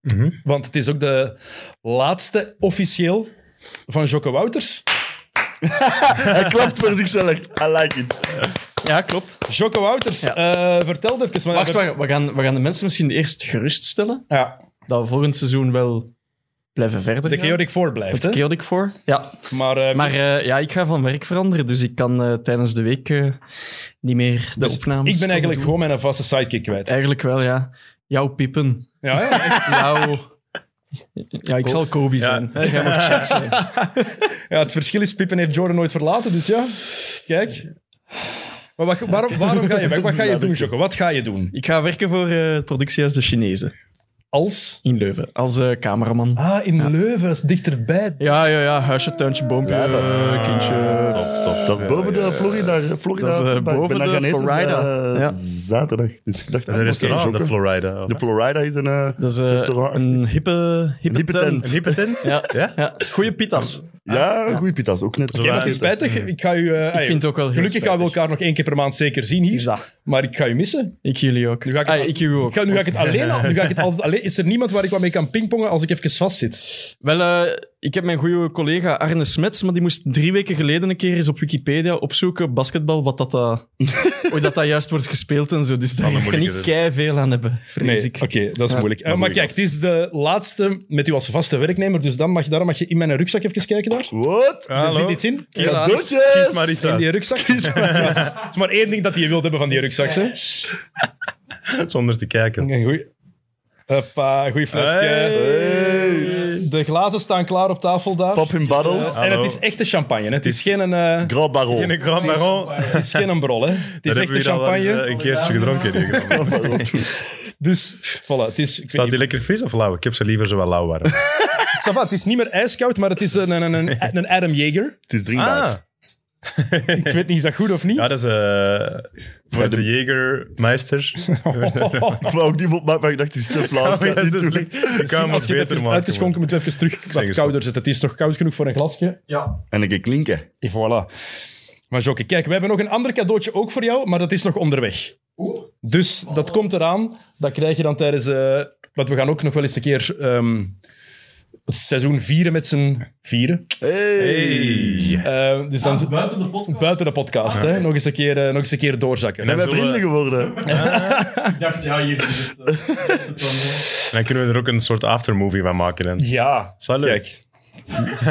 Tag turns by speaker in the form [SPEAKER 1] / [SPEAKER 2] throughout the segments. [SPEAKER 1] Mhm.
[SPEAKER 2] Want het is ook de laatste officieel van Jocke Wouters.
[SPEAKER 3] Hij klapt voor zichzelf. I like it.
[SPEAKER 4] Ja, klopt.
[SPEAKER 2] Jocke Wouters, eh, vertel even. want-
[SPEAKER 4] Wacht, wacht, we gaan, we gaan de mensen misschien eerst geruststellen
[SPEAKER 2] Ja,
[SPEAKER 4] dat we volgend seizoen wel blijven verder
[SPEAKER 2] de
[SPEAKER 4] gaan.
[SPEAKER 2] chaotic voor blijft.
[SPEAKER 4] Met
[SPEAKER 2] Hè?
[SPEAKER 4] chaotic voor. Ja.
[SPEAKER 2] Maar, eh,
[SPEAKER 4] Maar eh, ja, ik ga van werk veranderen, dus ik kan eh, tijdens de week eh, niet meer de
[SPEAKER 2] dus
[SPEAKER 4] opnames...
[SPEAKER 2] ik ben
[SPEAKER 4] komen
[SPEAKER 2] eigenlijk
[SPEAKER 4] doen.
[SPEAKER 2] gewoon mijn vaste sidekick kwijt.
[SPEAKER 4] Eigenlijk wel, ja. Jouw pippen.
[SPEAKER 2] Ja, hè?
[SPEAKER 4] Jouw... Ja, ik zal Kobe zijn. Jij mag Shaq zijn.
[SPEAKER 2] Ja, het verschil is, Pippen heeft Jordan nooit verlaten, dus ja. Kijk. Maar wat- waarom, waarom ga je weg? Wat ga je doen, Jocke? Wat ga je doen?
[SPEAKER 4] Ik ga werken voor eh, het productiehuis De Chinezen
[SPEAKER 2] Als...
[SPEAKER 4] in Leuven, als eh, cameraman.
[SPEAKER 2] Ah, in Leuven, dat is dichterbij.
[SPEAKER 4] Ja, ja, ja. Huisje, tuintje, boompje, eh, kindje.
[SPEAKER 1] Top, top.
[SPEAKER 3] Dat is boven de Florida. Florida
[SPEAKER 4] Dat is, eh,
[SPEAKER 3] ik ben
[SPEAKER 4] boven
[SPEAKER 3] daar
[SPEAKER 4] de
[SPEAKER 3] gaan eten,
[SPEAKER 4] Florida.
[SPEAKER 3] eh,
[SPEAKER 4] Ja.
[SPEAKER 3] Zaterdag. Dus ik dacht,
[SPEAKER 1] Dat is een restaurant, de Florida.
[SPEAKER 3] De Florida is een eh,
[SPEAKER 4] Dat is eh,
[SPEAKER 3] restaurant.
[SPEAKER 4] een hippe, hippe,
[SPEAKER 3] Hippe
[SPEAKER 4] tent.
[SPEAKER 3] tent.
[SPEAKER 1] Hippe tent?
[SPEAKER 4] Ja.
[SPEAKER 1] Ja?
[SPEAKER 4] Ja, goeie pitas.
[SPEAKER 3] ja, een goeie pita's. Ook net.
[SPEAKER 1] Oké, maar
[SPEAKER 2] Het is spijtig. Ik ga u. eh, ai,
[SPEAKER 4] vind het ook wel heel
[SPEAKER 2] Gelukkig gaan we
[SPEAKER 4] spijtig.
[SPEAKER 2] elkaar nog één keer per maand zeker zien
[SPEAKER 4] Het is
[SPEAKER 2] hier.
[SPEAKER 4] dat.
[SPEAKER 2] Maar ik ga u missen.
[SPEAKER 4] Ik jullie ook.
[SPEAKER 2] Nu ga ik het,
[SPEAKER 4] Ah, ik jullie ook.
[SPEAKER 2] Ik ga, nu ga ik het
[SPEAKER 4] Want-
[SPEAKER 2] alleen al- Nu ga ik het altijd alleen. Is er niemand waar ik wat mee kan pingpongen als ik even vastzit?
[SPEAKER 4] Wel, eh, ik heb mijn goede collega Arne Smets, maar die moest drie weken geleden een keer eens op Wikipedia opzoeken, basketbal, wat dat, eh, hoe dat, dat juist wordt gespeeld en zo. Dus daar
[SPEAKER 1] Allemaal
[SPEAKER 4] kan ik niet
[SPEAKER 1] moeilijke
[SPEAKER 4] veel aan hebben, vrees ik.
[SPEAKER 2] oké, dat is
[SPEAKER 4] Ja.
[SPEAKER 2] moeilijk. Eh, maar kijk, het is de laatste met u als vaste werknemer. Dus dan mag, daarom mag je in mijn rugzak even kijken daar.
[SPEAKER 3] Wat?
[SPEAKER 2] Er zit iets in.
[SPEAKER 3] Kies
[SPEAKER 4] Ja,
[SPEAKER 3] doodjes.
[SPEAKER 1] Kies maar iets
[SPEAKER 2] In die
[SPEAKER 1] uit.
[SPEAKER 2] rugzak. Ja, Het is maar één ding dat je wilt hebben van die rugzak. Hè.
[SPEAKER 1] Zonder te kijken.
[SPEAKER 2] Een goeie. Hoppa, goeie flesje.
[SPEAKER 3] Hey.
[SPEAKER 2] De glazen staan klaar op tafel daar.
[SPEAKER 3] Pop in bottles.
[SPEAKER 2] En
[SPEAKER 1] Hallo.
[SPEAKER 2] het is echte champagne. hè. Het is,
[SPEAKER 1] is-
[SPEAKER 2] geen, een, eh,
[SPEAKER 3] Grand Baron.
[SPEAKER 1] In een Grand Marron.
[SPEAKER 2] het is geen een brol, hè. Het is
[SPEAKER 1] Daar hebben
[SPEAKER 2] echte
[SPEAKER 1] we hier al wel eens,
[SPEAKER 2] champagne.
[SPEAKER 1] eh, een keertje gedronken. hier, geloof ik.
[SPEAKER 2] Dus, voilà. Het is, ik weet
[SPEAKER 1] Staat
[SPEAKER 2] niet,
[SPEAKER 1] die lekker fris of lauw? Ik heb ze liever zo wel lauw warm.
[SPEAKER 2] Ça va, het is niet meer ijskoud, maar het is een, een, een, een Adam Jaeger.
[SPEAKER 3] Het is
[SPEAKER 1] Ah.
[SPEAKER 3] drinkbaar.
[SPEAKER 2] Ik weet niet, is dat goed of niet? Oh,
[SPEAKER 1] Ja, dat is eh voor
[SPEAKER 3] de-
[SPEAKER 1] de Jägermeister.
[SPEAKER 2] oh,
[SPEAKER 3] Ik wou ook die mop maken, maar ik dacht, die is te flauw.
[SPEAKER 1] Oh, ja, dat is dus slecht. Ik kan hem
[SPEAKER 2] Als
[SPEAKER 1] nog
[SPEAKER 2] je het
[SPEAKER 1] beter
[SPEAKER 2] hebt
[SPEAKER 1] maken.
[SPEAKER 2] uitgeschonken, moeten we even terug wat
[SPEAKER 1] eens
[SPEAKER 2] kouder zetten. Het is toch koud genoeg voor een glasje?
[SPEAKER 4] Ja.
[SPEAKER 3] En ik klinken.
[SPEAKER 2] En voilà. Maar Jokke, kijk, we hebben nog een ander cadeautje ook voor jou, maar dat is nog onderweg. Dus dat komt eraan. Dat krijg je dan tijdens... eh want we gaan ook nog wel eens een keer ehm, het seizoen vieren met z'n vieren.
[SPEAKER 3] Hey.
[SPEAKER 2] Eh, dus dan
[SPEAKER 1] Ah.
[SPEAKER 2] buiten de podcast. Buiten de podcast, hè? Nog eens een keer, eh, nog eens een keer doorzakken.
[SPEAKER 3] Zijn wij
[SPEAKER 1] zullen we-
[SPEAKER 3] vrienden geworden?
[SPEAKER 4] Ik dacht, ja, hier zit het.
[SPEAKER 1] Dan kunnen we er ook een soort aftermovie van maken. Hè. Een
[SPEAKER 2] Ja,
[SPEAKER 1] Zou leuk.
[SPEAKER 2] kijk.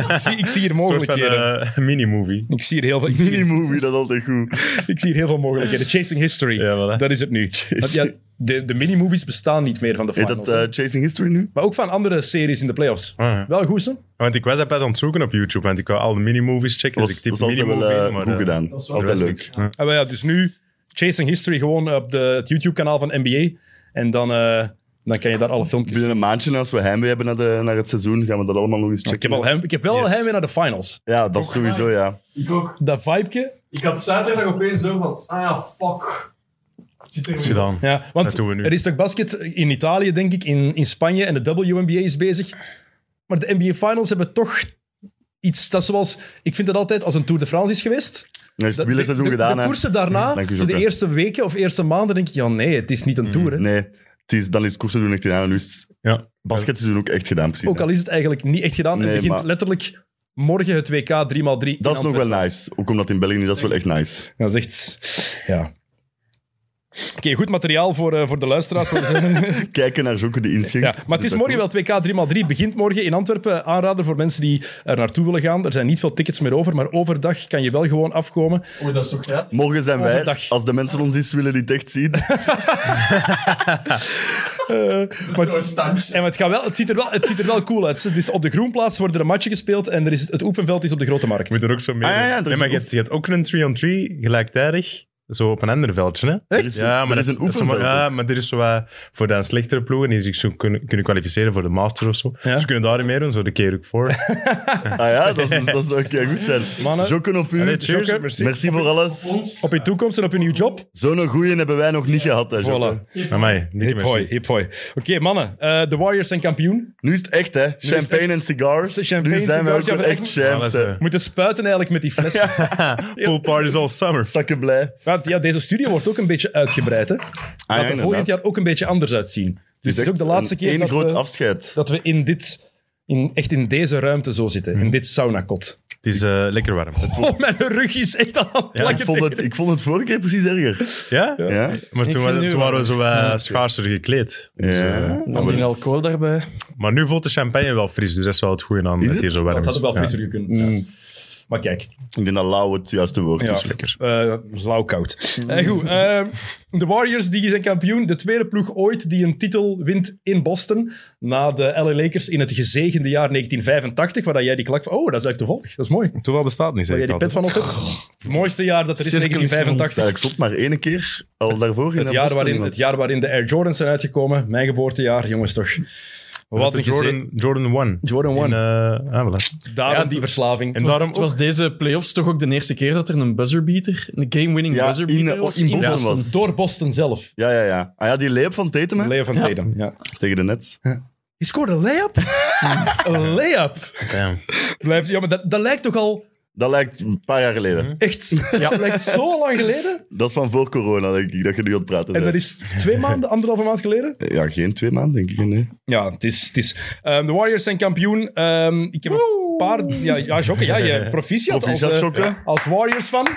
[SPEAKER 2] ik, zie, ik zie hier
[SPEAKER 1] soort van
[SPEAKER 2] mogelijkheden.
[SPEAKER 1] eh, mini-movie.
[SPEAKER 2] ik, zie hier heel veel, ik, zie hier,
[SPEAKER 3] Mini-movie, dat is altijd goed.
[SPEAKER 2] ik zie hier heel veel mogelijkheden. Chasing History,
[SPEAKER 1] Ja, voilà.
[SPEAKER 2] dat is het nu. Want ja, de, de mini-movies bestaan niet meer van de
[SPEAKER 3] Heet
[SPEAKER 2] finals.
[SPEAKER 3] dat
[SPEAKER 2] hè.
[SPEAKER 3] eh, Chasing History nu?
[SPEAKER 2] maar ook van andere series in de playoffs.
[SPEAKER 1] Ah, ja.
[SPEAKER 2] Wel goed, hè?
[SPEAKER 1] Want ik was dat pas aan het zoeken op YouTube, want ik wou al de mini-movies checken.
[SPEAKER 3] Dat
[SPEAKER 1] dus
[SPEAKER 3] was,
[SPEAKER 1] ik typ
[SPEAKER 3] was altijd wel
[SPEAKER 1] mini-movie
[SPEAKER 3] eh,
[SPEAKER 1] in, maar,
[SPEAKER 3] goed
[SPEAKER 1] eh,
[SPEAKER 3] gedaan.
[SPEAKER 1] er
[SPEAKER 3] Altijd
[SPEAKER 1] was
[SPEAKER 3] leuk.
[SPEAKER 1] niks. Ja.
[SPEAKER 2] Ah, wel ja, dus nu Chasing History gewoon op de, het YouTube-kanaal van NBA. En dan, eh, dan kan je daar alle filmpjes
[SPEAKER 3] Binnen een maandje, als we heimwee hebben naar, de, naar het seizoen, gaan we dat allemaal nog eens checken.
[SPEAKER 2] Ik heb, al hem, ik heb wel al
[SPEAKER 1] Yes.
[SPEAKER 2] heimwee naar de finals.
[SPEAKER 3] Ja, dat sowieso, ja.
[SPEAKER 4] Ik ook.
[SPEAKER 2] Dat vibeje.
[SPEAKER 4] Ik had zaterdag opeens zo van, ah, fuck. Het zit
[SPEAKER 1] is gedaan.
[SPEAKER 2] Ja, want
[SPEAKER 1] Dat doen we nu.
[SPEAKER 2] er is toch basket in Italië, denk ik, in, in Spanje en de WNBA is bezig. Maar de NBA Finals hebben toch iets, dat is zoals, ik vind dat altijd als een Tour de France is geweest.
[SPEAKER 3] Dan is
[SPEAKER 2] Dat,
[SPEAKER 3] het wielerseizoen
[SPEAKER 2] de, de-
[SPEAKER 3] gedaan,
[SPEAKER 2] De
[SPEAKER 3] hè.
[SPEAKER 2] koersen daarna,
[SPEAKER 3] Dank
[SPEAKER 2] zo de
[SPEAKER 3] u, Jokke. Mm,
[SPEAKER 2] eerste weken of eerste maanden, denk ik, ja nee, het is niet een Tour. Hè.
[SPEAKER 3] Nee, het is, dan is koersen doen echt gedaan. En nu is het
[SPEAKER 1] Ja.
[SPEAKER 3] basketseizoen ook echt gedaan, precies.
[SPEAKER 2] Ook al is het eigenlijk niet echt gedaan.
[SPEAKER 3] Nee,
[SPEAKER 2] het begint
[SPEAKER 3] maar-
[SPEAKER 2] letterlijk morgen het WK 3x3. Dat is
[SPEAKER 3] dat is nog wel nice. Ook omdat in België nu, dat is wel echt nice.
[SPEAKER 2] Dat is echt, ja. Oké, goed materiaal voor, eh, voor de luisteraars. Voor de-
[SPEAKER 3] Kijken naar zoeken de inschenk.
[SPEAKER 2] Ja, maar het is
[SPEAKER 3] Dus dat
[SPEAKER 2] morgen wel 2K 3x3. Begint morgen in Antwerpen. Aanrader voor mensen die er naartoe willen gaan. Er zijn niet veel tickets meer over, maar overdag kan je wel gewoon afkomen.
[SPEAKER 4] Oei, dat is toch gratis?
[SPEAKER 3] goed. Morgen zijn wij,
[SPEAKER 2] Overdag.
[SPEAKER 3] als de mensen ons eens willen niet echt zien.
[SPEAKER 2] Maar het- en het, gaat wel, het, ziet er wel, het ziet er wel cool uit. Het is op de Groenplaats wordt er een matchje gespeeld en er is, het oefenveld is op de Grote Markt.
[SPEAKER 1] Moet er ook zo mee.
[SPEAKER 3] Ah, ja, ja, dat
[SPEAKER 1] nee,
[SPEAKER 3] is
[SPEAKER 1] maar
[SPEAKER 3] een
[SPEAKER 1] je hebt, je hebt ook een 3-on-3 gelijktijdig. Zo op een ander veldje, hè?
[SPEAKER 3] Er is-
[SPEAKER 1] Ja, maar
[SPEAKER 3] er
[SPEAKER 1] dat
[SPEAKER 3] is
[SPEAKER 1] is
[SPEAKER 3] een
[SPEAKER 1] dat is
[SPEAKER 3] oefenveld
[SPEAKER 1] maar- Ja,
[SPEAKER 3] ook.
[SPEAKER 1] maar er is zo wat voor de slechtere ploegen die zich zo kunnen, kunnen kwalificeren voor de Master of zo.
[SPEAKER 2] Ja.
[SPEAKER 1] Ze kunnen daarin meedoen, zo de keer ook voor.
[SPEAKER 3] Ah ja, dat, is, dat zou oké goed zijn.
[SPEAKER 2] Mannen.
[SPEAKER 3] Jokken op u.
[SPEAKER 1] Allee, cheers,
[SPEAKER 2] Jokke.
[SPEAKER 1] merci.
[SPEAKER 3] Merci voor alles.
[SPEAKER 2] Op je toekomst en op je nieuw job.
[SPEAKER 3] Zo'n goeie hebben wij nog niet gehad. Hè, Jokke.
[SPEAKER 2] Voilà.
[SPEAKER 1] Amai, dikke
[SPEAKER 2] Hip hoi,
[SPEAKER 1] merci.
[SPEAKER 2] hip hoi. Oké, mannen. eh, de Warriors zijn kampioen.
[SPEAKER 3] Nu is het echt, hè. Champagne
[SPEAKER 2] echt-
[SPEAKER 3] en cigars.
[SPEAKER 2] Champagne
[SPEAKER 3] nu
[SPEAKER 2] en
[SPEAKER 3] zijn we ook
[SPEAKER 2] cigars, ja,
[SPEAKER 3] weer
[SPEAKER 2] maar
[SPEAKER 3] echt
[SPEAKER 2] echt-
[SPEAKER 3] champs,
[SPEAKER 1] Alles,
[SPEAKER 3] hè.
[SPEAKER 1] hè.
[SPEAKER 2] Moeten spuiten eigenlijk met die flessen.
[SPEAKER 1] Pool parties all summer.
[SPEAKER 3] Zakken blij.
[SPEAKER 2] Want ja, deze studio wordt ook een beetje uitgebreid. Hè? Gaat er
[SPEAKER 3] Ah, inderdaad.
[SPEAKER 2] volgend jaar ook een beetje anders uitzien. Dus het is ook de laatste keer
[SPEAKER 3] Eén
[SPEAKER 2] dat eh,
[SPEAKER 3] groot
[SPEAKER 2] we,
[SPEAKER 3] afscheid.
[SPEAKER 2] dat we in dit, in, echt in deze ruimte zo zitten. In dit saunakot.
[SPEAKER 1] Het is eh, lekker warm.
[SPEAKER 2] Oh, mijn rug is echt aan het
[SPEAKER 3] Ik
[SPEAKER 2] plakken.
[SPEAKER 3] vond, het, ik vond het vorige keer precies erger.
[SPEAKER 1] Ja?
[SPEAKER 3] Ja?
[SPEAKER 1] Maar toen,
[SPEAKER 4] vind
[SPEAKER 1] wa-
[SPEAKER 4] nu
[SPEAKER 1] toen
[SPEAKER 4] wel-
[SPEAKER 1] waren we zo wat schaarser gekleed. Dus, eh,
[SPEAKER 3] Ja.
[SPEAKER 4] Dan die alcohol daarbij.
[SPEAKER 1] Maar nu voelt de champagne wel fris, dus dat is wel het goede aan dat
[SPEAKER 3] het?
[SPEAKER 1] het hier zo warm
[SPEAKER 2] Dat
[SPEAKER 1] is.
[SPEAKER 2] had ook wel
[SPEAKER 1] Ja.
[SPEAKER 2] frisser gekund. ja. Maar kijk,
[SPEAKER 3] Ik denk dat lauw het juiste woord
[SPEAKER 2] ja,
[SPEAKER 3] is.
[SPEAKER 2] eh, lauw koud. Eh, goed, eh, de Warriors die zijn kampioen. De tweede ploeg ooit die een titel wint in Boston. Na de LA Lakers in het gezegende jaar 1985. Waar dat jij die klak van... Oh, dat is eigenlijk toevallig. Dat is mooi.
[SPEAKER 1] Toeval bestaat niet,
[SPEAKER 2] Waar
[SPEAKER 1] zeg
[SPEAKER 2] jij
[SPEAKER 1] ik
[SPEAKER 2] Oh die pet
[SPEAKER 1] altijd.
[SPEAKER 2] van op hebt. Het mooiste jaar dat er is,
[SPEAKER 4] Cirkel is rond.
[SPEAKER 3] Ja,
[SPEAKER 2] 1985.
[SPEAKER 3] ik stond maar één keer al daarvoor in
[SPEAKER 2] Het
[SPEAKER 3] dat
[SPEAKER 2] jaar,
[SPEAKER 3] Boston
[SPEAKER 2] waarin,
[SPEAKER 3] iemand.
[SPEAKER 2] het jaar waarin de Air Jordans zijn uitgekomen. Mijn geboortejaar, jongens toch. Wat een
[SPEAKER 1] de
[SPEAKER 2] Jordan,
[SPEAKER 1] Jordan, Jordan 1.
[SPEAKER 2] Jordan 1.
[SPEAKER 1] En, eh, ah, voilà.
[SPEAKER 2] Daarom
[SPEAKER 4] Ja,
[SPEAKER 2] die
[SPEAKER 4] die-
[SPEAKER 2] verslaving.
[SPEAKER 1] en daarom
[SPEAKER 4] Het
[SPEAKER 1] ook-
[SPEAKER 4] was deze playoffs toch ook de eerste keer dat er een buzzerbeater, een game-winning
[SPEAKER 3] Ja,
[SPEAKER 4] buzzerbeater
[SPEAKER 3] in-
[SPEAKER 4] was
[SPEAKER 3] in Boston was.
[SPEAKER 2] Door Boston zelf.
[SPEAKER 3] Ja, ja, ja. Ah ja, die leep van Tatum, hè?
[SPEAKER 2] Leo van Tatum, ja.
[SPEAKER 3] Tegen de Nets.
[SPEAKER 2] Je scoort een layup? een layup?
[SPEAKER 1] Damn.
[SPEAKER 2] Blijft, ja, maar dat, dat lijkt toch al
[SPEAKER 3] Dat lijkt een paar jaar geleden.
[SPEAKER 2] echt... Ja. Dat lijkt zo lang geleden.
[SPEAKER 3] Dat is van voor corona, denk ik, dat je nu aan het praten
[SPEAKER 2] En dat
[SPEAKER 3] bent.
[SPEAKER 2] is twee maanden, anderhalve maand geleden.
[SPEAKER 3] Ja, geen twee maanden, denk ik. Nee.
[SPEAKER 2] Ja, het is... Het is Ehm, de Warriors zijn kampioen. Ehm, ik heb een paar... Ja, ja Jokke, ja, je proficiat,
[SPEAKER 3] Proficiat,
[SPEAKER 2] als, eh,
[SPEAKER 3] Jokke.
[SPEAKER 2] als Warriors-fan.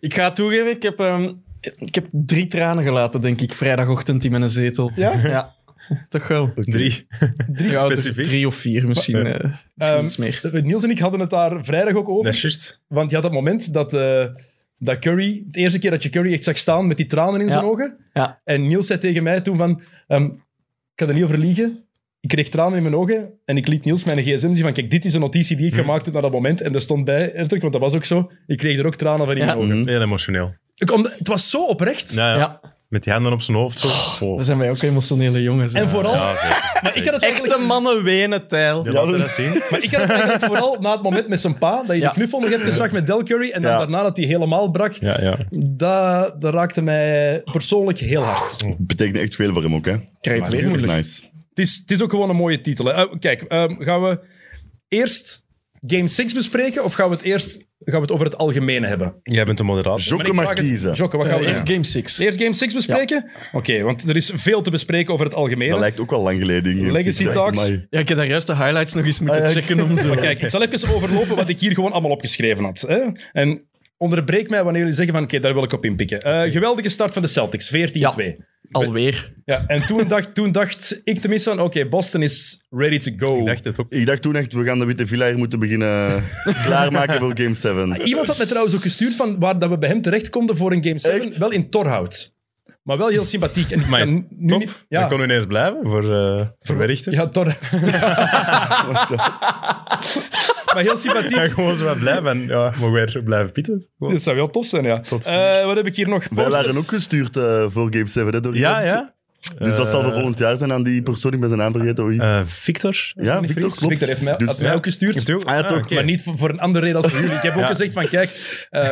[SPEAKER 4] Ik ga toegeven, ik heb, ehm, ik heb drie tranen gelaten, denk ik, vrijdagochtend in mijn zetel.
[SPEAKER 2] Ja?
[SPEAKER 4] Toch wel.
[SPEAKER 1] Drie.
[SPEAKER 4] Drie, ja, dus
[SPEAKER 1] specifiek?
[SPEAKER 4] drie of vier misschien. eh, misschien
[SPEAKER 2] Ehm,
[SPEAKER 4] iets meer.
[SPEAKER 2] Niels en ik hadden het daar vrijdag ook over.
[SPEAKER 1] Dat is juist.
[SPEAKER 2] Want je had dat moment dat, eh, dat Curry... Het eerste keer dat je Curry echt zag staan met die tranen in
[SPEAKER 4] Ja.
[SPEAKER 2] zijn ogen.
[SPEAKER 4] Ja.
[SPEAKER 2] En Niels zei tegen mij toen van... ehm, ik kan er niet over liegen. Ik kreeg tranen in mijn ogen en ik liet Niels mijn gsm zien van... Kijk, dit is een notitie
[SPEAKER 4] Hm.
[SPEAKER 2] die ik gemaakt heb naar dat moment. En daar stond bij, Ertrek, want dat was ook zo. Ik kreeg er ook tranen van in
[SPEAKER 4] Ja. Hm.
[SPEAKER 2] mijn ogen.
[SPEAKER 1] Heel emotioneel.
[SPEAKER 2] Ik, omdat- het was zo oprecht.
[SPEAKER 1] Ja, ja.
[SPEAKER 4] Ja,
[SPEAKER 1] Met die handen op zijn hoofd. Zo. Oh.
[SPEAKER 4] we zijn wij ook emotionele jongens.
[SPEAKER 2] En
[SPEAKER 4] hè.
[SPEAKER 2] vooral...
[SPEAKER 1] Ja, zeker.
[SPEAKER 2] maar ik had het
[SPEAKER 4] Echte
[SPEAKER 2] eigenlijk...
[SPEAKER 4] mannen wenen, Tijl.
[SPEAKER 1] Ja, laten we dat zien.
[SPEAKER 2] Maar ik had het eigenlijk vooral na het moment met zijn pa, dat je
[SPEAKER 4] Ja.
[SPEAKER 2] de knuffel nog even zag met Del Curry, en dan
[SPEAKER 3] Ja.
[SPEAKER 2] daarna dat hij helemaal brak,
[SPEAKER 1] Ja, ja.
[SPEAKER 2] dat, dat raakte mij persoonlijk heel hard.
[SPEAKER 3] Betekent echt veel voor hem ook, hè?
[SPEAKER 4] Krijg
[SPEAKER 3] Dat is echt nice.
[SPEAKER 2] Het is, het is ook gewoon een mooie titel. hè. Eh, kijk, ehm, gaan we eerst Game 6 bespreken of gaan we het eerst gaan we het over het algemene hebben?
[SPEAKER 1] Jij bent de moderator.
[SPEAKER 2] Maar
[SPEAKER 3] Jokke
[SPEAKER 2] ik
[SPEAKER 3] mag
[SPEAKER 2] vraag het-
[SPEAKER 3] kiezen.
[SPEAKER 2] Jokke, wat gaan we eerst?
[SPEAKER 4] Eerst Game 6.
[SPEAKER 2] Eerst Game 6 bespreken? Oké, want er is veel te bespreken over het
[SPEAKER 3] Dat
[SPEAKER 2] algemene.
[SPEAKER 3] lijkt ook al lang geleden. Ingeens.
[SPEAKER 2] Legacy
[SPEAKER 3] Ik zeg,
[SPEAKER 2] Talks.
[SPEAKER 3] amai.
[SPEAKER 4] Ja, ik heb daar juist de highlights nog eens moeten
[SPEAKER 3] Ah, ja, ik-
[SPEAKER 4] checken om zo...
[SPEAKER 2] Maar kijk, ik zal even overlopen wat ik hier gewoon allemaal opgeschreven had. Hè? En onderbreek mij wanneer jullie zeggen van oké, daar wil ik op inpikken. Eh, geweldige start van de Celtics, 14-2. Ja.
[SPEAKER 4] Alweer.
[SPEAKER 2] en toen dacht, toen dacht ik tenminste van oké, Boston is ready to go.
[SPEAKER 1] Ik dacht het ook.
[SPEAKER 3] Ik dacht toen echt, we gaan de Witte Villa hier moeten beginnen klaarmaken voor Game 7.
[SPEAKER 2] Ah, Iemand had me trouwens ook gestuurd van waar dat we bij hem terecht konden voor een Game 7.
[SPEAKER 3] Echt?
[SPEAKER 2] Wel in Torhout. Maar wel heel sympathiek. En ik
[SPEAKER 1] Maar
[SPEAKER 2] kan nu
[SPEAKER 1] top.
[SPEAKER 2] niet...
[SPEAKER 1] Dan
[SPEAKER 2] Ja,
[SPEAKER 1] kon u ineens blijven voor, eh voor Werchter.
[SPEAKER 2] ja Tor... maar heel
[SPEAKER 1] En
[SPEAKER 2] sympathiek.
[SPEAKER 1] gewoon zo wat blijven. En ja, mogen wij er blijven pieten. Gewoon.
[SPEAKER 2] Dat zou wel tof zijn, ja.
[SPEAKER 1] Tot-
[SPEAKER 2] Eh, wat heb ik hier nog?
[SPEAKER 3] Wij
[SPEAKER 2] Poster-
[SPEAKER 3] waren ook gestuurd eh, voor Game 7, hè, door
[SPEAKER 1] Ja,
[SPEAKER 3] iemand.
[SPEAKER 1] ja.
[SPEAKER 3] Dus dat zal
[SPEAKER 1] Eh,
[SPEAKER 3] voor volgend jaar zijn aan die persoon, ik ben zijn naam vergeten. oei.
[SPEAKER 1] eh, Victor?
[SPEAKER 3] ja,
[SPEAKER 1] Niet
[SPEAKER 3] Victor,
[SPEAKER 1] Fries?
[SPEAKER 3] klopt.
[SPEAKER 2] Victor heeft mij,
[SPEAKER 3] Dus-
[SPEAKER 2] had mij
[SPEAKER 1] ja.
[SPEAKER 2] ook gestuurd.
[SPEAKER 1] Victor?
[SPEAKER 3] Ah, ja, toch.
[SPEAKER 1] oké.
[SPEAKER 2] Maar niet voor, voor een andere reden als voor jullie. Ik heb ook gezegd van, kijk, eh,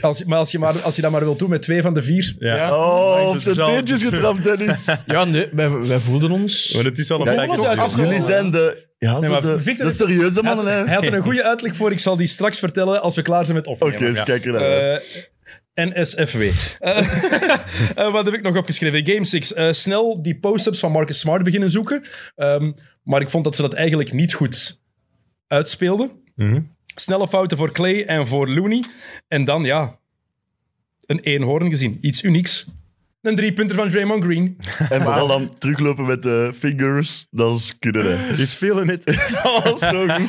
[SPEAKER 2] als, maar, als je maar als je dat maar wilt doen met twee van de vier...
[SPEAKER 1] Ja.
[SPEAKER 4] Ja.
[SPEAKER 3] Oh,
[SPEAKER 1] is
[SPEAKER 3] op de
[SPEAKER 1] hetzelfde.
[SPEAKER 3] teentjes getrapt, Dennis. Dus
[SPEAKER 4] Ja, nee, wij, wij voelden ons...
[SPEAKER 1] Maar het is wel een
[SPEAKER 3] Ja,
[SPEAKER 1] fijne
[SPEAKER 2] alles
[SPEAKER 1] opdracht.
[SPEAKER 2] uit-
[SPEAKER 3] Jullie zijn de, ja, zo
[SPEAKER 2] maar
[SPEAKER 3] de,
[SPEAKER 2] Victor
[SPEAKER 3] de
[SPEAKER 2] is-
[SPEAKER 3] serieuze mannen, hè.
[SPEAKER 2] Hij had er een goede uitleg voor. Ik zal die straks vertellen als we klaar zijn met
[SPEAKER 3] Oké,
[SPEAKER 2] opnemen.
[SPEAKER 3] eens
[SPEAKER 1] ja.
[SPEAKER 3] kijk ernaar. uit.
[SPEAKER 2] Eh, NSFW. Eh, eh, wat heb ik nog opgeschreven? Game 6. Eh, snel die post-ups van Marcus Smart beginnen zoeken. Ehm, maar ik vond dat ze dat eigenlijk niet goed uitspeelden.
[SPEAKER 1] Mhm.
[SPEAKER 2] Snelle fouten voor Clay en voor Looney. En dan, ja, een eenhoorn gezien. Iets unieks. een driepunter van Draymond Green.
[SPEAKER 3] En vooral dan teruglopen met de fingers, dat is kunnen. hè.
[SPEAKER 1] Is veel net.
[SPEAKER 3] Dat was zo goed.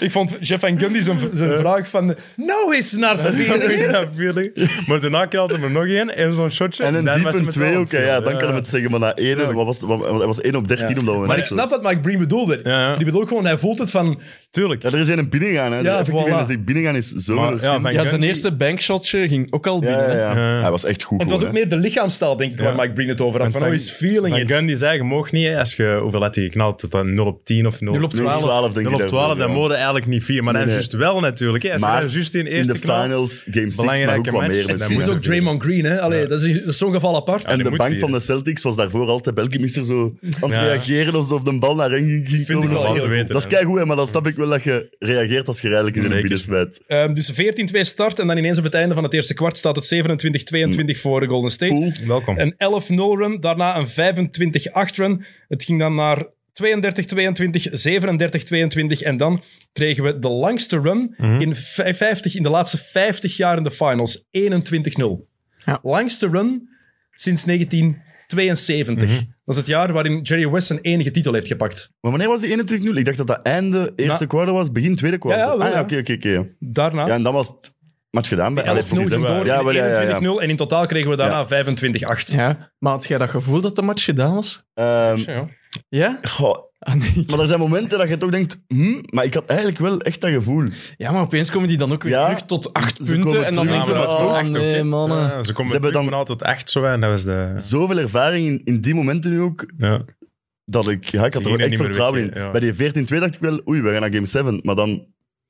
[SPEAKER 2] Ik vond Jeff Van Gundy zijn, zijn vraag van... Nou is het naar
[SPEAKER 1] Is
[SPEAKER 2] de
[SPEAKER 1] dat veel net? Maar daarna knalt er nog één en zo'n shotje.
[SPEAKER 3] En een
[SPEAKER 1] dan was
[SPEAKER 3] diep
[SPEAKER 1] het
[SPEAKER 3] en
[SPEAKER 1] met
[SPEAKER 3] twee,
[SPEAKER 1] wel
[SPEAKER 3] oké, ja,
[SPEAKER 1] veel.
[SPEAKER 3] dan kan
[SPEAKER 1] Ja.
[SPEAKER 3] hem het zeggen. Maar na één, wat was, het- wat, hij was één op dertien omdat we
[SPEAKER 2] Maar
[SPEAKER 3] net
[SPEAKER 2] ik
[SPEAKER 3] zo-
[SPEAKER 2] snap wat Mike Breen bedoelde.
[SPEAKER 1] Ja, ja.
[SPEAKER 2] Die bedoelt gewoon, hij voelt het van...
[SPEAKER 1] Tuurlijk.
[SPEAKER 3] Ja, er is één binnen gaan. Hè.
[SPEAKER 2] Ja,
[SPEAKER 3] Ja,
[SPEAKER 2] voilà.
[SPEAKER 3] voilà. binnen gaan is zo
[SPEAKER 1] Maar,
[SPEAKER 3] verschil.
[SPEAKER 1] ja, Van
[SPEAKER 4] Ja, zijn
[SPEAKER 1] Gundy-
[SPEAKER 4] eerste bankshotje ging ook al
[SPEAKER 3] Ja,
[SPEAKER 4] binnen.
[SPEAKER 3] ja,
[SPEAKER 4] hè.
[SPEAKER 3] ja.
[SPEAKER 1] Ja.
[SPEAKER 3] Hij was echt goed.
[SPEAKER 2] En het was ook
[SPEAKER 3] gewoon, hè.
[SPEAKER 2] meer de lichaamstaal, denk ik, waar Mike Breen het over had. Van,
[SPEAKER 1] Van-
[SPEAKER 2] oh, is feeling
[SPEAKER 1] Van
[SPEAKER 2] it.
[SPEAKER 1] Gundy zei, je mag niet, hè, als je, hoeveel had hij geknald? Tot aan 0 op 10 of 0
[SPEAKER 4] 0 op 12.
[SPEAKER 3] 12 denk
[SPEAKER 1] 0 op
[SPEAKER 3] ik
[SPEAKER 1] 12,
[SPEAKER 3] daarvoor,
[SPEAKER 1] dat
[SPEAKER 3] ja.
[SPEAKER 1] mode eigenlijk niet 4. Maar
[SPEAKER 3] Nee,
[SPEAKER 1] dat is
[SPEAKER 3] nee.
[SPEAKER 1] juist wel natuurlijk. Hè. Als
[SPEAKER 3] Maar
[SPEAKER 1] je dat juist in
[SPEAKER 3] In
[SPEAKER 1] eerste
[SPEAKER 3] de
[SPEAKER 1] knalt...
[SPEAKER 3] finals, game 6, maar ook
[SPEAKER 1] Belangrijke
[SPEAKER 3] wat
[SPEAKER 1] match.
[SPEAKER 3] meer.
[SPEAKER 1] En
[SPEAKER 3] met
[SPEAKER 2] Het
[SPEAKER 1] moet
[SPEAKER 2] is
[SPEAKER 3] z'n
[SPEAKER 2] ook
[SPEAKER 1] dat doen.
[SPEAKER 2] Draymond Green, hè. Allee, dat, is, dat is zo'n geval apart.
[SPEAKER 3] En
[SPEAKER 1] Dat
[SPEAKER 3] de
[SPEAKER 1] moet
[SPEAKER 3] bank
[SPEAKER 1] weer.
[SPEAKER 3] van de Celtics was daarvoor altijd Belgimisser zo aan het
[SPEAKER 1] Ja.
[SPEAKER 3] reageren alsof de bal naar hen ging- ging
[SPEAKER 2] Vind ik
[SPEAKER 3] komen.
[SPEAKER 2] wel
[SPEAKER 3] Dat
[SPEAKER 2] heel
[SPEAKER 3] is-
[SPEAKER 2] goed.
[SPEAKER 3] Dat is keigoed, hè, maar dan snap ik wel dat je reageert als je eigenlijk in de
[SPEAKER 1] Zeker.
[SPEAKER 3] binnen smijt.
[SPEAKER 2] Ehm, dus 14-2 start en dan ineens op het einde van het eerste kwart staat het 27-22
[SPEAKER 3] Mm.
[SPEAKER 2] voor Golden State.
[SPEAKER 3] Poel.
[SPEAKER 1] Welkom.
[SPEAKER 2] Een 11-0 run, daarna een 25-8 run. Het ging dan naar 32-22, 37-22 en dan kregen we de langste run
[SPEAKER 3] Mhm.
[SPEAKER 2] in, vij- 50, in de laatste 50 jaar in de finals. 21-0.
[SPEAKER 4] Ja.
[SPEAKER 2] Langste run sinds 1972.
[SPEAKER 3] Mhm.
[SPEAKER 2] Dat is het jaar waarin Jerry West zijn enige titel heeft gepakt.
[SPEAKER 3] Maar wanneer was die 21-0? Ik dacht dat dat einde eerste
[SPEAKER 2] Na-
[SPEAKER 3] kwart was, begin tweede kwart.
[SPEAKER 2] Ja, ja, wel,
[SPEAKER 3] ah, ja,
[SPEAKER 2] ja.
[SPEAKER 3] oké, oké, oké.
[SPEAKER 2] Daarna...
[SPEAKER 3] Ja, en dan was het match gedaan bij
[SPEAKER 2] 11-0
[SPEAKER 3] Alex
[SPEAKER 2] ging
[SPEAKER 3] Ferguson.
[SPEAKER 2] door
[SPEAKER 3] Ja, wel, ja, ja, ja.
[SPEAKER 2] in 21-0 en in totaal kregen we daarna 25-8.
[SPEAKER 4] Ja. Maar had jij dat gevoel dat de match gedaan was?
[SPEAKER 3] Ehm,
[SPEAKER 4] Ja?
[SPEAKER 3] goh,
[SPEAKER 4] Ah, nee.
[SPEAKER 3] maar er zijn momenten dat je toch denkt, hm, maar ik had eigenlijk wel echt dat gevoel.
[SPEAKER 4] Ja, maar opeens komen die dan ook weer
[SPEAKER 3] Ja.
[SPEAKER 4] terug tot acht
[SPEAKER 3] Ze komen
[SPEAKER 4] punten. En dan
[SPEAKER 3] terug,
[SPEAKER 4] denk je,
[SPEAKER 3] maar dat is
[SPEAKER 4] oh,
[SPEAKER 3] toch
[SPEAKER 1] echt
[SPEAKER 4] nee,
[SPEAKER 1] oké.
[SPEAKER 4] mannen.
[SPEAKER 1] Ja, ja, ze komen
[SPEAKER 3] Ze hebben
[SPEAKER 1] terug
[SPEAKER 3] dan-
[SPEAKER 1] maar altijd echt zo en dat was de...
[SPEAKER 3] Zoveel ervaring in, in die momenten nu ook,
[SPEAKER 1] Ja.
[SPEAKER 3] dat ik, ja, ik had
[SPEAKER 1] Ze
[SPEAKER 3] er ook
[SPEAKER 1] gingen
[SPEAKER 3] echt
[SPEAKER 1] niet meer
[SPEAKER 3] vertrouwen
[SPEAKER 1] weg,
[SPEAKER 3] in.
[SPEAKER 1] hè, ja.
[SPEAKER 3] Bij die 14-2 dacht ik wel, oei, we gaan naar game 7. Maar dan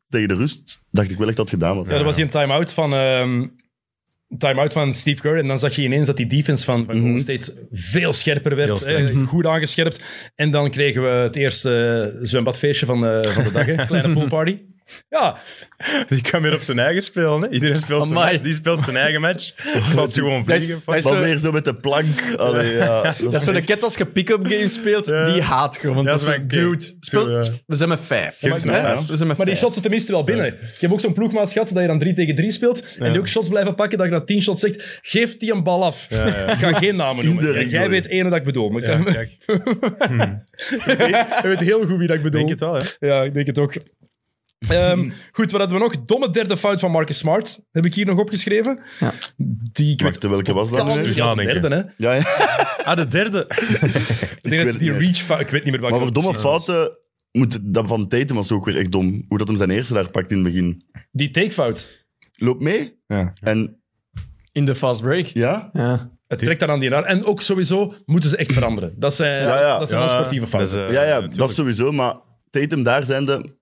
[SPEAKER 3] tegen de rust dacht ik wel echt dat het gedaan was.
[SPEAKER 2] Ja, dat was die een time-out van, ehm, time-out van Steve Kerr. En dan zag je ineens dat die defense van, van Golden State veel scherper
[SPEAKER 1] Heel
[SPEAKER 2] werd.
[SPEAKER 1] sterk.
[SPEAKER 2] eh, goed
[SPEAKER 1] Mhm.
[SPEAKER 2] aangescherpt. En dan kregen we het eerste zwembadfeestje van, eh, van de dag. Hè? Kleine poolparty. Ja,
[SPEAKER 1] Die kan weer op zijn eigen spelen. Hè. Iedereen speelt zijn
[SPEAKER 4] Amai.
[SPEAKER 1] match. Die speelt zijn eigen match. Laat ze gewoon
[SPEAKER 4] Hij is-
[SPEAKER 1] vliegen.
[SPEAKER 4] hij is
[SPEAKER 3] Maar
[SPEAKER 4] zo-
[SPEAKER 2] eh,
[SPEAKER 3] weer zo met de plank. Allee, ja. Dat
[SPEAKER 4] Dat is zo de ket als je pick-up games speelt, die haat gewoon. Want
[SPEAKER 1] Ja,
[SPEAKER 4] dat is
[SPEAKER 1] dat
[SPEAKER 4] een
[SPEAKER 1] is wel-
[SPEAKER 4] dude. speel-
[SPEAKER 1] Ja.
[SPEAKER 4] We zijn met vijf.
[SPEAKER 1] Geef ze
[SPEAKER 2] maar-
[SPEAKER 1] een
[SPEAKER 4] Hè?
[SPEAKER 1] pas.
[SPEAKER 4] We zijn met
[SPEAKER 2] maar die
[SPEAKER 4] vijf.
[SPEAKER 2] shots zitten tenminste wel binnen. Ik heb ook zo'n ploegmaat gehad dat je dan 3 tegen 3 speelt. En die ook shots blijven pakken. Dat je na 10 shots zegt: geef die een bal af. Ik ga geen namen noemen.
[SPEAKER 3] Iedereen
[SPEAKER 2] Ja, jij
[SPEAKER 3] wil.
[SPEAKER 2] weet ene dat ik bedoel. Maar ik
[SPEAKER 1] Ja, kijk. Ik
[SPEAKER 2] je weet heel goed wie dat ik bedoel.
[SPEAKER 1] denk het wel, hè.
[SPEAKER 2] Ja, ik denk het ook. Ehm, goed, wat hadden we nog? Domme derde fout van Marcus Smart. Heb ik hier nog opgeschreven.
[SPEAKER 4] Ja.
[SPEAKER 2] Die ik
[SPEAKER 3] Wacht, welke was dat nu?
[SPEAKER 2] totaal
[SPEAKER 3] hè?
[SPEAKER 2] terug als
[SPEAKER 1] Ja, denk
[SPEAKER 2] derde, hè.
[SPEAKER 3] Ja, ja.
[SPEAKER 1] Ah, de derde.
[SPEAKER 2] Ik denk dat
[SPEAKER 3] weet
[SPEAKER 2] die
[SPEAKER 3] het niet.
[SPEAKER 2] reach fout... Ik weet niet meer welke.
[SPEAKER 3] Maar voor domme fouten moet dat van Tatum was ook weer echt dom. Hoe dat hem zijn eerste daar pakt in het begin.
[SPEAKER 2] Die takefout.
[SPEAKER 3] Loop mee.
[SPEAKER 1] Ja.
[SPEAKER 3] En
[SPEAKER 4] In de fast break.
[SPEAKER 3] ja,
[SPEAKER 4] Ja.
[SPEAKER 2] Het trekt daar aan die naar. En ook sowieso moeten ze echt veranderen. Dat zijn,
[SPEAKER 3] Ja, ja.
[SPEAKER 2] Dat zijn wel sportieve fouten.
[SPEAKER 1] dat is, eh,
[SPEAKER 3] ja, ja dat
[SPEAKER 1] natuurlijk.
[SPEAKER 3] sowieso. Maar Tatum daar zijnde...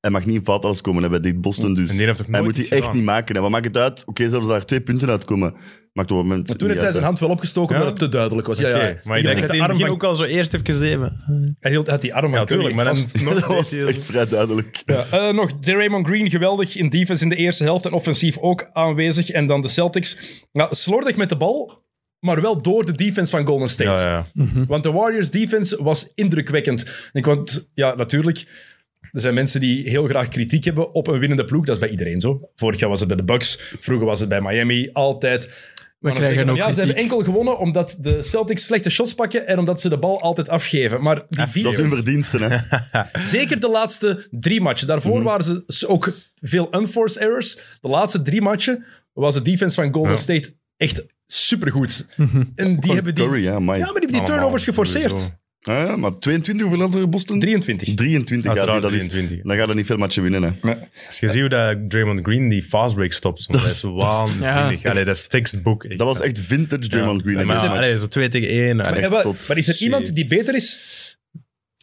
[SPEAKER 3] Hij mag niet in fout alles komen hè, bij dit Boston. Dus
[SPEAKER 1] En die heeft ook
[SPEAKER 3] hij
[SPEAKER 1] nooit
[SPEAKER 3] moet die
[SPEAKER 1] iets
[SPEAKER 3] echt
[SPEAKER 1] gedaan.
[SPEAKER 3] niet maken. Hè. Wat maakt het uit? Oké, zelfs als daar twee punten uitkomen, maakt op het moment
[SPEAKER 2] Maar toen heeft hij zijn hand wel opgestoken
[SPEAKER 1] Ja?
[SPEAKER 2] omdat het te duidelijk was. Ja,
[SPEAKER 1] eh. Oké,
[SPEAKER 2] ja.
[SPEAKER 1] Maar ik
[SPEAKER 2] Hij
[SPEAKER 1] denk dat
[SPEAKER 2] had
[SPEAKER 1] hij
[SPEAKER 2] de
[SPEAKER 1] in het
[SPEAKER 2] arm
[SPEAKER 1] begin
[SPEAKER 2] van,
[SPEAKER 1] ook al zo eerst heeft gezeven.
[SPEAKER 2] hij hield- had die arm
[SPEAKER 1] Ja,
[SPEAKER 2] van Curry
[SPEAKER 1] tuurlijk. Maar dat
[SPEAKER 2] vast.
[SPEAKER 1] is nog
[SPEAKER 3] Dat was
[SPEAKER 1] deed hij
[SPEAKER 3] echt vrij duidelijk.
[SPEAKER 2] Ja, eh, nog Draymond Green, geweldig in defense in de eerste helft en offensief ook aanwezig. En dan de Celtics. Nou, slordig met de bal, maar wel door de defense van Golden
[SPEAKER 1] zo-
[SPEAKER 2] State.
[SPEAKER 1] Ja, ja.
[SPEAKER 3] Hm.
[SPEAKER 2] Want de Warriors defense was indrukwekkend. Ik want ja, natuurlijk. Er zijn mensen die heel graag kritiek hebben op een winnende ploeg. Dat is bij iedereen zo. Vorig jaar was het bij de Bucks, vroeger was het bij Miami. Altijd.
[SPEAKER 4] We
[SPEAKER 2] Maar dan zeggen
[SPEAKER 4] krijgen
[SPEAKER 2] van,
[SPEAKER 4] ook
[SPEAKER 2] ja, ze hebben
[SPEAKER 4] kritiek.
[SPEAKER 2] enkel gewonnen omdat de Celtics slechte shots pakken en omdat ze de bal altijd afgeven. Maar die
[SPEAKER 3] Dat is hun
[SPEAKER 2] defense-
[SPEAKER 3] verdiensten. Hè.
[SPEAKER 2] Zeker de laatste drie matchen. Daarvoor
[SPEAKER 3] Mhm.
[SPEAKER 2] waren ze s- ook veel unforced errors. De laatste drie matchen was de defense van Golden State echt supergoed. En die
[SPEAKER 3] Van
[SPEAKER 2] hebben die,
[SPEAKER 3] Mhm. Curry, ja,
[SPEAKER 2] ja,
[SPEAKER 3] amai.
[SPEAKER 2] maar die hebben die
[SPEAKER 1] Allemaal,
[SPEAKER 2] turnovers
[SPEAKER 1] sowieso.
[SPEAKER 2] geforceerd.
[SPEAKER 3] Ah, maar 22 hoeveel hadden ze er Boston?
[SPEAKER 2] 23.
[SPEAKER 3] 23 ja,
[SPEAKER 1] Uiteraard
[SPEAKER 3] dat is-
[SPEAKER 1] 23.
[SPEAKER 3] Dan gaat er niet veel matchen winnen. Hè.
[SPEAKER 1] Als Dus je ziet hoe dat Draymond Green die fastbreak stopt, soms, dat is waanzinnig.
[SPEAKER 4] ja.
[SPEAKER 1] Allee, dat is textbook. echt.
[SPEAKER 3] Dat was echt vintage Draymond Green.
[SPEAKER 1] Ja, maar
[SPEAKER 3] hè,
[SPEAKER 1] ze-
[SPEAKER 3] die
[SPEAKER 1] allee,
[SPEAKER 3] match.
[SPEAKER 1] zo 2 tegen 1.
[SPEAKER 2] Maar,
[SPEAKER 3] echt
[SPEAKER 2] ja, wel,
[SPEAKER 3] zot.
[SPEAKER 2] maar is er iemand die beter is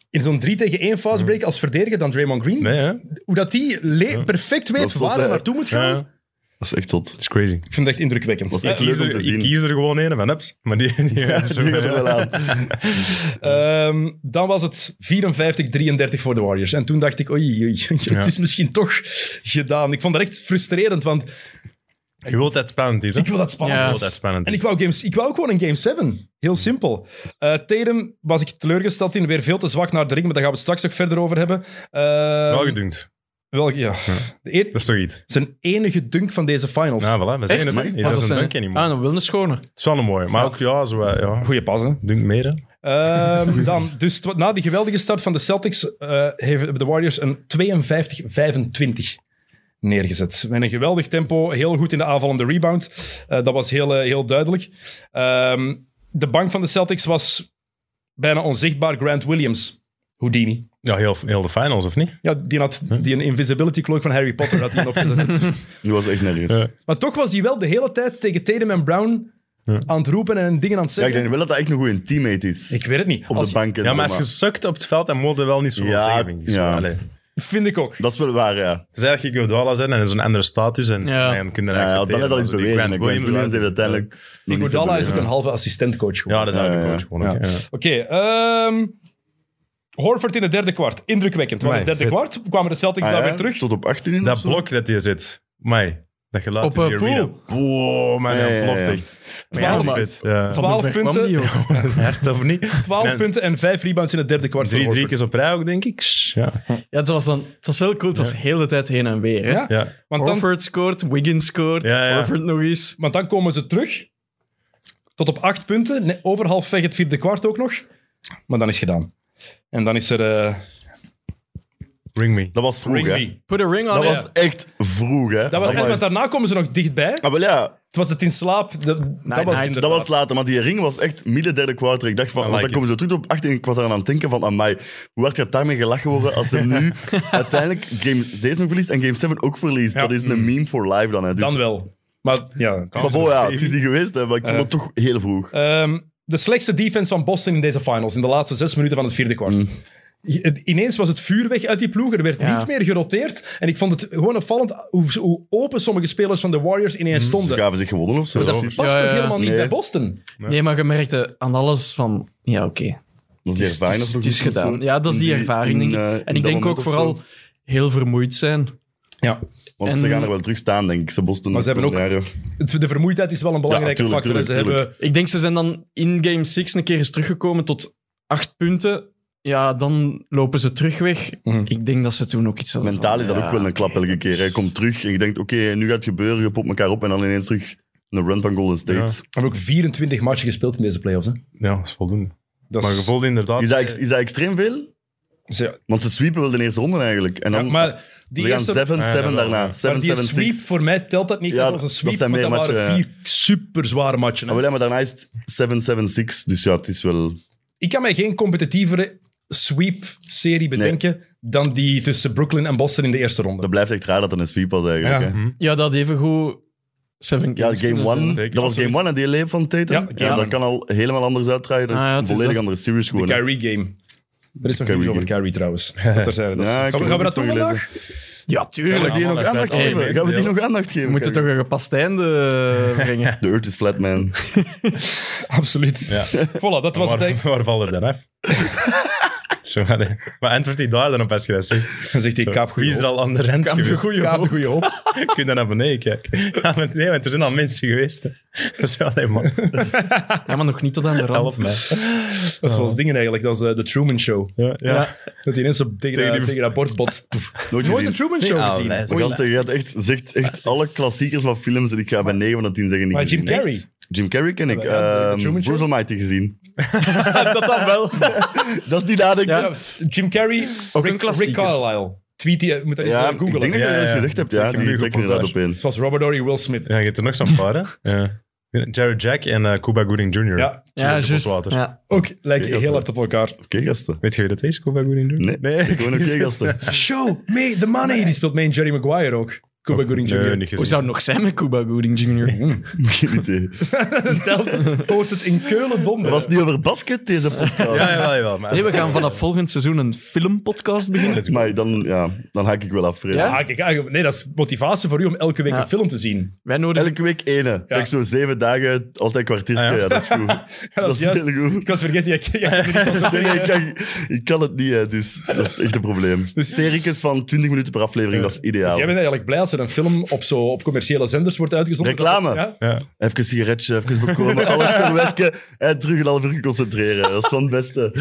[SPEAKER 2] in zo'n 3 tegen 1
[SPEAKER 3] Mhm.
[SPEAKER 2] fastbreak als verdediger dan Draymond Green?
[SPEAKER 1] Nee, hè?
[SPEAKER 2] Hoe dat die le- perfect weet
[SPEAKER 3] Dat is zot,
[SPEAKER 2] waar hij
[SPEAKER 3] hè.
[SPEAKER 2] naartoe moet gaan?
[SPEAKER 1] Ja, het
[SPEAKER 3] Dat is echt zot.
[SPEAKER 1] is crazy.
[SPEAKER 2] Ik vind het echt indrukwekkend.
[SPEAKER 3] Dat is
[SPEAKER 2] Eh,
[SPEAKER 3] echt
[SPEAKER 1] Ik kies,
[SPEAKER 3] leuk om
[SPEAKER 1] er,
[SPEAKER 3] te
[SPEAKER 1] ik
[SPEAKER 3] zien.
[SPEAKER 1] kies er gewoon een van ups. Maar die, die, ja,
[SPEAKER 3] Die er wel aan.
[SPEAKER 2] Ehm, dan was het 54-33 voor de Warriors. En toen dacht ik, oei, oei het is misschien toch gedaan. Ik vond dat echt frustrerend, want
[SPEAKER 1] Je wilt dat spannend is, hè?
[SPEAKER 2] ik wil dat spannend.
[SPEAKER 4] Ja.
[SPEAKER 1] Je wilt dat spannend
[SPEAKER 2] En
[SPEAKER 1] is.
[SPEAKER 2] ik wou, games, ik wou ook gewoon een Game 7. Heel simpel. Eh Tatum was ik teleurgesteld in. Weer veel te zwak naar de ring, maar daar gaan we het straks nog verder over hebben. Ehm,
[SPEAKER 1] Wel gedunkt.
[SPEAKER 2] Welke, ja. De e-
[SPEAKER 1] Dat is toch iets?
[SPEAKER 2] zijn enige dunk van deze finals.
[SPEAKER 1] Nou, voilà, we
[SPEAKER 4] Echt?
[SPEAKER 1] zeggen het. hè.
[SPEAKER 4] Nee,
[SPEAKER 1] Dat is
[SPEAKER 4] zijn-
[SPEAKER 1] een dunkje niet, man.
[SPEAKER 4] Ah, een wilde schone.
[SPEAKER 1] Het is wel een mooie, maar ook ja, zo, eh, ja.
[SPEAKER 2] Goeie pas, hè?
[SPEAKER 1] Dunk meer, hè.
[SPEAKER 2] Ehm, dan, dus twa- na die geweldige start van de Celtics eh, hebben de Warriors een 52-25 neergezet. Met een geweldig tempo, heel goed in de aanvallende rebound. Eh, dat was heel, eh, heel duidelijk. Ehm, de bank van de Celtics was bijna onzichtbaar Grant Williams. Houdini.
[SPEAKER 1] Ja, heel, heel de finals, of niet?
[SPEAKER 2] Ja, die had die een invisibility cloak van Harry Potter had hij opgezet.
[SPEAKER 3] Nu was het echt nergens.
[SPEAKER 1] Ja.
[SPEAKER 2] maar toch was hij wel de hele tijd tegen Tatum en Brown aan het roepen en dingen aan het
[SPEAKER 3] Ja, ik
[SPEAKER 2] zeggen.
[SPEAKER 3] denk wel dat dat echt een goede teammate is.
[SPEAKER 2] ik weet het niet.
[SPEAKER 3] op
[SPEAKER 2] Als-
[SPEAKER 3] de bank en
[SPEAKER 1] Ja,
[SPEAKER 3] zo,
[SPEAKER 1] maar als je sukt op het veld, dan moet je wel niet zo
[SPEAKER 3] Ja,
[SPEAKER 1] zeggen, denk ik. Zo,
[SPEAKER 3] ja.
[SPEAKER 1] allee.
[SPEAKER 2] Vind ik ook.
[SPEAKER 3] Dat is wel waar, ja.
[SPEAKER 1] Het is eigenlijk Iguodala zijn en in zo'n andere status. En,
[SPEAKER 4] Ja.
[SPEAKER 1] en kunnen
[SPEAKER 3] ja Eh, dan
[SPEAKER 1] accepteren.
[SPEAKER 3] heeft al iets
[SPEAKER 1] Maar zo die
[SPEAKER 3] bewezen.
[SPEAKER 1] Grant
[SPEAKER 3] Grant Williams, heeft uiteindelijk... nog niet
[SPEAKER 2] Iguodala is
[SPEAKER 3] veel
[SPEAKER 2] ook een halve assistentcoach geworden.
[SPEAKER 1] Ja, dat is eigenlijk
[SPEAKER 3] Ja,
[SPEAKER 1] ook gewoon. oké, ja.
[SPEAKER 2] Oké, ehm, Horford in het derde kwart. Indrukwekkend. Want in het
[SPEAKER 1] Amai,
[SPEAKER 2] derde kwart kwamen de Celtics
[SPEAKER 3] bewezen.
[SPEAKER 2] daar
[SPEAKER 3] Ah,
[SPEAKER 2] weer
[SPEAKER 3] ja?
[SPEAKER 2] terug.
[SPEAKER 3] Tot op 18
[SPEAKER 1] Dat
[SPEAKER 3] of zo?
[SPEAKER 1] blok dat je zit. Mij. Dat geluid
[SPEAKER 4] Op
[SPEAKER 1] in
[SPEAKER 4] een
[SPEAKER 1] die arena.
[SPEAKER 4] pool.
[SPEAKER 1] Wow,
[SPEAKER 3] Ja,
[SPEAKER 1] man,
[SPEAKER 3] ja,
[SPEAKER 1] dat
[SPEAKER 3] ja,
[SPEAKER 1] ploft
[SPEAKER 3] ja.
[SPEAKER 1] echt.
[SPEAKER 2] Twaalf-
[SPEAKER 1] Ja, fit,
[SPEAKER 4] Van
[SPEAKER 1] Ja.
[SPEAKER 2] Twaalf
[SPEAKER 4] hoe ver kwam
[SPEAKER 2] punten.
[SPEAKER 4] die, Oh, joh?
[SPEAKER 1] Hard of niet?
[SPEAKER 2] 12
[SPEAKER 1] Nee.
[SPEAKER 2] punten en 5 rebounds in het derde kwart
[SPEAKER 1] Drie,
[SPEAKER 2] voor
[SPEAKER 1] drie
[SPEAKER 2] Horford.
[SPEAKER 1] keer op rij ook, denk ik. Ja.
[SPEAKER 4] Ja, het was, dan, het was wel cool. Het was de hele tijd heen en weer. Hè?
[SPEAKER 2] Ja?
[SPEAKER 1] Ja.
[SPEAKER 2] Want, dan,
[SPEAKER 4] Horford scoort, Wiggins scoort,
[SPEAKER 1] Ja, ja.
[SPEAKER 4] Horford nog eens.
[SPEAKER 2] want dan komen ze terug. Tot op 8 punten. Ne- Over half weg het vierde kwart ook nog. Maar dan is het gedaan. En dan is er... eh,
[SPEAKER 1] Ring me.
[SPEAKER 3] Dat was vroeg,
[SPEAKER 2] Ring
[SPEAKER 3] hè.
[SPEAKER 2] me.
[SPEAKER 4] Put a ring Oh, on
[SPEAKER 3] Dat
[SPEAKER 4] it.
[SPEAKER 3] was echt vroeg, hè.
[SPEAKER 2] Dat was, en,
[SPEAKER 3] Amai.
[SPEAKER 2] want daarna komen ze nog dichtbij.
[SPEAKER 3] Ah, wel ja,
[SPEAKER 2] Het was het in slaap. de- dat was
[SPEAKER 4] nee,
[SPEAKER 2] inderdaad.
[SPEAKER 3] dat was later, maar die ring was echt midden derde kwartier. Ik dacht van,
[SPEAKER 1] I
[SPEAKER 3] want
[SPEAKER 1] like
[SPEAKER 3] dan komen ze terug op 18. Ik was eraan aan het denken van, amai, hoe hard gaat daarmee gelachen worden als ze nu uiteindelijk game, deze nog verliest en game 7 ook verliest.
[SPEAKER 2] Ja.
[SPEAKER 3] Dat is
[SPEAKER 4] Mm.
[SPEAKER 3] een meme for life dan, hè. Dus,
[SPEAKER 2] Dan wel. Maar ja,
[SPEAKER 3] Maar bon, ja, het is niet geweest, hè, maar ik vond het
[SPEAKER 4] Eh.
[SPEAKER 3] toch heel vroeg.
[SPEAKER 2] Ehm, de slechtste defense van Boston in deze finals, in de laatste zes minuten van het vierde kwart.
[SPEAKER 3] Mm.
[SPEAKER 2] I- het- Ineens was het vuur weg uit die ploeg, er werd
[SPEAKER 4] Ja.
[SPEAKER 2] niet meer geroteerd. En ik vond het gewoon opvallend hoe, hoe open sommige spelers van de Warriors ineens
[SPEAKER 3] Mm, Ze
[SPEAKER 2] stonden.
[SPEAKER 3] gaven zich gewonnen of zo.
[SPEAKER 2] Maar dat
[SPEAKER 3] Precies.
[SPEAKER 2] past
[SPEAKER 4] Ja,
[SPEAKER 2] ook
[SPEAKER 4] ja.
[SPEAKER 2] helemaal niet
[SPEAKER 3] Nee.
[SPEAKER 2] bij Boston.
[SPEAKER 4] Nee, maar je merkte aan alles van... Ja, oké.
[SPEAKER 3] Dat is
[SPEAKER 4] Het
[SPEAKER 3] die
[SPEAKER 4] is,
[SPEAKER 3] ervaring.
[SPEAKER 4] het is-
[SPEAKER 3] dat
[SPEAKER 4] het is
[SPEAKER 3] goed
[SPEAKER 4] gedaan.
[SPEAKER 3] zo.
[SPEAKER 4] Ja, dat is die
[SPEAKER 3] In
[SPEAKER 4] ervaring, denk
[SPEAKER 3] in,
[SPEAKER 4] ik.
[SPEAKER 3] eh, in
[SPEAKER 4] En ik
[SPEAKER 3] dat
[SPEAKER 4] denk ook
[SPEAKER 3] moment of
[SPEAKER 4] vooral
[SPEAKER 3] zo.
[SPEAKER 4] heel vermoeid zijn.
[SPEAKER 2] Ja.
[SPEAKER 3] Want
[SPEAKER 4] en-
[SPEAKER 3] ze gaan er wel terug staan, denk ik. Ze Boston
[SPEAKER 2] Maar ze hebben ook-
[SPEAKER 3] Ja,
[SPEAKER 2] Het- De vermoeidheid is wel een belangrijke
[SPEAKER 3] Ja, tuurlijk,
[SPEAKER 2] factor. En
[SPEAKER 3] tuurlijk,
[SPEAKER 2] ze
[SPEAKER 3] tuurlijk.
[SPEAKER 4] Ik denk, ze zijn dan in game 6 een keer eens teruggekomen tot acht punten. Ja, dan lopen ze terug weg.
[SPEAKER 2] Mhm.
[SPEAKER 4] Ik denk dat ze toen ook iets hadden
[SPEAKER 3] Mentaal
[SPEAKER 4] van,
[SPEAKER 3] is dat
[SPEAKER 4] ja,
[SPEAKER 3] ook wel een klap
[SPEAKER 4] oké,
[SPEAKER 3] elke
[SPEAKER 4] dat
[SPEAKER 3] keer.
[SPEAKER 4] is-
[SPEAKER 3] Hij komt terug en je denkt, oké, nu gaat het gebeuren. Je popt elkaar op en dan ineens terug een run van Golden State.
[SPEAKER 1] Ja.
[SPEAKER 2] hebben ook 24 matchen gespeeld in deze playoffs. Hè.
[SPEAKER 1] Ja, dat is voldoende.
[SPEAKER 2] Dat
[SPEAKER 1] Maar
[SPEAKER 2] is-
[SPEAKER 1] je voelde inderdaad... eh,
[SPEAKER 3] Is, dat, ex- is dat extreem veel?
[SPEAKER 2] ze-
[SPEAKER 3] Want ze sweepen wel de eerste ronde eigenlijk. En
[SPEAKER 2] ja,
[SPEAKER 3] dan
[SPEAKER 2] maar die
[SPEAKER 3] ze gaan 7-7
[SPEAKER 2] eerste,
[SPEAKER 1] Ja, dat wel,
[SPEAKER 3] daarna.
[SPEAKER 1] ja.
[SPEAKER 3] 7-7-6.
[SPEAKER 2] maar die sweep, voor mij telt dat niet
[SPEAKER 3] Ja,
[SPEAKER 2] echt als een
[SPEAKER 3] dat
[SPEAKER 2] sweep,
[SPEAKER 3] zijn
[SPEAKER 2] want
[SPEAKER 3] meer
[SPEAKER 2] dat waren
[SPEAKER 3] matchen, ja.
[SPEAKER 2] vier super zware matchen. hè.
[SPEAKER 3] Ah, wel, ja, maar daarna is het 7-7-6. Dus ja, het is wel...
[SPEAKER 2] Ik kan mij geen competitievere sweep-serie bedenken dan die tussen Brooklyn en Boston in de eerste ronde.
[SPEAKER 3] Dat blijft echt raar dat het een sweep was eigenlijk.
[SPEAKER 2] Ja. Mhm.
[SPEAKER 3] hè.
[SPEAKER 4] Ja, dat even goed. Seven
[SPEAKER 3] Ja,
[SPEAKER 4] games
[SPEAKER 3] game
[SPEAKER 4] kunnen zijn.
[SPEAKER 3] 1.
[SPEAKER 1] zeker.
[SPEAKER 3] Dat was
[SPEAKER 1] Absoluut.
[SPEAKER 3] game 1 en die leep van
[SPEAKER 2] Ja,
[SPEAKER 3] Tatum.
[SPEAKER 2] game
[SPEAKER 3] Ja, dat
[SPEAKER 2] one.
[SPEAKER 3] kan al helemaal anders uitdraaien. Dat is
[SPEAKER 4] Ah, ja,
[SPEAKER 3] een
[SPEAKER 4] het is
[SPEAKER 3] volledig
[SPEAKER 4] dat.
[SPEAKER 3] andere series
[SPEAKER 2] de
[SPEAKER 3] gewoon. hè.
[SPEAKER 2] Kyrie game. Er is nog
[SPEAKER 3] Kyrie
[SPEAKER 2] nieuws over
[SPEAKER 3] game.
[SPEAKER 2] Kyrie trouwens. Dat er zijn, dat is-
[SPEAKER 3] Ja,
[SPEAKER 2] gaan,
[SPEAKER 3] ik
[SPEAKER 2] we,
[SPEAKER 3] heb
[SPEAKER 2] gaan we
[SPEAKER 3] ook
[SPEAKER 2] dat doen
[SPEAKER 3] iets van
[SPEAKER 2] vandaag?
[SPEAKER 4] Ja, tuurlijk.
[SPEAKER 3] Gaan we die
[SPEAKER 1] Ja,
[SPEAKER 3] nog
[SPEAKER 1] man, dat
[SPEAKER 3] aandacht
[SPEAKER 1] blijft
[SPEAKER 3] geven?
[SPEAKER 1] altijd
[SPEAKER 3] Gaan we die
[SPEAKER 1] meedelen.
[SPEAKER 3] nog aandacht geven?
[SPEAKER 4] We moeten toch
[SPEAKER 3] Kyrie?
[SPEAKER 4] een gepast einde eh, brengen.
[SPEAKER 3] De Earth is flat, man.
[SPEAKER 2] Absoluut.
[SPEAKER 1] Ja.
[SPEAKER 2] Voilà, dat was het.
[SPEAKER 1] waar,
[SPEAKER 2] eigenlijk.
[SPEAKER 1] waar valt er dan af? Zo, allee. maar antwoord die daar dan op als je dat zegt.
[SPEAKER 2] Dan zegt hij,
[SPEAKER 1] Zo,
[SPEAKER 2] kaap goede
[SPEAKER 1] Wie is er
[SPEAKER 2] hoop.
[SPEAKER 1] al aan de rent
[SPEAKER 2] Kaap de
[SPEAKER 1] geweest?
[SPEAKER 2] goede hoop. goede hoop.
[SPEAKER 1] Kun je dan naar beneden kijken? Ja, maar nee, want er zijn al mensen geweest. hè. Dat is wel helemaal...
[SPEAKER 4] Ja, maar nog niet tot aan de
[SPEAKER 1] Help
[SPEAKER 4] rand.
[SPEAKER 1] mij.
[SPEAKER 2] Dat is
[SPEAKER 1] Oh.
[SPEAKER 2] zoals dingen eigenlijk. Dat is eh, de Truman Show.
[SPEAKER 1] Ja, ja.
[SPEAKER 2] Dat die ineens op, tegen,
[SPEAKER 1] Tegen
[SPEAKER 2] dat-
[SPEAKER 1] die-
[SPEAKER 2] tegen dat bord botst.
[SPEAKER 3] Nooit
[SPEAKER 2] Nooit
[SPEAKER 3] gezien.
[SPEAKER 2] de Truman Show
[SPEAKER 1] Ja,
[SPEAKER 2] gezien.
[SPEAKER 1] nee.
[SPEAKER 3] De gast die gaat echt, zegt echt alle klassiekers van films en ik ga bij 9 van de 10 zeggen niet
[SPEAKER 2] Maar Jim
[SPEAKER 3] gezien.
[SPEAKER 2] Carrey.
[SPEAKER 3] Jim Carrey ken ik.
[SPEAKER 2] Ja, de- de
[SPEAKER 3] Ehm,
[SPEAKER 2] Truman Show.
[SPEAKER 3] Bruce Almighty gezien.
[SPEAKER 4] dat dan wel.
[SPEAKER 3] Dat is niet nadenken.
[SPEAKER 2] Ja, Jim Carrey,
[SPEAKER 4] Ook een
[SPEAKER 2] Rick, Rick
[SPEAKER 4] klassieker.
[SPEAKER 2] Carlisle. Tweet die, moet dat eens
[SPEAKER 3] Ja,
[SPEAKER 2] eh,
[SPEAKER 3] ik denk dat
[SPEAKER 2] googlen.
[SPEAKER 3] je dat
[SPEAKER 1] Ja,
[SPEAKER 3] eens
[SPEAKER 1] ja.
[SPEAKER 3] gezegd hebt. Ja,
[SPEAKER 1] Zeker
[SPEAKER 3] die
[SPEAKER 1] nu
[SPEAKER 3] trekken er inderdaad op
[SPEAKER 1] populair.
[SPEAKER 3] in.
[SPEAKER 2] Zoals Robert Downey, Will Smith.
[SPEAKER 1] Ja, je hebt er nog zo'n paar, hè? Ja. Jared Jack en eh Cuba Gooding Jr.
[SPEAKER 2] Ja.
[SPEAKER 4] Ja, juist.
[SPEAKER 1] Water.
[SPEAKER 4] Ja.
[SPEAKER 2] Ook lijken
[SPEAKER 3] gasten.
[SPEAKER 2] heel hard op elkaar.
[SPEAKER 3] Oké, gasten.
[SPEAKER 1] Weet je wie dat is, Cuba Gooding Jr.?
[SPEAKER 3] Nee, gewoon oké, gasten.
[SPEAKER 2] Ah, Show me the money. Die speelt mee in Jerry Maguire ook. Cuba
[SPEAKER 3] Oh,
[SPEAKER 2] Gooding Jr.
[SPEAKER 1] Nee, niet
[SPEAKER 4] Hoe
[SPEAKER 1] gezien.
[SPEAKER 4] zou het nog zijn met Cuba Gooding Jr.?
[SPEAKER 3] Geen idee.
[SPEAKER 2] Tel- hoort het in Keulen donder.
[SPEAKER 3] Dat was niet over basket, deze podcast.
[SPEAKER 1] Ja, jawel, jawel. Maar...
[SPEAKER 4] Nee, we gaan vanaf volgend seizoen een filmpodcast beginnen.
[SPEAKER 1] Let's go.
[SPEAKER 3] Maar dan, ja, dan haak ik wel af, Fred.
[SPEAKER 4] Ja?
[SPEAKER 2] Ah, kijk, ah, nee, dat is motivatie voor u om elke week
[SPEAKER 4] Ja.
[SPEAKER 2] een film te zien.
[SPEAKER 4] Wij nodigen...
[SPEAKER 3] Elke week ene. Dat ik zo zeven dagen, altijd kwartiertje.
[SPEAKER 1] Ah,
[SPEAKER 3] ja.
[SPEAKER 1] ja.
[SPEAKER 3] dat is goed. dat, is
[SPEAKER 2] juist-
[SPEAKER 3] heel goed.
[SPEAKER 2] Ik was vergeten, jij jij-
[SPEAKER 3] Nee, nee, ik, kan, ik kan het niet, hè, dus dat is echt een probleem. Dus, Serikes van 20 minuten per aflevering, dat is ideaal.
[SPEAKER 2] jij bent eigenlijk blij als er een film op, zo, op commerciële zenders wordt uitgezonden.
[SPEAKER 3] Reclame.
[SPEAKER 2] Ja?
[SPEAKER 1] Ja.
[SPEAKER 3] Even een sigaretje, even bekomen, alles verwerken en terug een half uur concentreren. Dat is van het beste.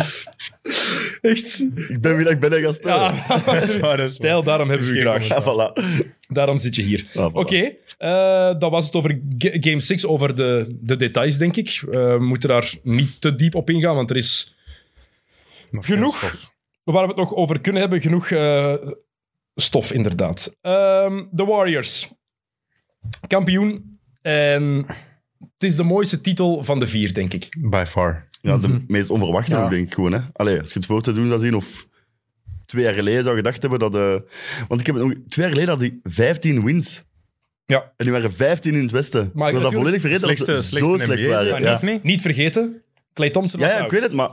[SPEAKER 2] Echt?
[SPEAKER 3] Ik ben wie dat ik ben, hè, gasten.
[SPEAKER 2] Ja.
[SPEAKER 1] Dat is waar, dat is waar.
[SPEAKER 2] Tijl, daarom hebben we u graag.
[SPEAKER 3] Ja, voilà.
[SPEAKER 2] Daarom zit je hier.
[SPEAKER 3] Ja, voilà.
[SPEAKER 2] Oké, eh, dat was het over Ga- Game 6, over de, de details, denk ik. Eh, we moeten daar niet te diep op ingaan, want er is
[SPEAKER 1] Nog
[SPEAKER 2] genoeg
[SPEAKER 1] veel stof.
[SPEAKER 2] waar we het nog over kunnen hebben, genoeg eh, stof, inderdaad. Ehm, de Warriors. Kampioen. En het is de mooiste titel van de vier, denk ik.
[SPEAKER 1] By far.
[SPEAKER 3] Ja, de meest onverwachte
[SPEAKER 2] Ja.
[SPEAKER 3] ook, denk ik gewoon. Hè. Allee, als je het voor te doen zou zien, of twee jaar geleden zou je gedacht hebben dat... eh, want ik heb het nog, twee jaar geleden had hij 15 wins.
[SPEAKER 2] Ja.
[SPEAKER 3] En die waren 15 in het Westen.
[SPEAKER 2] Maar
[SPEAKER 3] Maar ik was dat
[SPEAKER 2] natuurlijk-
[SPEAKER 3] volledig vergeten dat ze
[SPEAKER 1] Slechtste-
[SPEAKER 3] zo
[SPEAKER 1] slechtste
[SPEAKER 3] slecht
[SPEAKER 1] NBA,
[SPEAKER 3] waren.
[SPEAKER 1] zeg.
[SPEAKER 3] Ja.
[SPEAKER 2] niet, niet vergeten, Clay Thompson
[SPEAKER 3] Ja,
[SPEAKER 2] was
[SPEAKER 3] ja, ik
[SPEAKER 2] out.
[SPEAKER 3] weet het, maar...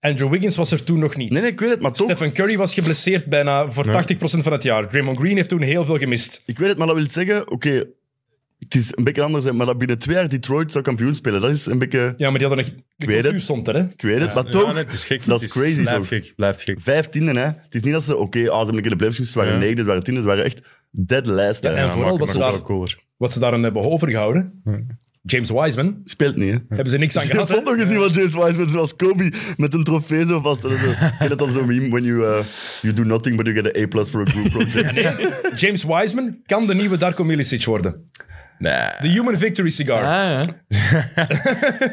[SPEAKER 2] Andrew Wiggins was er toen nog niet.
[SPEAKER 3] Nee, nee, ik weet het, maar toch...
[SPEAKER 2] Stephen Curry was geblesseerd bijna voor 80% van het jaar. Draymond Green heeft toen heel veel gemist.
[SPEAKER 3] Ik weet het, maar dat wil zeggen, oké... het is een beetje anders, hè, maar dat binnen twee jaar Detroit zou kampioen spelen, dat is een beetje...
[SPEAKER 2] Ja, maar die hadden nog... De
[SPEAKER 3] weet het.
[SPEAKER 2] cultuur stond er, hè.
[SPEAKER 3] Ik weet het, maar
[SPEAKER 1] Ja,
[SPEAKER 3] toch...
[SPEAKER 1] nee, het is gek.
[SPEAKER 3] Dat
[SPEAKER 1] Het
[SPEAKER 3] is crazy,
[SPEAKER 1] Blijft
[SPEAKER 3] toch?
[SPEAKER 1] gek. Blijft gek.
[SPEAKER 3] Vijftiende, hè. Het is niet dat ze, oké, ah, ze hebben een keer de playoffs gespeeld, ze waren
[SPEAKER 1] Ja.
[SPEAKER 3] negende, ze waren tiende, ze waren echt dead last. hè.
[SPEAKER 2] Ja, en vooral
[SPEAKER 1] maakt
[SPEAKER 2] wat
[SPEAKER 1] het
[SPEAKER 2] ze,
[SPEAKER 1] nog
[SPEAKER 2] daar,
[SPEAKER 1] wel cooler.
[SPEAKER 2] wat ze daar aan hebben overgehouden. James Wiseman,
[SPEAKER 3] Speelt niet, hè.
[SPEAKER 2] hebben ze niks aan
[SPEAKER 3] Ik
[SPEAKER 2] gehad.
[SPEAKER 3] heb
[SPEAKER 2] hè?
[SPEAKER 3] foto gezien van James Wiseman zoals Kobe met een trofee zo vast. Ik ken het dan zo'n meme, when you, uh, you do nothing but you get an A plus for a group project.
[SPEAKER 2] James Wiseman kan de nieuwe Darko Milicic worden. De Human Victory Cigar.
[SPEAKER 4] Ah, ja.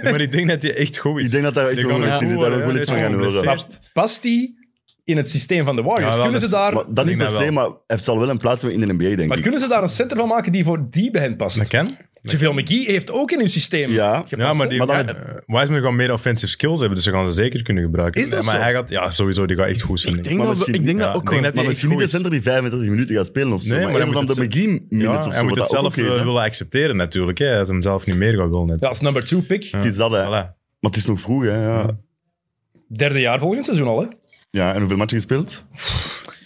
[SPEAKER 1] Maar ik denk dat hij echt goed is.
[SPEAKER 3] Ik denk dat daar echt
[SPEAKER 1] Die
[SPEAKER 3] wel
[SPEAKER 1] gaan
[SPEAKER 3] iets
[SPEAKER 1] goed
[SPEAKER 3] in zit, daar
[SPEAKER 1] worden,
[SPEAKER 3] wil ik
[SPEAKER 1] ja,
[SPEAKER 3] iets van
[SPEAKER 1] die zijn
[SPEAKER 3] gaan horen.
[SPEAKER 1] geblesseerd.
[SPEAKER 2] Maar past die in het systeem van de Warriors?
[SPEAKER 1] Ja, wel,
[SPEAKER 2] kunnen, ze
[SPEAKER 1] dat is-
[SPEAKER 2] daar,
[SPEAKER 3] Maar dat is
[SPEAKER 1] Ik
[SPEAKER 3] per
[SPEAKER 1] denk
[SPEAKER 3] se,
[SPEAKER 1] dat
[SPEAKER 3] maar het zal wel een plaats hebben in de NBA, denk
[SPEAKER 2] maar
[SPEAKER 3] ik.
[SPEAKER 2] kunnen ze daar een center van maken die voor die bij hen past?
[SPEAKER 1] Dat kan.
[SPEAKER 2] JaVale McGee heeft ook in hun systeem
[SPEAKER 3] Ja.
[SPEAKER 2] gepast,
[SPEAKER 1] Ja, maar, die,
[SPEAKER 2] hè?
[SPEAKER 3] Maar dan-
[SPEAKER 1] eh, Wiseman gaat meer offensive skills hebben, dus ze gaan ze zeker kunnen gebruiken.
[SPEAKER 2] Is dat
[SPEAKER 1] maar
[SPEAKER 2] zo?
[SPEAKER 1] hij gaat, ja, sowieso, die gaat echt goed zijn.
[SPEAKER 4] Ik denk,
[SPEAKER 3] Maar
[SPEAKER 4] dat,
[SPEAKER 3] misschien-
[SPEAKER 4] ik denk
[SPEAKER 1] ja,
[SPEAKER 4] dat ook
[SPEAKER 1] ik
[SPEAKER 4] gewoon...
[SPEAKER 1] denk dat
[SPEAKER 3] Maar
[SPEAKER 1] die
[SPEAKER 3] misschien
[SPEAKER 1] echt
[SPEAKER 3] niet de
[SPEAKER 1] goed is.
[SPEAKER 3] center die 35 minuten gaat spelen of zo.
[SPEAKER 1] Nee,
[SPEAKER 3] maar
[SPEAKER 1] maar hij
[SPEAKER 3] eerder dan
[SPEAKER 1] moet
[SPEAKER 3] de
[SPEAKER 1] het
[SPEAKER 3] McGee
[SPEAKER 1] Ja,
[SPEAKER 3] minutes of
[SPEAKER 1] hij
[SPEAKER 3] zo.
[SPEAKER 1] moet
[SPEAKER 3] wat
[SPEAKER 1] het
[SPEAKER 3] dat ook
[SPEAKER 1] zelf
[SPEAKER 3] oké is,
[SPEAKER 1] eh,
[SPEAKER 3] hè.
[SPEAKER 1] willen accepteren natuurlijk, hè. dat hij hem zelf niet meer gaat willen. net.
[SPEAKER 2] Ja, als number two pick.
[SPEAKER 3] Het is dat, hè.
[SPEAKER 1] Voilà.
[SPEAKER 3] Maar het is nog vroeg, hè. Ja,
[SPEAKER 2] Derde jaar volgend seizoen al, hè?
[SPEAKER 3] ja en hoeveel matchen gespeeld?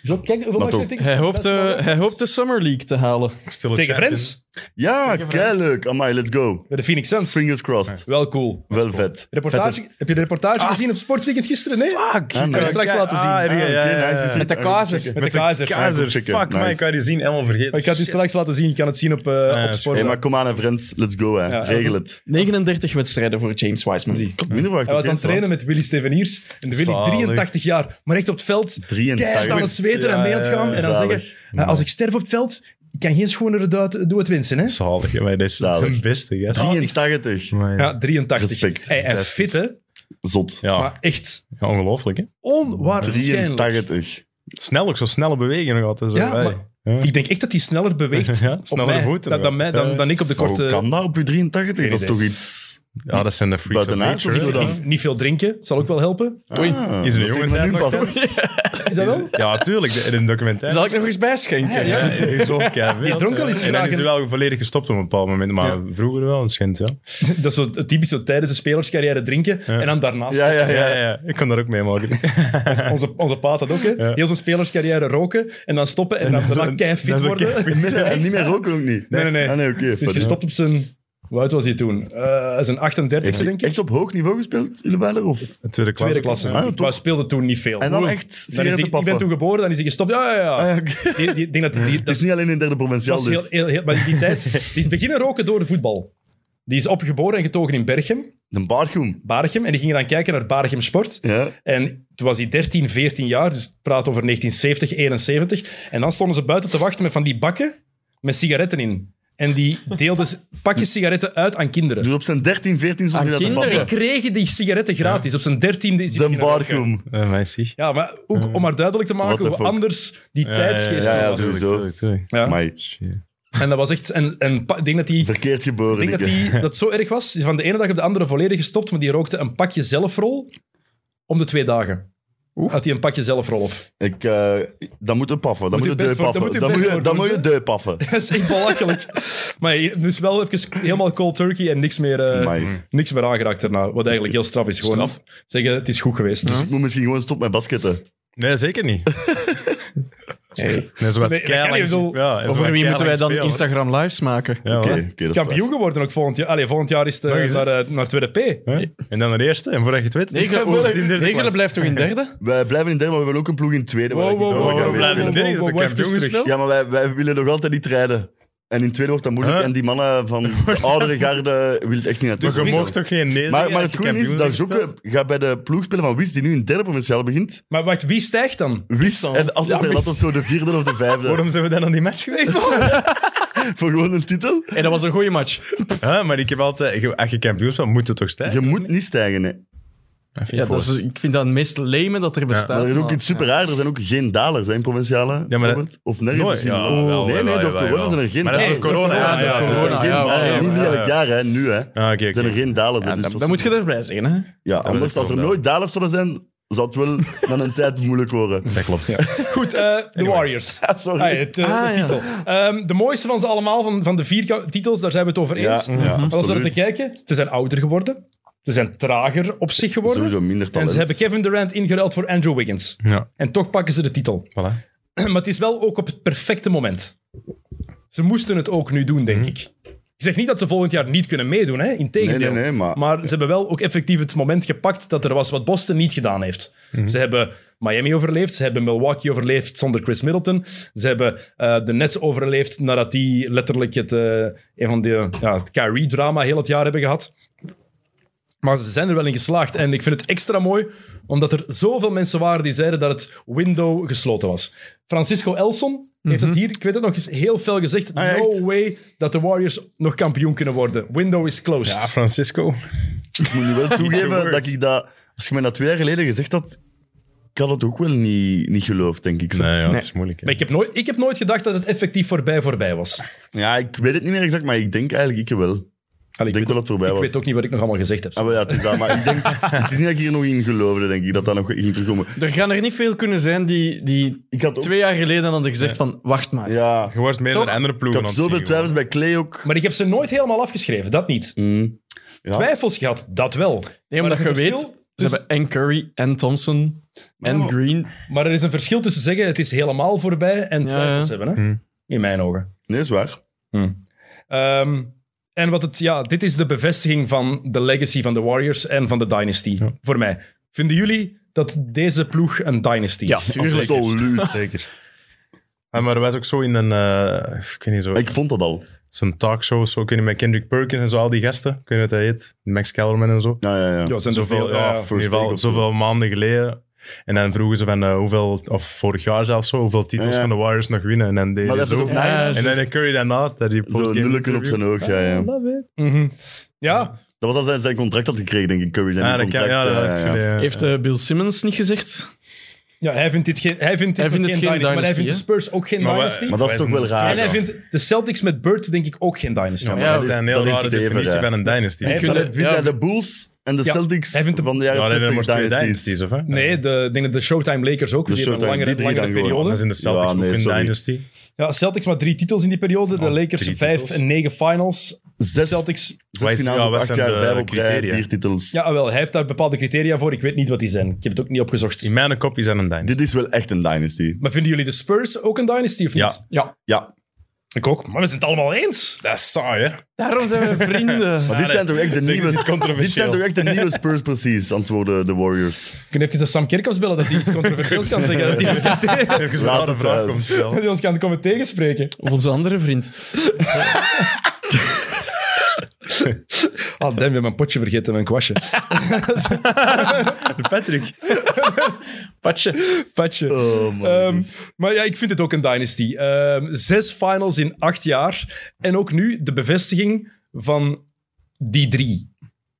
[SPEAKER 2] Zo, kijk, hoeveel
[SPEAKER 3] matchen toch. heeft
[SPEAKER 4] Hij hoopt, eh, hij hoopt de Summer League te halen.
[SPEAKER 1] Stille
[SPEAKER 2] Tegen
[SPEAKER 1] chance,
[SPEAKER 2] Friends,
[SPEAKER 3] Ja, kei leuk. Amai, let's go.
[SPEAKER 2] bij de Phoenix Suns.
[SPEAKER 3] Fingers crossed.
[SPEAKER 2] Wel cool.
[SPEAKER 3] Wel vet.
[SPEAKER 2] Reportage, heb je de reportage gezien op Sportweekend gisteren? Nee? Fuck!
[SPEAKER 3] Ah, nee.
[SPEAKER 2] Heb je straks
[SPEAKER 1] Ah,
[SPEAKER 2] laten zien.
[SPEAKER 1] ah,
[SPEAKER 3] Ah,
[SPEAKER 1] ja,
[SPEAKER 3] oké,
[SPEAKER 1] ja, ja,
[SPEAKER 3] nice,
[SPEAKER 1] ja.
[SPEAKER 3] is-
[SPEAKER 4] Met de
[SPEAKER 3] ah,
[SPEAKER 4] kazer.
[SPEAKER 3] check it.
[SPEAKER 2] Met
[SPEAKER 1] Met
[SPEAKER 2] de Kaiser.
[SPEAKER 1] Kaiser.
[SPEAKER 3] Ja, checken.
[SPEAKER 1] Fuck,
[SPEAKER 3] Nice.
[SPEAKER 1] man, ik had die zien helemaal vergeten.
[SPEAKER 2] Ik ga het je straks laten zien. Je kan het zien op, eh op Sport.
[SPEAKER 3] Hey, maar kom aan, hè, friends. Let's go, hè.
[SPEAKER 2] Ja,
[SPEAKER 3] Regel het.
[SPEAKER 4] 39 wedstrijden voor James Wiseman.
[SPEAKER 3] Klopt, minder verwacht,
[SPEAKER 2] Hij was
[SPEAKER 3] oké,
[SPEAKER 2] aan het
[SPEAKER 3] zo.
[SPEAKER 2] trainen met Willy Steveniers. En de Willy,
[SPEAKER 1] Zalig.
[SPEAKER 2] 83 jaar, maar echt op het veld.
[SPEAKER 3] 83.
[SPEAKER 2] Keihard aan het zweten en
[SPEAKER 1] Ja,
[SPEAKER 2] mee aan het gaan.
[SPEAKER 1] ja,
[SPEAKER 2] En dan
[SPEAKER 3] zalig.
[SPEAKER 2] zeggen, eh, als ik sterf op het veld, ik kan geen schonere duit doe het winsten, hè?
[SPEAKER 1] Zalig, ja, maar dat is
[SPEAKER 3] Zalig.
[SPEAKER 1] de beste. Ja.
[SPEAKER 2] Ah,
[SPEAKER 3] 83.
[SPEAKER 1] Maar ja.
[SPEAKER 2] Ja, 83.
[SPEAKER 3] Respect.
[SPEAKER 2] Hey, en fit, hè?
[SPEAKER 3] Zot.
[SPEAKER 1] Ja,
[SPEAKER 2] Maar echt
[SPEAKER 1] ja, ongelooflijk, hè.
[SPEAKER 2] onwaarschijnlijk.
[SPEAKER 3] 83
[SPEAKER 1] Snel ook, zo snelle bewegingen nog altijd. Zo,
[SPEAKER 2] Ja,
[SPEAKER 1] hey.
[SPEAKER 2] maar-
[SPEAKER 1] Ja.
[SPEAKER 2] Ik denk echt dat hij sneller beweegt
[SPEAKER 1] Ja,
[SPEAKER 2] op
[SPEAKER 1] snellere
[SPEAKER 2] mij,
[SPEAKER 1] voeten
[SPEAKER 2] dan,
[SPEAKER 1] wel.
[SPEAKER 2] dan, mij, dan,
[SPEAKER 1] Ja.
[SPEAKER 2] dan ik op de
[SPEAKER 3] Maar hoe
[SPEAKER 2] korte...
[SPEAKER 3] kan dat op je 83? Dat is
[SPEAKER 2] idee.
[SPEAKER 3] toch iets...
[SPEAKER 1] Ja, dat zijn de freaks of
[SPEAKER 3] Buitenaards of
[SPEAKER 1] nature.
[SPEAKER 3] zo
[SPEAKER 1] hè.
[SPEAKER 3] dan? Ah.
[SPEAKER 2] Niet, niet veel drinken, zal ook wel helpen.
[SPEAKER 3] Oei,
[SPEAKER 2] Ah.
[SPEAKER 1] is er een jongen daar nog
[SPEAKER 2] Is dat wel?
[SPEAKER 1] Ja, tuurlijk, de- in een documentaire.
[SPEAKER 4] Zal ik nog eens bijschenken?
[SPEAKER 1] Ah, Ja, die is ook keiveel.
[SPEAKER 2] Die dronk al eens
[SPEAKER 1] En dan
[SPEAKER 2] graag,
[SPEAKER 1] is hij wel volledig gestopt op een bepaald moment. Maar vroeger wel, een schijnt, ja.
[SPEAKER 2] Dat is zo het typisch zo tijdens de spelerscarrière drinken en dan daarnaast.
[SPEAKER 3] Ja, Ah, ja,
[SPEAKER 1] Ja,
[SPEAKER 3] ja.
[SPEAKER 1] ja, ja, ik kan daar ook mee maken.
[SPEAKER 2] Onze, onze paat had ook, hè. Heel zijn spelerscarrière roken en dan stoppen en dan daarna keifit
[SPEAKER 1] dat is ook
[SPEAKER 2] worden.
[SPEAKER 1] keifit.
[SPEAKER 2] Het is echt-
[SPEAKER 3] En niet meer roken ook niet.
[SPEAKER 2] Nee, nee, nee.
[SPEAKER 3] Ah, nee oké.
[SPEAKER 2] Dus
[SPEAKER 3] fijn.
[SPEAKER 2] gestopt op zijn... Hoe oud was hij toen? Eh, zijn 38
[SPEAKER 3] Echt,
[SPEAKER 2] denk ik.
[SPEAKER 3] echt op hoog niveau gespeeld, jullie wel? Of?
[SPEAKER 1] De Tweede klasse.
[SPEAKER 2] Tweede klasse.
[SPEAKER 3] Ah,
[SPEAKER 2] maar
[SPEAKER 3] toch?
[SPEAKER 2] speelde toen niet veel.
[SPEAKER 3] En dan
[SPEAKER 2] Oeh.
[SPEAKER 3] echt
[SPEAKER 2] Dan is
[SPEAKER 3] sigaretten
[SPEAKER 2] hij, ik ben
[SPEAKER 3] paffen.
[SPEAKER 2] toen geboren, dan is hij gestopt. Ja, ja, ja.
[SPEAKER 3] Ah, ja, oké.
[SPEAKER 2] Die, die, ik denk dat, die,
[SPEAKER 3] Het
[SPEAKER 2] dat
[SPEAKER 3] is niet alleen in derde
[SPEAKER 2] Dat
[SPEAKER 3] provinciaal.
[SPEAKER 2] is heel,
[SPEAKER 3] Dus.
[SPEAKER 2] heel, heel, maar die tijd, die is beginnen roken door de voetbal. Die is opgeboren en getogen in Berchem,
[SPEAKER 3] Een baardgroen.
[SPEAKER 2] Barchem, en die ging dan kijken naar Barchem Sport.
[SPEAKER 3] Ja.
[SPEAKER 2] En toen was hij 13, 14 jaar, dus ik praat over 1970, 71. En dan stonden ze buiten te wachten met van die bakken met sigaretten in. En die deelden s- pakjes sigaretten uit aan kinderen.
[SPEAKER 3] Dus op zijn 13, 14 stond
[SPEAKER 4] Aan
[SPEAKER 3] hij dat te
[SPEAKER 4] kinderen?
[SPEAKER 2] Die
[SPEAKER 3] paffen.
[SPEAKER 2] kregen die sigaretten gratis. Op zijn dertiende is hij
[SPEAKER 3] De
[SPEAKER 2] beginnen roken.
[SPEAKER 3] baardgroen.
[SPEAKER 1] Eh, maar zie.
[SPEAKER 2] Ja, maar ook om maar duidelijk te
[SPEAKER 3] What
[SPEAKER 2] maken
[SPEAKER 3] the
[SPEAKER 2] hoe
[SPEAKER 3] fuck.
[SPEAKER 2] anders die tijdsgeest
[SPEAKER 3] ja, ja,
[SPEAKER 2] was.
[SPEAKER 3] zo.
[SPEAKER 1] tuurlijk,
[SPEAKER 3] sowieso.
[SPEAKER 1] tuurlijk, tuurlijk.
[SPEAKER 2] Ja.
[SPEAKER 3] Maar
[SPEAKER 2] En dat was echt... En, en pa- ik denk dat die
[SPEAKER 3] verkeerd geboren.
[SPEAKER 2] Ik denk dat
[SPEAKER 3] Lieke.
[SPEAKER 2] die, dat het zo erg was. die is Van de ene dag op de andere volledig gestopt, maar die rookte een pakje zelfrol om de twee dagen. Had hij een pakje zelfrol op.
[SPEAKER 3] Ik, eh, dat moet je paffen. Dat
[SPEAKER 2] Moet
[SPEAKER 3] moet
[SPEAKER 2] je best
[SPEAKER 3] je deu
[SPEAKER 2] voor- dat
[SPEAKER 3] paffen.
[SPEAKER 2] moet je
[SPEAKER 3] Dat moet
[SPEAKER 2] best
[SPEAKER 3] je-
[SPEAKER 2] voor
[SPEAKER 3] Dat
[SPEAKER 2] doen,
[SPEAKER 3] moet je
[SPEAKER 2] hè?
[SPEAKER 3] deu paffen.
[SPEAKER 2] Dat is echt belachelijk. maar je- dus wel even helemaal cold turkey en niks meer, eh,
[SPEAKER 3] Amai.
[SPEAKER 2] niks meer aangeraakt daarna. Wat eigenlijk heel straf is. Gewoon zeggen, het is goed geweest.
[SPEAKER 3] Dus ik moet misschien gewoon stoppen met basketten.
[SPEAKER 1] Nee, zeker niet. Dat is wat
[SPEAKER 2] Nee, dat
[SPEAKER 1] keilang-
[SPEAKER 2] kan niet, ik bedoel,
[SPEAKER 1] ja, dat is wat
[SPEAKER 4] Over wie moeten wij
[SPEAKER 1] keilang
[SPEAKER 4] dan
[SPEAKER 1] spelen.
[SPEAKER 4] Instagram lives maken?
[SPEAKER 1] Ja,
[SPEAKER 3] Oké,
[SPEAKER 1] hoor.
[SPEAKER 3] oké, dat is waar.
[SPEAKER 2] Dus Kampioen geworden ook volgend jaar. Allee, volgend jaar is het eh,
[SPEAKER 1] Nog eens, hè?
[SPEAKER 2] naar, eh, naar tweede P.
[SPEAKER 1] Hè? En dan de eerste, en voordat je het weet...
[SPEAKER 4] Negelen,
[SPEAKER 1] Voordat je in derde
[SPEAKER 4] Negelen
[SPEAKER 1] klas.
[SPEAKER 4] blijft toch in derde?
[SPEAKER 3] Wij blijven in derde, maar we hebben ook een ploeg in tweede. waar
[SPEAKER 2] Wow,
[SPEAKER 3] ik
[SPEAKER 2] wow,
[SPEAKER 3] ook
[SPEAKER 2] wow,
[SPEAKER 3] wel ga
[SPEAKER 2] wow,
[SPEAKER 3] mee
[SPEAKER 2] wow,
[SPEAKER 1] blijven
[SPEAKER 3] spelen.
[SPEAKER 1] in derde, is
[SPEAKER 2] wow,
[SPEAKER 1] de
[SPEAKER 2] wow,
[SPEAKER 1] kampioen
[SPEAKER 2] even terug.
[SPEAKER 1] gespeeld?
[SPEAKER 3] Ja, maar wij, wij willen nog altijd niet rijden. En in tweede wordt dat moeilijk.
[SPEAKER 1] Huh?
[SPEAKER 3] En die mannen van de oudere garde wil het echt niet naartoe.
[SPEAKER 1] Dus je mocht toch geen nee
[SPEAKER 3] maar,
[SPEAKER 1] zeggen
[SPEAKER 3] maar
[SPEAKER 1] dat
[SPEAKER 3] het
[SPEAKER 1] je
[SPEAKER 3] goede is
[SPEAKER 1] kampioen
[SPEAKER 3] dat
[SPEAKER 1] bent
[SPEAKER 3] Joeke
[SPEAKER 1] gespeeld?
[SPEAKER 3] gaat bij de ploeg spelen van Wis, die nu in derde provinciaal begint.
[SPEAKER 2] Maar wacht, wie stijgt dan?
[SPEAKER 3] Wis, en als het
[SPEAKER 1] Ja,
[SPEAKER 3] er
[SPEAKER 1] Wis.
[SPEAKER 3] dat of zo de vierde of de vijfde.
[SPEAKER 1] Waarom zijn we dan aan die match geweest?
[SPEAKER 3] Voor gewoon een titel.
[SPEAKER 4] En dat was een goede match.
[SPEAKER 1] Hè, maar ik heb altijd... je- Als je kampioen bent, moet het toch
[SPEAKER 3] Je
[SPEAKER 1] stijgen?
[SPEAKER 3] moet niet stijgen, hè.
[SPEAKER 4] Ja, dat is, ik vind dat het meest lame dat er bestaat.
[SPEAKER 3] Maar er is ook
[SPEAKER 4] maar-
[SPEAKER 3] iets super raar. Er zijn ook geen dalers hè, in provinciale. bijvoorbeeld. Of nergens.
[SPEAKER 1] Nooit.
[SPEAKER 3] misschien
[SPEAKER 1] Ja,
[SPEAKER 3] wel.
[SPEAKER 1] wel,
[SPEAKER 3] nee,
[SPEAKER 1] wel,
[SPEAKER 3] nee,
[SPEAKER 1] wel,
[SPEAKER 3] door
[SPEAKER 1] wel,
[SPEAKER 3] corona
[SPEAKER 1] wel.
[SPEAKER 3] zijn er geen
[SPEAKER 1] Maar dat is
[SPEAKER 3] dalers.
[SPEAKER 1] door corona,
[SPEAKER 2] corona,
[SPEAKER 1] ja.
[SPEAKER 2] ja,
[SPEAKER 1] ja,
[SPEAKER 2] door
[SPEAKER 3] Er
[SPEAKER 1] dat is-
[SPEAKER 3] zijn
[SPEAKER 4] corona,
[SPEAKER 3] geen
[SPEAKER 4] ja,
[SPEAKER 3] dalers.
[SPEAKER 4] oké,
[SPEAKER 3] Niet
[SPEAKER 4] maar-
[SPEAKER 3] meer
[SPEAKER 1] ja,
[SPEAKER 3] elk jaar, hè, nu. Hè.
[SPEAKER 1] Ah, oké,
[SPEAKER 3] Er zijn er
[SPEAKER 1] oké.
[SPEAKER 3] geen dalers. hè,
[SPEAKER 4] Ja,
[SPEAKER 3] dus
[SPEAKER 4] dan,
[SPEAKER 3] was
[SPEAKER 4] dan moet
[SPEAKER 3] het-
[SPEAKER 4] je erbij zijn, hè?
[SPEAKER 3] Ja,
[SPEAKER 1] was
[SPEAKER 3] anders
[SPEAKER 1] echt
[SPEAKER 3] als er
[SPEAKER 1] wel
[SPEAKER 3] nooit dalers zouden zijn, zou het wel na een tijd moeilijk worden.
[SPEAKER 1] Dat klopt.
[SPEAKER 2] Goed, eh, de Warriors.
[SPEAKER 3] Ah, Sorry.
[SPEAKER 2] Ah, het, eh,
[SPEAKER 4] Ah,
[SPEAKER 2] de
[SPEAKER 4] ja.
[SPEAKER 2] titel. Ehm, de mooiste van ze allemaal, van, van de vier ka- titels, daar zijn we het over
[SPEAKER 3] ja,
[SPEAKER 2] eens.
[SPEAKER 3] ja,
[SPEAKER 2] maar als we naar te
[SPEAKER 3] absoluut.
[SPEAKER 2] kijken, ze zijn ouder geworden. Ze zijn trager op zich geworden.
[SPEAKER 3] Sowieso minder
[SPEAKER 2] en
[SPEAKER 3] talent.
[SPEAKER 2] ze hebben Kevin Durant ingeruild voor Andrew Wiggins.
[SPEAKER 1] Ja,
[SPEAKER 2] En toch pakken ze de titel.
[SPEAKER 1] voilà.
[SPEAKER 2] Maar het is wel ook op het perfecte moment. Ze moesten het ook nu doen, denk ik. Ik zeg niet dat ze volgend jaar niet kunnen meedoen, hè? Integendeel.
[SPEAKER 3] Mhm. Nee, nee, nee, maar-
[SPEAKER 2] ze hebben wel ook effectief het moment gepakt dat er was wat Boston niet gedaan heeft.
[SPEAKER 3] Mhm.
[SPEAKER 2] Ze hebben Miami overleefd, ze hebben Milwaukee overleefd zonder Chris Middleton. Ze hebben eh, de Nets overleefd nadat die letterlijk het, eh, een van de, ja, het Kyrie-drama heel het jaar hebben gehad. Maar ze zijn er wel in geslaagd. En ik vind het extra mooi, omdat er zoveel mensen waren die zeiden dat het window gesloten was. Francisco Elson heeft het hier, ik weet het nog eens, heel fel gezegd.
[SPEAKER 1] Ah,
[SPEAKER 2] no
[SPEAKER 1] echt?
[SPEAKER 2] way dat de Warriors nog kampioen kunnen worden. Window is closed.
[SPEAKER 1] Ja, Francisco.
[SPEAKER 3] Ik moet nu wel
[SPEAKER 1] your
[SPEAKER 3] toegeven
[SPEAKER 1] words.
[SPEAKER 3] dat ik dat... Als je mij dat twee jaar geleden gezegd had, ik had het ook wel niet, niet geloofd, denk ik. zo.
[SPEAKER 1] Nee, ja, dat is moeilijk. hè.
[SPEAKER 2] Maar ik heb, nooit, ik heb nooit gedacht dat het effectief voorbij voorbij was.
[SPEAKER 3] Ja, ik weet het niet meer exact, maar ik denk eigenlijk ik wel.
[SPEAKER 2] Allee,
[SPEAKER 3] ik
[SPEAKER 2] ik
[SPEAKER 3] denk dat het voorbij
[SPEAKER 2] ik
[SPEAKER 3] was.
[SPEAKER 2] weet ook niet wat ik nog allemaal gezegd heb.
[SPEAKER 3] Ah, maar ja, het is dat. Maar ik denk, het is niet dat ik hier nog in geloofde, denk ik, dat dat nog ging terugkomen.
[SPEAKER 4] Er gaan er niet veel kunnen zijn die, die
[SPEAKER 3] Ik had ook...
[SPEAKER 4] twee jaar geleden hadden gezegd van, wacht maar.
[SPEAKER 3] Ja,
[SPEAKER 1] Je wordt meer
[SPEAKER 4] Toch?
[SPEAKER 1] dan andere
[SPEAKER 3] ik
[SPEAKER 1] ploegen
[SPEAKER 3] had
[SPEAKER 1] aan het
[SPEAKER 3] zoveel
[SPEAKER 1] zien,
[SPEAKER 3] twijfels bij Clay ook.
[SPEAKER 2] Maar ik heb ze nooit helemaal afgeschreven, dat niet.
[SPEAKER 3] Mm. Ja.
[SPEAKER 2] Twijfels gehad, dat wel.
[SPEAKER 4] Nee,
[SPEAKER 2] Maar
[SPEAKER 4] omdat
[SPEAKER 2] er
[SPEAKER 4] je
[SPEAKER 2] is een
[SPEAKER 4] weet,
[SPEAKER 2] verschil
[SPEAKER 4] ze
[SPEAKER 2] tussen-
[SPEAKER 4] hebben en Curry, en Thompson, en
[SPEAKER 3] Ja.
[SPEAKER 4] Green.
[SPEAKER 2] Maar er is een verschil tussen zeggen het is helemaal voorbij en
[SPEAKER 4] Ja,
[SPEAKER 2] twijfels
[SPEAKER 4] ja.
[SPEAKER 2] hebben. Hè?
[SPEAKER 1] Hm.
[SPEAKER 2] In mijn ogen.
[SPEAKER 3] Nee, is waar.
[SPEAKER 2] Ehm, en wat het, ja, dit is de bevestiging van de legacy van de Warriors en van de Dynasty. Voor mij. Vinden jullie dat deze ploeg een Dynasty is?
[SPEAKER 4] tuurlijk.
[SPEAKER 3] Absoluut.
[SPEAKER 1] Zeker. Ja, Ah, maar er was ook zo in een, eh, ik weet niet, zo,
[SPEAKER 3] Ik vond dat al.
[SPEAKER 1] zo'n talkshow, zo, ik weet niet, met Kendrick Perkins en zo, al die gasten, ik weet niet wat hij heet, Max Kellerman en zo.
[SPEAKER 3] Ja, ja, ja.
[SPEAKER 2] Oh, Ja, zijn er
[SPEAKER 1] Zoveel,
[SPEAKER 2] veel.
[SPEAKER 1] ja,
[SPEAKER 2] Ja,
[SPEAKER 1] in
[SPEAKER 2] ja.
[SPEAKER 1] ieder
[SPEAKER 3] Take
[SPEAKER 1] geval,
[SPEAKER 3] of zo.
[SPEAKER 1] zoveel maanden geleden. En dan vroegen ze van eh, hoeveel, of vorig jaar zelfs zo, hoeveel titels
[SPEAKER 3] Ja, ja.
[SPEAKER 1] gaan de Warriors nog winnen. En dan deed
[SPEAKER 3] Maar
[SPEAKER 1] hij
[SPEAKER 3] dat is
[SPEAKER 1] zo.
[SPEAKER 3] ook na-
[SPEAKER 4] Ja,
[SPEAKER 1] En
[SPEAKER 4] juist.
[SPEAKER 1] dan Curry daarna, dat die
[SPEAKER 3] Zo'n
[SPEAKER 1] postgame
[SPEAKER 3] nulken op zijn
[SPEAKER 1] interview. Ah,
[SPEAKER 3] oog, ja, ja.
[SPEAKER 1] I love it.
[SPEAKER 2] Mhm. ja.
[SPEAKER 3] Dat was al zijn, zijn contract dat hij kreeg, denk ik, Curry. Zijn
[SPEAKER 1] Ja,
[SPEAKER 3] nieuw
[SPEAKER 1] Ah, dat kan,
[SPEAKER 3] contract,
[SPEAKER 1] ja, dat
[SPEAKER 3] eh,
[SPEAKER 1] heeft hij, eh,
[SPEAKER 4] Heeft eh, Bill Simmons niet gezegd?
[SPEAKER 2] ja, hij vindt dit geen, hij vindt dit
[SPEAKER 4] Hij vindt
[SPEAKER 2] nog
[SPEAKER 4] het
[SPEAKER 2] geen
[SPEAKER 4] geen
[SPEAKER 2] Dynasty, maar hij vindt de
[SPEAKER 4] Dynasty,
[SPEAKER 2] Spurs ook geen
[SPEAKER 1] Maar wa-
[SPEAKER 2] Dynasty.
[SPEAKER 3] Maar dat is
[SPEAKER 1] Wij
[SPEAKER 3] toch wel
[SPEAKER 1] zijn-
[SPEAKER 3] raar.
[SPEAKER 2] en hij
[SPEAKER 3] ja.
[SPEAKER 2] vindt de Celtics met Bird denk ik ook geen Dynasty.
[SPEAKER 1] Ja, maar
[SPEAKER 4] Ja,
[SPEAKER 1] dat is
[SPEAKER 3] dat
[SPEAKER 1] een
[SPEAKER 3] is-
[SPEAKER 1] heel
[SPEAKER 3] dat is
[SPEAKER 1] rare
[SPEAKER 3] zeven,
[SPEAKER 1] definitie
[SPEAKER 3] ja.
[SPEAKER 1] van een dynasty.
[SPEAKER 2] Hij
[SPEAKER 1] Ja,
[SPEAKER 2] heeft
[SPEAKER 3] Vind
[SPEAKER 2] dat-
[SPEAKER 3] jij- vind jij de Bulls en de
[SPEAKER 2] Ja.
[SPEAKER 3] Celtics
[SPEAKER 2] Hij vindt de-
[SPEAKER 3] van de
[SPEAKER 1] dat
[SPEAKER 3] jaren
[SPEAKER 1] zijn er maar
[SPEAKER 3] 60
[SPEAKER 1] twee
[SPEAKER 3] dynasties?
[SPEAKER 1] dynasties, of hè?
[SPEAKER 2] Nee, de, ik denk dat de Showtime Lakers ook.
[SPEAKER 3] De
[SPEAKER 2] die hebben een
[SPEAKER 3] Showtime,
[SPEAKER 2] langere,
[SPEAKER 3] die drie
[SPEAKER 2] langere
[SPEAKER 3] dan gewoon.
[SPEAKER 2] periode.
[SPEAKER 1] Dan zijn de Celtics
[SPEAKER 3] Ja, nee,
[SPEAKER 1] ook een
[SPEAKER 3] sorry.
[SPEAKER 1] dynasty.
[SPEAKER 2] Ja, Celtics maar drie titels in die periode. De
[SPEAKER 1] Oh,
[SPEAKER 2] Lakers
[SPEAKER 1] drie
[SPEAKER 2] vijf
[SPEAKER 1] titels.
[SPEAKER 2] en negen finals.
[SPEAKER 3] Zes,
[SPEAKER 2] Celtics...
[SPEAKER 3] zes
[SPEAKER 1] Wij-
[SPEAKER 3] finales
[SPEAKER 1] ja,
[SPEAKER 3] op
[SPEAKER 1] wij
[SPEAKER 3] acht
[SPEAKER 1] zijn
[SPEAKER 3] jaar,
[SPEAKER 1] de
[SPEAKER 3] vijf op rij,
[SPEAKER 1] criteria.
[SPEAKER 3] vier titels.
[SPEAKER 2] Ja, wel, hij heeft daar bepaalde criteria voor. Ik weet niet wat die zijn. Ik heb het ook niet opgezocht.
[SPEAKER 1] In mijn kop is dat een dynasty.
[SPEAKER 3] Dit is wel echt een dynasty.
[SPEAKER 2] Maar vinden jullie de Spurs ook een dynasty of niet?
[SPEAKER 1] Ja.
[SPEAKER 4] Ja.
[SPEAKER 1] Ah,
[SPEAKER 3] Ja,
[SPEAKER 2] Ik ook. Maar we zijn het allemaal eens.
[SPEAKER 1] Dat is saai, hè?
[SPEAKER 4] Daarom zijn we vrienden.
[SPEAKER 3] maar dit zijn toch echt de
[SPEAKER 1] Zeg, dit is
[SPEAKER 3] nieuwe... Dit zijn
[SPEAKER 1] controversieel.
[SPEAKER 3] toch echt de nieuwe Spurs precies, antwoorden de Warriors.
[SPEAKER 2] Ik kan even de Sam Kerkhoffs bellen dat hij iets controversieels kan zeggen. Dat hij ons kan, te-
[SPEAKER 1] Even zo'n
[SPEAKER 3] Laat
[SPEAKER 1] rare
[SPEAKER 3] het
[SPEAKER 1] vraag
[SPEAKER 3] uit.
[SPEAKER 1] komt stellen.
[SPEAKER 2] dat hij ons kan komen tegenspreken.
[SPEAKER 4] Of onze andere vriend.
[SPEAKER 2] Ah, damn, we hebben mijn potje vergeten, mijn kwastje.
[SPEAKER 1] Patrick.
[SPEAKER 4] Patje.
[SPEAKER 2] Patje.
[SPEAKER 3] Oh, man.
[SPEAKER 2] Ehm, maar ja, ik vind het ook een dynasty. Ehm, zes finals in acht jaar. En ook nu de bevestiging van die drie.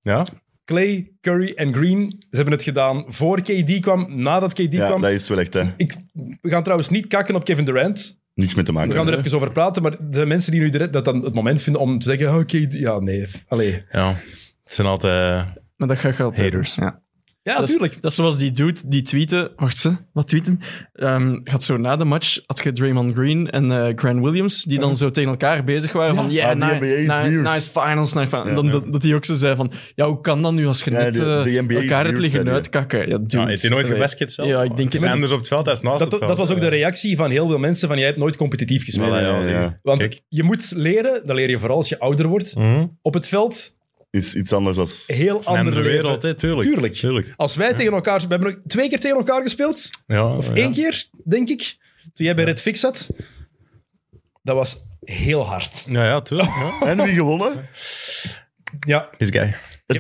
[SPEAKER 1] Ja?
[SPEAKER 2] Clay, Curry en Green. Ze hebben het gedaan voor KD kwam, nadat KD
[SPEAKER 3] ja,
[SPEAKER 2] kwam.
[SPEAKER 3] dat is wel echt, hè.
[SPEAKER 2] Ik, we gaan trouwens niet kakken op Kevin Durant.
[SPEAKER 3] Niks mee te maken.
[SPEAKER 2] We gaan er even over praten, maar de mensen die nu direct dat dan het moment vinden om te "Ah, zeggen, oké, ja, nee, allee.
[SPEAKER 1] Ja. Het zijn altijd... eh,
[SPEAKER 4] Maar dat gaat altijd.
[SPEAKER 1] Haters.
[SPEAKER 4] Ja.
[SPEAKER 2] Ja,
[SPEAKER 4] dat is-
[SPEAKER 2] natuurlijk.
[SPEAKER 4] Dat is zoals die dude die tweette. Wacht ze, wat tweeten? Ehm, gaat zo na de match had je Draymond Green en eh Grant Williams die dan zo tegen elkaar bezig waren van ja,
[SPEAKER 3] Ah, die
[SPEAKER 4] yeah,
[SPEAKER 3] NBA is weird.
[SPEAKER 4] nice finals, nice finals. En dan
[SPEAKER 3] ja.
[SPEAKER 4] dat, dat hij ook zo zei van ja, hoe kan dat nu als je
[SPEAKER 3] Ja,
[SPEAKER 4] net
[SPEAKER 3] de-
[SPEAKER 4] eh,
[SPEAKER 3] de NBA
[SPEAKER 4] elkaar
[SPEAKER 3] is
[SPEAKER 4] het
[SPEAKER 3] weird,
[SPEAKER 4] liggen
[SPEAKER 3] zei hij.
[SPEAKER 4] uitkakken? Ja, dude.
[SPEAKER 1] Ja, heeft hij nooit
[SPEAKER 4] Allee.
[SPEAKER 1] gebasket zelf?
[SPEAKER 4] Ja, ik denk
[SPEAKER 1] het is
[SPEAKER 4] het.
[SPEAKER 1] anders op het veld, hij is naast
[SPEAKER 2] Dat,
[SPEAKER 1] het veld.
[SPEAKER 2] dat was ook de
[SPEAKER 1] Ja.
[SPEAKER 2] reactie van heel veel mensen van jij hebt nooit competitief gespeeld.
[SPEAKER 3] Nee, nee,
[SPEAKER 1] Ja,
[SPEAKER 3] Ja,
[SPEAKER 1] ja,
[SPEAKER 3] ja.
[SPEAKER 1] ja.
[SPEAKER 2] Want
[SPEAKER 1] Kijk.
[SPEAKER 2] je moet leren, dat leer je vooral als je ouder wordt,
[SPEAKER 1] Mhm.
[SPEAKER 2] op het veld
[SPEAKER 3] Is iets anders als...
[SPEAKER 2] heel
[SPEAKER 1] Een
[SPEAKER 2] andere wereld.
[SPEAKER 1] hè, tuurlijk.
[SPEAKER 2] Tuurlijk. Als wij tegen elkaar, we hebben nog twee keer tegen elkaar gespeeld.
[SPEAKER 1] Ja,
[SPEAKER 2] Of
[SPEAKER 1] ja.
[SPEAKER 2] één keer, denk ik. Toen jij bij Red Fix zat. Dat was heel hard.
[SPEAKER 1] Ja, ja, tuurlijk. ja.
[SPEAKER 3] En wie gewonnen?
[SPEAKER 2] Ja.
[SPEAKER 1] This guy.
[SPEAKER 2] En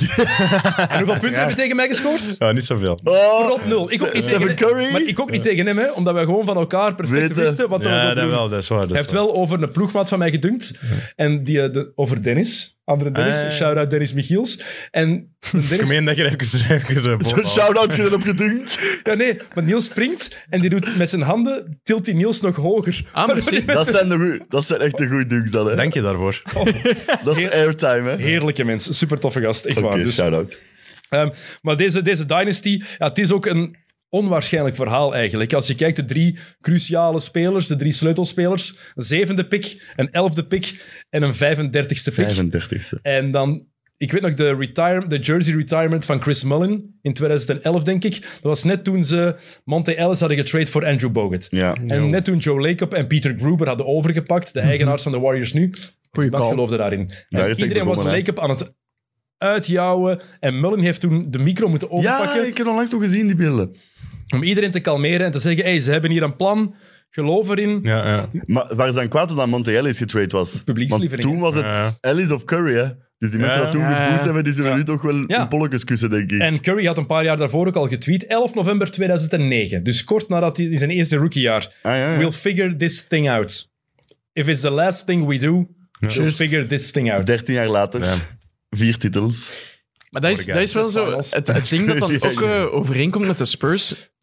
[SPEAKER 2] hoeveel punten heb je tegen mij gescoord?
[SPEAKER 1] Ja, niet zoveel.
[SPEAKER 3] Oh,
[SPEAKER 2] Rot nul. Ik ook niet
[SPEAKER 3] Stephen
[SPEAKER 2] tegen
[SPEAKER 3] Curry.
[SPEAKER 2] Maar ik ook niet tegen hem, hè, omdat wij gewoon van elkaar perfect
[SPEAKER 3] Weten.
[SPEAKER 2] wisten wat we
[SPEAKER 1] ja,
[SPEAKER 2] moeten
[SPEAKER 1] dat
[SPEAKER 2] doen.
[SPEAKER 1] wel, dat is waar.
[SPEAKER 2] Hij heeft wel over een ploegmaat van mij gedunkt. En die, eh, de- over Dennis. Andere Dennis.
[SPEAKER 1] Ah.
[SPEAKER 2] Shout-out Dennis Michiels. En
[SPEAKER 1] Het is
[SPEAKER 2] Dennis...
[SPEAKER 1] gemeen dat je er even, even eh, bovenhaalt.
[SPEAKER 3] Shout-out gedaan op gedunkt.
[SPEAKER 2] Ja, nee. Maar Niels springt en die doet met zijn handen... Tilt hij Niels nog hoger.
[SPEAKER 4] Ah, merci.
[SPEAKER 3] Dat zijn, de goeie- dat zijn echt de goede dunks dan, hè.
[SPEAKER 1] Dank je daarvoor.
[SPEAKER 3] Dat is airtime, hè.
[SPEAKER 2] Heerlijke mens. Super toffe gast. Echt
[SPEAKER 3] Oké,
[SPEAKER 2] waar. Dus,
[SPEAKER 3] shout-out.
[SPEAKER 2] ehm, maar deze, deze Dynasty... Ja, het is ook een onwaarschijnlijk verhaal eigenlijk. Als je kijkt, de drie cruciale spelers, de drie sleutelspelers. Een zevende pick, een elfde pick en een 35ste pick.
[SPEAKER 3] 35ste.
[SPEAKER 2] En dan, ik weet nog, de, retire, de jersey retirement van Chris Mullen in 2011, denk ik. Dat was net toen ze Monte Ellis hadden getrade voor Andrew Bogut.
[SPEAKER 3] Ja.
[SPEAKER 2] En net toen Joe Lacob en Peter Gruber hadden overgepakt, de eigenaars van de Warriors nu.
[SPEAKER 4] Mhm. Goeie
[SPEAKER 2] Wat
[SPEAKER 4] call.
[SPEAKER 2] geloofde daarin?
[SPEAKER 3] Daar
[SPEAKER 2] En
[SPEAKER 3] is hij
[SPEAKER 2] iedereen was
[SPEAKER 3] begonnen, hè.
[SPEAKER 2] Lacob aan het uitjouwen. En Mullen heeft toen de micro moeten
[SPEAKER 3] Ja,
[SPEAKER 2] overpakken
[SPEAKER 3] ik heb onlangs nog gezien, die beelden.
[SPEAKER 2] om iedereen te kalmeren en te zeggen, hey, ze hebben hier een plan, geloof erin.
[SPEAKER 1] Ja, ja.
[SPEAKER 3] Maar waar ze dan kwaad omdat Monte Ellis getrade was? Want
[SPEAKER 2] Publiekslieveling,
[SPEAKER 3] toen
[SPEAKER 2] hè?
[SPEAKER 3] was het
[SPEAKER 1] Ja.
[SPEAKER 3] Ellis of Curry, hè. Dus die mensen
[SPEAKER 1] Ja.
[SPEAKER 3] dat toen
[SPEAKER 4] Ja, ja.
[SPEAKER 3] geboet hebben, die zullen nu toch wel
[SPEAKER 2] Ja.
[SPEAKER 3] een polletjes kussen, denk ik.
[SPEAKER 2] En Curry had een paar jaar daarvoor ook al getweet, 11 november 2009. Dus kort nadat hij in zijn eerste rookiejaar
[SPEAKER 3] Ah, ja, ja.
[SPEAKER 2] We'll figure this thing out. If it's the last thing we do, we'll
[SPEAKER 4] Juist.
[SPEAKER 2] figure this thing out.
[SPEAKER 3] 13 jaar later,
[SPEAKER 1] Ja.
[SPEAKER 3] vier titels.
[SPEAKER 4] Maar dat is,
[SPEAKER 1] Morgan.
[SPEAKER 4] dat is wel zo.
[SPEAKER 2] finals.
[SPEAKER 4] Het, het ding dat dan ook eh, overeenkomt met de Spurs.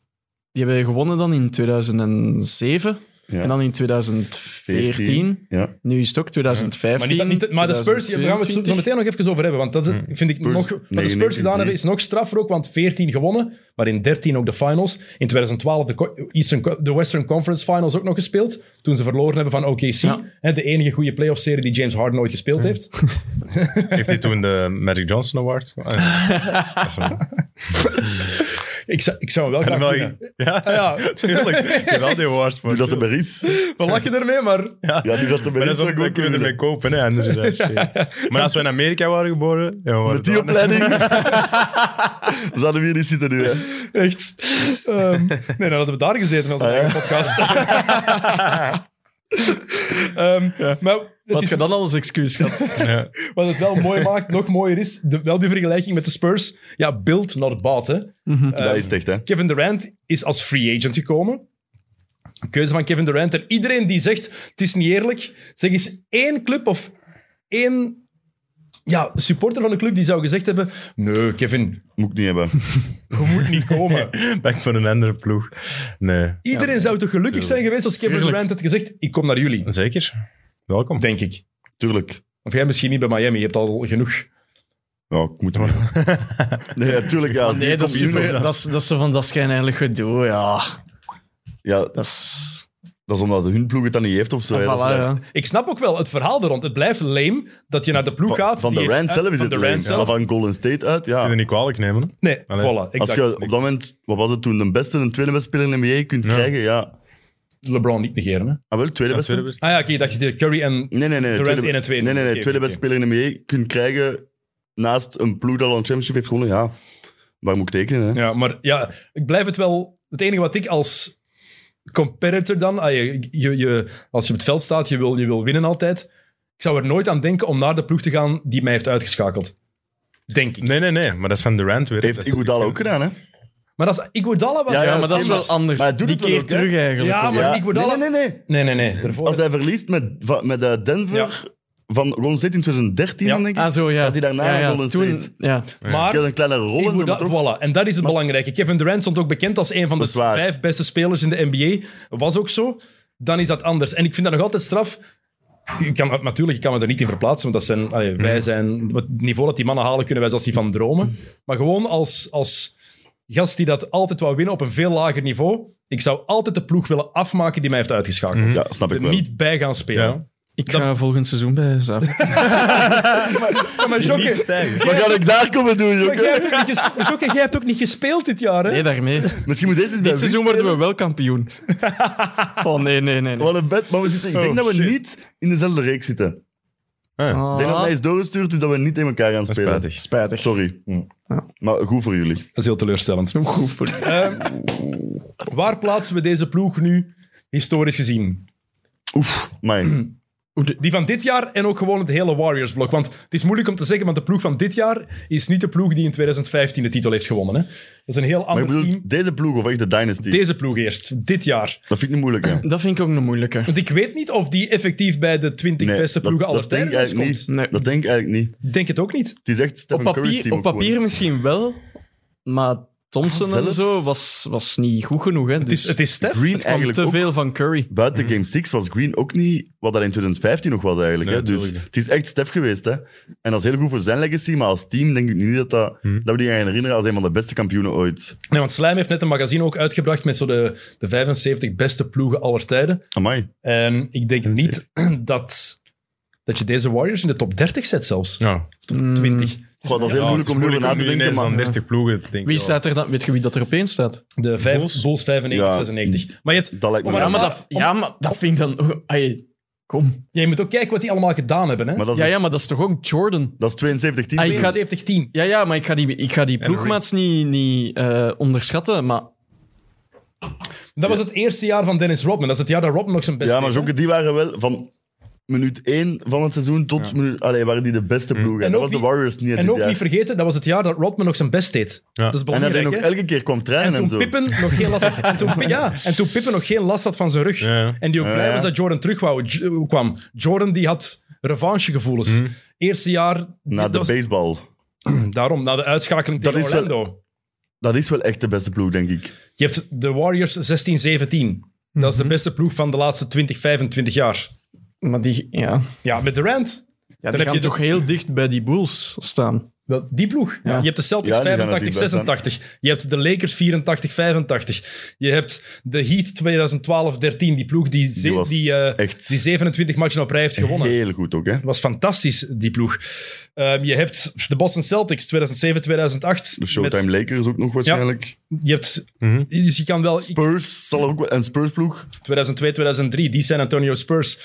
[SPEAKER 4] Die hebben gewonnen dan in 2007
[SPEAKER 3] Ja.
[SPEAKER 4] en dan in 2014.
[SPEAKER 3] Ja.
[SPEAKER 4] Nu is het ook 2015.
[SPEAKER 2] Maar, niet, niet, maar de Spurs, daar gaan we het zo- zo meteen nog even over hebben. Want dat is- vind ik nog, wat de Spurs
[SPEAKER 3] 19,
[SPEAKER 2] gedaan hebben is nog straffer ook. Want 14 gewonnen, maar in 13 ook de finals. In 2012 de, co- Eastern, Co- de Western Conference Finals ook nog gespeeld. Toen ze verloren hebben van OKC.
[SPEAKER 4] Ja.
[SPEAKER 2] Hè, de enige goede playoff-serie die James Harden ooit gespeeld heeft.
[SPEAKER 1] Heeft hij toen de Magic Johnson Award? Eh, dat is waar.
[SPEAKER 2] Ik zou, ik zou hem wel
[SPEAKER 1] En
[SPEAKER 2] graag
[SPEAKER 1] wel-
[SPEAKER 2] winnen.
[SPEAKER 1] Ja,
[SPEAKER 2] ja.
[SPEAKER 1] tuurlijk. Wel die awards,
[SPEAKER 3] Nu
[SPEAKER 1] maar
[SPEAKER 3] dat er is.
[SPEAKER 2] We lachen ermee, maar...
[SPEAKER 3] Ja, nu dat er
[SPEAKER 1] Maar
[SPEAKER 3] is,
[SPEAKER 1] dat is
[SPEAKER 3] zou
[SPEAKER 1] ook
[SPEAKER 3] ik
[SPEAKER 1] goed
[SPEAKER 3] ook
[SPEAKER 1] kunnen we
[SPEAKER 3] willen.
[SPEAKER 1] ermee kopen, hè? Anders is dat shit. Maar als we in Amerika waren geboren. Ja, we waren
[SPEAKER 3] Met die
[SPEAKER 1] dan-
[SPEAKER 3] opleiding. We zouden we hier niet zitten nu, hè.
[SPEAKER 2] Echt. Ehm, nee, dan hadden we daar gezeten als een
[SPEAKER 3] Ah, ja.
[SPEAKER 2] eigen podcast. Ehm, Maar het
[SPEAKER 4] Wat
[SPEAKER 2] is,
[SPEAKER 4] je dan al als excuus gehad?
[SPEAKER 1] Ja.
[SPEAKER 2] wat het wel mooi maakt, nog mooier is, de, wel die vergelijking met de Spurs. Ja, build, not bought. Hè.
[SPEAKER 3] dat is het echt, hè.
[SPEAKER 2] Kevin Durant is als free agent gekomen. Een Keuze van Kevin Durant. En iedereen die zegt, het is niet eerlijk, zeg eens één club of één ja, supporter van de club die zou gezegd hebben, nee, Kevin,
[SPEAKER 3] Moet ik niet hebben.
[SPEAKER 2] je moet niet komen.
[SPEAKER 1] Ben ik voor een andere ploeg? Nee.
[SPEAKER 2] Iedereen zou toch gelukkig zijn geweest als Kevin
[SPEAKER 1] Tuurlijk.
[SPEAKER 2] Durant had gezegd: Ik kom naar jullie.
[SPEAKER 1] Zeker. Welkom.
[SPEAKER 2] Denk ik.
[SPEAKER 3] Tuurlijk.
[SPEAKER 2] Of jij misschien niet bij Miami, je hebt al genoeg.
[SPEAKER 3] Ja, ik moet maar. Nee, natuurlijk, ja. als die
[SPEAKER 4] Nee, dat is,
[SPEAKER 3] komt,
[SPEAKER 4] super,
[SPEAKER 3] is dat-
[SPEAKER 4] dat, is, dat is zo van dat schijnheilig gedoe. Ja,
[SPEAKER 3] Ja,
[SPEAKER 4] dat is. Ah,
[SPEAKER 3] dat is omdat hun ploeg het dan niet heeft of zo. hè.
[SPEAKER 4] voilà,
[SPEAKER 3] Dat is waar.
[SPEAKER 4] ja.
[SPEAKER 2] Ik snap ook wel het verhaal er rond. Het blijft lame dat je naar de ploeg
[SPEAKER 3] Van,
[SPEAKER 2] gaat.
[SPEAKER 3] van
[SPEAKER 2] die
[SPEAKER 3] de
[SPEAKER 2] heeft-
[SPEAKER 3] Rand
[SPEAKER 2] eh,
[SPEAKER 3] zelf is
[SPEAKER 2] van
[SPEAKER 3] het
[SPEAKER 2] de
[SPEAKER 3] leuk.
[SPEAKER 2] Rand zelf.
[SPEAKER 3] Maar van Golden State uit, ja.
[SPEAKER 1] Je kunt niet kwalijk nemen. hè.
[SPEAKER 2] Nee,
[SPEAKER 1] Allee.
[SPEAKER 2] voilà.
[SPEAKER 3] Als
[SPEAKER 2] Exact.
[SPEAKER 3] je op dat moment, wat was het toen, de beste en tweede beste speler in de NBA kunt krijgen, ja.
[SPEAKER 2] LeBron niet negeren. Hè?
[SPEAKER 3] Ah, wel, tweede
[SPEAKER 1] Ja,
[SPEAKER 3] beste?
[SPEAKER 1] tweede best.
[SPEAKER 2] Ah ja, oké, dat je de Curry en.
[SPEAKER 3] Nee, nee, nee.
[SPEAKER 2] Durant
[SPEAKER 3] tweede-
[SPEAKER 2] één en twee.
[SPEAKER 3] Nee, nee, nee.
[SPEAKER 2] Oké,
[SPEAKER 3] tweede
[SPEAKER 2] oké,
[SPEAKER 3] beste speler in de NBA kunt krijgen naast een ploeg dat al een championship heeft gewonnen, ja. Waar moet ik tekenen, hè?
[SPEAKER 2] Ja, maar ja, ik blijf het wel. Het enige wat ik als competitor dan, ah, je, je, je- als je op het veld staat, je wil, je wil winnen altijd. Ik zou er nooit aan denken om naar de ploeg te gaan die mij heeft uitgeschakeld. Denk ik.
[SPEAKER 1] Nee, nee, nee. Maar dat is van Durant weer. Dat
[SPEAKER 3] Heeft
[SPEAKER 1] is-
[SPEAKER 3] Iguodala
[SPEAKER 1] ik
[SPEAKER 3] ook
[SPEAKER 1] vind-
[SPEAKER 3] gedaan, hè?
[SPEAKER 2] Maar als Iguodala was.
[SPEAKER 3] Ja,
[SPEAKER 4] ja, maar dat is wel
[SPEAKER 3] anders.
[SPEAKER 4] anders.
[SPEAKER 3] Maar hij doet
[SPEAKER 4] die
[SPEAKER 3] het wel
[SPEAKER 4] keer
[SPEAKER 3] ook, hè?
[SPEAKER 4] terug eigenlijk.
[SPEAKER 2] Ja,
[SPEAKER 4] ook.
[SPEAKER 2] maar Iguodala.
[SPEAKER 3] Nee, nee, nee. nee.
[SPEAKER 2] Nee, nee, nee. Daarvoor-
[SPEAKER 3] Als hij verliest met, van- met eh, Denver van Golden State in 2013,
[SPEAKER 2] Ja.
[SPEAKER 3] dan denk ik.
[SPEAKER 4] Ah, zo ja.
[SPEAKER 3] Gaat hij daarna
[SPEAKER 4] ja,
[SPEAKER 3] naar
[SPEAKER 4] ja,
[SPEAKER 3] Golden
[SPEAKER 4] toen,
[SPEAKER 3] State?
[SPEAKER 4] ja.
[SPEAKER 3] Ik
[SPEAKER 2] maar
[SPEAKER 3] had een kleine rol in, maar
[SPEAKER 2] Iguodala,
[SPEAKER 3] toch...
[SPEAKER 2] voilà. En dat is het belangrijke. Kevin Durant stond ook bekend als een van de
[SPEAKER 3] Dat is waar.
[SPEAKER 2] vijf beste spelers in de NBA. Was ook zo. Dan is dat anders. En ik vind dat nog altijd straf. Je kan, natuurlijk, je kan me er niet in verplaatsen, want dat zijn, allee, wij zijn... Het niveau dat die mannen halen, kunnen wij zelfs niet van dromen. Maar gewoon als, als gast die dat altijd wou winnen op een veel lager niveau. Ik zou altijd de ploeg willen afmaken die mij heeft uitgeschakeld.
[SPEAKER 3] Ja, snap ik
[SPEAKER 2] Er
[SPEAKER 3] wel.
[SPEAKER 2] niet bij gaan spelen.
[SPEAKER 1] Ja.
[SPEAKER 4] Ik ga volgend seizoen bij Zaven.
[SPEAKER 2] Ja, maar Jokke,
[SPEAKER 1] Niet stijgen.
[SPEAKER 3] Wat kan ik daar komen doen,
[SPEAKER 2] maar jij
[SPEAKER 3] Jokke?
[SPEAKER 2] hebt ook niet ges- Jokke, jij hebt ook niet gespeeld dit jaar, hè?
[SPEAKER 4] Nee, daarmee.
[SPEAKER 3] Misschien moet deze
[SPEAKER 4] Dit seizoen worden we wel kampioen. Oh, nee, nee, nee. nee.
[SPEAKER 3] Wat een bed, maar we zitten, ik denk
[SPEAKER 1] Oh,
[SPEAKER 3] dat we
[SPEAKER 1] shit.
[SPEAKER 3] niet in dezelfde reeks zitten.
[SPEAKER 1] Ah,
[SPEAKER 3] Ik denk dat
[SPEAKER 4] Ah.
[SPEAKER 3] hij is doorgestuurd, dus dat we niet in elkaar gaan
[SPEAKER 1] dat is
[SPEAKER 3] spelen.
[SPEAKER 1] spijtig.
[SPEAKER 4] Spijtig.
[SPEAKER 3] Sorry.
[SPEAKER 4] Ja.
[SPEAKER 3] Maar goed voor jullie.
[SPEAKER 2] Dat is heel teleurstellend.
[SPEAKER 4] Goed voor
[SPEAKER 2] Ehm, waar plaatsen we deze ploeg nu historisch gezien?
[SPEAKER 3] Oef, mijn.
[SPEAKER 2] Die van dit jaar en ook gewoon het hele Warriors-blok. Want het is moeilijk om te zeggen, want de ploeg van dit jaar is niet de ploeg die in 2015 de titel heeft gewonnen. Hè? Dat is een heel
[SPEAKER 3] Maar
[SPEAKER 2] ander
[SPEAKER 3] ik bedoel,
[SPEAKER 2] team.
[SPEAKER 3] deze ploeg of echt de Dynasty?
[SPEAKER 2] Deze ploeg eerst, dit jaar.
[SPEAKER 3] Dat vind ik niet moeilijk, hè.
[SPEAKER 4] Dat vind ik ook een moeilijke.
[SPEAKER 2] Want ik weet niet of die effectief bij de 20
[SPEAKER 3] Nee,
[SPEAKER 2] beste
[SPEAKER 3] dat-
[SPEAKER 2] ploegen
[SPEAKER 3] dat
[SPEAKER 2] aller
[SPEAKER 3] denk
[SPEAKER 2] tijden zelfs
[SPEAKER 3] ik eigenlijk
[SPEAKER 2] komt.
[SPEAKER 4] Nee.
[SPEAKER 3] Dat denk ik eigenlijk niet.
[SPEAKER 2] Ik Denk het ook niet.
[SPEAKER 3] Het is echt
[SPEAKER 4] Op
[SPEAKER 3] Stephen Curry's
[SPEAKER 4] papier,
[SPEAKER 3] team
[SPEAKER 4] op
[SPEAKER 3] ook gewoon.
[SPEAKER 4] papier misschien wel, maar Thompson
[SPEAKER 3] Ah,
[SPEAKER 4] en
[SPEAKER 3] zelfs?
[SPEAKER 4] zo was, was niet goed genoeg. Hè. Dus
[SPEAKER 2] Het is, het is Stef.
[SPEAKER 3] Green
[SPEAKER 4] kwam
[SPEAKER 3] eigenlijk
[SPEAKER 4] te
[SPEAKER 3] ook-
[SPEAKER 4] veel van Curry.
[SPEAKER 3] Buiten Game 6 was Green ook niet wat dat in 2015 nog was eigenlijk.
[SPEAKER 1] Nee,
[SPEAKER 3] hè? Dus
[SPEAKER 1] tuurlijk
[SPEAKER 3] het is echt Stef geweest. Hè? En dat is heel goed voor zijn legacy, maar als team denk ik niet dat, dat, dat we die gaan herinneren als een van de beste kampioenen ooit.
[SPEAKER 2] Nee, want Slijm heeft net een magazine ook uitgebracht met zo de, de 75 beste ploegen aller tijden.
[SPEAKER 3] Amai.
[SPEAKER 2] En Ehm, ik denk niet dat, dat je deze Warriors in de top 30 zet zelfs.
[SPEAKER 1] Ja.
[SPEAKER 2] Of
[SPEAKER 3] Hmm.
[SPEAKER 2] top 20.
[SPEAKER 3] Goh, dat is heel
[SPEAKER 1] Ja, het
[SPEAKER 3] moeilijk om nu over na te denken,
[SPEAKER 1] ineens
[SPEAKER 3] maar
[SPEAKER 1] aan 30 ploegen te denken.
[SPEAKER 4] Wie
[SPEAKER 1] ja.
[SPEAKER 4] staat er dan? Weet je wie dat er opeens staat?
[SPEAKER 2] De vijf, Bulls,
[SPEAKER 1] Bulls?
[SPEAKER 2] 95,
[SPEAKER 3] Ja.
[SPEAKER 2] 96. Maar je, hebt,
[SPEAKER 3] dat lijkt me...
[SPEAKER 2] Maar
[SPEAKER 4] Ja, maar
[SPEAKER 2] ja,
[SPEAKER 4] dat,
[SPEAKER 2] om-
[SPEAKER 4] ja, maar dat vind ik dan... oh, ai, kom.
[SPEAKER 2] ja, je moet ook kijken wat die allemaal gedaan hebben. Hè?
[SPEAKER 3] maar dat, is,
[SPEAKER 4] Ja, ja, maar dat is toch ook Jordan?
[SPEAKER 3] dat is 72 teams.
[SPEAKER 4] Ah, ik ga-
[SPEAKER 2] 70 10
[SPEAKER 4] Ja, ja, maar ik ga die, ik ga die ploegmaats niet, niet eh, onderschatten, maar...
[SPEAKER 2] Dat was het eerste jaar van Dennis Rodman. Dat is het jaar dat Rodman nog zijn best
[SPEAKER 3] Ja, maar
[SPEAKER 2] deed, hè?
[SPEAKER 3] Jokke, die waren wel van minuut 1 van het seizoen tot... Minuut, allee, waren die de beste ploegen.
[SPEAKER 2] En
[SPEAKER 3] En dat
[SPEAKER 2] ook
[SPEAKER 3] was de
[SPEAKER 2] niet-
[SPEAKER 3] Warriors niet dit
[SPEAKER 2] En ook
[SPEAKER 3] jaar.
[SPEAKER 2] niet vergeten, dat was het jaar dat Rodman nog zijn best deed.
[SPEAKER 1] Ja.
[SPEAKER 2] Dat is
[SPEAKER 3] en dat hij
[SPEAKER 2] belangrijk.
[SPEAKER 3] nog
[SPEAKER 2] hè?
[SPEAKER 3] elke keer kwam
[SPEAKER 2] En
[SPEAKER 3] trainen en,
[SPEAKER 2] toen,
[SPEAKER 3] zo.
[SPEAKER 2] Pippen nog geen last had, en, toen, Pi- ja, en toen Pippen nog geen last had van zijn rug.
[SPEAKER 1] Ja, ja.
[SPEAKER 2] En die ook blij
[SPEAKER 3] Ja.
[SPEAKER 2] was dat Jordan terug wou- J- kwam. Jordan die had revanchegevoelens. Eerste jaar...
[SPEAKER 3] Mhm. Na
[SPEAKER 2] dat
[SPEAKER 3] de
[SPEAKER 2] was-
[SPEAKER 3] baseball.
[SPEAKER 2] daarom, na de uitschakeling
[SPEAKER 3] Dat
[SPEAKER 2] tegen
[SPEAKER 3] is wel-
[SPEAKER 2] Orlando.
[SPEAKER 3] Dat is wel echt de beste ploeg, denk ik.
[SPEAKER 2] Je hebt de Warriors 16-17. Dat is de
[SPEAKER 3] Mhm.
[SPEAKER 2] beste ploeg van de laatste 20, 25 jaar.
[SPEAKER 4] Maar die, ja.
[SPEAKER 2] Ja, met Durant.
[SPEAKER 4] Ja,
[SPEAKER 2] Dan
[SPEAKER 4] die
[SPEAKER 2] heb
[SPEAKER 4] gaan
[SPEAKER 2] je
[SPEAKER 4] toch
[SPEAKER 2] toch
[SPEAKER 4] heel dicht bij die Bulls staan.
[SPEAKER 2] wel, die ploeg.
[SPEAKER 4] Ja.
[SPEAKER 2] Je hebt de Celtics
[SPEAKER 3] Ja, die gaan er
[SPEAKER 2] 85,
[SPEAKER 3] dichtbij staan.
[SPEAKER 2] 86. Je hebt de Lakers 84, 85. Je hebt de Heat 2012, 13. Die ploeg die, ze-
[SPEAKER 3] Die was
[SPEAKER 2] die, eh,
[SPEAKER 3] echt-
[SPEAKER 2] die 27 matchen op rij heeft gewonnen.
[SPEAKER 3] Heel goed ook, hè.
[SPEAKER 2] was fantastisch, die ploeg. Ehm, je hebt de Boston Celtics 2007, 2008.
[SPEAKER 3] De Showtime Mhm.
[SPEAKER 2] met-
[SPEAKER 3] Lakers ook nog waarschijnlijk.
[SPEAKER 2] je hebt, Dus je kan wel
[SPEAKER 3] Spurs zal er ook wel... En Spurs-ploeg.
[SPEAKER 2] 2002, 2003, die San Antonio Spurs.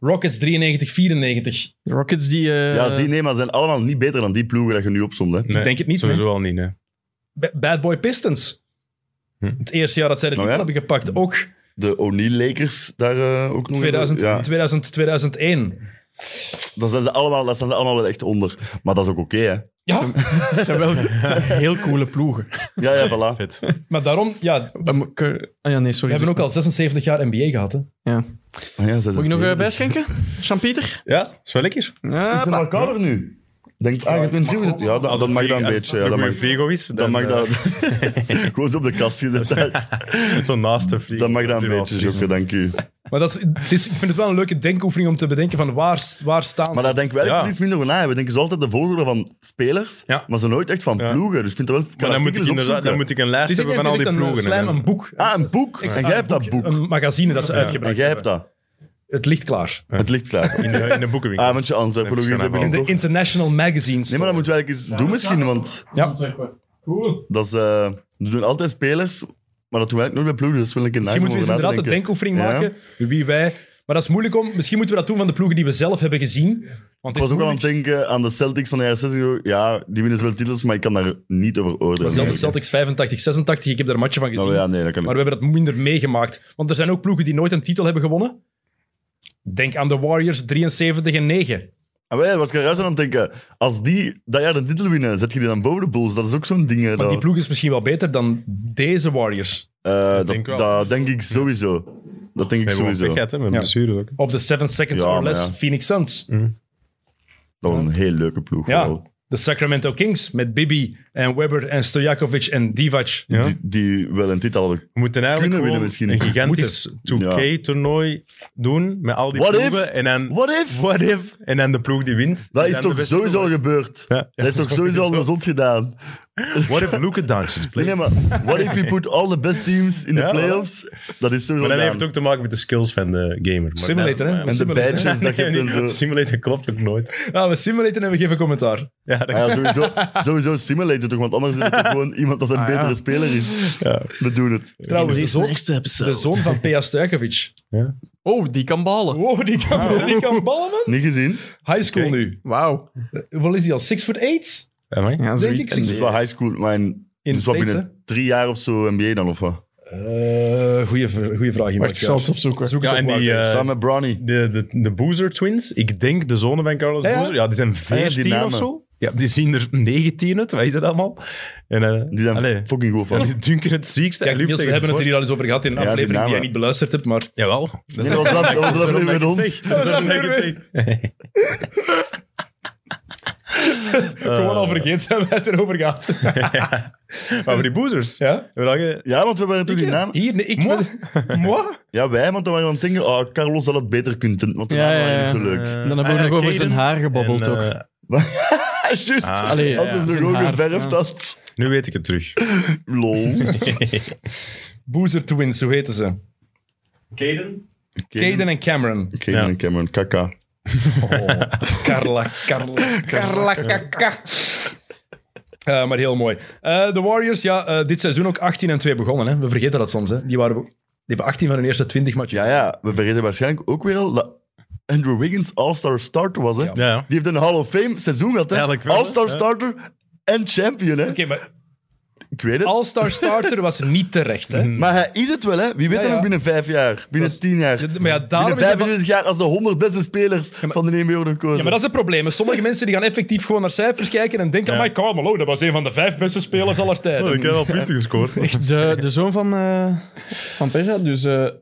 [SPEAKER 2] Rockets 93, 94.
[SPEAKER 4] De Rockets die... eh,
[SPEAKER 3] Ja, zie, nee, maar ze zijn allemaal niet beter dan die ploegen dat je nu opzomt, hè.
[SPEAKER 1] Nee,
[SPEAKER 2] denk het niet,
[SPEAKER 1] Sowieso al niet, nee.
[SPEAKER 2] Ba- Bad Boy Pistons. Het eerste jaar dat zij de
[SPEAKER 3] Nou
[SPEAKER 2] titel
[SPEAKER 3] ja.
[SPEAKER 2] hebben gepakt. Ook
[SPEAKER 3] De O'Neill-Lakers daar eh, ook nog...
[SPEAKER 2] 2000,
[SPEAKER 3] Ja,
[SPEAKER 2] 2000, 2001.
[SPEAKER 3] daar staan, ze allemaal, daar staan ze allemaal wel echt onder. Maar dat is ook oké, hè.
[SPEAKER 2] Ja,
[SPEAKER 4] dat zijn wel heel coole ploegen.
[SPEAKER 3] Ja, ja, voilà.
[SPEAKER 1] Vet.
[SPEAKER 2] maar daarom... Ja,
[SPEAKER 4] Ah,
[SPEAKER 2] we
[SPEAKER 4] maar Cur- ah ja, nee, sorry.
[SPEAKER 2] hebben ook al 76 jaar NBA gehad. Hè.
[SPEAKER 4] Ja.
[SPEAKER 3] Ah, ja, ze
[SPEAKER 4] Moet ik nog eh,
[SPEAKER 3] zijn-
[SPEAKER 4] bijschenken? Jean-Pieter?
[SPEAKER 1] Ja, is wel lekker.
[SPEAKER 3] Is het
[SPEAKER 4] Ja,
[SPEAKER 3] wel kouder nu? Denk, ah, je hebt een vrouw gezet. Ja, dan, dan mag dat een beetje. Ja,
[SPEAKER 1] Als
[SPEAKER 3] dan
[SPEAKER 1] het
[SPEAKER 3] mag,
[SPEAKER 1] een goede frigo is,
[SPEAKER 3] dan mag
[SPEAKER 1] eh,
[SPEAKER 3] dat... Gewoon zo op de kast gezet. daar.
[SPEAKER 1] Zo naast de frigo.
[SPEAKER 3] Dan mag dat
[SPEAKER 1] is
[SPEAKER 3] een
[SPEAKER 1] wel
[SPEAKER 3] beetje,
[SPEAKER 1] fris.
[SPEAKER 3] Jokke, dank u.
[SPEAKER 2] Maar dat is, het is, ik vind het wel een leuke denkoefening om te bedenken van waar, waar staan
[SPEAKER 3] Maar
[SPEAKER 2] ze.
[SPEAKER 3] daar denken wij
[SPEAKER 1] Ja.
[SPEAKER 3] eigenlijk precies minder over na. We denken zo altijd de volgorde van spelers,
[SPEAKER 2] Ja.
[SPEAKER 3] maar zo nooit echt van
[SPEAKER 1] Ja.
[SPEAKER 3] ploegen. Dus ik vind dat wel... ik ga
[SPEAKER 1] Maar dan moet, ik
[SPEAKER 3] artikels
[SPEAKER 1] inderdaad, dan
[SPEAKER 3] opzoeken.
[SPEAKER 1] moet ik een lijst
[SPEAKER 2] Dus
[SPEAKER 1] hebben
[SPEAKER 2] dit
[SPEAKER 1] van al die
[SPEAKER 2] een, een,
[SPEAKER 1] ploegen.
[SPEAKER 2] slam,
[SPEAKER 1] hè.
[SPEAKER 2] een boek.
[SPEAKER 3] Ah, een boek.
[SPEAKER 2] Extra
[SPEAKER 3] En jij hebt dat
[SPEAKER 2] boek,
[SPEAKER 3] boek.
[SPEAKER 2] Een magazine dat ze
[SPEAKER 3] En
[SPEAKER 2] uitgebracht
[SPEAKER 3] jij hebt
[SPEAKER 2] hebben.
[SPEAKER 3] dat. Oh,
[SPEAKER 2] Het ligt klaar.
[SPEAKER 3] Het ligt klaar.
[SPEAKER 1] In de, in de boekenwinkel.
[SPEAKER 3] Ah, want je antropologie
[SPEAKER 1] Even
[SPEAKER 3] hebben
[SPEAKER 2] In
[SPEAKER 1] gaan
[SPEAKER 2] de
[SPEAKER 3] gekocht.
[SPEAKER 2] International Magazines.
[SPEAKER 3] Nee, maar dat moeten we eigenlijk eens doen misschien, want
[SPEAKER 2] Ja.
[SPEAKER 3] dat is, eh, we doen altijd spelers, maar dat doen we eigenlijk nooit bij ploegen. Dus wil ik een
[SPEAKER 2] Misschien moeten we eens inderdaad een denkoefening
[SPEAKER 3] Ja.
[SPEAKER 2] maken. Wie wij... Maar dat is moeilijk om... Misschien moeten we dat doen van de ploegen die we zelf hebben gezien. Want
[SPEAKER 3] Ik
[SPEAKER 2] het is
[SPEAKER 3] was ook al aan
[SPEAKER 2] moeilijk.
[SPEAKER 3] het denken aan de Celtics van de jaren 60. Ja, die winnen zoveel titels, maar ik kan daar niet over oordelen.
[SPEAKER 2] Zelfs de Celtics 85, 86. Ik heb daar een matje van gezien.
[SPEAKER 3] Nou ja, nee, dat kan
[SPEAKER 2] Maar
[SPEAKER 3] niet.
[SPEAKER 2] we hebben dat minder meegemaakt. Want er zijn ook ploegen die nooit een titel hebben gewonnen. Denk aan de Warriors 73 en 9.
[SPEAKER 3] Ah, wel, wat ik eruit aan het denken, als die dat jaar de titel winnen, zet je die dan boven de Bulls? Dat is ook zo'n ding. hè,
[SPEAKER 2] Maar
[SPEAKER 3] dat,
[SPEAKER 2] die ploeg is misschien wel beter dan deze Warriors.
[SPEAKER 3] Eh, dat,
[SPEAKER 1] denk ik wel. dus, eh,
[SPEAKER 3] dat denk ik sowieso. Dat denk ik
[SPEAKER 1] We hebben gewoon
[SPEAKER 3] sowieso.
[SPEAKER 1] pech gehad, hè, met blessures ook.
[SPEAKER 2] Of de 7 Seconds
[SPEAKER 3] Ja,
[SPEAKER 2] or
[SPEAKER 3] maar
[SPEAKER 2] Less
[SPEAKER 3] ja.
[SPEAKER 2] Phoenix Suns.
[SPEAKER 3] Dat was een heel leuke ploeg.
[SPEAKER 2] Ja,
[SPEAKER 3] vooral.
[SPEAKER 2] de Sacramento Kings met Bibi en Webber en Stojakovic en Divac.
[SPEAKER 1] Ja.
[SPEAKER 3] Die, die wel een titel hadden.
[SPEAKER 1] We moeten eigenlijk
[SPEAKER 3] Kunnen
[SPEAKER 1] gewoon
[SPEAKER 3] winnen misschien.
[SPEAKER 1] een gigantisch
[SPEAKER 3] Moeten.
[SPEAKER 1] 2K-toernooi doen met al die
[SPEAKER 3] What
[SPEAKER 1] ploegen.
[SPEAKER 3] if?
[SPEAKER 1] En dan,
[SPEAKER 3] What if?
[SPEAKER 1] what if? En dan de ploeg die wint.
[SPEAKER 3] Dat
[SPEAKER 1] die
[SPEAKER 3] is
[SPEAKER 1] dan de
[SPEAKER 3] toch
[SPEAKER 1] beste
[SPEAKER 3] sowieso al
[SPEAKER 1] ploeg-
[SPEAKER 3] gebeurd?
[SPEAKER 1] Ja,
[SPEAKER 3] dat heeft toch sowieso al een zot gedaan?
[SPEAKER 1] What if Luka Doncic
[SPEAKER 3] Nee,
[SPEAKER 1] plays?
[SPEAKER 3] nee, maar what if you put all the best teams in
[SPEAKER 1] Ja,
[SPEAKER 3] the playoffs? Dat is zo
[SPEAKER 1] Maar dat
[SPEAKER 3] gedaan.
[SPEAKER 1] heeft het ook te maken met de skills van de gamer. Maar
[SPEAKER 2] Simulator,
[SPEAKER 1] dat-
[SPEAKER 2] hè?
[SPEAKER 1] maar-
[SPEAKER 3] En de
[SPEAKER 2] Simulator.
[SPEAKER 3] badges, dat
[SPEAKER 1] Nee,
[SPEAKER 3] je
[SPEAKER 1] nee,
[SPEAKER 3] dan zo...
[SPEAKER 1] Simulator klopt ook nooit.
[SPEAKER 2] Nou, we simulaten en we geven commentaar.
[SPEAKER 1] Ja, dat-
[SPEAKER 3] Ah ja, sowieso, sowieso simulator toch, want anders is het toch gewoon iemand dat een
[SPEAKER 2] Ah, ja.
[SPEAKER 3] betere speler is.
[SPEAKER 1] Ja.
[SPEAKER 3] We doen het.
[SPEAKER 2] Trouwens, de zoon,
[SPEAKER 5] episode.
[SPEAKER 2] de zoon van Pea Stojkovic.
[SPEAKER 4] Oh, die kan balen.
[SPEAKER 2] Wow, die kan, die kan ballen, man.
[SPEAKER 3] Niet gezien?
[SPEAKER 2] High school nu.
[SPEAKER 4] Wauw.
[SPEAKER 2] Wat is hij al? 6 foot 8?
[SPEAKER 1] Amai.
[SPEAKER 4] Ja, zoiets.
[SPEAKER 2] ik,
[SPEAKER 4] En
[SPEAKER 2] six-
[SPEAKER 3] Dat is wel high school, maar in,
[SPEAKER 2] In
[SPEAKER 3] dus wat
[SPEAKER 2] States,
[SPEAKER 3] binnen drie jaar of zo NBA dan, of wat?
[SPEAKER 2] Eh goeie, v- goeie vraag,
[SPEAKER 4] Wacht, ik zal het opzoeken.
[SPEAKER 2] Zoek
[SPEAKER 1] Ja,
[SPEAKER 2] het
[SPEAKER 1] en
[SPEAKER 2] op,
[SPEAKER 1] die,
[SPEAKER 2] Wouter.
[SPEAKER 1] eh,
[SPEAKER 3] Samen met Bronny.
[SPEAKER 1] De, de, de Boozer Twins, ik denk de zonen van Carlos
[SPEAKER 2] Ja, ja.
[SPEAKER 1] Boozer, ja, die zijn
[SPEAKER 3] die
[SPEAKER 1] 14 of
[SPEAKER 3] namen.
[SPEAKER 1] zo. Ja, die zien er 19 uit, weet je dat allemaal? En, eh,
[SPEAKER 3] Die zijn
[SPEAKER 1] allee,
[SPEAKER 3] fucking goed
[SPEAKER 1] ja,
[SPEAKER 3] van.
[SPEAKER 1] die dunken het ziekste.
[SPEAKER 2] Kijk,
[SPEAKER 1] en Luke
[SPEAKER 2] Niels, we
[SPEAKER 1] zegt
[SPEAKER 2] hebben het er
[SPEAKER 1] voor-
[SPEAKER 2] hier al eens over gehad in een
[SPEAKER 3] Ja, die
[SPEAKER 2] aflevering die
[SPEAKER 3] namen.
[SPEAKER 2] jij niet beluisterd hebt, maar...
[SPEAKER 1] Jawel.
[SPEAKER 3] Nee, dat was dat, dat was dat
[SPEAKER 1] Daarom
[SPEAKER 3] met
[SPEAKER 1] dat ik het
[SPEAKER 3] ons.
[SPEAKER 1] zeg. Dat is daarom dat ik het
[SPEAKER 2] Gewoon al vergeten hebben we het erover gehad.
[SPEAKER 1] zeg. Maar voor die boozers.
[SPEAKER 2] ja?
[SPEAKER 1] hebben we dat ge-
[SPEAKER 3] Ja, want we waren toen die naam.
[SPEAKER 2] Hier, nee, ik...
[SPEAKER 1] Moi.
[SPEAKER 2] Moi?
[SPEAKER 3] Ja, wij, want dan waren we aan het denken, oh, Carlos zal het beter kunnen, doen, want de
[SPEAKER 4] Ja,
[SPEAKER 3] naam waren
[SPEAKER 4] ja,
[SPEAKER 3] niet
[SPEAKER 4] ja.
[SPEAKER 3] zo leuk.
[SPEAKER 1] Eh,
[SPEAKER 4] Dan hebben we
[SPEAKER 1] ah, ja,
[SPEAKER 4] nog over zijn
[SPEAKER 1] Caden.
[SPEAKER 4] haar gebabbeld
[SPEAKER 1] En,
[SPEAKER 4] ook.
[SPEAKER 1] eh,
[SPEAKER 3] Ah, Juist,
[SPEAKER 1] Ah,
[SPEAKER 4] Allee, ja,
[SPEAKER 3] als
[SPEAKER 4] ja,
[SPEAKER 3] we ze
[SPEAKER 4] zijn
[SPEAKER 3] gewoon
[SPEAKER 4] haar,
[SPEAKER 3] geverfd
[SPEAKER 4] ja.
[SPEAKER 3] had.
[SPEAKER 1] nu weet ik het terug.
[SPEAKER 3] Lol.
[SPEAKER 2] Boozer Twins, hoe heten ze?
[SPEAKER 1] Caden?
[SPEAKER 2] Caden en Cameron. Oh.
[SPEAKER 3] Caden en Cameron, kaka. Oh.
[SPEAKER 2] Carla, Carla, Carla, kaka. Eh, maar heel mooi. Eh, de Warriors, ja, eh, dit seizoen ook 18 en 2 begonnen. Hè. We vergeten dat soms. Hè. Die, waren, die hebben 18 van hun eerste 20 matchen.
[SPEAKER 3] Ja, ja, we vergeten waarschijnlijk ook weer al dat Andrew Wiggins All-Star starter was, hè.
[SPEAKER 1] Ja, ja.
[SPEAKER 3] Die heeft een Hall of Fame seizoen gehad, hè.
[SPEAKER 1] Eigenlijk wel, hè.
[SPEAKER 3] All-Star
[SPEAKER 1] Ja.
[SPEAKER 3] starter en champion, hè.
[SPEAKER 2] Oké, maar
[SPEAKER 3] Ik weet het.
[SPEAKER 2] All-Star starter was niet terecht. Hè.
[SPEAKER 3] Maar hij is het wel, hè? Wie weet
[SPEAKER 2] Ja,
[SPEAKER 3] dat
[SPEAKER 2] ja.
[SPEAKER 3] nog binnen vijf jaar, binnen tien jaar.
[SPEAKER 2] Ja, maar ja, daarom
[SPEAKER 3] binnen
[SPEAKER 2] is het
[SPEAKER 3] 25 jaar als de 100 beste spelers van de NBA worden gekozen.
[SPEAKER 2] Ja, maar dat is het probleem. hè. Sommige mensen die gaan effectief gewoon naar cijfers kijken en denken: "Oh
[SPEAKER 1] Ja.
[SPEAKER 2] "Amai, Karl Malone, dat was een van de vijf beste spelers aller tijden.
[SPEAKER 1] Oh, ik heb al punten gescoord.
[SPEAKER 4] De, de zoon van, eh van Peja, dus eh, eh,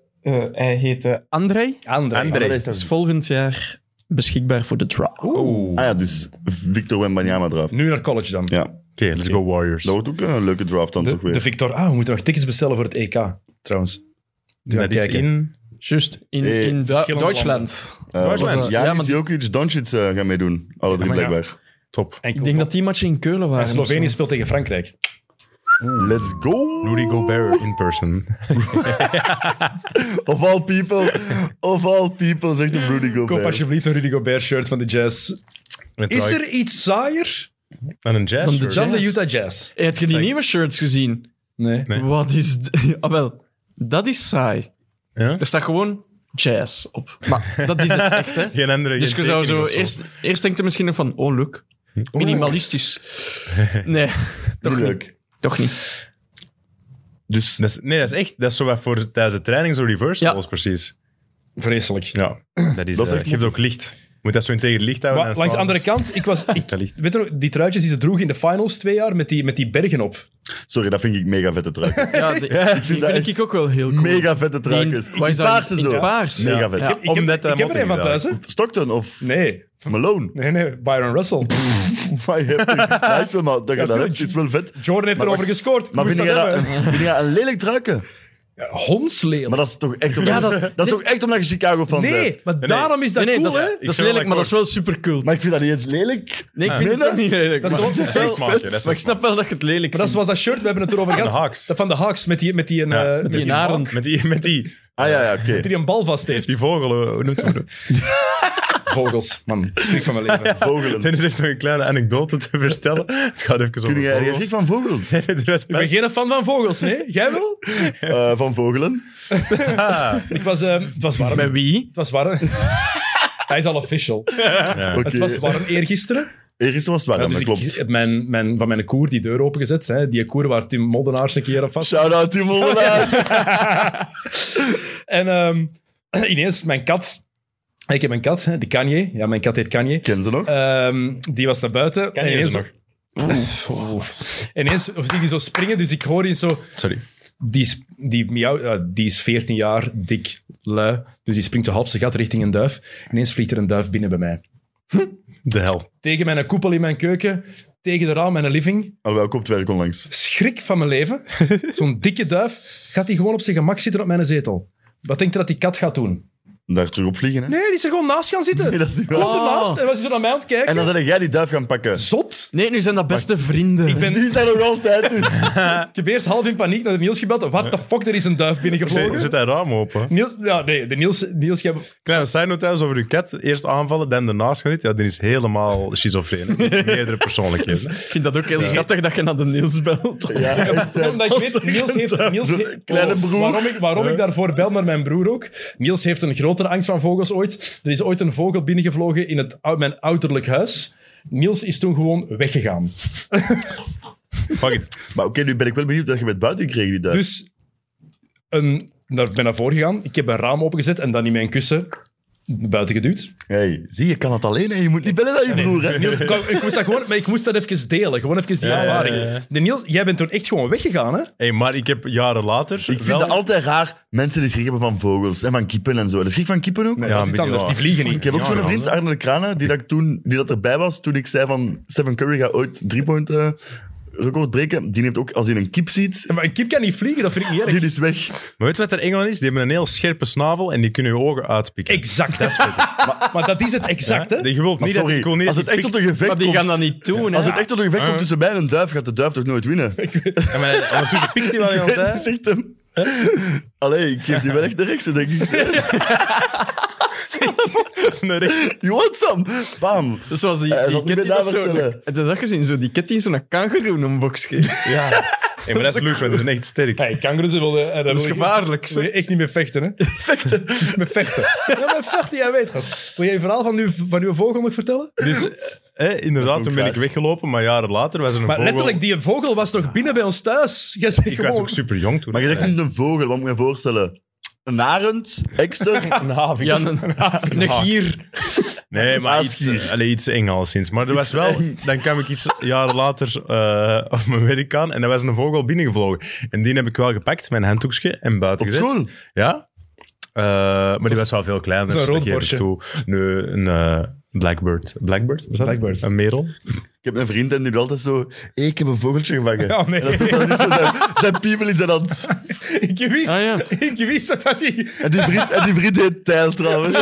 [SPEAKER 4] hij heet eh, André.
[SPEAKER 2] André.
[SPEAKER 3] Maar
[SPEAKER 1] André.
[SPEAKER 3] dat is
[SPEAKER 4] Is
[SPEAKER 3] toch-
[SPEAKER 4] volgend jaar beschikbaar voor de draw.
[SPEAKER 1] Oeh.
[SPEAKER 3] Ah ja, dus Victor Wembanyama draft.
[SPEAKER 2] Nu naar college dan.
[SPEAKER 3] Ja,
[SPEAKER 1] Oké, let's go Warriors.
[SPEAKER 3] dat wordt ook een leuke draft dan toch
[SPEAKER 2] De,
[SPEAKER 3] weer.
[SPEAKER 2] de Victor, ah, we moeten nog tickets bestellen voor het EK, trouwens. Die gaan
[SPEAKER 1] Dat is
[SPEAKER 2] kijken.
[SPEAKER 1] in...
[SPEAKER 4] Juist, in,
[SPEAKER 3] Eh,
[SPEAKER 4] in Du-
[SPEAKER 2] verschillende
[SPEAKER 4] Duitsland.
[SPEAKER 3] Eh, was
[SPEAKER 4] Duitsland.
[SPEAKER 3] het
[SPEAKER 4] Ja,
[SPEAKER 3] Janis,
[SPEAKER 4] maar-
[SPEAKER 3] Jokic, Doncic eh, gaan meedoen. Alle drie
[SPEAKER 2] maar ja.
[SPEAKER 3] blijkbaar.
[SPEAKER 1] Top.
[SPEAKER 2] Enkel
[SPEAKER 4] Ik denk dat die matchen in Keulen waren.
[SPEAKER 2] En Slovenië
[SPEAKER 4] of zo.
[SPEAKER 2] speelt tegen Frankrijk.
[SPEAKER 3] Let's go!
[SPEAKER 1] Rudy Gobert in person.
[SPEAKER 3] Of all people. of all people, zegt de Rudy Gobert.
[SPEAKER 2] Koop alsjeblieft een Rudy Gobert shirt van de Jazz. Is er iets saaier
[SPEAKER 1] Dan een jazz
[SPEAKER 4] Dan de
[SPEAKER 1] shirt.
[SPEAKER 2] dan de
[SPEAKER 4] Jazz?
[SPEAKER 2] Utah Jazz?
[SPEAKER 4] Eh, Heb je die nieuwe shirts gezien?
[SPEAKER 2] Nee.
[SPEAKER 1] Nee.
[SPEAKER 4] Wat is... d- Ah, wel. Dat is saai.
[SPEAKER 1] Ja?
[SPEAKER 4] Er staat gewoon jazz op. Maar dat is het echt, hè.
[SPEAKER 1] Geen andere.
[SPEAKER 4] Dus
[SPEAKER 1] geen
[SPEAKER 4] je zou
[SPEAKER 1] tekening
[SPEAKER 4] zo...
[SPEAKER 1] of
[SPEAKER 4] Eerst, eerst denkt hij misschien nog van... Oh, leuk. Minimalistisch. Nee, toch niet.
[SPEAKER 3] Leuk.
[SPEAKER 4] Toch niet.
[SPEAKER 3] Dus
[SPEAKER 1] Dat is- nee, dat is echt. Dat is zo wat voor tijdens de training, zo reverse
[SPEAKER 4] Ja.
[SPEAKER 1] calls precies.
[SPEAKER 2] Vreselijk.
[SPEAKER 1] Ja, dat, is,
[SPEAKER 3] Dat is
[SPEAKER 1] eh,
[SPEAKER 3] echt
[SPEAKER 1] geeft ook licht. Moet dat zo in tegen het licht houden.
[SPEAKER 2] Maar
[SPEAKER 1] en
[SPEAKER 2] langs de
[SPEAKER 1] s'avonds-
[SPEAKER 2] andere kant, ik was... Ik,
[SPEAKER 1] Dat licht.
[SPEAKER 2] weet je nog, die truitjes die ze droeg in de finals twee jaar met die, met die bergen op.
[SPEAKER 3] Sorry, dat vind ik mega vette truikjes.
[SPEAKER 4] Ja, de- die vind
[SPEAKER 3] dat
[SPEAKER 4] ik ook wel heel cool.
[SPEAKER 3] mega vette
[SPEAKER 4] Die in-
[SPEAKER 3] truikjes.
[SPEAKER 4] wat is dat?
[SPEAKER 3] Paarse
[SPEAKER 4] In het
[SPEAKER 3] zo.
[SPEAKER 4] paars.
[SPEAKER 3] Mega
[SPEAKER 4] Ja.
[SPEAKER 3] vet.
[SPEAKER 4] Ja.
[SPEAKER 2] Ik
[SPEAKER 1] Omdat
[SPEAKER 2] heb,
[SPEAKER 1] dat
[SPEAKER 2] ik heb er een
[SPEAKER 1] motto
[SPEAKER 2] van
[SPEAKER 1] is
[SPEAKER 2] thuis, hè?
[SPEAKER 3] Stockton of
[SPEAKER 2] Nee.
[SPEAKER 3] Malone.
[SPEAKER 2] Nee, nee. Byron Russell.
[SPEAKER 3] Maar je hebt- dat is wel, maar, dat je dat hebt,
[SPEAKER 2] tuurlijk.
[SPEAKER 3] is wel vet.
[SPEAKER 2] Jordan heeft erover gescoord.
[SPEAKER 3] Maar
[SPEAKER 2] Moest
[SPEAKER 3] vind jij
[SPEAKER 2] dat
[SPEAKER 3] dat,
[SPEAKER 2] hebben.
[SPEAKER 3] vind jij dat een lelijk truiken?
[SPEAKER 2] Ja, Hondsleeuw.
[SPEAKER 3] Maar dat is toch echt omdat,
[SPEAKER 4] Ja, dat is-
[SPEAKER 3] dat is toch echt omdat je Chicago fan bent?
[SPEAKER 2] Nee, maar daarom is dat
[SPEAKER 4] nee, nee,
[SPEAKER 2] cool,
[SPEAKER 4] dat
[SPEAKER 2] hè?
[SPEAKER 4] is, dat is
[SPEAKER 1] vind
[SPEAKER 4] lelijk,
[SPEAKER 1] dat
[SPEAKER 4] maar dat is wel super
[SPEAKER 3] Maar ik vind dat niet eens lelijk.
[SPEAKER 4] Nee, ik vind
[SPEAKER 3] Ah.
[SPEAKER 4] het ook niet lelijk.
[SPEAKER 2] Dat is
[SPEAKER 4] maar-
[SPEAKER 2] wel- dat is
[SPEAKER 1] Dat
[SPEAKER 2] wel
[SPEAKER 1] is smaakje, dat is
[SPEAKER 4] maar ik snap wel dat je het lelijk
[SPEAKER 2] Maar dat is was
[SPEAKER 4] vindt.
[SPEAKER 2] dat shirt, we hebben het erover
[SPEAKER 1] de
[SPEAKER 2] gehad.
[SPEAKER 1] Hawks.
[SPEAKER 2] Dat van de Hawks, met die, met die, een,
[SPEAKER 1] Ja,
[SPEAKER 2] eh,
[SPEAKER 1] met
[SPEAKER 2] met
[SPEAKER 4] die
[SPEAKER 2] die,
[SPEAKER 4] narend.
[SPEAKER 2] balk,
[SPEAKER 1] Met die, met die,
[SPEAKER 3] Ah ja, ja oké.
[SPEAKER 2] die een bal vast heeft.
[SPEAKER 1] die vogel, eh, hoe noemt ze dat?
[SPEAKER 2] Vogels, man. Schrik van mijn leven.
[SPEAKER 3] Vogelen.
[SPEAKER 1] Dennis heeft nog een kleine anekdote te vertellen. Het gaat even
[SPEAKER 3] Kun
[SPEAKER 1] over
[SPEAKER 3] jij ergens
[SPEAKER 1] vogels.
[SPEAKER 3] gek van vogels?
[SPEAKER 1] De rest
[SPEAKER 2] Ik ben
[SPEAKER 1] pas.
[SPEAKER 2] geen fan van vogels, nee. Jij wel?
[SPEAKER 3] Eh, van vogelen?
[SPEAKER 2] Ik was... eh, het was warm.
[SPEAKER 4] Met wie?
[SPEAKER 2] Het was warm. Hij is al official.
[SPEAKER 1] Ja.
[SPEAKER 3] Oké.
[SPEAKER 2] Het was warm eergisteren.
[SPEAKER 3] Eergisteren was het warm,
[SPEAKER 2] dus
[SPEAKER 3] dat
[SPEAKER 2] ik
[SPEAKER 3] klopt.
[SPEAKER 2] heb mijn, mijn, van mijn koer die deur opengezet. Hè. Die koer waar Tim Moddenaars een keer op vast.
[SPEAKER 3] Shout-out Tim Mollenaars.
[SPEAKER 2] En ehm, ineens mijn kat... Ik heb een kat, hè, die Kanye. Ja, mijn kat heet Kanye.
[SPEAKER 3] Ken ze
[SPEAKER 1] Eh.
[SPEAKER 3] nog?
[SPEAKER 2] Ehm, die was naar buiten.
[SPEAKER 1] Kanye
[SPEAKER 2] en
[SPEAKER 1] is
[SPEAKER 2] ineens,
[SPEAKER 1] er nog.
[SPEAKER 2] En ineens of zie ik die zo springen, dus ik hoor die zo...
[SPEAKER 1] Sorry.
[SPEAKER 2] Die is, die, miauw, eh, die is 14 jaar, dik, lui. Dus die springt zo half zijn gat richting een duif. Ineens vliegt er een duif binnen bij mij.
[SPEAKER 1] De hel.
[SPEAKER 2] Tegen mijn koepel in mijn keuken, tegen de raam mijn living.
[SPEAKER 3] Alhoewel, komt het werk onlangs.
[SPEAKER 2] Schrik van mijn leven. Zo'n dikke duif. Gaat die gewoon op zijn gemak zitten op mijn zetel. Wat denkt je dat die kat gaat doen?
[SPEAKER 3] daar terug op vliegen. Hè?
[SPEAKER 2] Nee, die is er gewoon naast gaan zitten.
[SPEAKER 3] Nee, dat is niet waar.
[SPEAKER 2] Gewoon ernaast. En was hij er naar mij aan het kijken?
[SPEAKER 3] Oh. En dan ben jij die duif gaan pakken.
[SPEAKER 2] Zot.
[SPEAKER 4] Nee, nu zijn dat beste vrienden.
[SPEAKER 2] Ik ben
[SPEAKER 3] Die zijn nog altijd dus.
[SPEAKER 2] Ik heb eerst half in paniek naar de Niels gebeld. What the fuck, er is een duif binnengevlogen.
[SPEAKER 1] Zit, zit dat raam open?
[SPEAKER 2] Niels, ja, nee, de Niels, Niels, jij-
[SPEAKER 1] Kleine side note trouwens over uw cat. Eerst aanvallen, dan daarnaast gaan zitten. Ja, die is helemaal schizofreen. Meerdere persoonlijkheden.
[SPEAKER 4] Ik vind dat ook heel schattig dat je naar de Niels belt.
[SPEAKER 3] Ja, echt, hè.
[SPEAKER 2] omdat ik weet, Niels heeft... Niels heeft-
[SPEAKER 3] Kleine broer.
[SPEAKER 2] Waarom ik, waarom ik daarvoor bel, maar mijn broer ook. Niels heeft een grotere angst van vogels ooit. Er is ooit een vogel binnengevlogen in het, ou- mijn ouderlijk huis. Niels is toen gewoon weggegaan.
[SPEAKER 1] Fuck it.
[SPEAKER 3] Maar oké, nu ben ik wel benieuwd dat je met buiten kreeg, die duif.
[SPEAKER 2] Dus een, daar ben naar voren gegaan. Ik heb een raam opengezet en dan in mijn kussen buiten geduwd.
[SPEAKER 3] Hey, zie, je kan het alleen en je moet niet bellen aan je broer. Hè?
[SPEAKER 2] Niels, ik, wou- ik moest dat gewoon, maar ik moest dat even delen. Gewoon even die
[SPEAKER 1] Ja, ja,
[SPEAKER 2] ervaring.
[SPEAKER 1] ja, ja.
[SPEAKER 2] De Niels, jij bent toen echt gewoon weggegaan, hè?
[SPEAKER 1] Hey, maar ik heb jaren later...
[SPEAKER 3] Ik vind dat altijd raar, mensen die schrik hebben van vogels en van kippen en zo. De schrik van kippen ook?
[SPEAKER 2] Nee,
[SPEAKER 1] Ja,
[SPEAKER 2] dat is
[SPEAKER 1] een
[SPEAKER 2] iets
[SPEAKER 1] beetje
[SPEAKER 2] anders.
[SPEAKER 1] wel.
[SPEAKER 2] Die vliegen
[SPEAKER 3] Ik
[SPEAKER 2] niet.
[SPEAKER 3] heb ook
[SPEAKER 1] Ja,
[SPEAKER 3] zo'n
[SPEAKER 1] ja,
[SPEAKER 3] vriend,
[SPEAKER 1] hè.
[SPEAKER 3] Arne de Kranen, die dat, ik toen, die dat erbij was toen ik zei van Stephen Curry gaat ooit drie point eh, record breken. Die heeft ook, als hij een kip ziet,
[SPEAKER 2] Maar een kip kan niet vliegen, dat vind ik niet erg.
[SPEAKER 3] die is weg.
[SPEAKER 1] Maar weet je wat er Engeland is? Die hebben een heel scherpe snavel en die kunnen je ogen uitpikken.
[SPEAKER 2] Exact. Dat maar, maar dat is het exact, hè?
[SPEAKER 1] Ja? Je wilt
[SPEAKER 3] Maar
[SPEAKER 1] niet dat,
[SPEAKER 3] sorry,
[SPEAKER 1] ik wil niet
[SPEAKER 3] als
[SPEAKER 1] dat
[SPEAKER 3] het
[SPEAKER 1] die
[SPEAKER 3] echt tot
[SPEAKER 1] pikt.
[SPEAKER 3] een gevecht
[SPEAKER 4] Maar die
[SPEAKER 3] komt,
[SPEAKER 4] gaan dat niet doen.
[SPEAKER 3] als
[SPEAKER 4] hè.
[SPEAKER 3] het echt tot een gevecht komt tussen mij en een duif, gaat de duif toch nooit winnen?
[SPEAKER 1] Ja, maar Anders pikt hij wel
[SPEAKER 3] Ik
[SPEAKER 1] iemand,
[SPEAKER 3] weet
[SPEAKER 1] hè?
[SPEAKER 3] niet, zegt hem. Allee, ik geef die wel echt de rechtse, denk ik.
[SPEAKER 1] Dat is een recht.
[SPEAKER 3] You want some? Bam.
[SPEAKER 4] Dus zoals die,
[SPEAKER 3] Hij
[SPEAKER 4] die
[SPEAKER 3] zal
[SPEAKER 4] cat
[SPEAKER 3] niet
[SPEAKER 4] die
[SPEAKER 3] meer
[SPEAKER 4] dat zo...
[SPEAKER 3] navertellen.
[SPEAKER 4] Heb je dat gezien? Zo, die cat die zo'n kangeroen een box geeft.
[SPEAKER 1] Ja. Hey, maar dat is leuk, want die zijn echt sterk.
[SPEAKER 2] Hey, kangaroes willen... eh, daar
[SPEAKER 4] Dat is
[SPEAKER 2] wil je-
[SPEAKER 4] gevaarlijk.
[SPEAKER 2] wil
[SPEAKER 4] zo.
[SPEAKER 2] je echt niet meer vechten, hè?
[SPEAKER 3] Vechten.
[SPEAKER 2] Met vechten. Ja, met vechten, jij weet, gast. Wil je een verhaal van uw, van uw vogel nog vertellen?
[SPEAKER 1] Dus eh, inderdaad, toen ben ik weggelopen, maar jaren later was er een
[SPEAKER 2] Maar
[SPEAKER 1] vogel...
[SPEAKER 2] letterlijk, die vogel was toch binnen bij ons thuis? Jij zegt
[SPEAKER 1] Ik was
[SPEAKER 2] gewoon...
[SPEAKER 1] ook super jong toen.
[SPEAKER 3] Maar je zegt niet een vogel, wat moet je me voorstellen? Een arend, ekster,
[SPEAKER 1] een haven.
[SPEAKER 4] Ja, een,
[SPEAKER 2] "Ah,
[SPEAKER 4] een gier.
[SPEAKER 1] Nee, maar
[SPEAKER 3] Als
[SPEAKER 1] iets,
[SPEAKER 3] hier.
[SPEAKER 1] eh, allee, iets eng alleszins. Maar er was wel, dan kwam ik iets jaren later eh, op mijn werk aan en er was een vogel binnengevlogen. En die heb ik wel gepakt, mijn handdoekje, en buiten
[SPEAKER 3] Op
[SPEAKER 1] gezet.
[SPEAKER 3] school?
[SPEAKER 1] Ja. Eh, maar die was wel veel kleiner.
[SPEAKER 2] Zo'n rood
[SPEAKER 1] dat geef ik
[SPEAKER 2] borstje.
[SPEAKER 1] toe. Nee, een eh, blackbird. Blackbird? was dat?
[SPEAKER 2] Blackbird.
[SPEAKER 1] Een merel.
[SPEAKER 3] Ik heb een vriend en die doet altijd zo... "Hey, ik heb een vogeltje gevangen.
[SPEAKER 2] Ja, nee.
[SPEAKER 3] En dat doet dan niet zo zijn, zijn piemel in zijn hand.
[SPEAKER 2] Ik wist,
[SPEAKER 4] Ah, ja.
[SPEAKER 2] ik wist dat dat die...
[SPEAKER 3] En die vriend, en die vriend heet Tijl trouwens.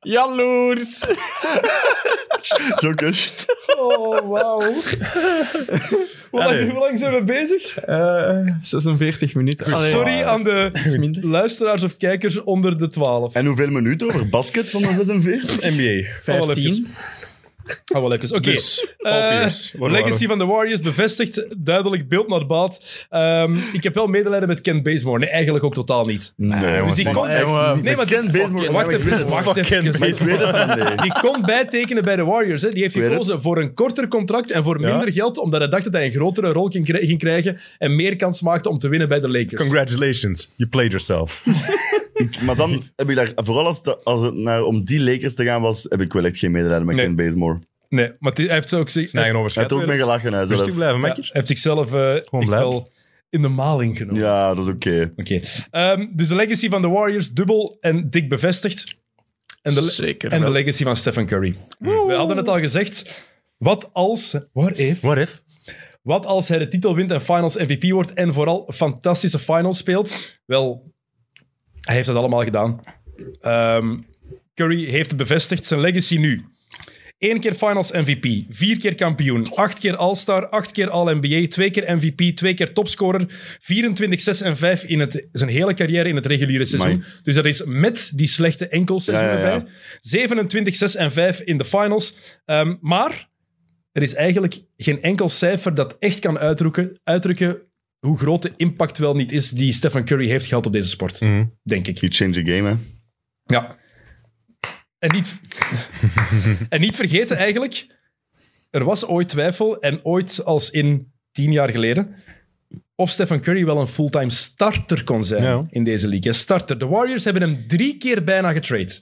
[SPEAKER 4] Jaloers.
[SPEAKER 3] Jokkers.
[SPEAKER 2] Oh, wauw. Hoe lang,
[SPEAKER 1] Allee.
[SPEAKER 2] hoe lang zijn we bezig?
[SPEAKER 3] Eh,
[SPEAKER 4] 46 minuten. Allee.
[SPEAKER 2] Sorry aan de
[SPEAKER 4] minder.
[SPEAKER 2] luisteraars of kijkers onder de 12.
[SPEAKER 3] En hoeveel minuten over basket van de
[SPEAKER 2] Ah,
[SPEAKER 3] 46?
[SPEAKER 1] NBA.
[SPEAKER 2] Al wel
[SPEAKER 4] 15.
[SPEAKER 2] even. Ah, wel even. Oké.
[SPEAKER 1] Dus,
[SPEAKER 3] Oh,
[SPEAKER 2] Eh,
[SPEAKER 1] obvious. Waar waren
[SPEAKER 2] Legacy
[SPEAKER 1] we?
[SPEAKER 2] van de Warriors bevestigt. Duidelijk beeld naar baat. Ehm, ik heb wel medelijden met Ken Bazemore. Nee, eigenlijk ook totaal niet.
[SPEAKER 3] Nee,
[SPEAKER 2] Dus die
[SPEAKER 3] man.
[SPEAKER 2] kon...
[SPEAKER 4] Nee, maar-
[SPEAKER 2] Nee, maar
[SPEAKER 3] Ken
[SPEAKER 2] Wacht
[SPEAKER 3] Bazemore. maar ik weet
[SPEAKER 2] even.
[SPEAKER 3] het.
[SPEAKER 2] Wacht
[SPEAKER 1] Fuck Ken
[SPEAKER 2] even.
[SPEAKER 3] Maar ik weet het niet, nee.
[SPEAKER 2] Die kon bijtekenen bij de Warriors. Hè. Die heeft
[SPEAKER 3] Ik weet
[SPEAKER 2] gekozen voor een korter contract en voor minder geld, omdat hij dacht dat hij een grotere rol ging krij- ging krijgen en meer kans maakte om te winnen bij de Lakers.
[SPEAKER 1] Congratulations, you played yourself.
[SPEAKER 3] Maar dan heb ik daar... Vooral als, de- als het naar, om die Lakers te gaan was, heb ik wel echt geen medelijden met
[SPEAKER 2] Nee.
[SPEAKER 3] Ken Bazemore.
[SPEAKER 2] Nee, maar die- hij heeft ook zich-
[SPEAKER 1] Nee,
[SPEAKER 2] hij
[SPEAKER 1] geen
[SPEAKER 3] Hij heeft ook mee
[SPEAKER 1] overschat.
[SPEAKER 3] gelachen, hij zelf.
[SPEAKER 1] Rustig blijven,
[SPEAKER 2] heeft-
[SPEAKER 1] makker.
[SPEAKER 2] hij heeft zichzelf eh, echt
[SPEAKER 1] blij.
[SPEAKER 2] wel in de maling genomen.
[SPEAKER 3] Ja, dat is oké.
[SPEAKER 2] Oké. Ehm, dus de legacy van de Warriors dubbel en dik bevestigd. En de,
[SPEAKER 4] Zeker
[SPEAKER 2] En de
[SPEAKER 4] wel.
[SPEAKER 2] legacy van Stephen Curry. We hadden het al gezegd. Wat als, what if,
[SPEAKER 1] What if?
[SPEAKER 2] wat als hij de titel wint en finals MVP wordt en vooral fantastische finals speelt? Wel, hij heeft dat allemaal gedaan. Ehm, Curry heeft het bevestigd, zijn legacy nu. Eén keer finals MVP, vier keer kampioen, acht keer All-Star, acht keer All-NBA, twee keer MVP, twee keer topscorer, 24, 6 en 5 in het, zijn hele carrière in het reguliere seizoen.
[SPEAKER 3] Amai.
[SPEAKER 2] Dus dat is met die slechte enkelseizoen
[SPEAKER 3] Ja, ja, ja.
[SPEAKER 2] erbij. 27, 6 en 5 in de finals. Ehm, maar er is eigenlijk geen enkel cijfer dat echt kan uitdrukken, uitdrukken hoe groot de impact wel niet is die Stephen Curry heeft gehad op deze sport.
[SPEAKER 3] Mhm.
[SPEAKER 2] Denk ik.
[SPEAKER 3] He changed the game, hè.
[SPEAKER 2] Ja. En niet, en niet vergeten eigenlijk, er was ooit twijfel en ooit als in tien jaar geleden of Stephen Curry wel een fulltime starter kon zijn
[SPEAKER 1] Ja.
[SPEAKER 2] in deze league. Een starter. De Warriors hebben hem drie keer bijna getrade.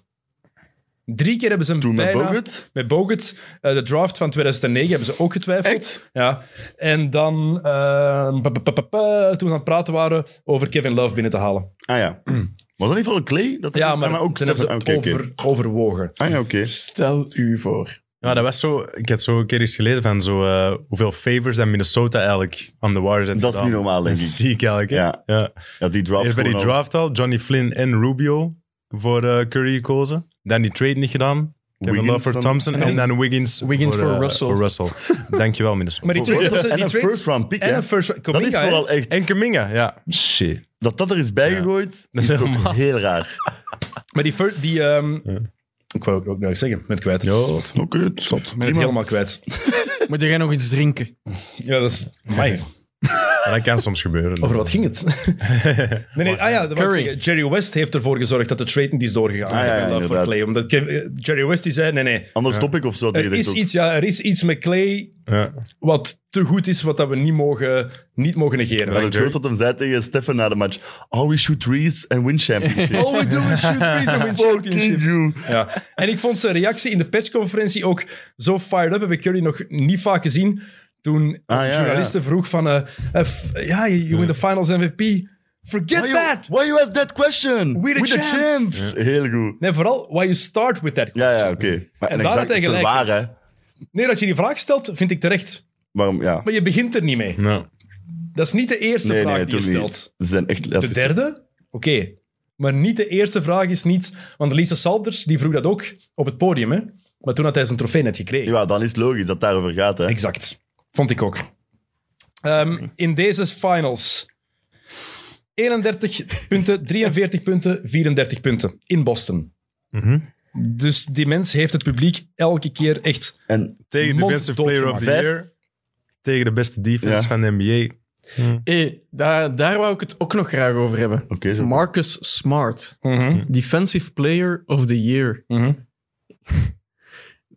[SPEAKER 2] Drie keer hebben ze hem
[SPEAKER 3] Toen met
[SPEAKER 2] bijna...
[SPEAKER 3] Bogut.
[SPEAKER 2] Met Bogut. Eh, de draft van 2009 hebben ze ook getwijfeld.
[SPEAKER 3] Echt?
[SPEAKER 2] Ja. En dan, eh, pa, pa, pa, pa, pa, toen we aan het praten waren over Kevin Love binnen te halen.
[SPEAKER 3] Ah ja. Was dat niet voor een Clay? Dat
[SPEAKER 2] Mm. Ja, maar,
[SPEAKER 3] Ah, ook
[SPEAKER 2] toen hebben ze
[SPEAKER 3] Stephen- oké, oké.
[SPEAKER 2] over, overwogen.
[SPEAKER 3] Ah ja, oké.
[SPEAKER 4] Stel u voor.
[SPEAKER 1] Ja, dat was zo. Ik had zo een keer eens gelezen van zo, eh, hoeveel favors dat Minnesota eigenlijk aan de Warriors had
[SPEAKER 3] Dat is
[SPEAKER 1] gedaan.
[SPEAKER 3] niet normaal, denk ik.
[SPEAKER 1] Dat is ziek eigenlijk. hè?
[SPEAKER 3] Ja.
[SPEAKER 1] Ja.
[SPEAKER 3] Ja, die draft
[SPEAKER 1] Eerst bij die
[SPEAKER 3] gewoon al.
[SPEAKER 1] draft al, Johnny Flynn en Rubio. voor eh, Curry gekozen. Dan die trade niet gedaan. Kevin
[SPEAKER 3] Wiggins
[SPEAKER 1] Love voor
[SPEAKER 3] dan-
[SPEAKER 1] Thompson. En dan Wiggins,
[SPEAKER 4] Wiggins voor
[SPEAKER 1] eh,
[SPEAKER 4] Russell.
[SPEAKER 1] Voor Russell. Dankjewel, minister.
[SPEAKER 2] Maar die
[SPEAKER 3] Voor
[SPEAKER 2] trades-
[SPEAKER 3] Russell
[SPEAKER 2] die
[SPEAKER 3] en een
[SPEAKER 2] trades-
[SPEAKER 3] first round pick,
[SPEAKER 2] En
[SPEAKER 3] hè?
[SPEAKER 2] een first round.
[SPEAKER 3] Dat is
[SPEAKER 2] Kuminga, hè?
[SPEAKER 3] vooral echt...
[SPEAKER 1] En Kaminga, ja. Shit.
[SPEAKER 3] Dat dat er is bijgegooid,
[SPEAKER 1] Dat is
[SPEAKER 3] is, toch
[SPEAKER 1] helemaal-
[SPEAKER 3] heel raar.
[SPEAKER 2] Maar die... fir- die ehm, Ik wou ook nog iets zeggen. Ik ben het kwijt. Ik
[SPEAKER 3] Oké, het zat.
[SPEAKER 2] ben het helemaal kwijt.
[SPEAKER 4] Moet jij nog iets drinken?
[SPEAKER 2] Ja, dat is... Amai.
[SPEAKER 1] Maar dat kan soms gebeuren.
[SPEAKER 2] Over wat ging het? nee, nee, ah ja, dat wou ik
[SPEAKER 4] Curry.
[SPEAKER 2] zeggen. Jerry West heeft ervoor gezorgd dat de trade niet is doorgegaan.
[SPEAKER 3] Ah ja,
[SPEAKER 2] Kevin Love voor
[SPEAKER 3] inderdaad.
[SPEAKER 2] Clay. Omdat Kev- eh, Jerry West die zei, nee, nee.
[SPEAKER 3] Anders stop ik of zo. had hij
[SPEAKER 2] Er
[SPEAKER 3] gezegd
[SPEAKER 2] Eh, is,
[SPEAKER 3] ook.
[SPEAKER 2] iets, ja, er is iets met Clay
[SPEAKER 1] Ja.
[SPEAKER 2] wat te goed is, wat dat we niet mogen, niet mogen negeren.
[SPEAKER 3] Dat het goed dat hem zei tegen Stefan na de match. Always shoot threes and win championship.
[SPEAKER 2] All oh, we do is shoot threes and win
[SPEAKER 3] Fucking
[SPEAKER 2] championships.
[SPEAKER 3] you.
[SPEAKER 2] Ja. En ik vond zijn reactie in de persconferentie ook zo fired up. Heb ik Curry nog niet vaak gezien. Toen
[SPEAKER 3] Ah, ja,
[SPEAKER 2] de journalisten vroeg van... eh, eh, f- ja, you win the finals MVP. Forget
[SPEAKER 3] Why you,
[SPEAKER 2] that!
[SPEAKER 3] why you ask that question?
[SPEAKER 2] We're the champs.
[SPEAKER 3] Heel goed.
[SPEAKER 2] Nee, vooral why you start with that.
[SPEAKER 3] Ja, ja, oké. Maar
[SPEAKER 2] En
[SPEAKER 3] en
[SPEAKER 2] daar had
[SPEAKER 3] exact
[SPEAKER 2] hij
[SPEAKER 3] is wel
[SPEAKER 2] gelijk.
[SPEAKER 3] waar, hè.
[SPEAKER 2] Nee, dat je die vraag stelt, vind ik terecht.
[SPEAKER 3] Waarom, ja.
[SPEAKER 2] Maar je begint er niet mee.
[SPEAKER 1] Nou.
[SPEAKER 2] Dat is niet de eerste
[SPEAKER 3] Hm. Nee,
[SPEAKER 2] vraag
[SPEAKER 3] nee,
[SPEAKER 2] die je
[SPEAKER 3] toen
[SPEAKER 2] stelt.
[SPEAKER 3] niet. Ze zijn echt...
[SPEAKER 2] De derde? Oké. Maar niet de eerste vraag is niet... Want Lisa Salders die vroeg dat ook op het podium. Hè? Maar toen had hij zijn trofee net gekregen.
[SPEAKER 3] Ja, dan is het logisch dat het daarover gaat, hè.
[SPEAKER 2] Exact. Vond ik ook. Ehm, in deze finals... 31 punten, 43 punten, 34 punten. In Boston.
[SPEAKER 1] Mhm.
[SPEAKER 2] Dus die mens heeft het publiek elke keer echt...
[SPEAKER 3] En
[SPEAKER 1] Tegen de
[SPEAKER 2] Mond
[SPEAKER 1] Defensive Player of the
[SPEAKER 3] doodgemaakt.
[SPEAKER 1] Year. Tegen de beste defense
[SPEAKER 3] Ja.
[SPEAKER 1] van de NBA.
[SPEAKER 4] Hé, daar, daar wou ik het ook nog graag over hebben.
[SPEAKER 3] Oké, zo.
[SPEAKER 4] Marcus Smart, Defensive Player of the Year.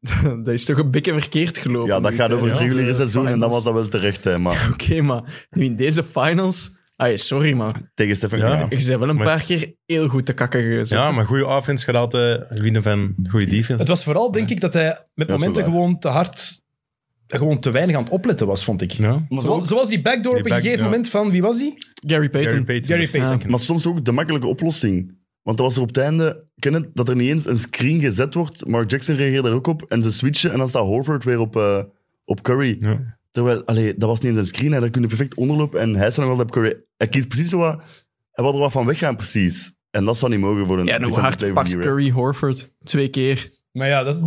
[SPEAKER 2] Mhm.
[SPEAKER 4] dat is toch een beetje verkeerd gelopen.
[SPEAKER 3] Ja, dat
[SPEAKER 4] nu,
[SPEAKER 3] gaat
[SPEAKER 4] hè?
[SPEAKER 3] over het
[SPEAKER 4] Ja.
[SPEAKER 3] reguliere seizoen en dan
[SPEAKER 4] finals.
[SPEAKER 3] was dat wel terecht, hè. Maar
[SPEAKER 4] Oké, maar nu in deze finals... Ai, sorry, man.
[SPEAKER 3] tegen Stefan
[SPEAKER 1] Ja.
[SPEAKER 3] ja.
[SPEAKER 4] Je bent wel een
[SPEAKER 1] Maar
[SPEAKER 4] paar
[SPEAKER 1] het is-
[SPEAKER 4] keer heel goed te kakken gezet.
[SPEAKER 1] Ja, maar goede offense gaat altijd winnen van goede defense.
[SPEAKER 2] Het was vooral, denk ik, dat hij met
[SPEAKER 3] wel
[SPEAKER 2] momenten
[SPEAKER 3] waar.
[SPEAKER 2] gewoon te hard... Gewoon te weinig aan het opletten was, vond ik.
[SPEAKER 1] Ja.
[SPEAKER 3] Maar,
[SPEAKER 2] Zo-
[SPEAKER 3] ook-
[SPEAKER 2] Zoals die backdoor
[SPEAKER 1] Die
[SPEAKER 2] op een
[SPEAKER 1] back-
[SPEAKER 2] gegeven
[SPEAKER 1] ja.
[SPEAKER 2] moment van... Wie was die?
[SPEAKER 4] Gary Payton.
[SPEAKER 1] Gary Payton.
[SPEAKER 2] Gary
[SPEAKER 1] is-
[SPEAKER 2] Payton.
[SPEAKER 3] maar soms ook de makkelijke oplossing. Want dat was er op het einde... Ken het, dat er niet eens een screen gezet wordt. Mark Jackson reageert daar ook op. En ze switchen en dan staat Horford weer op, eh, op Curry.
[SPEAKER 1] Ja.
[SPEAKER 3] Terwijl, allee, dat was niet eens een screen. Hè. Daar kun je perfect onderlopen. En hij staat nog altijd op Curry. Hij kiest precies zo wat... Hij wil er wat van weggaan, precies. En dat zou niet mogen voor een...
[SPEAKER 4] Ja, en hoe
[SPEAKER 3] defensive
[SPEAKER 4] hard
[SPEAKER 3] player of
[SPEAKER 4] pakt
[SPEAKER 3] the year, hè.
[SPEAKER 4] Curry Horford? Twee keer.
[SPEAKER 2] Maar ja, dat,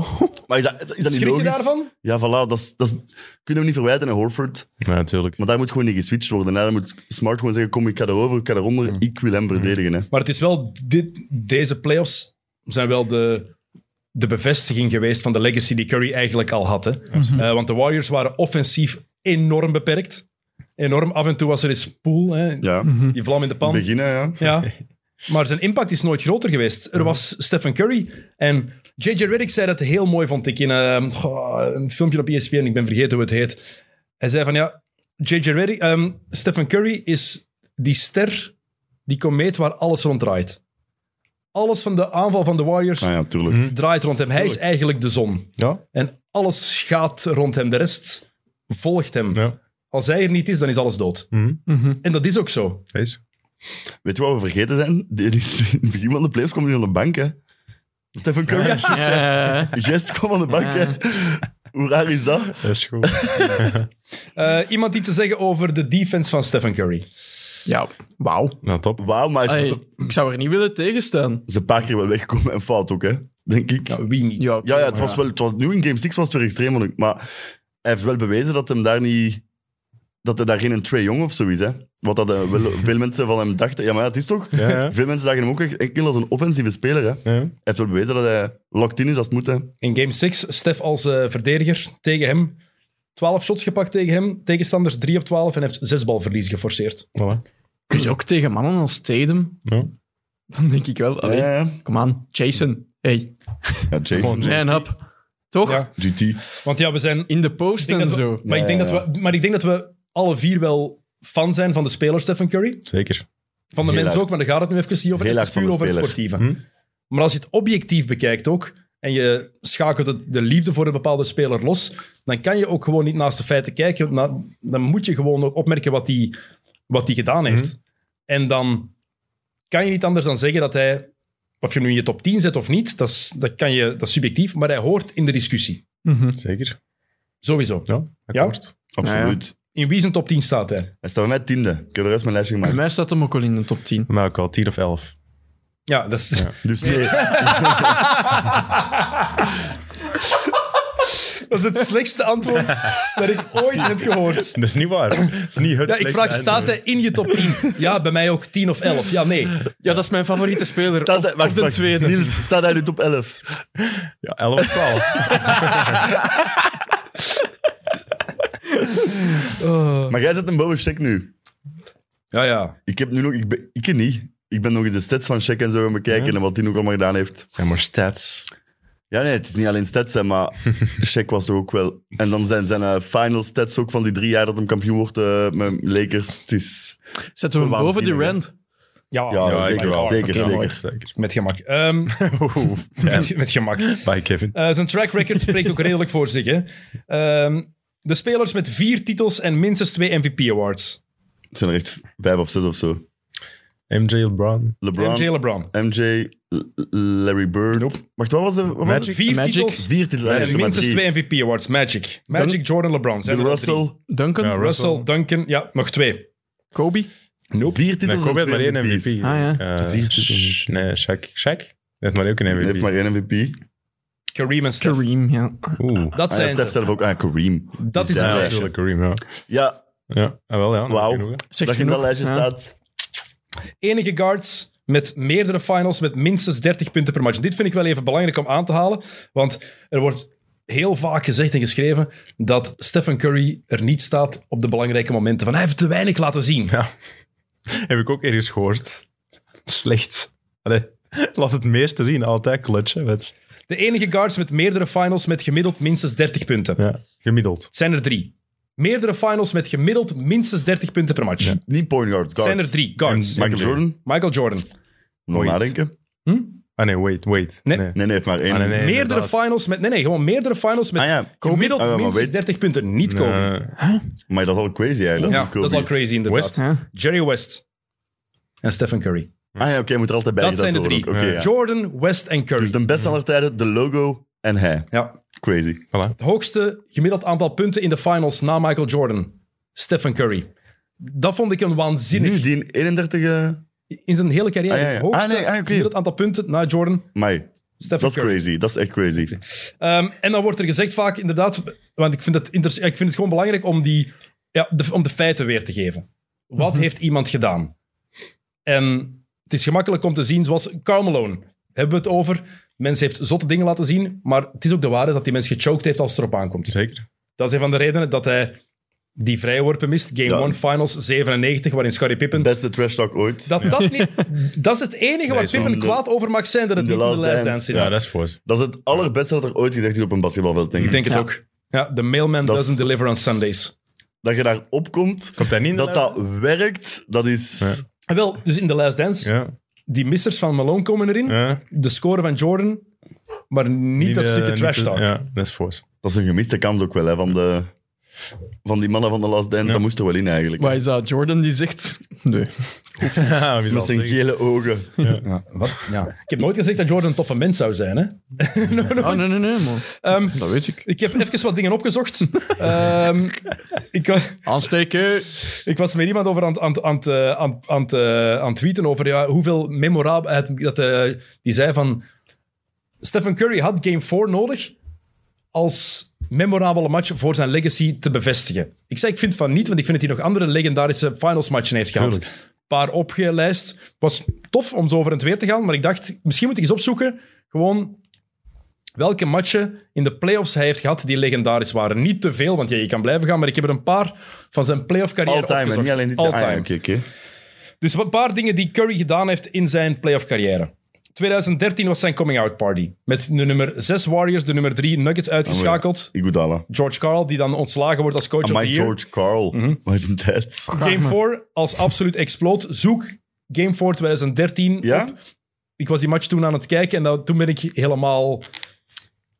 [SPEAKER 3] Maar is dat, is dat niet
[SPEAKER 2] schrik je
[SPEAKER 3] logisch?
[SPEAKER 2] daarvan?
[SPEAKER 3] Ja, voilà. Dat, is- dat is- kunnen we hem niet verwijten aan Horford.
[SPEAKER 1] Ja, natuurlijk.
[SPEAKER 3] Maar daar moet gewoon niet geswitcht worden. Daar moet Smart gewoon zeggen, kom, ik ga erover, ik ga eronder. Ik wil hem verdedigen. Hè.
[SPEAKER 2] Maar het is wel... Dit, deze playoffs zijn wel de, de bevestiging geweest van de legacy die Curry eigenlijk al had. Hè? Eh, want de Warriors waren offensief enorm beperkt. Enorm. Af en toe was er eens pool. Hè?
[SPEAKER 3] Ja,
[SPEAKER 2] Die vlam in de pan.
[SPEAKER 3] beginnen, ja.
[SPEAKER 2] Ja. Maar zijn impact is nooit groter geweest. Er was Stephen Curry en J.J. Reddick zei dat heel mooi, vond ik, in ehm, goh, een filmpje op E ESPN. Ik ben vergeten hoe het heet. Hij zei van, ja, J.J. Reddick... ehm, Stephen Curry is die ster, die komeet waar alles rond draait. Alles van de aanval van de Warriors
[SPEAKER 3] Ah ja, tuurlijk.
[SPEAKER 2] draait rond hem. Hij is eigenlijk de zon.
[SPEAKER 1] Ja.
[SPEAKER 2] En alles gaat rond hem. De rest volgt hem.
[SPEAKER 1] Ja.
[SPEAKER 2] Als hij er niet is, dan is alles dood.
[SPEAKER 1] Mhm.
[SPEAKER 2] En dat is ook zo.
[SPEAKER 1] Wees.
[SPEAKER 3] Weet je wat we vergeten zijn? Dit is, in het begin van de playoffs kwam hij op de bank, hè. Stephen Curry,
[SPEAKER 4] Eh,
[SPEAKER 3] Gest kwam aan de bank, hè. Hoe raar is dat?
[SPEAKER 1] Dat is goed.
[SPEAKER 2] Eh, iemand iets te zeggen over de defense van Stephen Curry?
[SPEAKER 4] ja, wauw.
[SPEAKER 1] nou, top.
[SPEAKER 3] Wauw, maar hij is
[SPEAKER 4] Ai,
[SPEAKER 3] wel-
[SPEAKER 4] ik zou er niet willen tegenstaan.
[SPEAKER 3] ze een paar keer wel weggekomen en fout ook, hè. Denk ik.
[SPEAKER 2] Nou, wie niet?
[SPEAKER 4] Ja,
[SPEAKER 3] Ja, ja, het was wel, het was, nu in Game 6 was het weer extreem moeilijk. Maar hij heeft wel bewezen dat hem daar niet... Dat hij daar geen Trey Young of zo is, hè. Wat dat, eh, wel, veel mensen van hem dachten. Ja, maar ja, het is toch...
[SPEAKER 1] Ja, ja.
[SPEAKER 3] Veel mensen dagen hem ook echt enkel als een offensieve speler, hè. Hij
[SPEAKER 1] Ja.
[SPEAKER 3] heeft wel bewezen dat hij locked in is als het moet, hè.
[SPEAKER 2] In game 6, Stef als eh, verdediger tegen hem. 12 shots gepakt tegen hem, tegenstanders 3 op 12 en heeft 6 balverlies geforceerd.
[SPEAKER 1] Voilà.
[SPEAKER 4] Dus ook tegen mannen als Tatum,
[SPEAKER 1] Ja.
[SPEAKER 4] dan denk ik wel. Allee,
[SPEAKER 3] Ja, ja.
[SPEAKER 4] Kom aan, Jason. Hey,
[SPEAKER 3] Ja, Jason.
[SPEAKER 1] Gewoon,
[SPEAKER 4] man up. Toch?
[SPEAKER 2] Ja.
[SPEAKER 3] GT.
[SPEAKER 2] Want ja, we zijn. ik
[SPEAKER 4] In de post
[SPEAKER 2] denk
[SPEAKER 4] en
[SPEAKER 2] dat we-
[SPEAKER 4] zo.
[SPEAKER 2] maar, ik denk
[SPEAKER 3] Ja, ja,
[SPEAKER 2] Dat we, maar ik denk dat we alle vier wel fan zijn van de speler Stephen Curry.
[SPEAKER 1] Zeker.
[SPEAKER 2] Van de
[SPEAKER 3] Heel
[SPEAKER 2] mens
[SPEAKER 3] hard.
[SPEAKER 2] ook, want daar gaat het nu even niet over.
[SPEAKER 3] Heel
[SPEAKER 2] Het is
[SPEAKER 3] hard van
[SPEAKER 2] puur
[SPEAKER 3] de
[SPEAKER 2] over het
[SPEAKER 3] speler.
[SPEAKER 2] sportieve.
[SPEAKER 1] Hm?
[SPEAKER 2] Maar als je het objectief bekijkt ook, en je schakelt het, de liefde voor een bepaalde speler los, dan kan je ook gewoon niet naast de feiten kijken. Na- dan moet je gewoon ook opmerken wat hij wat die gedaan
[SPEAKER 3] Hm.
[SPEAKER 2] heeft. En dan kan je niet anders dan zeggen dat hij, of je hem nu in je top 10 zet of niet, dat is, dat kan je, dat is subjectief, maar hij hoort in de discussie.
[SPEAKER 4] Mhm.
[SPEAKER 1] Zeker.
[SPEAKER 2] Sowieso.
[SPEAKER 1] Ja, akkoord.
[SPEAKER 4] Nou
[SPEAKER 2] Nou
[SPEAKER 3] Absoluut.
[SPEAKER 2] In wie zijn top 10 staat hij?
[SPEAKER 3] Hij staat bij mij tiende. Ik heb de rest van mijn lijstje
[SPEAKER 4] Bij
[SPEAKER 3] gemaakt.
[SPEAKER 4] mij staat hem ook al in de top 10.
[SPEAKER 1] Maar ook al 10 of 11.
[SPEAKER 2] Ja, dat is,
[SPEAKER 3] Dus nee,
[SPEAKER 2] dat is het slechtste antwoord dat ik ooit heb gehoord.
[SPEAKER 1] Dat is niet waar. Dat is niet het
[SPEAKER 2] Ja, ik
[SPEAKER 1] slechtste
[SPEAKER 2] vraag, staat
[SPEAKER 1] antwoord.
[SPEAKER 2] hij in je top 10? Ja, bij mij ook 10 of 11. Ja, nee.
[SPEAKER 4] Ja, dat is mijn favoriete speler.
[SPEAKER 3] staat
[SPEAKER 4] of,
[SPEAKER 3] hij- wacht,
[SPEAKER 4] of de
[SPEAKER 3] wacht.
[SPEAKER 4] tweede.
[SPEAKER 3] Niels, staat hij nu top 11?
[SPEAKER 1] Ja, 11 of 12.
[SPEAKER 2] Oh.
[SPEAKER 3] Maar jij zet een boven check nu.
[SPEAKER 2] Ja, ja.
[SPEAKER 3] Ik heb nu nog... Ik, ben, ik niet. Ik ben nog eens de stats van check en zo gaan bekijken en wat hij nog allemaal gedaan heeft.
[SPEAKER 1] Ja, maar stats.
[SPEAKER 3] Ja, nee, het is niet alleen stats, hè, maar Shaq was er ook wel. En dan zijn zijn eh, final stats ook van die drie jaar dat hem kampioen wordt eh, met Lakers. Het is...
[SPEAKER 4] Zetten we hem boven
[SPEAKER 3] Waanzinnig,
[SPEAKER 4] Durant.
[SPEAKER 2] Ja,
[SPEAKER 3] Ja,
[SPEAKER 1] Ja,
[SPEAKER 3] zeker
[SPEAKER 1] ik
[SPEAKER 3] wel.
[SPEAKER 1] wel.
[SPEAKER 3] Zeker,
[SPEAKER 2] Oké,
[SPEAKER 3] zeker.
[SPEAKER 2] mooi.
[SPEAKER 1] Zeker.
[SPEAKER 2] Met gemak. Ehm,
[SPEAKER 1] Oeh,
[SPEAKER 2] met, met gemak.
[SPEAKER 1] Bye, Kevin.
[SPEAKER 2] Eh, zijn track record spreekt ook redelijk voor zich. Hè? Ehm, de spelers met vier titels en minstens twee MVP-awards.
[SPEAKER 3] Het zijn er echt vijf of zes of zo.
[SPEAKER 1] MJ LeBron.
[SPEAKER 3] LeBron,
[SPEAKER 2] MJ
[SPEAKER 3] MJ,
[SPEAKER 2] LeBron.
[SPEAKER 3] L- Larry Bird. Wacht, wat was de... Wat was het?
[SPEAKER 1] Magic.
[SPEAKER 2] Vier
[SPEAKER 4] Magic.
[SPEAKER 2] titels
[SPEAKER 3] Vier titels. Ah,
[SPEAKER 2] en
[SPEAKER 3] eigenlijk, maar
[SPEAKER 2] minstens
[SPEAKER 3] drie.
[SPEAKER 2] twee MVP-awards. Magic. Magic, Jordan, LeBron. Zijn
[SPEAKER 3] Bill
[SPEAKER 2] er al drie.
[SPEAKER 3] Russell,
[SPEAKER 4] Duncan,
[SPEAKER 1] Ja,
[SPEAKER 2] Russell, Duncan. Ja, nog twee.
[SPEAKER 4] Kobe.
[SPEAKER 2] Nope.
[SPEAKER 3] vier
[SPEAKER 1] Nee,
[SPEAKER 3] titels
[SPEAKER 1] Kobe
[SPEAKER 3] en
[SPEAKER 1] heeft maar
[SPEAKER 3] twee
[SPEAKER 1] één MVP.
[SPEAKER 3] MVP's.
[SPEAKER 4] Ah, ja.
[SPEAKER 1] Eh,
[SPEAKER 3] Vier titels.
[SPEAKER 1] Sh- nee, Shaq. Shaq? Die heeft maar ook een
[SPEAKER 3] Hij
[SPEAKER 1] MVP.
[SPEAKER 3] heeft maar één MVP.
[SPEAKER 2] Kareem en Steph.
[SPEAKER 4] Kareem, ja.
[SPEAKER 1] Oeh.
[SPEAKER 2] Dat
[SPEAKER 3] Ah, ja,
[SPEAKER 2] zijn
[SPEAKER 3] Stef
[SPEAKER 2] ze.
[SPEAKER 3] zelf ook. Ah, Kareem.
[SPEAKER 2] Dat is
[SPEAKER 3] Ja,
[SPEAKER 2] een
[SPEAKER 1] Ja,
[SPEAKER 3] lijstje.
[SPEAKER 1] natuurlijk, Kareem, ja.
[SPEAKER 3] Ja,
[SPEAKER 1] Ja, ah, wel, ja. dat
[SPEAKER 3] Wauw.
[SPEAKER 1] heb ik nog, hè.
[SPEAKER 4] Zegt
[SPEAKER 3] dat je in dat
[SPEAKER 4] genoeg,
[SPEAKER 3] lijstje
[SPEAKER 4] ja.
[SPEAKER 3] staat.
[SPEAKER 2] enige guards met meerdere finals met minstens 30 punten per match. En dit vind ik wel even belangrijk om aan te halen, want er wordt heel vaak gezegd en geschreven dat Stephen Curry er niet staat op de belangrijke momenten. Van hij heeft te weinig laten zien.
[SPEAKER 1] Heb ik ook ergens gehoord. Slecht. Allee, laat het meeste zien. Altijd clutch, hè. Met,
[SPEAKER 2] De enige guards met meerdere finals met gemiddeld minstens 30 punten. Het
[SPEAKER 1] ja, gemiddeld.
[SPEAKER 2] zijn er drie. Meerdere finals met gemiddeld minstens 30 punten per match. Het
[SPEAKER 3] Niet point guard, guards.
[SPEAKER 2] zijn er drie guards.
[SPEAKER 1] En-
[SPEAKER 3] Michael
[SPEAKER 1] MJ.
[SPEAKER 3] Jordan,
[SPEAKER 2] Michael Jordan.
[SPEAKER 3] nog
[SPEAKER 1] Ooit.
[SPEAKER 3] nadenken.
[SPEAKER 1] Ah nee, wait, wait.
[SPEAKER 2] Nee.
[SPEAKER 3] Nee, nee, hij heeft maar één.
[SPEAKER 1] Ah, nee, nee,
[SPEAKER 2] meerdere
[SPEAKER 1] inderdaad.
[SPEAKER 2] finals met... Nee, nee, gewoon meerdere finals met
[SPEAKER 3] Ah ja,
[SPEAKER 2] gemiddeld
[SPEAKER 3] Ah, ja, maar
[SPEAKER 2] minstens
[SPEAKER 3] weet-
[SPEAKER 2] 30 punten. Niet komen.
[SPEAKER 1] Eh,
[SPEAKER 3] maar dat is al crazy eigenlijk.
[SPEAKER 2] Ja, dat is al crazy inderdaad.
[SPEAKER 1] West?
[SPEAKER 4] Huh?
[SPEAKER 2] Jerry West en Stephen Curry.
[SPEAKER 3] Ah ja, oké, je moet er altijd bij
[SPEAKER 2] Dat zijn de
[SPEAKER 3] gezet
[SPEAKER 2] drie.
[SPEAKER 3] worden ook. Oké, ja.
[SPEAKER 2] Jordan, West en Curry.
[SPEAKER 3] Dus de beste aller tijden, de logo en hij.
[SPEAKER 2] ja.
[SPEAKER 3] Crazy.
[SPEAKER 1] voilà.
[SPEAKER 2] Het hoogste gemiddeld aantal punten in de finals na Michael Jordan. Stephen Curry. Dat vond ik een waanzinnig.
[SPEAKER 3] Nu, die 31... eh,
[SPEAKER 2] In zijn hele carrière.
[SPEAKER 3] Ah, ja, ja.
[SPEAKER 2] het Hoogste
[SPEAKER 3] Ah, nee, ah, oké.
[SPEAKER 2] gemiddeld aantal punten na Jordan.
[SPEAKER 3] Mei,
[SPEAKER 2] Stephen
[SPEAKER 3] dat is
[SPEAKER 2] Curry.
[SPEAKER 3] crazy. Dat is echt crazy.
[SPEAKER 2] Ehm, en dan wordt er gezegd vaak inderdaad, want ik vind het, inter- ik vind het gewoon belangrijk om, die, ja, de, om de feiten weer te geven. Wat heeft iemand gedaan? En het is gemakkelijk om te zien, zoals Karl Malone, hebben we het over. Mens heeft zotte dingen laten zien, maar het is ook de waarheid dat die mens gechoked heeft als het erop aankomt. Dus
[SPEAKER 1] Zeker.
[SPEAKER 2] Dat is een van de redenen dat hij die vrijworpen mist. Game
[SPEAKER 3] Ja.
[SPEAKER 2] 1 Finals 97, waarin Scottie Pippen...
[SPEAKER 3] Beste trash talk ooit.
[SPEAKER 2] Dat, dat, niet, dat is het enige waar
[SPEAKER 1] is
[SPEAKER 2] Pippen
[SPEAKER 3] van de-
[SPEAKER 2] kwaad over mag zijn, dat het
[SPEAKER 3] in
[SPEAKER 2] niet
[SPEAKER 3] The
[SPEAKER 2] in de
[SPEAKER 3] Last
[SPEAKER 2] lijst aan
[SPEAKER 3] Dance.
[SPEAKER 2] zit.
[SPEAKER 1] Ja, dat is voor ze.
[SPEAKER 3] Dat is het allerbeste dat er ooit gezegd is op een basketbalveld, denk ik.
[SPEAKER 2] Ik denk het
[SPEAKER 4] Ja.
[SPEAKER 2] ook. Ja, the mailman
[SPEAKER 3] Dat is-
[SPEAKER 2] doesn't deliver on Sundays.
[SPEAKER 3] Dat je daar opkomt,
[SPEAKER 1] Komt hij niet in de
[SPEAKER 3] dat dat werkt, dat is...
[SPEAKER 1] Ja.
[SPEAKER 2] Ah, Wel, dus in The Last
[SPEAKER 1] lijst?
[SPEAKER 2] Dance,
[SPEAKER 1] Ja.
[SPEAKER 2] die missers van Malone komen erin.
[SPEAKER 1] ja.
[SPEAKER 2] De score van Jordan, maar niet, dat
[SPEAKER 1] eh,
[SPEAKER 2] zieke
[SPEAKER 1] niet
[SPEAKER 2] trash
[SPEAKER 1] de-
[SPEAKER 2] talk.
[SPEAKER 1] Ja, dat is voor ze.
[SPEAKER 3] Dat is een gemiste kans ook wel, hè, van de... Van die mannen van de Last Dance, dat moest er wel in eigenlijk.
[SPEAKER 4] Waar is dat? Jordan die zegt... Nee.
[SPEAKER 1] Ja, wie
[SPEAKER 3] Met
[SPEAKER 1] zal het
[SPEAKER 3] zijn
[SPEAKER 1] zeggen?
[SPEAKER 3] gele ogen.
[SPEAKER 2] Ja, wat? Ja. Ik heb nooit gezegd dat Jordan een toffe mens zou zijn. Hè?
[SPEAKER 4] Oh, nee, nee, nee, man.
[SPEAKER 2] Ehm,
[SPEAKER 4] Dat weet ik.
[SPEAKER 2] ik heb even wat dingen opgezocht. Ehm, ik, wa-
[SPEAKER 4] Aansteken.
[SPEAKER 2] ik was met iemand over aan, het- aan, het- aan, het, eh, aan, het- aan, het, eh, aan het tweeten over ja, hoeveel memorabel... het- Dat, eh, die zei van... Stephen Curry had Game 4 nodig als memorabele match voor zijn legacy te bevestigen. Ik zei, ik vind van niet, want ik vind dat hij nog andere legendarische finals matchen heeft gehad. Een paar opgelijst. Was tof om zo over het weer te gaan, maar ik dacht, misschien moet ik eens opzoeken gewoon welke matchen in de playoffs hij heeft gehad die legendarisch waren. Niet te veel, want ja, je kan blijven gaan, maar ik heb er een paar van zijn playoff carrière
[SPEAKER 3] All time, en
[SPEAKER 2] opgezocht.
[SPEAKER 3] niet alleen dit...
[SPEAKER 2] All
[SPEAKER 3] Ah, ja,
[SPEAKER 2] time.
[SPEAKER 3] oké, oké.
[SPEAKER 2] Dus een paar dingen die Curry gedaan heeft in zijn playoff carrière. 2013 was zijn coming-out party. Met de nummer 6 Warriors, de nummer 3 Nuggets uitgeschakeld.
[SPEAKER 3] Iguodala.
[SPEAKER 2] George Karl, die dan ontslagen wordt als coach of the
[SPEAKER 3] Mike
[SPEAKER 2] year.
[SPEAKER 3] Oh, George Carl. Waar is dat?
[SPEAKER 2] Game 4 als absoluut exploot. Zoek Game 4 2013
[SPEAKER 3] Ja?
[SPEAKER 2] op. Ik was die match toen aan het kijken en dat, toen ben ik helemaal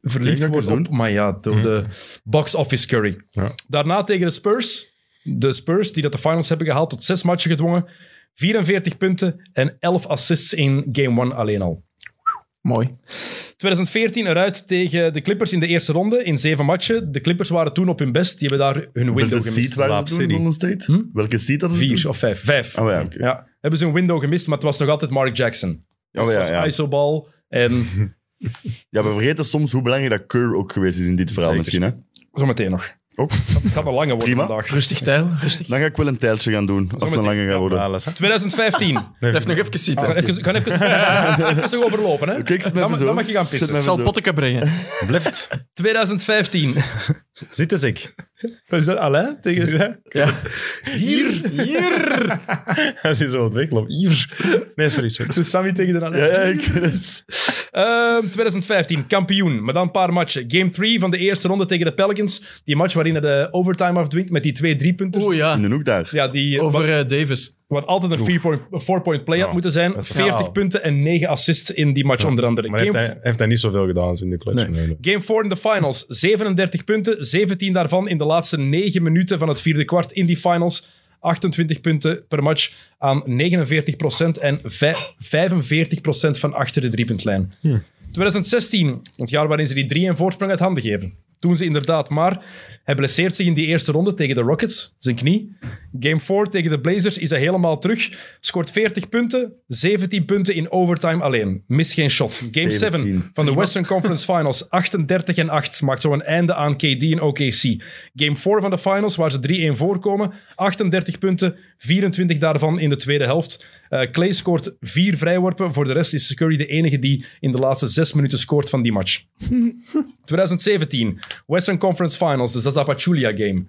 [SPEAKER 2] verliefd
[SPEAKER 3] Kijk, dat Mhm.
[SPEAKER 2] geworden
[SPEAKER 3] kan
[SPEAKER 2] op... Maar ja, door de box office Curry.
[SPEAKER 1] Ja.
[SPEAKER 2] Daarna tegen de Spurs. De Spurs, die dat de finals hebben gehaald, tot zes matchen gedwongen. 44 punten en 11 assists in Game 1 alleen al.
[SPEAKER 4] Mooi.
[SPEAKER 2] 2014 eruit tegen de Clippers in de eerste ronde in zeven matchen. De Clippers waren toen op hun best. Die hebben daar hun window
[SPEAKER 3] Welke seed
[SPEAKER 2] gemist.
[SPEAKER 3] waren
[SPEAKER 1] Slaap
[SPEAKER 3] ze toen,
[SPEAKER 1] City.
[SPEAKER 3] Golden State? Welke seed hadden ze
[SPEAKER 2] Vier
[SPEAKER 3] toen?
[SPEAKER 2] of vijf. Vijf.
[SPEAKER 3] Oh ja, oké.
[SPEAKER 2] Ja, hebben ze een window gemist, maar het was nog altijd Mark Jackson.
[SPEAKER 3] Ja, maar Oh, ja,
[SPEAKER 2] zoals
[SPEAKER 3] ja.
[SPEAKER 2] ISO-bal. En
[SPEAKER 3] Ja, we vergeten soms hoe belangrijk dat Keur ook geweest is in dit verhaal
[SPEAKER 1] Zeker.
[SPEAKER 3] misschien. Hè?
[SPEAKER 2] zometeen nog.
[SPEAKER 3] Ook.
[SPEAKER 2] Het gaat een lange worden
[SPEAKER 3] Prima.
[SPEAKER 2] vandaag.
[SPEAKER 4] Rustig, Tijl. Rustig.
[SPEAKER 3] Dan ga ik wel een tijltje gaan doen, als het een
[SPEAKER 2] Zometeen.
[SPEAKER 3] lange gaat worden.
[SPEAKER 1] Ja,
[SPEAKER 3] Oké,
[SPEAKER 1] les, hè?
[SPEAKER 2] 2015. We
[SPEAKER 4] Blijf nog even zitten.
[SPEAKER 2] gaan even, we gaan even, even zo overlopen. Hè?
[SPEAKER 3] ik zet me
[SPEAKER 2] dan,
[SPEAKER 3] even
[SPEAKER 2] ma-
[SPEAKER 3] zo.
[SPEAKER 2] dan mag je gaan
[SPEAKER 3] Zet
[SPEAKER 2] pissen.
[SPEAKER 3] me
[SPEAKER 4] Ik
[SPEAKER 3] even
[SPEAKER 4] zal
[SPEAKER 3] zo.
[SPEAKER 4] potteken brengen.
[SPEAKER 1] Blijft.
[SPEAKER 2] 2015.
[SPEAKER 1] Zit eens ik.
[SPEAKER 2] Is dat Alain? Tegen...
[SPEAKER 4] Ja.
[SPEAKER 1] Hier. Hier. Hij is hier zo aan het weglopen. Hier. Nee, sorry, sorry.
[SPEAKER 2] Dus Sammy tegen de Alain.
[SPEAKER 3] Ja, ja, ik weet het.
[SPEAKER 2] Ehm, 2015, kampioen. Maar dan een paar matchen. Game 3 van de eerste ronde tegen de Pelicans. Die match waarin hij de overtime afdwingt met die twee driepunters.
[SPEAKER 4] Oeh ja,
[SPEAKER 3] In de hoek daar.
[SPEAKER 2] Ja, die,
[SPEAKER 4] over
[SPEAKER 2] wat,
[SPEAKER 4] eh, Davis.
[SPEAKER 2] wat altijd een three-point- een four-point play had
[SPEAKER 1] Ja,
[SPEAKER 2] moeten zijn.
[SPEAKER 1] dat is-
[SPEAKER 2] 40
[SPEAKER 1] ja.
[SPEAKER 2] punten en 9 assists in die match, onder andere.
[SPEAKER 1] Maar heeft
[SPEAKER 2] Game-
[SPEAKER 1] hij, heeft hij niet zoveel gedaan in de clutch? Nee. nee.
[SPEAKER 2] Game 4 in de finals. 37 punten, 17 daarvan in de laatste 9 minuten van het vierde kwart in die finals. 28 punten per match aan 49% en vij- 45% van achter de driepuntlijn. 2016, het jaar waarin ze die drie en voorsprong uit handen geven. Toen ze inderdaad, maar hij blesseert zich in die eerste ronde tegen de Rockets, zijn knie. Game 4 tegen de Blazers is hij helemaal terug. Scoort 40 punten, 17 punten in overtime alleen. Mist geen shot. Game 7
[SPEAKER 3] 17.
[SPEAKER 2] van de Western Conference Finals. 38 en 8. Maakt zo een einde aan KD en OKC. Game 4 van de finals, waar ze 3-1 voorkomen. 38 punten, 24 daarvan in de tweede helft. Eh, Clay scoort vier vrijworpen. Voor de rest is Curry de enige die in de laatste zes minuten scoort van die match. 2017, Western Conference Finals, de Zazapachulia game.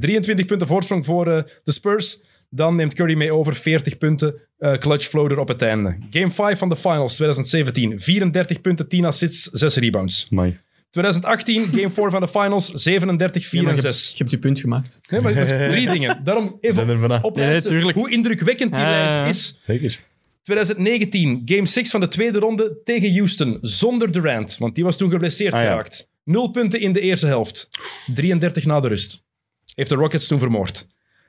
[SPEAKER 2] 23 punten voorsprong voor eh, de Spurs. Dan neemt Curry mee over 40 punten. eh, clutch floater op het einde. Game 5 van de finals 2017. 34 punten, 10 assists, 6 rebounds.
[SPEAKER 3] Amai.
[SPEAKER 2] 2018, game 4 van de finals, 37, 4 en
[SPEAKER 4] je, hebt,
[SPEAKER 2] 6.
[SPEAKER 4] je hebt je punt gemaakt.
[SPEAKER 2] Nee, maar drie dingen. Daarom
[SPEAKER 1] Zijn er
[SPEAKER 2] even
[SPEAKER 1] vanaf.
[SPEAKER 4] Nee,
[SPEAKER 2] oplijsten
[SPEAKER 4] tuurlijk.
[SPEAKER 2] hoe indrukwekkend die
[SPEAKER 4] Ja, ja, ja.
[SPEAKER 2] lijst is.
[SPEAKER 1] Zeker.
[SPEAKER 2] 2019, game 6 van de tweede ronde tegen Houston, zonder Durant, want die was toen geblesseerd
[SPEAKER 3] Ah, ja.
[SPEAKER 2] geraakt. Nul punten in de eerste helft. 33 na de rust. Heeft de Rockets toen vermoord.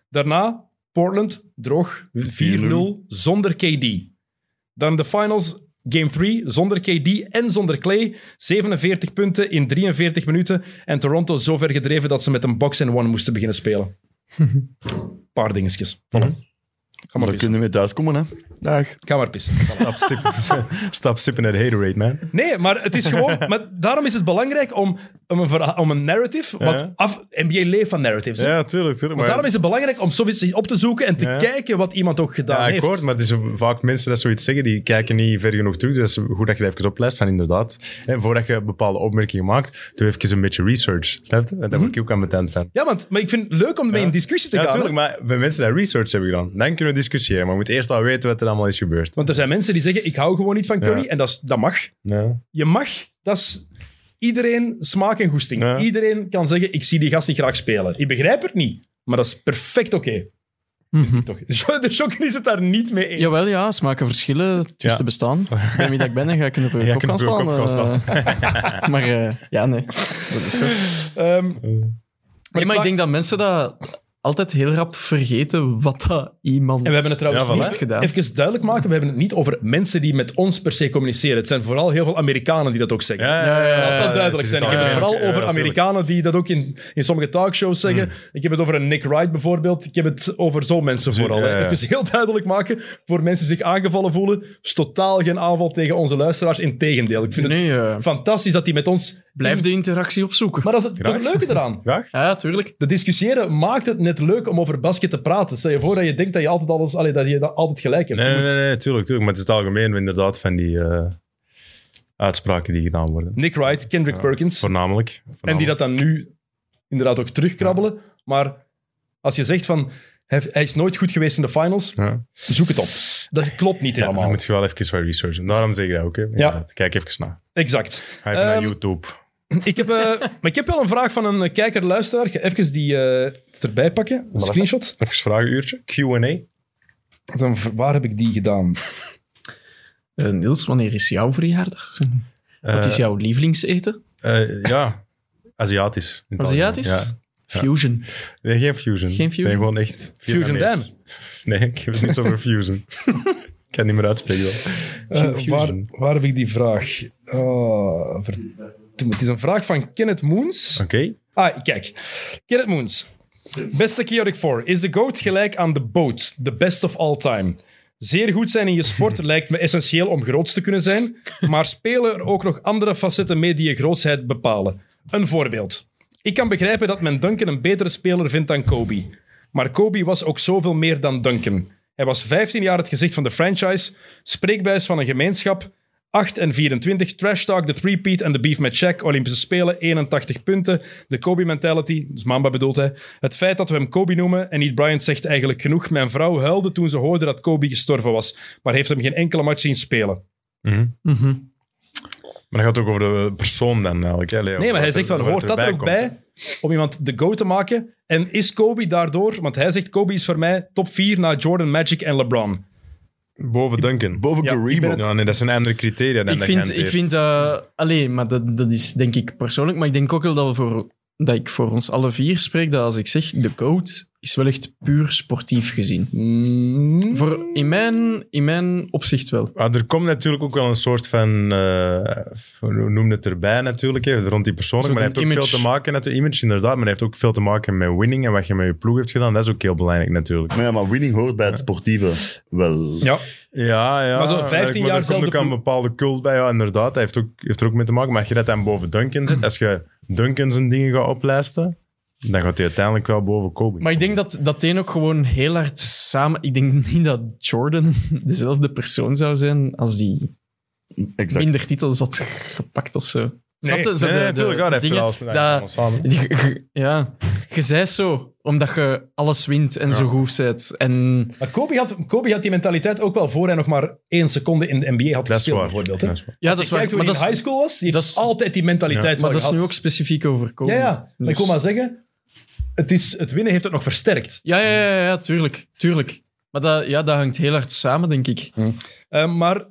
[SPEAKER 2] Daarna, Portland, droog, 4-0, zonder KD. Dan de finals, game 3, zonder KD en zonder Clay. 47 punten in 43 minuten. En Toronto zo ver gedreven dat ze met een box-and-one moesten beginnen spelen. Paar dingetjes. Voilà. Ga maar
[SPEAKER 3] Dan
[SPEAKER 2] pissen.
[SPEAKER 3] kunnen we thuis komen, hè. Dag.
[SPEAKER 2] Ga maar pissen.
[SPEAKER 1] Stop sippen. Stop sippen at Haterade, man.
[SPEAKER 2] Nee, maar het is gewoon. maar daarom is het belangrijk om, om, een, verha- om een narrative. Want
[SPEAKER 1] Ja.
[SPEAKER 2] af, NBA leeft van narratives. hè.
[SPEAKER 1] Ja, tuurlijk, tuurlijk.
[SPEAKER 2] maar
[SPEAKER 1] Maar,
[SPEAKER 2] daarom is het belangrijk om zoiets op te zoeken en te
[SPEAKER 1] Ja.
[SPEAKER 2] kijken wat iemand ook gedaan
[SPEAKER 1] ja,
[SPEAKER 2] heeft.
[SPEAKER 1] akkoord, maar het is vaak mensen dat zoiets zeggen, die kijken niet ver genoeg terug. Dus het is goed dat je dat even oplijst van inderdaad. En voordat je bepaalde opmerkingen maakt, doe even een beetje research. Snap je? En daar word ik ook aan meteen fan.
[SPEAKER 2] Mhm. Ja, want maar ik vind het leuk om mee in discussie te
[SPEAKER 1] Ja,
[SPEAKER 2] gaan. hè.
[SPEAKER 1] natuurlijk, maar bij mensen die research hebben gedaan, dan kunnen we discussiëren. Maar we moeten eerst al weten wat er allemaal is gebeurd.
[SPEAKER 2] Want er zijn mensen die zeggen: ik hou gewoon niet van curry.
[SPEAKER 1] Ja.
[SPEAKER 2] En dat, is, dat mag.
[SPEAKER 1] Ja.
[SPEAKER 2] Je mag. Dat is iedereen smaak en goesting.
[SPEAKER 1] Ja.
[SPEAKER 2] Iedereen kan zeggen: ik zie die gast niet graag spelen. Ik begrijp het niet. Maar dat is perfect oké.
[SPEAKER 1] Mhm.
[SPEAKER 2] Toch? De shocker is het daar niet mee eens.
[SPEAKER 4] Jawel, ja, smaken verschillen, twisten
[SPEAKER 1] Ja.
[SPEAKER 4] bestaan. Ik weet wie dat ik ben en ga ik kunnen op je
[SPEAKER 1] Ja,
[SPEAKER 4] kop
[SPEAKER 1] ik
[SPEAKER 4] gaan
[SPEAKER 1] kan op
[SPEAKER 4] staan.
[SPEAKER 1] je kop gaan
[SPEAKER 4] eh. maar eh, ja, nee.
[SPEAKER 2] Ehm, maar
[SPEAKER 4] Nee, maar ik
[SPEAKER 2] vraag-
[SPEAKER 4] denk dat mensen dat altijd heel rap vergeten wat dat iemand
[SPEAKER 2] En we hebben het trouwens
[SPEAKER 1] Ja, voilà.
[SPEAKER 2] niet
[SPEAKER 4] Gedaan.
[SPEAKER 2] Even duidelijk maken, we hebben het niet over mensen die met ons per se communiceren. Het zijn vooral heel veel Amerikanen die dat ook zeggen. Laat dat duidelijk zijn. Ik heb het
[SPEAKER 1] Ja,
[SPEAKER 2] vooral
[SPEAKER 1] oké, ja, Mm.
[SPEAKER 2] over
[SPEAKER 1] tuurlijk.
[SPEAKER 2] Amerikanen die dat ook in, in sommige talkshows zeggen. Ik heb het over een Nick Wright bijvoorbeeld. Ik heb het over zo'n mensen vooral.
[SPEAKER 1] ja,
[SPEAKER 2] hè.
[SPEAKER 1] ja.
[SPEAKER 2] Even heel duidelijk maken voor mensen die zich aangevallen voelen. Het is totaal geen aanval tegen onze luisteraars. Integendeel. Ik vind
[SPEAKER 4] Nee,
[SPEAKER 2] het
[SPEAKER 4] eh.
[SPEAKER 2] fantastisch dat die met ons...
[SPEAKER 4] Blijf de interactie opzoeken.
[SPEAKER 2] Maar dat is het, toch het leuke eraan.
[SPEAKER 1] Graag?
[SPEAKER 4] ja, ja, tuurlijk.
[SPEAKER 2] Dat discussiëren maakt het net leuk om over basket te praten. Stel je voor dat je denkt dat je altijd, alles, allee, dat je dat altijd gelijk hebt.
[SPEAKER 1] Nee,
[SPEAKER 2] Je
[SPEAKER 1] nee,
[SPEAKER 2] moet-
[SPEAKER 1] nee, nee, tuurlijk, tuurlijk. Maar het is het algemeen inderdaad van die eh, uitspraken die gedaan worden.
[SPEAKER 2] Nick Wright, Kendrick Perkins.
[SPEAKER 1] Voornamelijk.
[SPEAKER 2] En die
[SPEAKER 1] Voornamelijk.
[SPEAKER 2] dat dan nu inderdaad ook terugkrabbelen. Maar als je zegt van hij, hij is nooit goed geweest in de finals,
[SPEAKER 1] Ja.
[SPEAKER 2] zoek het op. Dat klopt niet
[SPEAKER 1] Ja,
[SPEAKER 2] helemaal.
[SPEAKER 1] dan moet je wel even wat researchen. Daarom zeg ik dat ook. Hè. Ja. Kijk even naar.
[SPEAKER 2] Exact.
[SPEAKER 1] Ga even naar
[SPEAKER 2] Ehm,
[SPEAKER 1] YouTube.
[SPEAKER 2] ik heb, eh, maar ik heb wel een vraag van een kijker-luisteraar. Ik ga Even die eh, erbij pakken. Een screenshot.
[SPEAKER 1] Even vragenuurtje. Q&A.
[SPEAKER 2] Dan, waar heb ik die gedaan?
[SPEAKER 4] Eh, Niels, wanneer is jouw verjaardag? wat is jouw lievelingseten?
[SPEAKER 1] Eh, ja, Aziatisch. in het
[SPEAKER 4] Aziatisch?
[SPEAKER 1] algemeen, oh, Ja.
[SPEAKER 4] Fusion.
[SPEAKER 1] Nee, geen fusion.
[SPEAKER 4] Geen fusion?
[SPEAKER 1] Nee, gewoon echt.
[SPEAKER 2] Fusion
[SPEAKER 1] Vietnamees. Nee, ik heb het niet over fusion. ik kan het niet meer uitspreken. wel. Geen
[SPEAKER 2] Eh, waar,
[SPEAKER 1] fusion.
[SPEAKER 2] waar heb ik die vraag? Ah, verdomme. Het is een vraag van Kenneth Moons.
[SPEAKER 1] Oké.
[SPEAKER 2] Ah, kijk. Kenneth Moons. Beste Kiorik 4. Is de GOAT gelijk aan de boot? The best of all time. Zeer goed zijn in je sport lijkt me essentieel om groots te kunnen zijn, maar spelen er ook nog andere facetten mee die je grootsheid bepalen. Een voorbeeld. Ik kan begrijpen dat men Duncan een betere speler vindt dan Kobe. Maar Kobe was ook zoveel meer dan Duncan. Hij was 15 jaar het gezicht van de franchise, spreekbuis van een gemeenschap, 8 en 24, Trash Talk, de Threepeat en de Beef met Shaq, Olympische Spelen, 81 punten, de Kobe Mentality, dus Mamba bedoelt hij. Het feit dat we hem Kobe noemen en niet Bryant zegt eigenlijk genoeg. Mijn vrouw huilde toen ze hoorde dat Kobe gestorven was, maar heeft hem geen enkele match zien spelen.
[SPEAKER 1] Maar dan gaat het ook over de persoon dan eigenlijk. Hè, Leo?
[SPEAKER 2] Nee, maar hij
[SPEAKER 1] Wat
[SPEAKER 2] zegt van,
[SPEAKER 1] wat
[SPEAKER 2] hoort dat er
[SPEAKER 1] erbij
[SPEAKER 2] ook
[SPEAKER 1] komt.
[SPEAKER 2] bij om iemand de go te maken? En is Kobe daardoor, want hij zegt Kobe is voor mij top 4 na Jordan, Magic en LeBron.
[SPEAKER 1] Boven Duncan.
[SPEAKER 3] Boven
[SPEAKER 2] Ja, ik
[SPEAKER 3] Kareem
[SPEAKER 2] ben
[SPEAKER 3] ook.
[SPEAKER 2] het-
[SPEAKER 1] Ja, nee, dat zijn andere criteria dan
[SPEAKER 4] ik
[SPEAKER 1] dat
[SPEAKER 4] vind,
[SPEAKER 1] Gent
[SPEAKER 4] ik
[SPEAKER 1] heeft.
[SPEAKER 4] vind eh, alleen, maar dat, dat is denk ik persoonlijk, maar ik denk ook wel dat, we voor, dat ik voor ons alle vier spreek, dat als ik zeg, de code is wel echt puur sportief gezien.
[SPEAKER 2] Mm.
[SPEAKER 4] Voor, in, mijn, in mijn opzicht wel.
[SPEAKER 1] Ah, er komt natuurlijk ook wel een soort van, eh, hoe noem het erbij natuurlijk, hè, rond die persoon. Maar
[SPEAKER 4] Een
[SPEAKER 1] hij
[SPEAKER 4] soort
[SPEAKER 1] heeft ook
[SPEAKER 4] image.
[SPEAKER 1] veel te maken met de image, inderdaad. Maar hij heeft ook veel te maken met winning en wat je met je ploeg hebt gedaan. Dat is ook heel belangrijk natuurlijk.
[SPEAKER 3] Maar ja, maar winning hoort bij het sportieve wel.
[SPEAKER 2] Ja,
[SPEAKER 1] Ja, ja.
[SPEAKER 2] Maar zo'n 15
[SPEAKER 1] eigenlijk,
[SPEAKER 2] jaar
[SPEAKER 1] Er komt
[SPEAKER 2] zelfde
[SPEAKER 1] ook aan een
[SPEAKER 2] ploeg.
[SPEAKER 1] bepaalde cult bij, ja, inderdaad. Hij heeft, ook, heeft er ook mee te maken. Maar als je dat dan boven Duncan zet, als je Duncan zijn dingen gaat oplijsten, dan gaat hij uiteindelijk wel boven Kobe.
[SPEAKER 4] Maar ik denk dat dat een ook gewoon heel hard samen... Ik denk niet dat Jordan dezelfde persoon zou zijn als die
[SPEAKER 3] Exact.
[SPEAKER 4] minder titels had gepakt of zo. Snap je? Zo
[SPEAKER 1] Nee,
[SPEAKER 4] de-
[SPEAKER 1] nee,
[SPEAKER 4] de
[SPEAKER 1] natuurlijk. Ja, dat heeft er
[SPEAKER 4] dingen
[SPEAKER 1] alles mee.
[SPEAKER 4] dat-
[SPEAKER 1] allemaal samen.
[SPEAKER 4] Je- je- Ja, je zei zo, omdat je alles wint en zo goed bent. En
[SPEAKER 2] maar Kobe had, Kobe had die mentaliteit ook wel voor hij nog maar één seconde in de NBA had
[SPEAKER 1] Dat is
[SPEAKER 2] gespeeld,
[SPEAKER 1] waar.
[SPEAKER 2] bijvoorbeeld. Hè?
[SPEAKER 1] Dat is waar.
[SPEAKER 4] ja, dat
[SPEAKER 2] Als
[SPEAKER 4] is
[SPEAKER 2] je kijkt
[SPEAKER 4] waar.
[SPEAKER 2] hoe
[SPEAKER 4] Maar
[SPEAKER 2] hij
[SPEAKER 4] dat
[SPEAKER 2] in
[SPEAKER 4] is,
[SPEAKER 2] high school was, die heeft
[SPEAKER 4] dat is-
[SPEAKER 2] altijd die mentaliteit wel
[SPEAKER 4] maar dat is
[SPEAKER 2] gehad.
[SPEAKER 4] nu ook specifiek over Kobe.
[SPEAKER 2] Ja, ja. Maar ik
[SPEAKER 4] Dus-
[SPEAKER 2] wil maar zeggen, het, is, het winnen heeft het nog versterkt.
[SPEAKER 4] ja, ja, ja, ja, ja, tuurlijk. tuurlijk. Maar dat, ja, dat hangt heel hard samen, denk ik.
[SPEAKER 2] Eh, maar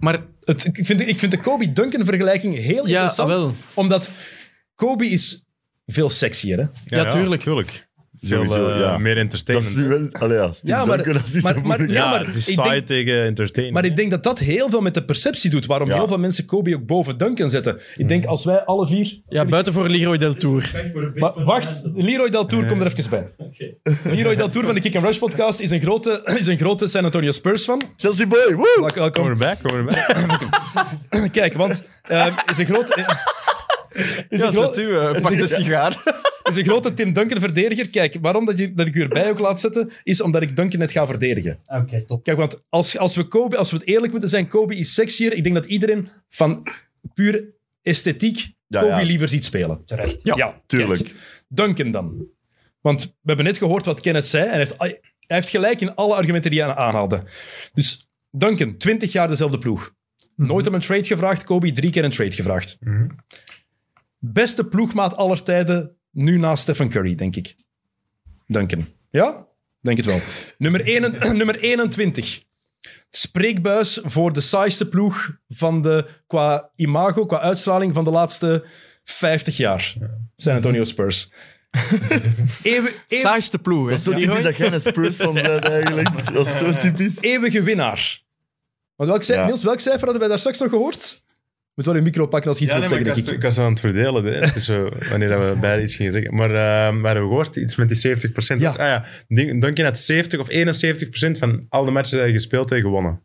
[SPEAKER 4] Maar
[SPEAKER 2] het, ik, vind, ik vind de Kobe-Duncan-vergelijking heel
[SPEAKER 4] ja,
[SPEAKER 2] interessant.
[SPEAKER 4] ah, wel.
[SPEAKER 2] Omdat Kobe is veel sexier, hè?
[SPEAKER 4] Ja, tuurlijk.
[SPEAKER 1] Veel
[SPEAKER 3] Sowieso,
[SPEAKER 1] eh,
[SPEAKER 3] ja.
[SPEAKER 1] meer
[SPEAKER 3] Dat
[SPEAKER 1] entertainment.
[SPEAKER 3] is wel... Allee, ja, Steve
[SPEAKER 2] Ja, maar-
[SPEAKER 3] Duncan, dat is niet
[SPEAKER 2] maar-
[SPEAKER 3] zo
[SPEAKER 2] maar-
[SPEAKER 3] moeilijk.
[SPEAKER 2] ja,
[SPEAKER 1] Ja,
[SPEAKER 2] maar
[SPEAKER 1] het
[SPEAKER 2] ik
[SPEAKER 1] is saai
[SPEAKER 2] denk-
[SPEAKER 1] tegen entertainment.
[SPEAKER 2] Maar ik denk dat dat heel veel met de perceptie doet waarom
[SPEAKER 3] Ja.
[SPEAKER 2] heel veel mensen Kobe ook boven Duncan zetten. Ik denk als wij alle vier...
[SPEAKER 4] Ja, buiten voor Leroy Del Tour.
[SPEAKER 2] Maar wacht, Leroy Del Tour, kom er even bij. Leroy Del Tour van de Kick and Rush podcast is een grote, is een grote San Antonio Spurs fan.
[SPEAKER 3] Chelsea boy, woe!
[SPEAKER 2] Wel- Welkom.
[SPEAKER 1] Kom erbij, kom erbij.
[SPEAKER 2] Kijk, want ehm, is een grote... Is
[SPEAKER 4] Ja,
[SPEAKER 2] een groot-
[SPEAKER 4] zet u, eh, pak de sigaar.
[SPEAKER 2] is een grote Tim Duncan-verdediger. Kijk, waarom dat, je, dat ik u erbij ook laat zetten, is omdat ik Duncan net ga verdedigen.
[SPEAKER 5] Oké, top.
[SPEAKER 2] Kijk, want als, als, we Kobe, als we het eerlijk moeten zijn, Kobe is sexier. Ik denk dat iedereen van puur esthetiek
[SPEAKER 3] Ja,
[SPEAKER 2] Kobe
[SPEAKER 3] ja.
[SPEAKER 2] liever ziet spelen.
[SPEAKER 5] Terecht.
[SPEAKER 2] Ja,
[SPEAKER 3] Tuurlijk.
[SPEAKER 2] kijk. Duncan dan. Want we hebben net gehoord wat Kenneth zei. En hij, heeft, hij heeft gelijk in alle argumenten die hij aanhaalde. Dus Duncan, 20 jaar dezelfde ploeg. Nooit om een trade gevraagd. Kobe, drie keer een trade gevraagd. Beste ploegmaat aller tijden, nu na Stephen Curry, denk ik. Duncan. Ja? Denk het wel. Nummer, 1, nummer 21. Spreekbuis voor de saaiste ploeg van de, qua imago, qua uitstraling van de laatste 50 jaar. San Antonio Spurs. Eeuw- eeuw-
[SPEAKER 4] Saaiste ploeg, hè.
[SPEAKER 3] Dat is zo typisch dat jij een Spurs van bent eigenlijk. Dat is zo typisch.
[SPEAKER 2] eeuwige winnaar. Want welk cijfer,
[SPEAKER 3] Ja.
[SPEAKER 2] Niels, welk cijfer hadden wij daar straks nog gehoord? Moet wel je micro pakken als je iets
[SPEAKER 1] Ja, nee,
[SPEAKER 2] wilt
[SPEAKER 1] maar ik,
[SPEAKER 2] zeggen, denk
[SPEAKER 1] was,
[SPEAKER 2] ik.
[SPEAKER 1] ik was aan het verdelen hè, tussen wanneer dat we beide iets gingen zeggen. Maar eh, we hadden gehoord iets met die 70%.
[SPEAKER 2] Ja.
[SPEAKER 1] Ah, ja. Ding- Duncan had 70 of 71% van al de matchen die hij gespeeld heeft gewonnen.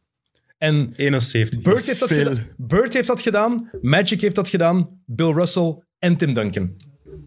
[SPEAKER 2] En
[SPEAKER 1] 71.
[SPEAKER 2] Bird heeft, dat
[SPEAKER 3] Veel.
[SPEAKER 2] gedaan, Bird heeft dat gedaan, Magic heeft dat gedaan, Bill Russell en Tim Duncan.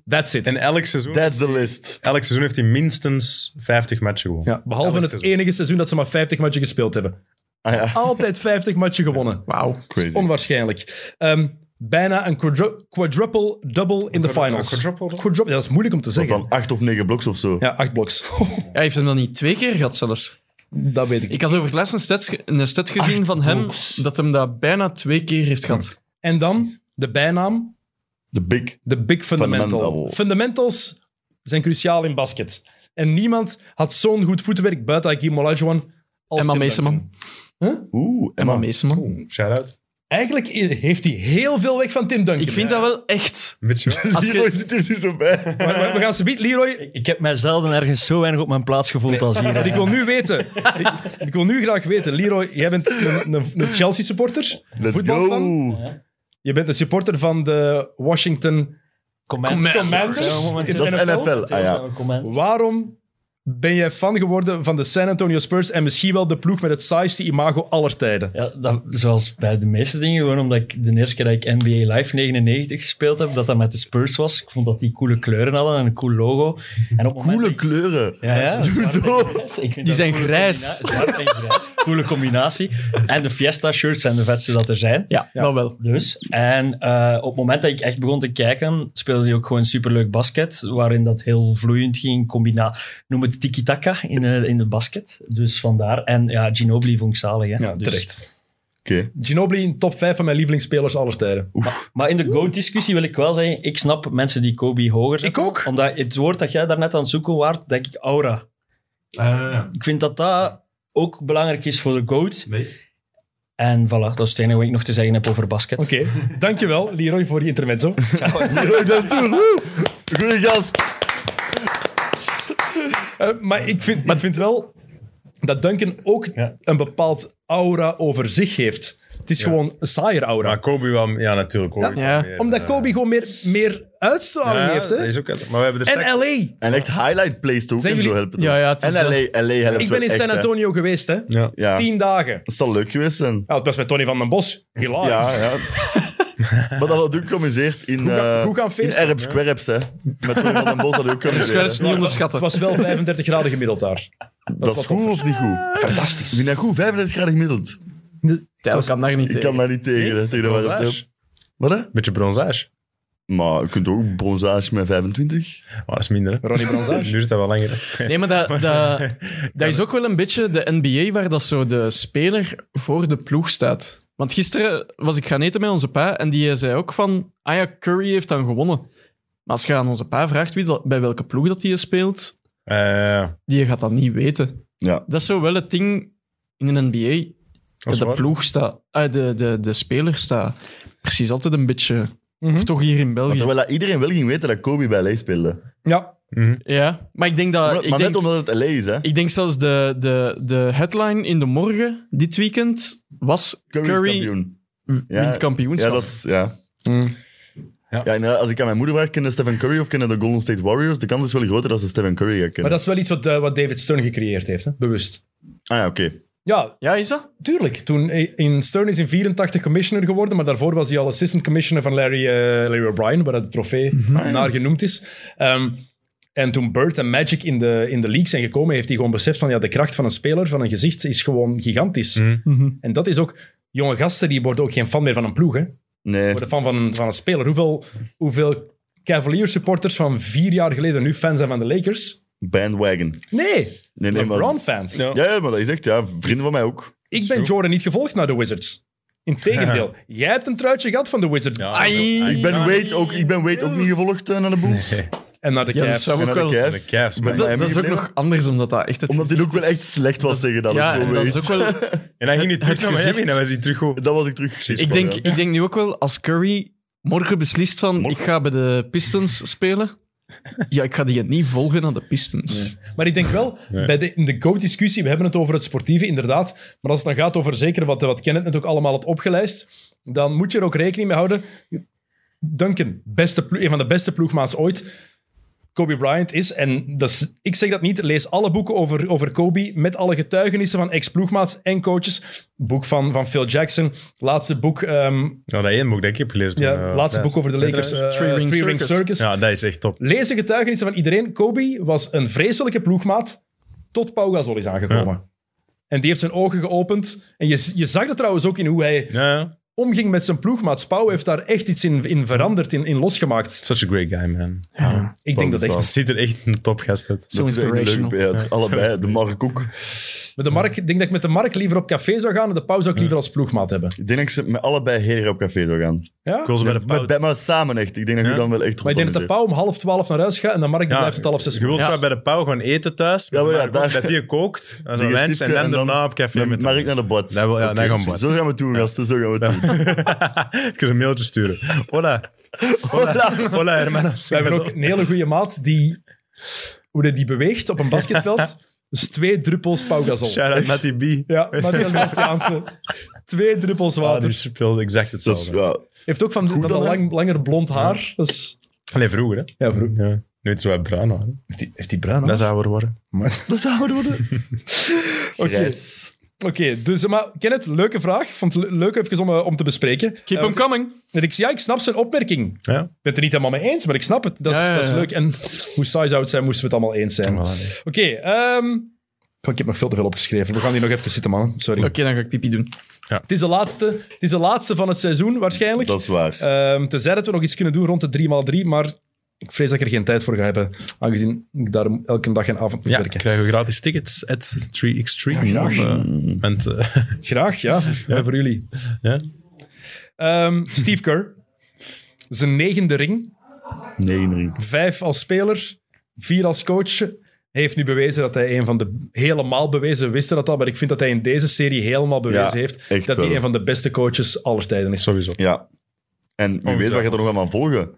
[SPEAKER 2] That's it.
[SPEAKER 1] En elk seizoen,
[SPEAKER 3] That's the list.
[SPEAKER 1] elk seizoen heeft hij minstens 50 matchen gewonnen.
[SPEAKER 2] ja, behalve
[SPEAKER 1] elk
[SPEAKER 2] het
[SPEAKER 1] seizoen.
[SPEAKER 2] enige seizoen dat ze maar 50 matchen gespeeld hebben.
[SPEAKER 3] Ah ja,
[SPEAKER 2] Altijd 50 matchen gewonnen.
[SPEAKER 4] Wauw.
[SPEAKER 3] crazy.
[SPEAKER 2] Onwaarschijnlijk. Ehm, bijna een quadru- quadruple double in de
[SPEAKER 1] Quadru-
[SPEAKER 2] finals.
[SPEAKER 1] quadruple double?
[SPEAKER 2] Quadruple, ja, dat is moeilijk om te
[SPEAKER 3] Wat
[SPEAKER 2] zeggen.
[SPEAKER 3] dan, acht of negen bloks of zo.
[SPEAKER 2] Ja, acht bloks.
[SPEAKER 4] Ja, hij heeft hem dan niet twee keer gehad zelfs.
[SPEAKER 2] dat weet ik.
[SPEAKER 4] Ik had over laatst een stat, ge- een stat gezien van hem dat hem dat bijna twee keer heeft gehad.
[SPEAKER 2] En dan de bijnaam
[SPEAKER 3] De big.
[SPEAKER 2] De big fundamental.
[SPEAKER 3] Fundamental.
[SPEAKER 2] Fundamentals zijn cruciaal in basket. En niemand had zo'n goed voetenwerk buiten Hakim Olajuwon als
[SPEAKER 4] Emma
[SPEAKER 2] Tim
[SPEAKER 4] Meeseman.
[SPEAKER 2] Duncan.
[SPEAKER 3] Oeh,
[SPEAKER 4] Emma
[SPEAKER 3] Emma.
[SPEAKER 4] Meeseman.
[SPEAKER 1] Shout-out.
[SPEAKER 2] Eigenlijk heeft hij heel veel weg van Tim Duncan.
[SPEAKER 4] Ik vind dat wel echt.
[SPEAKER 1] Weet je wel?
[SPEAKER 4] Als je-
[SPEAKER 3] Leroy zit er nu zo bij.
[SPEAKER 2] Maar- maar We gaan ze bieden, Leroy.
[SPEAKER 5] Ik heb mij zelden ergens zo weinig op mijn plaats gevoeld als hier.
[SPEAKER 2] Ik wil nu weten. Ik, ik wil nu graag weten. Leroy, jij bent een, een, een Chelsea-supporter.
[SPEAKER 3] Let's
[SPEAKER 2] Voetbalfan.
[SPEAKER 3] go.
[SPEAKER 2] Je bent een supporter van de Washington
[SPEAKER 5] Command-
[SPEAKER 2] Commanders.
[SPEAKER 5] Ja, momenteel.
[SPEAKER 3] Dat is NFL. Ah ja.
[SPEAKER 5] Command.
[SPEAKER 2] Waarom Ben jij fan geworden van de San Antonio Spurs en misschien wel de ploeg met het saaiste imago aller tijden?
[SPEAKER 5] Ja, dat, zoals bij de meeste dingen, gewoon omdat ik de eerste keer dat ik NBA Live 99 gespeeld heb, dat dat met de Spurs was. Ik vond dat die coole kleuren hadden en een cool logo. En op het moment dat
[SPEAKER 3] Coole
[SPEAKER 5] ik-
[SPEAKER 3] kleuren.
[SPEAKER 5] Ja, ja.
[SPEAKER 3] Hoezo?
[SPEAKER 5] zwart en grijs. Ik vind
[SPEAKER 4] Die
[SPEAKER 5] dat
[SPEAKER 4] zijn
[SPEAKER 5] een coole
[SPEAKER 4] grijs.
[SPEAKER 5] combina- Zwart en grijs. Coole combinatie. En de Fiesta-shirts zijn de vetste dat er zijn.
[SPEAKER 4] Ja, dat wel.
[SPEAKER 5] Dus. En eh, op het moment dat ik echt begon te kijken, speelde hij ook gewoon superleuk basket, waarin dat heel vloeiend ging. Combina noem het tiki-taka in, eh, in de basket. Dus vandaar. En ja, Ginobili vond ik zalig. Hè?
[SPEAKER 2] Ja,
[SPEAKER 5] Dus-
[SPEAKER 2] terecht.
[SPEAKER 3] Oké.
[SPEAKER 2] Ginobili in top 5 van mijn lievelingsspelers aller tijden.
[SPEAKER 5] Maar in de GOAT-discussie wil ik wel zeggen, ik snap mensen die Kobe hoger zetten.
[SPEAKER 2] ook.
[SPEAKER 5] Omdat het woord dat jij daarnet aan het zoeken waart, denk ik aura. Ik vind dat dat ook belangrijk is voor de GOAT. En voilà, dat is het enige wat ik nog te zeggen heb over basket.
[SPEAKER 2] Oké, dankjewel Leroy voor die intermezzo.
[SPEAKER 3] Leroy Deltour, woe! Goeie gast.
[SPEAKER 2] Eh, maar ik vind, ik vind wel dat Duncan ook een bepaald aura over zich heeft. Het is gewoon een saaier aura.
[SPEAKER 1] Maar Kobe wel... Ja, natuurlijk. Kobe
[SPEAKER 2] Ja.
[SPEAKER 1] is wel
[SPEAKER 4] Ja.
[SPEAKER 1] meer,
[SPEAKER 2] Omdat
[SPEAKER 1] eh,
[SPEAKER 2] Kobe gewoon meer, meer uitstraling
[SPEAKER 1] ja,
[SPEAKER 2] heeft.
[SPEAKER 1] dat
[SPEAKER 2] Hè?
[SPEAKER 1] is ook... wel- Maar we hebben er straks-
[SPEAKER 2] En LA.
[SPEAKER 3] En echt highlight plays te ook
[SPEAKER 2] Zijn
[SPEAKER 3] en zo
[SPEAKER 2] jullie-
[SPEAKER 3] helpen.
[SPEAKER 4] Ja, ja, het
[SPEAKER 3] en
[SPEAKER 4] is
[SPEAKER 3] LA,
[SPEAKER 4] dat-
[SPEAKER 3] helpt
[SPEAKER 2] Ik ben
[SPEAKER 3] wel
[SPEAKER 2] in
[SPEAKER 3] echt,
[SPEAKER 2] San
[SPEAKER 3] hè.
[SPEAKER 2] Antonio geweest, hè?
[SPEAKER 1] Ja.
[SPEAKER 3] Ja.
[SPEAKER 2] Tien dagen.
[SPEAKER 3] Dat zou leuk geweest zijn.
[SPEAKER 2] Nou, het was met Tony van den Bos. Helaas.
[SPEAKER 3] Ja, ja. maar dat had ook geamuseerd in,
[SPEAKER 2] Hoe gaan-
[SPEAKER 3] eh,
[SPEAKER 2] hoe gaan
[SPEAKER 3] in
[SPEAKER 2] feesten,
[SPEAKER 3] Erps Querps, hè. Met Tony van den Bos had
[SPEAKER 4] Squares
[SPEAKER 3] ook geamuseerd.
[SPEAKER 4] niet
[SPEAKER 2] Het
[SPEAKER 4] onderschatten.
[SPEAKER 2] was wel 35 graden gemiddeld daar.
[SPEAKER 3] Dat
[SPEAKER 2] wat
[SPEAKER 3] is goed
[SPEAKER 2] toffer.
[SPEAKER 3] of niet goed? Fantastisch. Vind je dat goed? 35 graden gemiddeld.
[SPEAKER 4] Tijl kan daar niet
[SPEAKER 3] Ik kan
[SPEAKER 4] tegen.
[SPEAKER 3] daar niet tegen, hè, tegen dat wat
[SPEAKER 1] Bronzage.
[SPEAKER 3] Wat, hè?
[SPEAKER 1] Beetje bronzage.
[SPEAKER 3] Maar je kunt ook bronzage met 25.
[SPEAKER 1] Oh, dat is minder, hè.
[SPEAKER 2] Ronnie Branzage.
[SPEAKER 1] Nu is dat wel langer. hè.
[SPEAKER 4] Nee, maar dat, dat, dat is ook wel een beetje de NBA waar dat zo de speler voor de ploeg staat. Want gisteren was ik gaan eten met onze pa en die eh, zei ook van... Ah ja, Curry heeft dan gewonnen. Maar als je aan onze pa vraagt wie dat, bij welke ploeg dat hij speelt,
[SPEAKER 1] Eh,
[SPEAKER 4] die gaat dat niet weten.
[SPEAKER 3] Ja.
[SPEAKER 4] Dat is zo wel het ding in een NBA.
[SPEAKER 1] dat is
[SPEAKER 4] de
[SPEAKER 1] waar.
[SPEAKER 4] ploeg staat... eh, de, de, de speler staat precies altijd een beetje... Of toch hier in
[SPEAKER 3] Maar
[SPEAKER 4] België.
[SPEAKER 3] terwijl Mhm. dat iedereen wel ging weten dat Kobe bij LA speelde.
[SPEAKER 2] Eh, Ja,
[SPEAKER 1] Mhm.
[SPEAKER 4] Ja, maar ik denk dat...
[SPEAKER 3] maar
[SPEAKER 4] ik
[SPEAKER 3] maar
[SPEAKER 4] denk,
[SPEAKER 3] net omdat het LA is, hè.
[SPEAKER 4] Ik denk zelfs de, de, de headline in de morgen dit weekend was
[SPEAKER 3] Curry,
[SPEAKER 4] Curry,
[SPEAKER 3] is kampioen. Ja.
[SPEAKER 4] wint
[SPEAKER 3] Ja,
[SPEAKER 4] kampioenschap.
[SPEAKER 3] dat is... Ja.
[SPEAKER 4] Mm.
[SPEAKER 3] Ja, inderdaad, als ik aan mijn moeder vraag, kennen Stephen Curry of kennen de Golden State Warriors? De kans is wel groter dat ze Stephen Curry gaan
[SPEAKER 2] maar
[SPEAKER 3] kennen.
[SPEAKER 2] dat is wel iets wat, eh, wat David Stern gecreëerd heeft, hè? bewust.
[SPEAKER 3] Ah ja, oké.
[SPEAKER 2] Ja,
[SPEAKER 4] Ja, is dat?
[SPEAKER 2] Tuurlijk. Toen eh, in Stern is in 84 commissioner geworden, maar daarvoor was hij al assistant commissioner van Larry, eh, Larry O'Brien, waar de trofee naar genoemd is. Ehm, en toen Bird en Magic in de, in de league zijn gekomen, heeft hij gewoon beseft van ja, de kracht van een speler, van een gezicht, is gewoon gigantisch. En dat is ook... Jonge gasten, die worden ook geen fan meer van een ploeg, hè. Die
[SPEAKER 3] Nee.
[SPEAKER 2] worden fan van, van een speler. Hoeveel, hoeveel Cavaliers supporters van vier jaar geleden nu fan zijn van de Lakers?
[SPEAKER 3] Bandwagon.
[SPEAKER 2] Nee,
[SPEAKER 3] Nee, nee, maar...
[SPEAKER 2] LeBron-fans.
[SPEAKER 1] Ja.
[SPEAKER 3] Ja, ja, maar dat is echt, ja, vrienden van mij ook.
[SPEAKER 2] Ik ben Jordan niet gevolgd naar de Wizards. Integendeel, jij hebt een truitje gehad van de Wizards.
[SPEAKER 1] Ja,
[SPEAKER 4] Ai.
[SPEAKER 1] dat-
[SPEAKER 3] Ik ben Wade ook, ik ben Wade ook niet gevolgd eh, naar de Bulls.
[SPEAKER 1] Nee.
[SPEAKER 2] En naar de
[SPEAKER 4] Ja, dat
[SPEAKER 2] Cavs.
[SPEAKER 4] zou
[SPEAKER 3] En
[SPEAKER 4] ook
[SPEAKER 3] naar de
[SPEAKER 4] wel...
[SPEAKER 3] Cavs.
[SPEAKER 4] Dat,
[SPEAKER 1] De Cavs.
[SPEAKER 3] Maar-
[SPEAKER 1] man.
[SPEAKER 4] dat is ook
[SPEAKER 3] gebleven?
[SPEAKER 4] nog anders, omdat dat echt het
[SPEAKER 3] Omdat hij ook
[SPEAKER 4] gezicht
[SPEAKER 3] wel
[SPEAKER 4] is-
[SPEAKER 3] echt slecht was zeggen dat
[SPEAKER 4] Ja,
[SPEAKER 3] het
[SPEAKER 4] en
[SPEAKER 3] voor
[SPEAKER 4] dat
[SPEAKER 3] Wade.
[SPEAKER 4] is ook wel...
[SPEAKER 1] En hij ging nu terug
[SPEAKER 4] het
[SPEAKER 1] naar Miami en
[SPEAKER 4] gezicht.
[SPEAKER 1] dan was hij terug goed.
[SPEAKER 3] Dat was ik terug.
[SPEAKER 4] Ik denk, ik denk nu ook wel, als Curry morgen beslist van
[SPEAKER 3] Morgen.
[SPEAKER 4] ik ga bij de Pistons spelen, ja, ik ga die niet volgen naar de Pistons.
[SPEAKER 2] Maar ik denk wel, bij de, in de GOAT-discussie, we hebben het over het sportieve, inderdaad. Maar als het dan gaat over zeker wat, wat Kenneth net ook allemaal had opgelijst, dan moet je er ook rekening mee houden. Duncan, beste plo- een van de beste ploegmaats ooit. Kobe Bryant is, en dat is, ik zeg dat niet, lees alle boeken over, over Kobe met alle getuigenissen van ex-ploegmaats en coaches. Boek van, van Phil Jackson, laatste boek, ehm,
[SPEAKER 1] Nou, dat één boek dat ik heb gelezen.
[SPEAKER 2] ja,
[SPEAKER 1] toen, eh,
[SPEAKER 2] laatste
[SPEAKER 1] ja.
[SPEAKER 2] boek over de
[SPEAKER 1] Weet je
[SPEAKER 2] Lakers,
[SPEAKER 1] dat?
[SPEAKER 2] eh, Three Ring, Circus.
[SPEAKER 1] Ja, dat is echt top.
[SPEAKER 2] Lees de getuigenissen van iedereen. Kobe was een vreselijke ploegmaat tot Pau Gasol is aangekomen. En die heeft zijn ogen geopend. En je, je zag dat trouwens ook in hoe hij
[SPEAKER 1] Ja, ja.
[SPEAKER 2] omging met zijn ploegmaat. Pau heeft daar echt iets in, in veranderd, in, in losgemaakt.
[SPEAKER 1] Such a great guy, man.
[SPEAKER 2] Ik denk dat
[SPEAKER 3] Gasol.
[SPEAKER 2] echt...
[SPEAKER 1] Het ziet er echt een topgast uit.
[SPEAKER 4] Zo inspirational.
[SPEAKER 3] allebei, de Mark ook.
[SPEAKER 2] Met de Mark, ik denk dat ik met de Mark liever op café zou gaan en de Pau zou ik liever als ploegmaat hebben.
[SPEAKER 3] Ik denk dat ik ze met allebei heren op café zou gaan.
[SPEAKER 2] Ja?
[SPEAKER 1] Ik wil ze bij de
[SPEAKER 3] Met,
[SPEAKER 1] pauw-
[SPEAKER 3] bij- maar samen echt. Ik denk dat je
[SPEAKER 1] Ja?
[SPEAKER 3] dan wel echt
[SPEAKER 2] Maar ik denk dat de
[SPEAKER 3] rond
[SPEAKER 2] Pau om half twaalf naar huis gaat en de Mark die
[SPEAKER 1] Ja,
[SPEAKER 2] blijft tot half zes.
[SPEAKER 1] Je wilt
[SPEAKER 4] Ja.
[SPEAKER 1] zo bij de pauw gewoon eten thuis.
[SPEAKER 3] Ja, maar ja,
[SPEAKER 1] maar ook
[SPEAKER 3] daar-
[SPEAKER 1] Dat die kookt. Dat is
[SPEAKER 3] Die
[SPEAKER 1] een wijntje
[SPEAKER 3] gestiefke
[SPEAKER 1] en
[SPEAKER 3] en
[SPEAKER 1] dan
[SPEAKER 3] dan-
[SPEAKER 1] daarna op café
[SPEAKER 3] Dan
[SPEAKER 1] met
[SPEAKER 3] Mark
[SPEAKER 1] hem.
[SPEAKER 3] naar de bot.
[SPEAKER 1] Dat wil- ja, dan gaan we bot.
[SPEAKER 3] Zo gaan we doen, gasten. Zo gaan we doen.
[SPEAKER 1] Ik een mailtje sturen. Hola. Hola, Hola hermanos.
[SPEAKER 2] We hebben ook een hele goede maat die... Hoe die, die beweegt op een basketveld. Dat is twee druppels Pau Gasol.
[SPEAKER 1] Shout-out Matty B.
[SPEAKER 2] Ja, Matthias Bastiaanse. Twee druppels
[SPEAKER 1] Ah, die
[SPEAKER 2] water.
[SPEAKER 1] speelde exact
[SPEAKER 3] Dat is,
[SPEAKER 1] hetzelfde.
[SPEAKER 3] Dus, ja.
[SPEAKER 2] Heeft ook van, van
[SPEAKER 3] dan,
[SPEAKER 2] dat
[SPEAKER 3] hè?
[SPEAKER 2] lang, langer blond haar. Dat is...
[SPEAKER 1] Alleen vroeger, hè?
[SPEAKER 2] Ja, vroeg.
[SPEAKER 1] Ja. Nu het zo wat bruin hoor.
[SPEAKER 2] Heeft die, heeft die bruin haar?
[SPEAKER 1] Dat zou er worden.
[SPEAKER 3] Dat zouden worden.
[SPEAKER 2] Oké.
[SPEAKER 3] Grijs.
[SPEAKER 2] Oké, dus, eh, maar Kenneth, leuke vraag. Vond het le- leuk even om, eh, om te bespreken.
[SPEAKER 4] Keep
[SPEAKER 2] Eh,
[SPEAKER 4] them coming.
[SPEAKER 2] en ik, ja, ik snap zijn opmerking. Ik
[SPEAKER 1] Ja.
[SPEAKER 2] ben het er niet helemaal mee eens, maar ik snap het. Dat is,
[SPEAKER 4] Ja, ja, ja.
[SPEAKER 2] Dat is leuk. En hoe saai zou het zijn, moesten we het allemaal eens zijn. Oké, ehm, oh, ik heb nog veel te veel opgeschreven. We gaan hier nog even zitten, man. Sorry.
[SPEAKER 4] Oké, dan ga ik pipi doen.
[SPEAKER 2] Het, is de laatste, het is de laatste van het seizoen, waarschijnlijk.
[SPEAKER 3] Dat is waar.
[SPEAKER 2] Ehm tenzij dat we nog iets kunnen doen rond de 3x3, maar ik vrees dat ik er geen tijd voor ga hebben, aangezien ik daarom elke dag en avond moet
[SPEAKER 1] Ja,
[SPEAKER 2] werken.
[SPEAKER 1] krijgen we gratis tickets at 3 Extreme.
[SPEAKER 2] Ja, graag.
[SPEAKER 1] Op, eh, want, eh,
[SPEAKER 2] Graag, ja. ja. Voor jullie.
[SPEAKER 1] ja.
[SPEAKER 2] Ehm, Steve Kerr. Zijn negende ring.
[SPEAKER 3] Nee, nee.
[SPEAKER 2] Vijf als speler. Vier als coach. Hij heeft nu bewezen dat hij een van de... Helemaal bewezen, we wisten dat al, maar ik vind dat hij in deze serie helemaal bewezen
[SPEAKER 3] Ja,
[SPEAKER 2] heeft
[SPEAKER 3] echt
[SPEAKER 2] dat hij
[SPEAKER 3] wel.
[SPEAKER 2] een van de beste coaches aller tijden is.
[SPEAKER 1] Sowieso.
[SPEAKER 3] Ja. En wie weet wat je er nog allemaal volgen.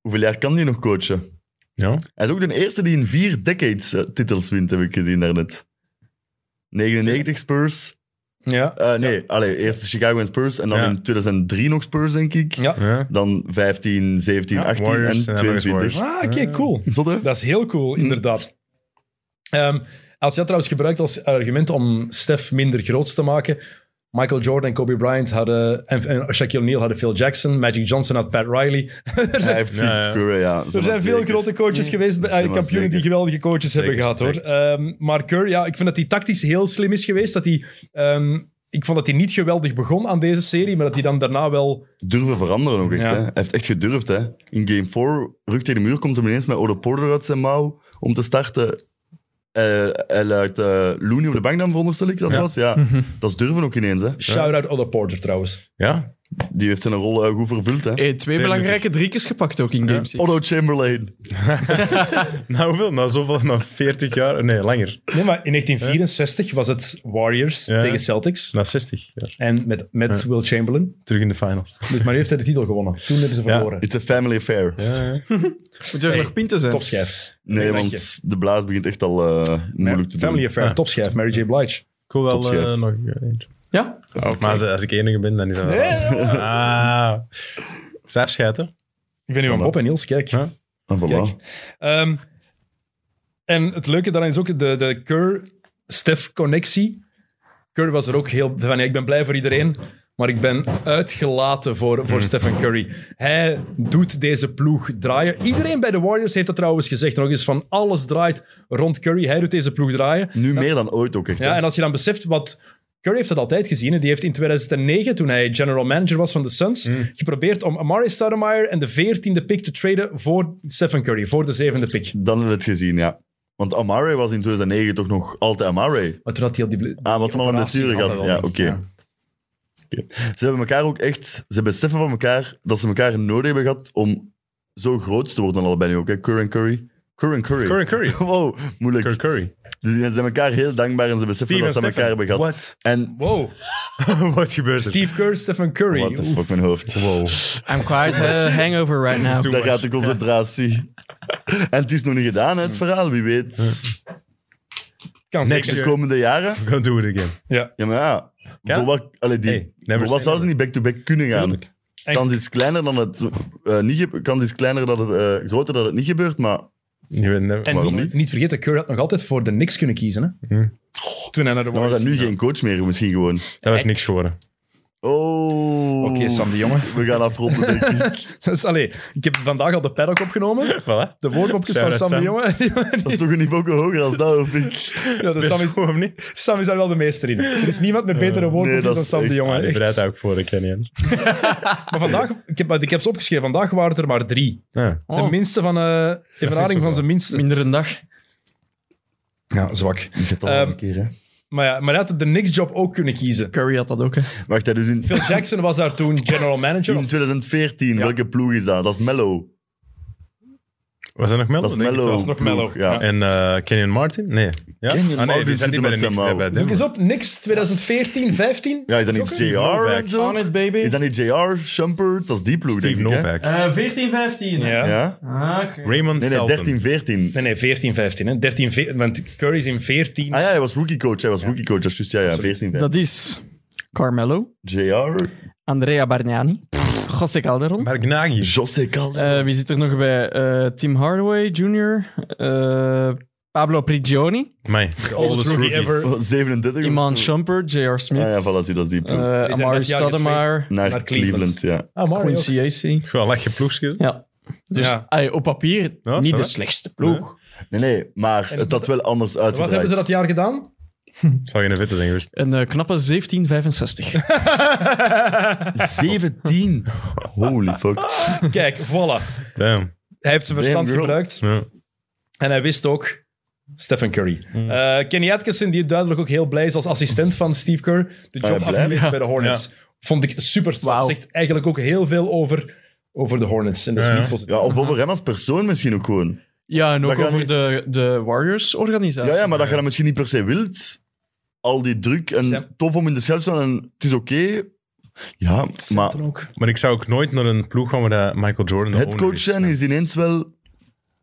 [SPEAKER 3] Hoeveel jaar kan die nog coachen?
[SPEAKER 1] Ja.
[SPEAKER 3] Hij is ook de eerste die in vier decades eh, titels wint, heb ik gezien daarnet. 99 Spurs.
[SPEAKER 2] Ja.
[SPEAKER 3] Eh, nee, allee, eerst de Chicago en Spurs. En dan
[SPEAKER 1] Ja.
[SPEAKER 3] in 2003 nog Spurs, denk ik.
[SPEAKER 2] Ja.
[SPEAKER 1] Ja.
[SPEAKER 3] Dan 15, 17,
[SPEAKER 1] Ja,
[SPEAKER 3] 18
[SPEAKER 1] Warriors
[SPEAKER 3] en
[SPEAKER 1] en dan nog eens
[SPEAKER 3] 22.
[SPEAKER 2] Ah, oké, cool.
[SPEAKER 3] Zot, hè?
[SPEAKER 2] Dat is heel cool, inderdaad. Ehm, als je dat trouwens gebruikt als argument om Stef minder groot te maken. Michael Jordan en Kobe Bryant hadden. En, en Shaquille O'Neal hadden Phil Jackson. Magic Johnson had Pat Riley.
[SPEAKER 3] Hij heeft Steve
[SPEAKER 1] Ja, ja.
[SPEAKER 3] Kerr, ja.
[SPEAKER 2] Er zijn veel grote coaches geweest, bij- eh,
[SPEAKER 3] maar
[SPEAKER 2] kampioenen die
[SPEAKER 3] zeker.
[SPEAKER 2] geweldige coaches hebben
[SPEAKER 1] Zeker,
[SPEAKER 2] gehad hoor. Ehm, maar Kerr, ja, ik vind dat hij tactisch heel slim is geweest. Dat hij, ehm, ik vond dat hij niet geweldig begon aan deze serie, maar dat hij dan daarna wel.
[SPEAKER 3] Durven veranderen ook echt,
[SPEAKER 2] Ja.
[SPEAKER 3] hè. Hij heeft echt gedurfd, hè. In game 4, rug tegen de muur, komt hem ineens met Ode Porter uit zijn mouw om te starten. Eh, hij laat eh, Looney op de bank dan, veronderstel ik dat was. Ja,
[SPEAKER 2] Mhm.
[SPEAKER 3] dat is durven ook ineens, hè.
[SPEAKER 2] Shout-out Oda Porter trouwens.
[SPEAKER 1] ja.
[SPEAKER 3] Die heeft zijn rol eh, goed vervuld, hè.
[SPEAKER 4] Hey, twee belangrijke driekers gepakt ook in Game 6.
[SPEAKER 3] Otto Chamberlain.
[SPEAKER 1] Nou, hoeveel? Nou, zoveel. Na 40 jaar. Nee, langer.
[SPEAKER 2] Nee, maar in 1964 was het Warriors
[SPEAKER 1] Ja.
[SPEAKER 2] tegen Celtics.
[SPEAKER 1] Na 60 jaar.
[SPEAKER 2] En met, met Will Chamberlain.
[SPEAKER 1] Terug in de finals.
[SPEAKER 2] Dus, maar nu heeft hij de titel gewonnen. Toen hebben ze
[SPEAKER 1] Ja.
[SPEAKER 2] verloren.
[SPEAKER 3] It's a family affair.
[SPEAKER 1] Ja, ja.
[SPEAKER 4] Moet er
[SPEAKER 2] Hey,
[SPEAKER 4] nog pinten zijn?
[SPEAKER 2] Topschijf.
[SPEAKER 3] Nee,
[SPEAKER 2] Dank je.
[SPEAKER 3] want de blaas begint echt al eh, moeilijk te
[SPEAKER 2] Family
[SPEAKER 3] doen.
[SPEAKER 2] Affair,
[SPEAKER 1] Ja.
[SPEAKER 2] topschijf, Mary J. Blige.
[SPEAKER 1] Ik wil wel
[SPEAKER 3] Topchef.
[SPEAKER 1] eh, nog eh, eentje.
[SPEAKER 4] Ja?
[SPEAKER 1] Maar als, als ik enige ben, dan is dat... Ah. Zij schijten.
[SPEAKER 2] Ik ben nu aan Bob en Niels, kijk.
[SPEAKER 1] Ja.
[SPEAKER 3] En Ah, voilà.
[SPEAKER 2] Kijk. Ehm, en het leuke daaraan is ook de, de Kerr-Stef-connectie. Kerr was er ook heel van, ja, ik ben blij voor iedereen, maar ik ben uitgelaten voor, voor Stephen Curry. Hij doet deze ploeg draaien. Iedereen bij de Warriors heeft dat trouwens gezegd. Nog eens van, alles draait rond Curry. Hij doet deze ploeg draaien.
[SPEAKER 3] Nu meer dan ooit ook echt. hè.
[SPEAKER 2] Ja, en als je dan beseft wat. Curry heeft dat altijd gezien. En die heeft in 2009, toen hij general manager was van de Suns, geprobeerd om Amari Stoudemire en de 14e pick te traden voor Stephen Curry, voor de zevende pick.
[SPEAKER 3] Dan hebben we het gezien, ja. Want Amare was in 2009 toch nog altijd Amare.
[SPEAKER 2] Maar toen had hij al die. ble-
[SPEAKER 3] Ah, wat hem al een
[SPEAKER 2] operatie
[SPEAKER 3] blessure
[SPEAKER 2] had
[SPEAKER 3] gehad.
[SPEAKER 2] hij
[SPEAKER 3] Ja,
[SPEAKER 2] wel
[SPEAKER 3] oké.
[SPEAKER 2] niet. Ja.
[SPEAKER 3] Oké. Ze hebben elkaar ook echt... Ze beseffen van elkaar dat ze elkaar nodig hebben gehad om zo groot te worden allebei nu ook. Hè? Curry en Curry. Curry en Curry.
[SPEAKER 2] Curry Curry.
[SPEAKER 3] Wow, moeilijk.
[SPEAKER 1] Kirk Curry.
[SPEAKER 3] Dus ze zijn elkaar heel dankbaar en ze beseffen
[SPEAKER 1] Steven
[SPEAKER 3] dat ze
[SPEAKER 1] Stephen.
[SPEAKER 3] elkaar hebben gehad.
[SPEAKER 1] What?
[SPEAKER 3] En...
[SPEAKER 2] Wow.
[SPEAKER 1] Wat gebeurt er?
[SPEAKER 2] Steve Kerr, Stephen Curry.
[SPEAKER 3] What the
[SPEAKER 2] Oeh.
[SPEAKER 3] fuck, mijn hoofd. Wow.
[SPEAKER 4] I'm quite eh, hangover right now.
[SPEAKER 1] Too
[SPEAKER 3] Daar
[SPEAKER 1] much.
[SPEAKER 3] gaat de concentratie. En het is nog niet gedaan, hè, het verhaal. Wie weet.
[SPEAKER 2] Kan
[SPEAKER 1] Next
[SPEAKER 2] zeker.
[SPEAKER 3] De komende jaren.
[SPEAKER 1] Go do it again.
[SPEAKER 2] Ja.
[SPEAKER 3] Ja, maar ja.
[SPEAKER 1] Ja?
[SPEAKER 3] Voor wat, allee, die,
[SPEAKER 1] Hey, never
[SPEAKER 3] voor
[SPEAKER 1] say
[SPEAKER 3] wat zouden ze
[SPEAKER 1] never.
[SPEAKER 3] niet back-to-back kunnen gaan?
[SPEAKER 1] Tuurlijk.
[SPEAKER 3] Kans is kleiner dan het... eh, niet ge- kans is kleiner dat het... eh, groter dat het niet gebeurt, maar...
[SPEAKER 1] You will never-
[SPEAKER 2] En
[SPEAKER 3] Waarom
[SPEAKER 2] niet,
[SPEAKER 3] niet?
[SPEAKER 2] niet vergeten, Curry had nog altijd voor de Knicks kunnen kiezen. Hè? Toen hij naar de
[SPEAKER 3] Dan was
[SPEAKER 2] Warriors
[SPEAKER 3] dat nu geen coach meer, misschien gewoon.
[SPEAKER 1] Dat was niks geworden.
[SPEAKER 3] Oh.
[SPEAKER 2] Oké, Sam de Jonge.
[SPEAKER 3] We gaan afronden, denk ik.
[SPEAKER 2] Dat is- Allee, ik heb vandaag al de paddock opgenomen.
[SPEAKER 1] Voilà.
[SPEAKER 2] De woordopjes van
[SPEAKER 1] Shout
[SPEAKER 2] Sam
[SPEAKER 1] out
[SPEAKER 2] de
[SPEAKER 1] Sam.
[SPEAKER 2] Jonge.
[SPEAKER 3] Dat is toch een niveau hoger als dat, of ik?
[SPEAKER 2] Ja, de Sam is,
[SPEAKER 1] goed, of niet?
[SPEAKER 2] Sam is daar wel de meester in. Er is niemand met betere woorden
[SPEAKER 3] nee, dat
[SPEAKER 2] dan
[SPEAKER 3] is
[SPEAKER 2] Sam de
[SPEAKER 3] echt-
[SPEAKER 2] Jonge.
[SPEAKER 1] Ik
[SPEAKER 2] echt.
[SPEAKER 1] Ah, bereid daar ook voor, ik ken niet anders.
[SPEAKER 2] Maar vandaag, ik heb, ik heb ze opgeschreven, vandaag waren er maar drie.
[SPEAKER 1] Ja.
[SPEAKER 3] Oh.
[SPEAKER 2] Zijn minste van, eh in verhouding van
[SPEAKER 1] zoveel.
[SPEAKER 2] zijn minste.
[SPEAKER 4] Minder een dag.
[SPEAKER 2] Ja, zwak.
[SPEAKER 3] Ik heb
[SPEAKER 2] al een
[SPEAKER 3] keer, hè.
[SPEAKER 2] Maar ja, maar hij had de Knicks job ook kunnen kiezen.
[SPEAKER 4] Curry had dat ook, hè.
[SPEAKER 3] Wacht, hè, dus in,
[SPEAKER 2] Phil Jackson was daar toen general manager.
[SPEAKER 3] in
[SPEAKER 2] Of,
[SPEAKER 3] 2014, welke ploeg is dat? Dat is Mello.
[SPEAKER 1] Was Oh, dat nog Mel?
[SPEAKER 3] Dat is
[SPEAKER 1] Denk ik
[SPEAKER 3] Mello.
[SPEAKER 1] wel.
[SPEAKER 2] was nog Mello.
[SPEAKER 3] Ja.
[SPEAKER 2] Ja.
[SPEAKER 1] En eh, Kenyon Martin? Nee. Ja?
[SPEAKER 3] Kenyon
[SPEAKER 1] ah, nee,
[SPEAKER 3] Martin
[SPEAKER 1] die
[SPEAKER 3] zit
[SPEAKER 1] zijn niet
[SPEAKER 3] er
[SPEAKER 1] bij de
[SPEAKER 3] met
[SPEAKER 1] Knicks.
[SPEAKER 3] zijn
[SPEAKER 1] hè,
[SPEAKER 3] mouw.
[SPEAKER 1] bij
[SPEAKER 2] Zoek eens
[SPEAKER 1] Denver.
[SPEAKER 2] op, Knicks 2014, 15?
[SPEAKER 3] Ja, is dat niet JR en
[SPEAKER 1] Novak.
[SPEAKER 3] zo?
[SPEAKER 4] it, baby.
[SPEAKER 3] Is dat niet JR, Shumpert? Dat is die ploeg,
[SPEAKER 1] Steve
[SPEAKER 3] denk ik, hè?
[SPEAKER 1] Novak.
[SPEAKER 4] 14, 15.
[SPEAKER 2] Ja.
[SPEAKER 3] Ja?
[SPEAKER 4] Ah, oké.
[SPEAKER 1] Raymond
[SPEAKER 3] Nee, nee,
[SPEAKER 1] Felton.
[SPEAKER 3] 13, 14.
[SPEAKER 2] Nee, nee, 14, 15. Hè. 13, ve- want Curry is in 14.
[SPEAKER 3] Ah ja, hij was rookiecoach. Hij was rookiecoach. Dat is juist, ja, ja, 14, 15.
[SPEAKER 4] Dat is Carmelo,
[SPEAKER 3] JR?
[SPEAKER 4] Andrea Bargnani, José Calderon.
[SPEAKER 1] Maar Gnagi.
[SPEAKER 3] José Calder.
[SPEAKER 4] Eh, wie zit er nog bij? Eh, Tim Hardaway Jr. eh, Pablo Prigioni.
[SPEAKER 1] Amai.
[SPEAKER 2] Oldest rookie ever.
[SPEAKER 3] Wat, 37
[SPEAKER 4] Iman
[SPEAKER 3] of zo?
[SPEAKER 4] Shumpert. J.R. Smith.
[SPEAKER 3] Ah ja, voilà, zie, dat is die ploeg.
[SPEAKER 4] eh,
[SPEAKER 2] net
[SPEAKER 4] Amari
[SPEAKER 2] jaar getraind.
[SPEAKER 4] Stoudemire.
[SPEAKER 3] Naar,
[SPEAKER 2] naar Cleveland.
[SPEAKER 3] Cleveland, ja.
[SPEAKER 2] Ah, Mario.
[SPEAKER 4] Quincy Acey.
[SPEAKER 1] Gewoon lach je ploegje.
[SPEAKER 4] Ja. Dus
[SPEAKER 2] Ja.
[SPEAKER 4] ey, op papier
[SPEAKER 1] Ja,
[SPEAKER 4] niet
[SPEAKER 1] zo,
[SPEAKER 4] de
[SPEAKER 1] hè.
[SPEAKER 4] slechtste ploeg.
[SPEAKER 3] Nee, nee, maar
[SPEAKER 2] En-
[SPEAKER 3] het had wel anders
[SPEAKER 2] Wat
[SPEAKER 3] uitgedraaid.
[SPEAKER 2] hebben ze dat jaar gedaan?
[SPEAKER 1] Zou je een witte zijn geweest.
[SPEAKER 4] Een eh, knappe 1765.
[SPEAKER 3] 17. Holy fuck.
[SPEAKER 2] Kijk, voilà.
[SPEAKER 1] Damn.
[SPEAKER 2] Hij heeft zijn verstand
[SPEAKER 3] Damn, bro.
[SPEAKER 2] gebruikt.
[SPEAKER 1] Ja.
[SPEAKER 2] En hij wist ook Stephen Curry. Eh, Kenny Atkinson, die duidelijk ook heel blij is als assistent van Steve Kerr, de
[SPEAKER 3] hij
[SPEAKER 2] job
[SPEAKER 3] Ah, blij?
[SPEAKER 2] afgewezen bij de Hornets. Vond ik super straf.
[SPEAKER 4] Wauw.
[SPEAKER 2] Zegt eigenlijk ook heel veel over, over de Hornets. En dat is
[SPEAKER 1] Ja,
[SPEAKER 2] niet
[SPEAKER 1] ja.
[SPEAKER 2] positief.
[SPEAKER 3] Ja, of over hem als persoon misschien ook gewoon.
[SPEAKER 4] ja, en ook
[SPEAKER 3] Dat gaat
[SPEAKER 4] over
[SPEAKER 3] niet-
[SPEAKER 4] de, de Warriors-organisatie.
[SPEAKER 3] Ja, ja, maar dat je dat misschien niet per se wilt. Al die druk en
[SPEAKER 2] Sam.
[SPEAKER 3] tof om in de schuil te staan en het is oké. Ja, maar
[SPEAKER 1] Maar ik zou ook nooit naar een ploeg gaan waar dat Michael Jordan de
[SPEAKER 3] het
[SPEAKER 1] owner
[SPEAKER 3] coach
[SPEAKER 1] is.
[SPEAKER 3] zijn is ineens wel...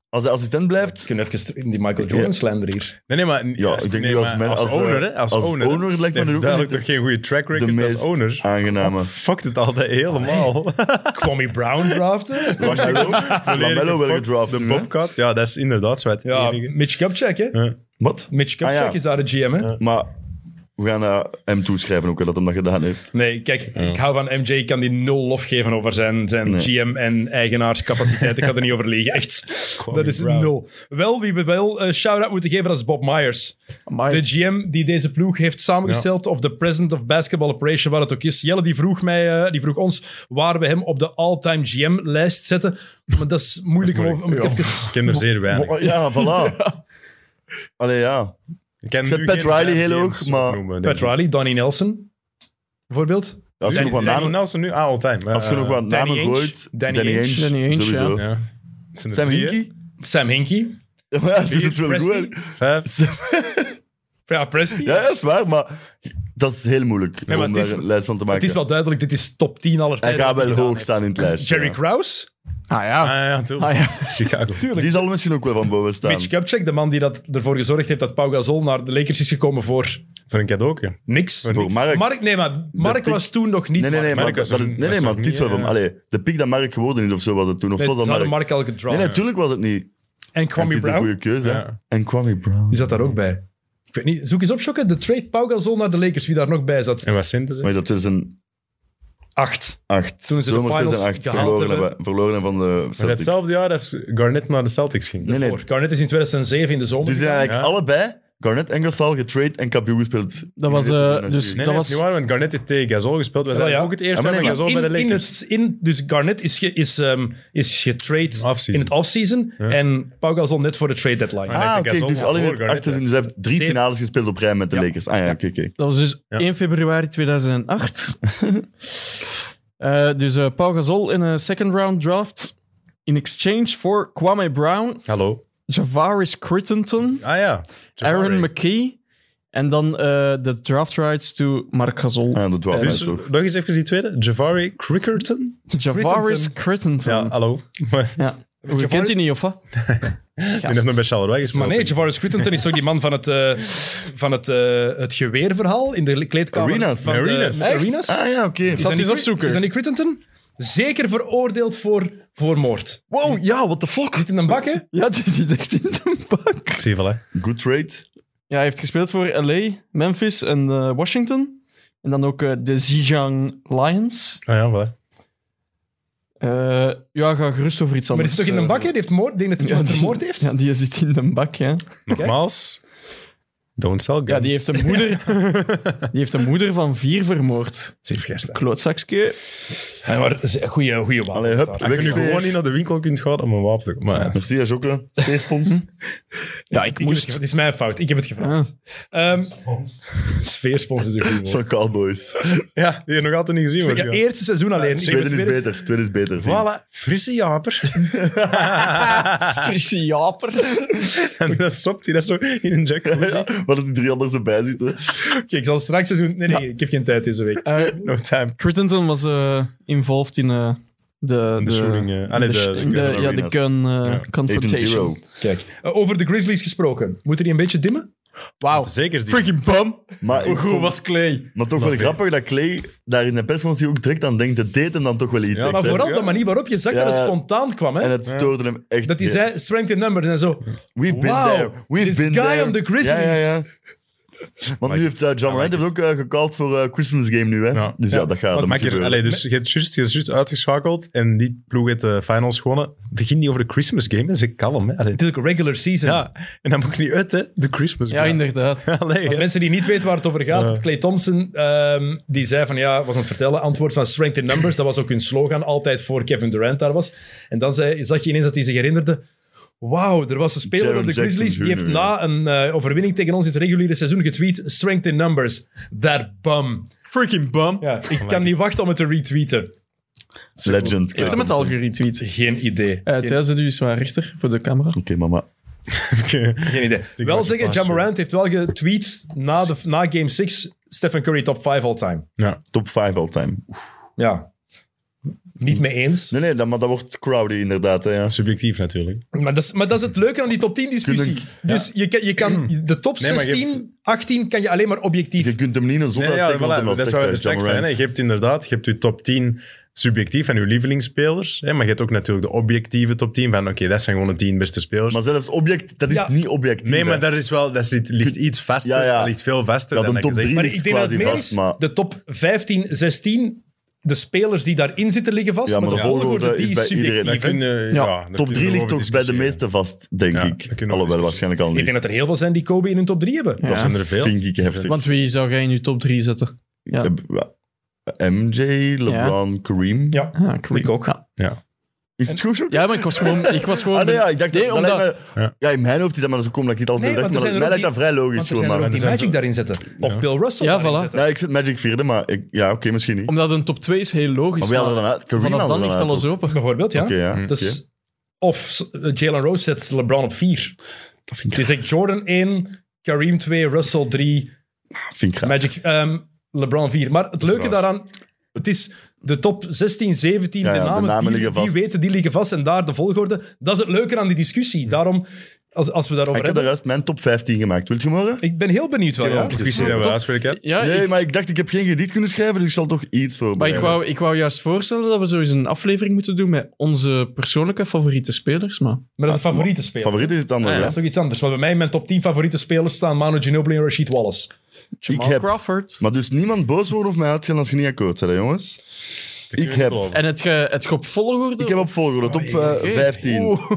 [SPEAKER 3] Als hij assistent blijft...
[SPEAKER 2] Kunnen we even in die Michael Jordan
[SPEAKER 3] Ja.
[SPEAKER 2] slander hier.
[SPEAKER 1] Nee, nee, maar
[SPEAKER 3] Ja, ik denk nu als, men-
[SPEAKER 1] als,
[SPEAKER 3] als, eh,
[SPEAKER 1] owner, hè? Als,
[SPEAKER 3] als
[SPEAKER 1] owner. hè?
[SPEAKER 3] owner lijkt me
[SPEAKER 1] Die
[SPEAKER 3] er
[SPEAKER 1] heeft
[SPEAKER 3] ook
[SPEAKER 1] duidelijk
[SPEAKER 3] niet
[SPEAKER 1] toch geen goede track
[SPEAKER 3] De
[SPEAKER 1] record als
[SPEAKER 3] meest
[SPEAKER 1] owner.
[SPEAKER 3] aangename.
[SPEAKER 1] Fucked het altijd helemaal.
[SPEAKER 2] Kwame Brown draften.
[SPEAKER 3] Lamello Lamello wel
[SPEAKER 1] Volledig
[SPEAKER 3] gedraft.
[SPEAKER 1] De
[SPEAKER 3] nu, hè?
[SPEAKER 1] Bobcats, ja, dat is inderdaad zo het
[SPEAKER 2] Ja,
[SPEAKER 1] enige.
[SPEAKER 2] Mitch Kupchak, hè?
[SPEAKER 3] Wat?
[SPEAKER 2] Mitch Kupchak
[SPEAKER 3] Ah, ja.
[SPEAKER 2] is daar de GM, hè?
[SPEAKER 3] Maar we gaan eh, hem toeschrijven ook hè, dat hem dat gedaan heeft.
[SPEAKER 2] Nee, kijk, ik hou van MJ. Ik kan die nul lof geven over zijn, zijn
[SPEAKER 3] Nee.
[SPEAKER 2] GM en eigenaarscapaciteit. ik ga er niet over liegen, echt. dat is
[SPEAKER 1] Brown.
[SPEAKER 2] nul. Wel, wie we wel een shout-out moeten geven, dat is Bob Myers.
[SPEAKER 4] Amai.
[SPEAKER 2] De GM die deze ploeg heeft samengesteld, of de president of basketball operation, waar het ook is. Jelle die vroeg, mij, eh, die vroeg ons waar we hem op de all-time GM-lijst zetten. Maar dat is moeilijk om, om het even...
[SPEAKER 1] Ik ken er zeer weinig.
[SPEAKER 3] Oh, ja, voilà. Allee, ja.
[SPEAKER 1] Ik ken
[SPEAKER 3] Ik zet
[SPEAKER 1] nu
[SPEAKER 3] Pat
[SPEAKER 1] geen
[SPEAKER 3] Riley
[SPEAKER 1] Ryan
[SPEAKER 3] heel
[SPEAKER 1] James
[SPEAKER 3] hoog, maar-
[SPEAKER 1] opnoemen, denk
[SPEAKER 2] Pat
[SPEAKER 1] ik.
[SPEAKER 2] Riley, Donnie Nelson, bijvoorbeeld.
[SPEAKER 3] Als je nog wat
[SPEAKER 1] Danny- Danny
[SPEAKER 3] namen,
[SPEAKER 1] Nelson nu, ah, altijd.
[SPEAKER 3] als je nog wat
[SPEAKER 1] Eh,
[SPEAKER 2] Danny
[SPEAKER 3] namen
[SPEAKER 2] Ainge.
[SPEAKER 3] gooit...
[SPEAKER 2] Danny
[SPEAKER 3] Danny
[SPEAKER 2] Ainge.
[SPEAKER 3] Ainge,
[SPEAKER 4] Danny Ainge,
[SPEAKER 3] sowieso.
[SPEAKER 4] ja.
[SPEAKER 3] Sam Hinkie?
[SPEAKER 2] Sam Hinkie.
[SPEAKER 3] Ja, maar hij doet het wel
[SPEAKER 2] Presti?
[SPEAKER 3] goed.
[SPEAKER 1] Vijf.
[SPEAKER 3] hè.
[SPEAKER 2] Ja, Presti.
[SPEAKER 3] Ja, dat is waar, maar dat is heel moeilijk
[SPEAKER 2] maar
[SPEAKER 3] om
[SPEAKER 2] het is-
[SPEAKER 3] daar een lijst van te maken.
[SPEAKER 2] Het is wel duidelijk, dit is top 10 aller
[SPEAKER 3] Hij
[SPEAKER 2] tijden.
[SPEAKER 3] gaat
[SPEAKER 2] wat
[SPEAKER 3] wel
[SPEAKER 2] gedaan
[SPEAKER 3] hoog
[SPEAKER 2] heeft.
[SPEAKER 3] staan in het lijstje.
[SPEAKER 2] Jerry
[SPEAKER 3] ja.
[SPEAKER 2] Krause,
[SPEAKER 4] Ah ja.
[SPEAKER 1] Ah ja,
[SPEAKER 4] Ah,
[SPEAKER 1] tuurlijk.
[SPEAKER 4] ja.
[SPEAKER 1] Chicago.
[SPEAKER 3] Die zal misschien ook wel van boven staan.
[SPEAKER 2] Mitch Kupchak, de man die dat ervoor gezorgd heeft dat Pau Gasol naar de Lakers is gekomen voor
[SPEAKER 1] Voor een cadeautje.
[SPEAKER 2] niks.
[SPEAKER 1] Voor
[SPEAKER 3] Voor Mark.
[SPEAKER 2] Mark, nee, maar Mark
[SPEAKER 3] pick-
[SPEAKER 2] was toen nog niet.
[SPEAKER 3] nee, nee, nee,
[SPEAKER 2] Mark.
[SPEAKER 3] maar,
[SPEAKER 1] was
[SPEAKER 3] dat is,
[SPEAKER 1] toen-
[SPEAKER 3] nee, nee,
[SPEAKER 1] was
[SPEAKER 3] maar
[SPEAKER 1] toen
[SPEAKER 3] het is wel
[SPEAKER 1] niet,
[SPEAKER 3] van...
[SPEAKER 1] eh,
[SPEAKER 3] Allee, de pick dat Mark geworden is of zo was het toen. Of
[SPEAKER 2] Nee,
[SPEAKER 3] was dat
[SPEAKER 2] ze hadden
[SPEAKER 3] Mark?
[SPEAKER 2] Mark al gedraft.
[SPEAKER 3] nee, natuurlijk was het niet.
[SPEAKER 2] En
[SPEAKER 3] En het
[SPEAKER 2] Kwame
[SPEAKER 3] is een
[SPEAKER 2] Brown,
[SPEAKER 3] goede keuze. hè.
[SPEAKER 1] Ja.
[SPEAKER 3] En Kwame Brown.
[SPEAKER 2] die zat daar ook bij. Ik weet niet, zoek eens op, Sjokke, de trade Pau Gasol naar de Lakers, wie daar nog bij zat.
[SPEAKER 1] En wat Sinter
[SPEAKER 3] Maar
[SPEAKER 1] ze?
[SPEAKER 3] is dat 2008?
[SPEAKER 2] Acht. Toen ze de
[SPEAKER 3] Zomer
[SPEAKER 2] finals
[SPEAKER 3] 2008
[SPEAKER 2] gehaald
[SPEAKER 3] verloren,
[SPEAKER 2] hebben.
[SPEAKER 3] hebben- verloren van de
[SPEAKER 1] Maar
[SPEAKER 3] Celtics. Dus
[SPEAKER 1] hetzelfde jaar als Garnett naar de Celtics ging.
[SPEAKER 3] Nee, Dus- nee.
[SPEAKER 2] Voor. Garnett is in 2007 in de zomer.
[SPEAKER 3] Die zijn
[SPEAKER 2] gegaan.
[SPEAKER 3] eigenlijk
[SPEAKER 1] Ja.
[SPEAKER 3] allebei, Garnett en Gasol, getrade en kampioen gespeeld.
[SPEAKER 4] Dat was, eh, dus- Dat
[SPEAKER 1] Nee, dat
[SPEAKER 4] was-
[SPEAKER 1] was... niet waar, want Garnett heeft tegen Gasol gespeeld. We zijn
[SPEAKER 2] ja.
[SPEAKER 1] ook het eerste
[SPEAKER 3] Ja,
[SPEAKER 1] jaar
[SPEAKER 3] maar
[SPEAKER 1] met
[SPEAKER 3] nee,
[SPEAKER 1] Gasol bij de
[SPEAKER 2] in, in
[SPEAKER 1] Lakers.
[SPEAKER 2] het, in, dus Garnett is, ge, is, ehm, is getrade
[SPEAKER 1] Offseason.
[SPEAKER 2] in het offseason en Pau Gasol net voor de trade deadline.
[SPEAKER 1] Ah,
[SPEAKER 3] Ah,
[SPEAKER 1] ik
[SPEAKER 3] oké,
[SPEAKER 1] denk dat
[SPEAKER 3] dus
[SPEAKER 1] Gasol
[SPEAKER 3] alleen
[SPEAKER 1] voor
[SPEAKER 3] het
[SPEAKER 1] Garnett
[SPEAKER 3] 18
[SPEAKER 1] was.
[SPEAKER 3] dus hij heeft drie
[SPEAKER 2] Zeven.
[SPEAKER 3] finales gespeeld op rij met de
[SPEAKER 2] Ja.
[SPEAKER 3] Lakers. Ah ja, oké, oké.
[SPEAKER 4] Dat was dus
[SPEAKER 1] Ja.
[SPEAKER 4] 1 februari 2008. Eh, dus eh Pau Gasol in een second round draft. In exchange voor Kwame Brown,
[SPEAKER 1] Hallo.
[SPEAKER 4] Javaris Crittenton,
[SPEAKER 1] Ah ja.
[SPEAKER 4] Aaron
[SPEAKER 1] Jabari.
[SPEAKER 4] McKee en dan eh, de draft rights to Mark Gasol.
[SPEAKER 3] Ah, dat was
[SPEAKER 1] Dus,
[SPEAKER 3] nice, toch.
[SPEAKER 1] nog eens even die tweede. Javari Crickerton?
[SPEAKER 4] Javaris Crittenton.
[SPEAKER 1] Ja, hallo. Maar,
[SPEAKER 4] Ja. Je kent die niet, of wat?
[SPEAKER 1] Ik denk dat het nog bij weg is.
[SPEAKER 2] Maar nee, Javaris Crittenton is toch die man van het, eh, van het, eh, het geweerverhaal in de kleedkamer.
[SPEAKER 3] Arenas.
[SPEAKER 2] Van de-
[SPEAKER 1] Arenas.
[SPEAKER 2] met Arenas.
[SPEAKER 3] Ah ja, oké.
[SPEAKER 2] Is dat
[SPEAKER 4] eens
[SPEAKER 2] niet-
[SPEAKER 4] opzoeken.
[SPEAKER 2] Is dat niet Crittenton? Zeker veroordeeld voor, voor moord.
[SPEAKER 4] Wow, ja, what the fuck?
[SPEAKER 2] Zit in een bak, hè?
[SPEAKER 4] Ja, die zit echt in de bak.
[SPEAKER 1] Ik zie wel, hè.
[SPEAKER 3] Good trade.
[SPEAKER 4] Ja, hij heeft gespeeld voor LA, Memphis en eh, Washington. En dan ook eh, de Zhejiang Lions.
[SPEAKER 1] Ah ja, wel.
[SPEAKER 4] Eh, ja, ga gerust over iets
[SPEAKER 2] Maar
[SPEAKER 4] anders.
[SPEAKER 2] die zit toch in een
[SPEAKER 4] eh,
[SPEAKER 2] bak, hè? Die heeft moord. Ik denk dat hij
[SPEAKER 4] Ja,
[SPEAKER 2] iemand
[SPEAKER 4] die-
[SPEAKER 2] vermoord heeft.
[SPEAKER 4] Ja, die zit in een bak, ja.
[SPEAKER 1] Nogmaals, don't sell guns.
[SPEAKER 4] Ja, die heeft een moeder, die heeft een moeder van vier vermoord.
[SPEAKER 1] Zeef gisteren.
[SPEAKER 4] Klootzakske.
[SPEAKER 2] Ja, maar ze- goeie, goeie wapen.
[SPEAKER 3] Allee, hup,
[SPEAKER 1] Als je nu gewoon
[SPEAKER 3] wegsfeer.
[SPEAKER 1] niet naar de winkel kunt gaan om een wapen te kopen. Maar ja.
[SPEAKER 3] Merci, Jokke. Steerspons.
[SPEAKER 4] Ja, ik
[SPEAKER 2] Ik moest...
[SPEAKER 4] moest...
[SPEAKER 2] Het is mijn fout. Ik heb het
[SPEAKER 4] Ah.
[SPEAKER 2] gevraagd. Ehm sfeerspons is een goed woord.
[SPEAKER 3] Van Cowboys.
[SPEAKER 1] ja, die heb je nog altijd niet gezien.
[SPEAKER 2] Ik
[SPEAKER 1] wordt
[SPEAKER 2] heb
[SPEAKER 1] gewoon.
[SPEAKER 2] eerste seizoen alleen. Ik heb
[SPEAKER 3] Tweede
[SPEAKER 2] het
[SPEAKER 3] is
[SPEAKER 2] tweede se-
[SPEAKER 3] beter. Tweede is beter. zie je.
[SPEAKER 1] Voilà, frisse japer.
[SPEAKER 4] Frisse japer.
[SPEAKER 1] en dan stopt hij dat zo in een jacuzzi.
[SPEAKER 3] Ja, maar dat die drie anders erbij zitten.
[SPEAKER 2] Oké, ik zal straks seizoen... Nee, nee, ik heb geen tijd deze week.
[SPEAKER 4] Eh
[SPEAKER 1] No time.
[SPEAKER 4] Crittenton was eh, involved in eh, de...
[SPEAKER 1] De shooting, eh, ah, nee, de-
[SPEAKER 4] sh-
[SPEAKER 1] de
[SPEAKER 4] de-
[SPEAKER 3] gun
[SPEAKER 4] Ja, de
[SPEAKER 3] arenas.
[SPEAKER 4] gun eh,
[SPEAKER 3] 8-0.
[SPEAKER 4] confrontation.
[SPEAKER 2] Kijk, eh, over de Grizzlies gesproken. Moeten die een beetje dimmen?
[SPEAKER 4] Wauw.
[SPEAKER 1] Zeker die.
[SPEAKER 4] Freaking bum.
[SPEAKER 3] Maar
[SPEAKER 4] Hoe
[SPEAKER 3] ik
[SPEAKER 4] goed
[SPEAKER 3] vond-
[SPEAKER 4] was Clay?
[SPEAKER 3] Maar toch wel grappig dat Clay daar in de persconferentie ook direct aan denkt. Het deed hem dan toch wel iets.
[SPEAKER 1] Ja,
[SPEAKER 3] extra.
[SPEAKER 2] Maar vooral de manier waarop je zag dat het
[SPEAKER 3] Ja.
[SPEAKER 2] spontaan kwam. Hè?
[SPEAKER 3] En het stoorde hem echt.
[SPEAKER 2] Dat hij
[SPEAKER 3] niet.
[SPEAKER 2] zei, strength in numbers. En zo,
[SPEAKER 3] We've been
[SPEAKER 2] Wow,
[SPEAKER 3] there. We've
[SPEAKER 2] this
[SPEAKER 3] been
[SPEAKER 2] guy
[SPEAKER 3] there.
[SPEAKER 2] on the Grizzlies.
[SPEAKER 3] Ja, ja, ja. Want nu
[SPEAKER 1] ik-
[SPEAKER 3] heeft eh, John Morant heeft ook eh, gecalled voor eh, Christmas Game nu, hè?
[SPEAKER 1] Ja.
[SPEAKER 3] Dus ja, dat gaat. dat
[SPEAKER 1] Maar
[SPEAKER 3] moet
[SPEAKER 1] ik er,
[SPEAKER 3] gebeuren.
[SPEAKER 1] allee, dus je hebt juist- je hebt juist uitgeschakeld en die ploeg heeft de finals gewonnen. Begin niet over de Christmas game, dat is kalm. Hè? Allee,
[SPEAKER 2] natuurlijk een regular season.
[SPEAKER 1] Ja, en dan moet ik niet uit, hè? De Christmas
[SPEAKER 4] Ja,
[SPEAKER 1] game.
[SPEAKER 4] inderdaad.
[SPEAKER 1] Allee,
[SPEAKER 2] Voor
[SPEAKER 1] hè.
[SPEAKER 2] Mensen die niet weten waar het over gaat,
[SPEAKER 1] Ja.
[SPEAKER 2] Clay Thompson, ehm, die zei van ja, was aan het vertellen, antwoord van strength in numbers, dat was ook hun slogan, altijd voor Kevin Durant daar was. En dan zei, zag je ineens dat hij zich herinnerde, wauw, er was een speler
[SPEAKER 3] Jaron
[SPEAKER 2] op de
[SPEAKER 3] Jackson
[SPEAKER 2] Grizzlies, die
[SPEAKER 3] Jr.,
[SPEAKER 2] heeft na een eh, overwinning tegen ons in het reguliere seizoen getweet, strength in numbers, that bum.
[SPEAKER 4] Freaking bum.
[SPEAKER 2] Ja, ik kan niet wachten om het te retweeten.
[SPEAKER 3] Legend.
[SPEAKER 4] Heeft hem het al geretweet?
[SPEAKER 2] Geen idee.
[SPEAKER 4] Eh Thijs, zet u eens maar rechter voor de camera.
[SPEAKER 3] Oké, mama.
[SPEAKER 2] Geen idee. wel
[SPEAKER 1] dat
[SPEAKER 2] zeggen,
[SPEAKER 1] past,
[SPEAKER 2] John
[SPEAKER 1] ja.
[SPEAKER 2] Morant heeft wel getweet na, de, na game 6, Stephen Curry top 5 all-time.
[SPEAKER 3] Top 5 all-time.
[SPEAKER 2] Ja. Niet mee eens.
[SPEAKER 3] Nee, nee, dat, maar dat wordt crowdy inderdaad. Hè, ja.
[SPEAKER 1] Subjectief natuurlijk.
[SPEAKER 2] Maar dat, is, maar dat is het leuke aan die top 10 discussie.
[SPEAKER 3] Kunnen-
[SPEAKER 2] Dus je, kan, je kan de top
[SPEAKER 1] Nee, maar je
[SPEAKER 2] 16, 18 kan je alleen maar objectief.
[SPEAKER 3] Je kunt hem niet in een zondag steken, want
[SPEAKER 1] voilà,
[SPEAKER 3] hem wel
[SPEAKER 1] dat
[SPEAKER 3] zegt,
[SPEAKER 1] is waar we
[SPEAKER 3] hè,
[SPEAKER 1] er straks
[SPEAKER 3] Ja,
[SPEAKER 1] zijn. hè. Je hebt inderdaad je hebt je top 10 subjectief van je lievelingsspelers. Hè? Maar je hebt ook natuurlijk de objectieve top 10 van oké, dat zijn gewoon de 10 beste spelers.
[SPEAKER 3] Maar zelfs object, dat is
[SPEAKER 2] Ja.
[SPEAKER 3] niet objectief.
[SPEAKER 1] nee, maar
[SPEAKER 3] hè.
[SPEAKER 1] daar, is wel, daar zit, ligt iets vaster.
[SPEAKER 3] Ja, ja.
[SPEAKER 1] Dat ligt veel vaster
[SPEAKER 3] Ja,
[SPEAKER 1] dan
[SPEAKER 3] de
[SPEAKER 1] dat je
[SPEAKER 3] top 3
[SPEAKER 1] zegt.
[SPEAKER 2] maar
[SPEAKER 3] ligt
[SPEAKER 2] ik denk dat het
[SPEAKER 3] quasi
[SPEAKER 2] meer
[SPEAKER 3] vast,
[SPEAKER 2] is,
[SPEAKER 3] maar...
[SPEAKER 2] de top 15, 16, de spelers die daarin zitten liggen vast.
[SPEAKER 3] Ja, maar de volgorde
[SPEAKER 2] die
[SPEAKER 3] is bij iedereen.
[SPEAKER 1] Daar
[SPEAKER 2] subjectief. hè.
[SPEAKER 1] kun je- ja, daar kun
[SPEAKER 3] Top
[SPEAKER 1] je
[SPEAKER 3] 3
[SPEAKER 1] erover
[SPEAKER 3] ligt toch bij de
[SPEAKER 1] discussiëren.
[SPEAKER 3] meeste vast, denk
[SPEAKER 1] Ja, daar
[SPEAKER 3] ik.
[SPEAKER 1] kunnen we
[SPEAKER 3] Alhoewel,
[SPEAKER 1] over
[SPEAKER 3] waarschijnlijk al
[SPEAKER 2] Ik
[SPEAKER 3] niet.
[SPEAKER 2] denk dat er heel veel zijn die Kobe in hun top 3 hebben.
[SPEAKER 4] Ja.
[SPEAKER 3] dat
[SPEAKER 1] zijn er veel.
[SPEAKER 3] vind ik heftig.
[SPEAKER 4] Want wie zou jij in je top 3 zetten? Ja.
[SPEAKER 3] MJ, LeBron, Kareem.
[SPEAKER 2] Ja.
[SPEAKER 4] Ah, Curry.
[SPEAKER 2] Ik ook.
[SPEAKER 4] Ja.
[SPEAKER 3] Is het goed zo?
[SPEAKER 4] Ja, maar ik was gewoon... Ik was gewoon
[SPEAKER 3] Ah, nee, ja, ik dacht
[SPEAKER 4] Nee,
[SPEAKER 3] dat,
[SPEAKER 4] omdat-
[SPEAKER 3] dat lijkt mij- ja.
[SPEAKER 1] Ja.
[SPEAKER 3] in mijn hoofd is dat maar zo kom dat ik het altijd
[SPEAKER 2] Nee,
[SPEAKER 3] dacht.
[SPEAKER 2] want
[SPEAKER 3] Maar
[SPEAKER 2] er
[SPEAKER 3] mij
[SPEAKER 2] zijn er
[SPEAKER 3] lijkt dat
[SPEAKER 2] ook
[SPEAKER 3] vrij
[SPEAKER 2] Want
[SPEAKER 3] logisch
[SPEAKER 2] er
[SPEAKER 3] gewoon.
[SPEAKER 2] zijn er ook
[SPEAKER 3] Maar.
[SPEAKER 2] die
[SPEAKER 1] zijn
[SPEAKER 2] Magic
[SPEAKER 1] zo-
[SPEAKER 2] daarin zetten. Of Bill Russell
[SPEAKER 4] Ja,
[SPEAKER 2] daarin
[SPEAKER 4] voilà.
[SPEAKER 2] zetten.
[SPEAKER 3] Ja, ik zit Magic vierde, maar ik, ja, oké, misschien niet.
[SPEAKER 4] Omdat een top 2 is heel logisch.
[SPEAKER 3] Maar wie hadden
[SPEAKER 4] maar
[SPEAKER 3] er dan uit? Kareem
[SPEAKER 4] vanaf
[SPEAKER 3] hadden
[SPEAKER 4] dan
[SPEAKER 3] we
[SPEAKER 4] ligt
[SPEAKER 3] dan uit,
[SPEAKER 4] alles
[SPEAKER 3] toch?
[SPEAKER 4] open.
[SPEAKER 2] Bijvoorbeeld, ja.
[SPEAKER 3] Oké, ja.
[SPEAKER 2] Dus,
[SPEAKER 3] oké.
[SPEAKER 2] Of eh, Jalen Rose zet LeBron op 4. Die zegt Jordan 1, Kareem 2, Russell 3,
[SPEAKER 3] Vind ik graag.
[SPEAKER 2] Magic, ehm, LeBron 4. Maar het leuke daaraan, het is de top 16, 17,
[SPEAKER 3] Ja,
[SPEAKER 2] de
[SPEAKER 3] ja, de
[SPEAKER 2] namen,
[SPEAKER 3] namen
[SPEAKER 2] die,
[SPEAKER 3] liggen
[SPEAKER 2] die
[SPEAKER 3] vast.
[SPEAKER 2] weten, die liggen vast en daar de volgorde. Dat is het leuke aan die discussie.
[SPEAKER 3] Hm.
[SPEAKER 2] Daarom, als, als we daarover
[SPEAKER 3] Ik heb de
[SPEAKER 2] hebben...
[SPEAKER 3] rest mijn top 15 gemaakt. Wilt je morgen?
[SPEAKER 2] Ik ben heel benieuwd wel, ja.
[SPEAKER 1] De kwestie dat we huiswerk hebben.
[SPEAKER 4] Ja,
[SPEAKER 3] Nee,
[SPEAKER 4] ik-
[SPEAKER 3] maar ik dacht, ik heb geen gedicht kunnen schrijven, dus ik zal toch iets voor.
[SPEAKER 4] maar ik wou, ik wou juist voorstellen dat we zo eens een aflevering moeten doen met onze persoonlijke favoriete spelers. Maar
[SPEAKER 2] Maar dat is een favoriete speler.
[SPEAKER 3] Ah, Favoriet is het andere,
[SPEAKER 2] Dat
[SPEAKER 3] ja.
[SPEAKER 2] is toch iets anders. Maar bij mij in mijn top 10 favoriete spelers staan Manu Ginobili en Rashid Wallace.
[SPEAKER 3] Ik
[SPEAKER 4] Jamal
[SPEAKER 3] heb.
[SPEAKER 4] Crawford.
[SPEAKER 3] Maar dus niemand boos worden of mij uitgaan als je niet akkoord bent, hè, jongens. Ik heb.
[SPEAKER 4] En het, ge, het ge op volgorde...
[SPEAKER 3] Ik heb op volgorde,
[SPEAKER 1] Oh,
[SPEAKER 3] top eh,
[SPEAKER 4] Oké.
[SPEAKER 3] 15.
[SPEAKER 4] Oeh.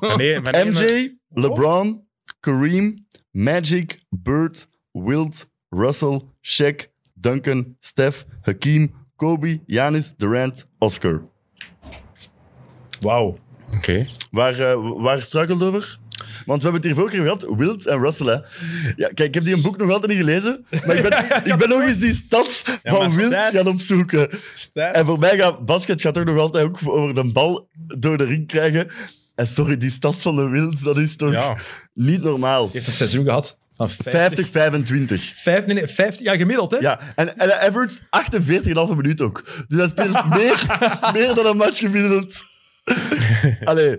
[SPEAKER 1] Nee, maar nee, maar-
[SPEAKER 3] MJ, LeBron, Kareem, Magic, Bird, Wilt, Russell, Shaq, Duncan, Steph, Hakim, Kobe, Giannis, Durant, Oscar.
[SPEAKER 2] Wauw.
[SPEAKER 1] Oké.
[SPEAKER 3] Waar, eh, waar struikelt het over? Want we hebben het hier vorige keer gehad, Wild en Russell. Hè. Ja, kijk, ik heb die een boek nog altijd niet gelezen, maar ik ben, ik ben nog eens die stads van
[SPEAKER 1] maar
[SPEAKER 3] Wild
[SPEAKER 1] stats-
[SPEAKER 3] gaan opzoeken.
[SPEAKER 1] Stijf.
[SPEAKER 3] En voor mij gaat basket gaat ook nog altijd ook over de bal door de ring krijgen. En sorry, die stad van de Wild, dat is toch
[SPEAKER 1] Ja.
[SPEAKER 3] niet normaal.
[SPEAKER 2] Heeft een seizoen gehad van 50...
[SPEAKER 3] 50, 25.
[SPEAKER 2] Vijf, nee, nee, 50 ja, gemiddeld, hè?
[SPEAKER 3] Ja, en, en hij average 48,5 minuut ook. Dus hij speelt meer, meer dan een match gemiddeld. Allee,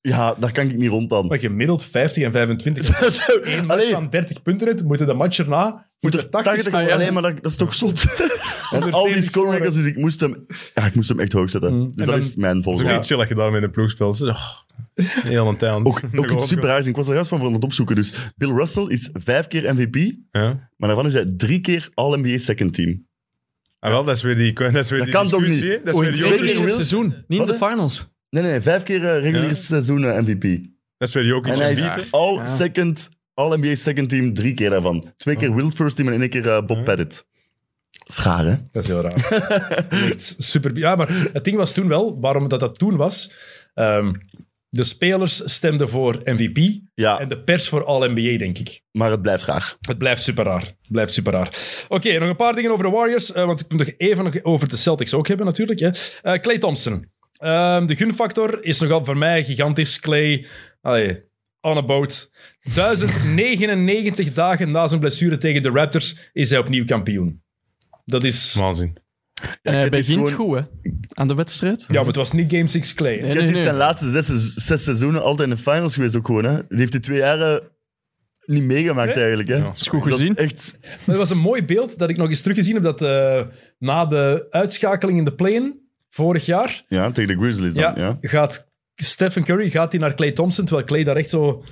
[SPEAKER 3] ja, daar kan ik niet rond aan.
[SPEAKER 2] Maar gemiddeld 50 en 25. Eén match
[SPEAKER 3] Allee,
[SPEAKER 2] van Ah, 30 punten uit, moeten de match erna
[SPEAKER 3] moet
[SPEAKER 2] moet
[SPEAKER 3] er
[SPEAKER 2] 80
[SPEAKER 3] 80
[SPEAKER 2] scoren.
[SPEAKER 3] komen. Allee, maar dat, dat is toch zot. En al die score records, dus ik moest hem, ja, ik moest hem echt hoog zetten. Dus dat
[SPEAKER 2] dan-
[SPEAKER 3] is mijn
[SPEAKER 1] Dat is ook
[SPEAKER 3] volgende.
[SPEAKER 1] niet chill dat je daarmee in de ploeg speelt. Oh, heel een tijd.
[SPEAKER 3] Ook, ook iets super raars. Ik was er juist van voor aan het opzoeken. Dus Bill Russell is vijf keer MVP,
[SPEAKER 1] Ja.
[SPEAKER 3] maar daarvan is hij drie keer All-NBA second team.
[SPEAKER 1] Ah, wel, dat is weer die, dat is weer
[SPEAKER 3] Dat
[SPEAKER 1] die
[SPEAKER 3] kan toch
[SPEAKER 1] discussie.
[SPEAKER 3] niet?
[SPEAKER 1] hè. Dat is
[SPEAKER 4] Oei,
[SPEAKER 1] weer die
[SPEAKER 4] twee
[SPEAKER 3] Jokic
[SPEAKER 4] keer in
[SPEAKER 1] Jokic.
[SPEAKER 4] het
[SPEAKER 3] wil-
[SPEAKER 4] seizoen, niet in de
[SPEAKER 3] Wat, hè?
[SPEAKER 4] finals.
[SPEAKER 3] Nee, nee, vijf keer eh, reguliere
[SPEAKER 1] Ja.
[SPEAKER 3] seizoen eh, MVP.
[SPEAKER 1] Dat is weer Jokic.
[SPEAKER 3] En hij is
[SPEAKER 1] beaten.
[SPEAKER 3] all
[SPEAKER 4] Ja.
[SPEAKER 3] second, all NBA second team, drie keer daarvan. Twee
[SPEAKER 4] Oh.
[SPEAKER 3] keer Wild first team en één keer eh, Bob
[SPEAKER 1] Ja.
[SPEAKER 3] Pettit. Schaar, hè?
[SPEAKER 2] Dat is heel raar. Echt super. Ja, maar het ding was toen wel, waarom dat dat toen was. ehm, de spelers stemden voor MVP
[SPEAKER 3] Ja,
[SPEAKER 2] en de pers voor All-NBA, denk ik.
[SPEAKER 3] maar het blijft graag.
[SPEAKER 2] Het blijft super raar. Het blijft super raar. Oké, nog een paar dingen over de Warriors. eh, want ik moet nog even nog over de Celtics ook hebben, natuurlijk. Hè. Eh, Clay Thompson. Ehm, de gunfactor is nogal voor mij gigantisch. Clay, allee, on a boat. 1099 dagen na zijn blessure tegen de Raptors is hij opnieuw kampioen. Dat is...
[SPEAKER 1] Waanzin.
[SPEAKER 4] en hij
[SPEAKER 3] het is
[SPEAKER 4] begint
[SPEAKER 3] gewoon-
[SPEAKER 4] Eh, goed, hè? Aan de wedstrijd.
[SPEAKER 2] Ja, maar het was niet Game 6 Clay. hè.
[SPEAKER 4] Nee,
[SPEAKER 3] Cat
[SPEAKER 4] nee,
[SPEAKER 3] is
[SPEAKER 4] nee.
[SPEAKER 3] zijn laatste zes, zes seizoenen altijd in de finals geweest ook gewoon, hè? Die heeft die twee jaren niet meegemaakt eigenlijk. Hè.
[SPEAKER 1] Ja.
[SPEAKER 4] is goed
[SPEAKER 3] Dat is
[SPEAKER 4] gezien.
[SPEAKER 3] echt,
[SPEAKER 2] Maar dat was een mooi beeld dat ik nog eens teruggezien heb. Dat eh, na de uitschakeling in de play-in vorig jaar
[SPEAKER 3] ja, tegen de Grizzlies dan. Ja.
[SPEAKER 2] gaat Stephen Curry gaat hij naar Clay Thompson, terwijl Clay daar echt zo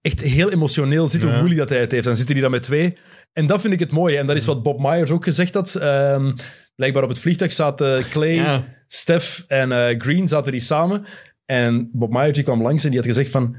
[SPEAKER 2] echt heel emotioneel zit, hoe moeilijk dat hij het heeft. Dan zitten die dan met twee. En dat vind ik het mooie. En dat is wat Bob Myers ook gezegd had. Ehm, blijkbaar op het vliegtuig zaten Clay,
[SPEAKER 4] Ja.
[SPEAKER 2] Steph en eh, Green zaten die samen. En Bob Myers die kwam langs en die had gezegd van... "Het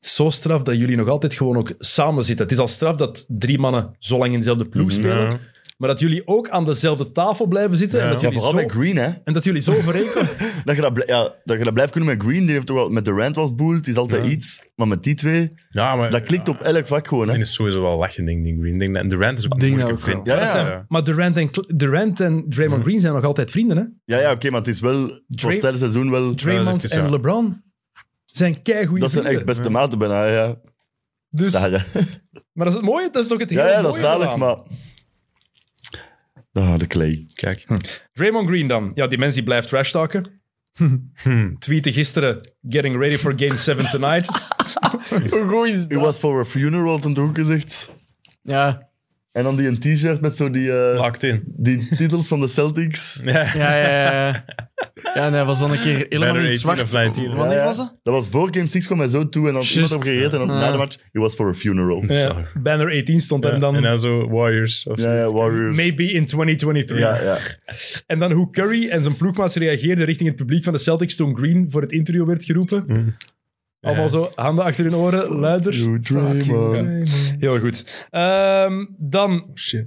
[SPEAKER 2] is Zo straf dat jullie nog altijd gewoon ook samen zitten. Het is al straf dat drie mannen zo lang in dezelfde
[SPEAKER 3] Mhm.
[SPEAKER 2] ploeg spelen.
[SPEAKER 1] Ja.
[SPEAKER 2] Maar dat jullie ook aan dezelfde tafel blijven zitten. En, dat
[SPEAKER 3] Ja,
[SPEAKER 2] jullie
[SPEAKER 3] vooral
[SPEAKER 2] zo,
[SPEAKER 3] bij Green, hè.
[SPEAKER 2] en dat jullie zo overeenkomen.
[SPEAKER 3] Dat je dat, bl- ja, dat je dat blijft kunnen met Green, die heeft toch wel, met Durant was boel, het is altijd iets. Maar met die twee,
[SPEAKER 1] Ja, maar...
[SPEAKER 3] dat klikt op elk vak gewoon, hè.
[SPEAKER 1] En is sowieso wel lachen, ding, ding, green. Ding, en Durant is ook een
[SPEAKER 4] Ding
[SPEAKER 1] moeilijke
[SPEAKER 4] ook wel.
[SPEAKER 1] vind.
[SPEAKER 3] Ja, ja. Mhm.
[SPEAKER 2] Maar Durant en, Cl- Durant en Draymond Green zijn nog altijd vrienden, hè?
[SPEAKER 3] Ja, ja, oké, maar het is wel... Het was
[SPEAKER 2] Dray-
[SPEAKER 3] tijdens het seizoen wel...
[SPEAKER 2] Draymond
[SPEAKER 1] is,
[SPEAKER 2] en
[SPEAKER 1] ja.
[SPEAKER 2] LeBron zijn keigoede
[SPEAKER 3] Dat zijn
[SPEAKER 2] vrienden.
[SPEAKER 3] echt beste maten bijna, ja.
[SPEAKER 2] dus,
[SPEAKER 3] Daar, hè.
[SPEAKER 2] maar dat is het mooie, dat is ook het hele
[SPEAKER 3] Ja, ja, dat is
[SPEAKER 2] mooie
[SPEAKER 3] zalig,
[SPEAKER 2] eraan.
[SPEAKER 3] maar... Ah, de clay.
[SPEAKER 1] Kijk.
[SPEAKER 2] Draymond Green dan. Ja, die mens die blijft trash talken. Tweette gisteren, getting ready for game 7 tonight.
[SPEAKER 4] Hoe gooi is
[SPEAKER 3] U was voor een funeral, had hij ook gezegd.
[SPEAKER 4] Ja,
[SPEAKER 3] En dan die een t-shirt met zo die, eh,
[SPEAKER 1] Lakt in.
[SPEAKER 3] die titels van de Celtics.
[SPEAKER 4] ja, ja. Ja, ja en hij was dan een keer helemaal
[SPEAKER 1] Better
[SPEAKER 4] in het
[SPEAKER 1] 18
[SPEAKER 4] zwart.
[SPEAKER 1] of 19.
[SPEAKER 4] Wanneer
[SPEAKER 3] Ja, ja.
[SPEAKER 4] was dat? Ah.
[SPEAKER 3] Dat was voor Game 6 kwam hij zo toe en dan had iemand
[SPEAKER 4] Just.
[SPEAKER 3] hem gereden. En dan na de match, he was for a funeral. Ja,
[SPEAKER 2] Ja, Banner 18 stond er en dan...
[SPEAKER 1] en dan zo Warriors of
[SPEAKER 3] ja,
[SPEAKER 1] zoiets.
[SPEAKER 3] Warriors.
[SPEAKER 2] Maybe in 2023.
[SPEAKER 3] Ja, ja.
[SPEAKER 2] En dan hoe Curry en zijn ploegmaats reageerden richting het publiek van de Celtics toen Green voor het interview werd geroepen.
[SPEAKER 3] Mhm.
[SPEAKER 2] Allemaal zo, handen achter hun oren, luider.
[SPEAKER 3] You dream on.
[SPEAKER 2] Heel goed. Ehm, dan,
[SPEAKER 1] Shit.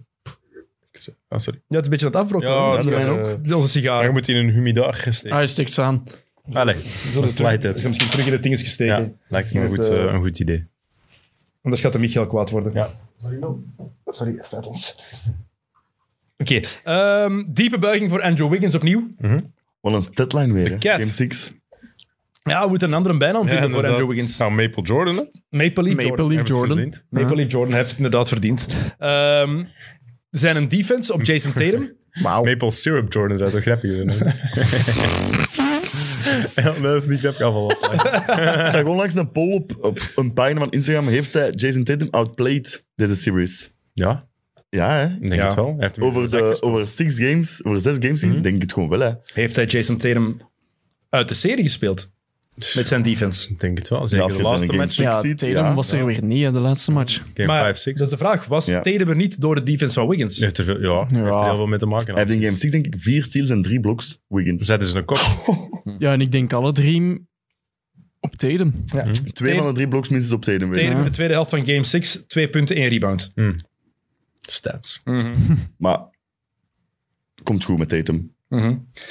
[SPEAKER 1] Ah, sorry.
[SPEAKER 2] ja, het is een beetje aan het afbrokkelen.
[SPEAKER 1] Ja,
[SPEAKER 2] hè?
[SPEAKER 3] dat
[SPEAKER 1] eh,
[SPEAKER 3] zijn ook.
[SPEAKER 2] Onze
[SPEAKER 1] Maar je
[SPEAKER 2] sigaren.
[SPEAKER 1] moet in een humidor gesteken.
[SPEAKER 4] Ah, hij steekt ze aan.
[SPEAKER 1] Allee,
[SPEAKER 2] Dat
[SPEAKER 1] dat
[SPEAKER 2] is terug-
[SPEAKER 1] slijt
[SPEAKER 2] dat is
[SPEAKER 1] het.
[SPEAKER 2] misschien terug in de dinges gesteken.
[SPEAKER 1] Ja, lijkt me een
[SPEAKER 2] Met,
[SPEAKER 1] goed,
[SPEAKER 2] eh,
[SPEAKER 1] eh, een goed idee.
[SPEAKER 2] Anders gaat de Michael kwaad worden.
[SPEAKER 5] Ja.
[SPEAKER 2] Sorry, het spijt ons. Oké, ehm, diepe buiging voor Andrew Wiggins opnieuw.
[SPEAKER 1] Hm.
[SPEAKER 3] Wat een deadline weer, hè.
[SPEAKER 1] cat.
[SPEAKER 3] Game 6.
[SPEAKER 2] Ja, we moeten een andere bijnaam vinden voor
[SPEAKER 1] inderdaad.
[SPEAKER 2] Andrew Wiggins.
[SPEAKER 1] Nou, Maple Jordan. hè?
[SPEAKER 2] Maple Leaf
[SPEAKER 4] Maple Leaf Jordan.
[SPEAKER 2] Maple
[SPEAKER 1] Hm.
[SPEAKER 2] Leaf Jordan heeft het inderdaad verdiend. Ehm, zijn een defense op Jason Tatum.
[SPEAKER 4] Wauw.
[SPEAKER 1] Maple Syrup Jordan zou toch grappig zijn? Ja, nee, dat is niet grappig afval.
[SPEAKER 3] Ik zag onlangs een poll op, op een pagina van Instagram. Heeft hij Jason Tatum outplayed deze series?
[SPEAKER 1] Ja,
[SPEAKER 3] Ja, hè?
[SPEAKER 1] ik denk
[SPEAKER 2] Ja.
[SPEAKER 1] het wel. Hij heeft hem in
[SPEAKER 3] Over,
[SPEAKER 1] zijn zak
[SPEAKER 3] de,
[SPEAKER 1] gestopt.
[SPEAKER 3] over, six games, over zes games gezien, denk ik het gewoon wel, hè.
[SPEAKER 2] Heeft hij Jason Tatum uit de serie gespeeld? Met zijn defense.
[SPEAKER 1] Ik denk het wel.
[SPEAKER 3] Ja,
[SPEAKER 1] Zeker
[SPEAKER 3] als
[SPEAKER 1] de
[SPEAKER 3] je zijn
[SPEAKER 1] laatste
[SPEAKER 3] game
[SPEAKER 1] match.
[SPEAKER 3] six
[SPEAKER 4] Ja, Mm.
[SPEAKER 3] ziet,
[SPEAKER 4] Tatum
[SPEAKER 3] ja.
[SPEAKER 4] was er weer niet in de laatste match.
[SPEAKER 2] Maar
[SPEAKER 1] Game
[SPEAKER 2] dat
[SPEAKER 1] 5-6.
[SPEAKER 2] is de vraag. Was
[SPEAKER 3] Ja.
[SPEAKER 2] Tatum er niet door de defense van Wiggins?
[SPEAKER 1] Heeft er veel, ja, heeft er heel veel mee te maken.
[SPEAKER 3] Hij heeft in game 6 denk ik vier steals en drie blocks, Wiggins.
[SPEAKER 1] Zetten ze een kop.
[SPEAKER 4] Ja, en ik denk alle drie op Tatum.
[SPEAKER 3] Twee van de drie blocks minstens op Tatum weer.
[SPEAKER 2] Tatum in
[SPEAKER 4] Ja.
[SPEAKER 2] de tweede helft van game 6, twee punten, één rebound.
[SPEAKER 1] Stats.
[SPEAKER 3] Maar komt goed met Tatum.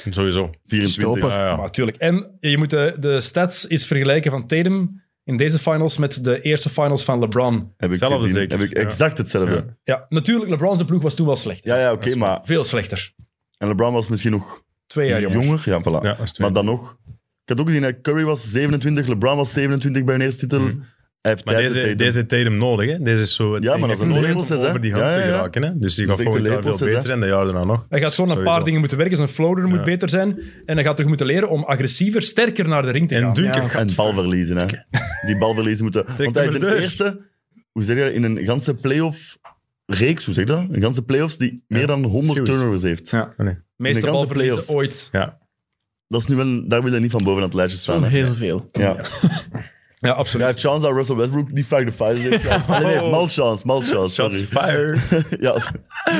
[SPEAKER 1] Sowieso.
[SPEAKER 3] 24.
[SPEAKER 1] Ja, ja.
[SPEAKER 2] Maar natuurlijk. En je moet de, de stats eens vergelijken van Tatum in deze finals met de eerste finals van LeBron.
[SPEAKER 3] Heb ik
[SPEAKER 1] Hetzelfde
[SPEAKER 3] gezien.
[SPEAKER 1] zeker,
[SPEAKER 3] Heb ik
[SPEAKER 1] ja.
[SPEAKER 3] exact hetzelfde.
[SPEAKER 2] Ja, natuurlijk, LeBron's ploeg was toen wel slecht.
[SPEAKER 3] Ja, ja, oké, maar...
[SPEAKER 2] Veel slechter.
[SPEAKER 3] En LeBron was misschien nog
[SPEAKER 2] Twee jaar jonger.
[SPEAKER 3] jonger. Ja, voilà.
[SPEAKER 1] Ja, dat is twee.
[SPEAKER 3] maar dan nog... Ik had ook gezien, hè, Curry was 27, LeBron was 27 bij hun eerste titel. Hij heeft
[SPEAKER 1] Mhm. Maar
[SPEAKER 3] tijdens
[SPEAKER 1] deze,
[SPEAKER 3] het Tatum.
[SPEAKER 1] deze heeft Tatum nodig, hè? Deze is zo het
[SPEAKER 3] Ja, maar dat is een
[SPEAKER 1] nodig
[SPEAKER 3] lepeltjes,
[SPEAKER 1] om
[SPEAKER 3] hè?
[SPEAKER 1] over die hand
[SPEAKER 3] Ja,
[SPEAKER 1] te
[SPEAKER 3] ja, ja.
[SPEAKER 1] geraken, hè? Dus die
[SPEAKER 3] Dat is
[SPEAKER 1] gaat
[SPEAKER 3] echt
[SPEAKER 1] volgend
[SPEAKER 3] de
[SPEAKER 1] jaar veel
[SPEAKER 3] lepeltjes,
[SPEAKER 1] beter en de jaar daarna nog.
[SPEAKER 2] Hij gaat gewoon een
[SPEAKER 1] Sowieso.
[SPEAKER 2] paar dingen moeten werken. Zijn floater moet beter zijn. En hij gaat terug moeten leren om agressiever, sterker naar de ring te gaan.
[SPEAKER 1] En Duncan
[SPEAKER 4] Ja.
[SPEAKER 1] gaat...
[SPEAKER 3] En bal verliezen, hè. Die bal verliezen moeten... Want hij is
[SPEAKER 1] hem
[SPEAKER 3] de
[SPEAKER 1] erdoor.
[SPEAKER 3] eerste... Hoe zeg je dat? In een ganse playoff... Reeks, hoe zeg je dat? Een ganse playoffs die meer dan 100
[SPEAKER 1] Series.
[SPEAKER 3] turnovers heeft.
[SPEAKER 1] Oh, nee.
[SPEAKER 2] Meeste
[SPEAKER 3] in de ganse
[SPEAKER 2] balverliezen
[SPEAKER 3] playoffs.
[SPEAKER 2] ooit.
[SPEAKER 1] Ja.
[SPEAKER 3] Dat is nu wel, daar wil je niet van boven aan het lijstje staan.
[SPEAKER 4] Toch
[SPEAKER 3] hè.
[SPEAKER 4] heel veel.
[SPEAKER 3] Ja.
[SPEAKER 2] Ja,
[SPEAKER 3] Hij
[SPEAKER 2] absoluut.
[SPEAKER 3] heeft chance dat Russell Westbrook niet vaak de finals heeft gehad. Alleen hij heeft mal chance, mal chance.
[SPEAKER 1] Shots
[SPEAKER 3] Sorry.
[SPEAKER 1] fired.
[SPEAKER 3] ja.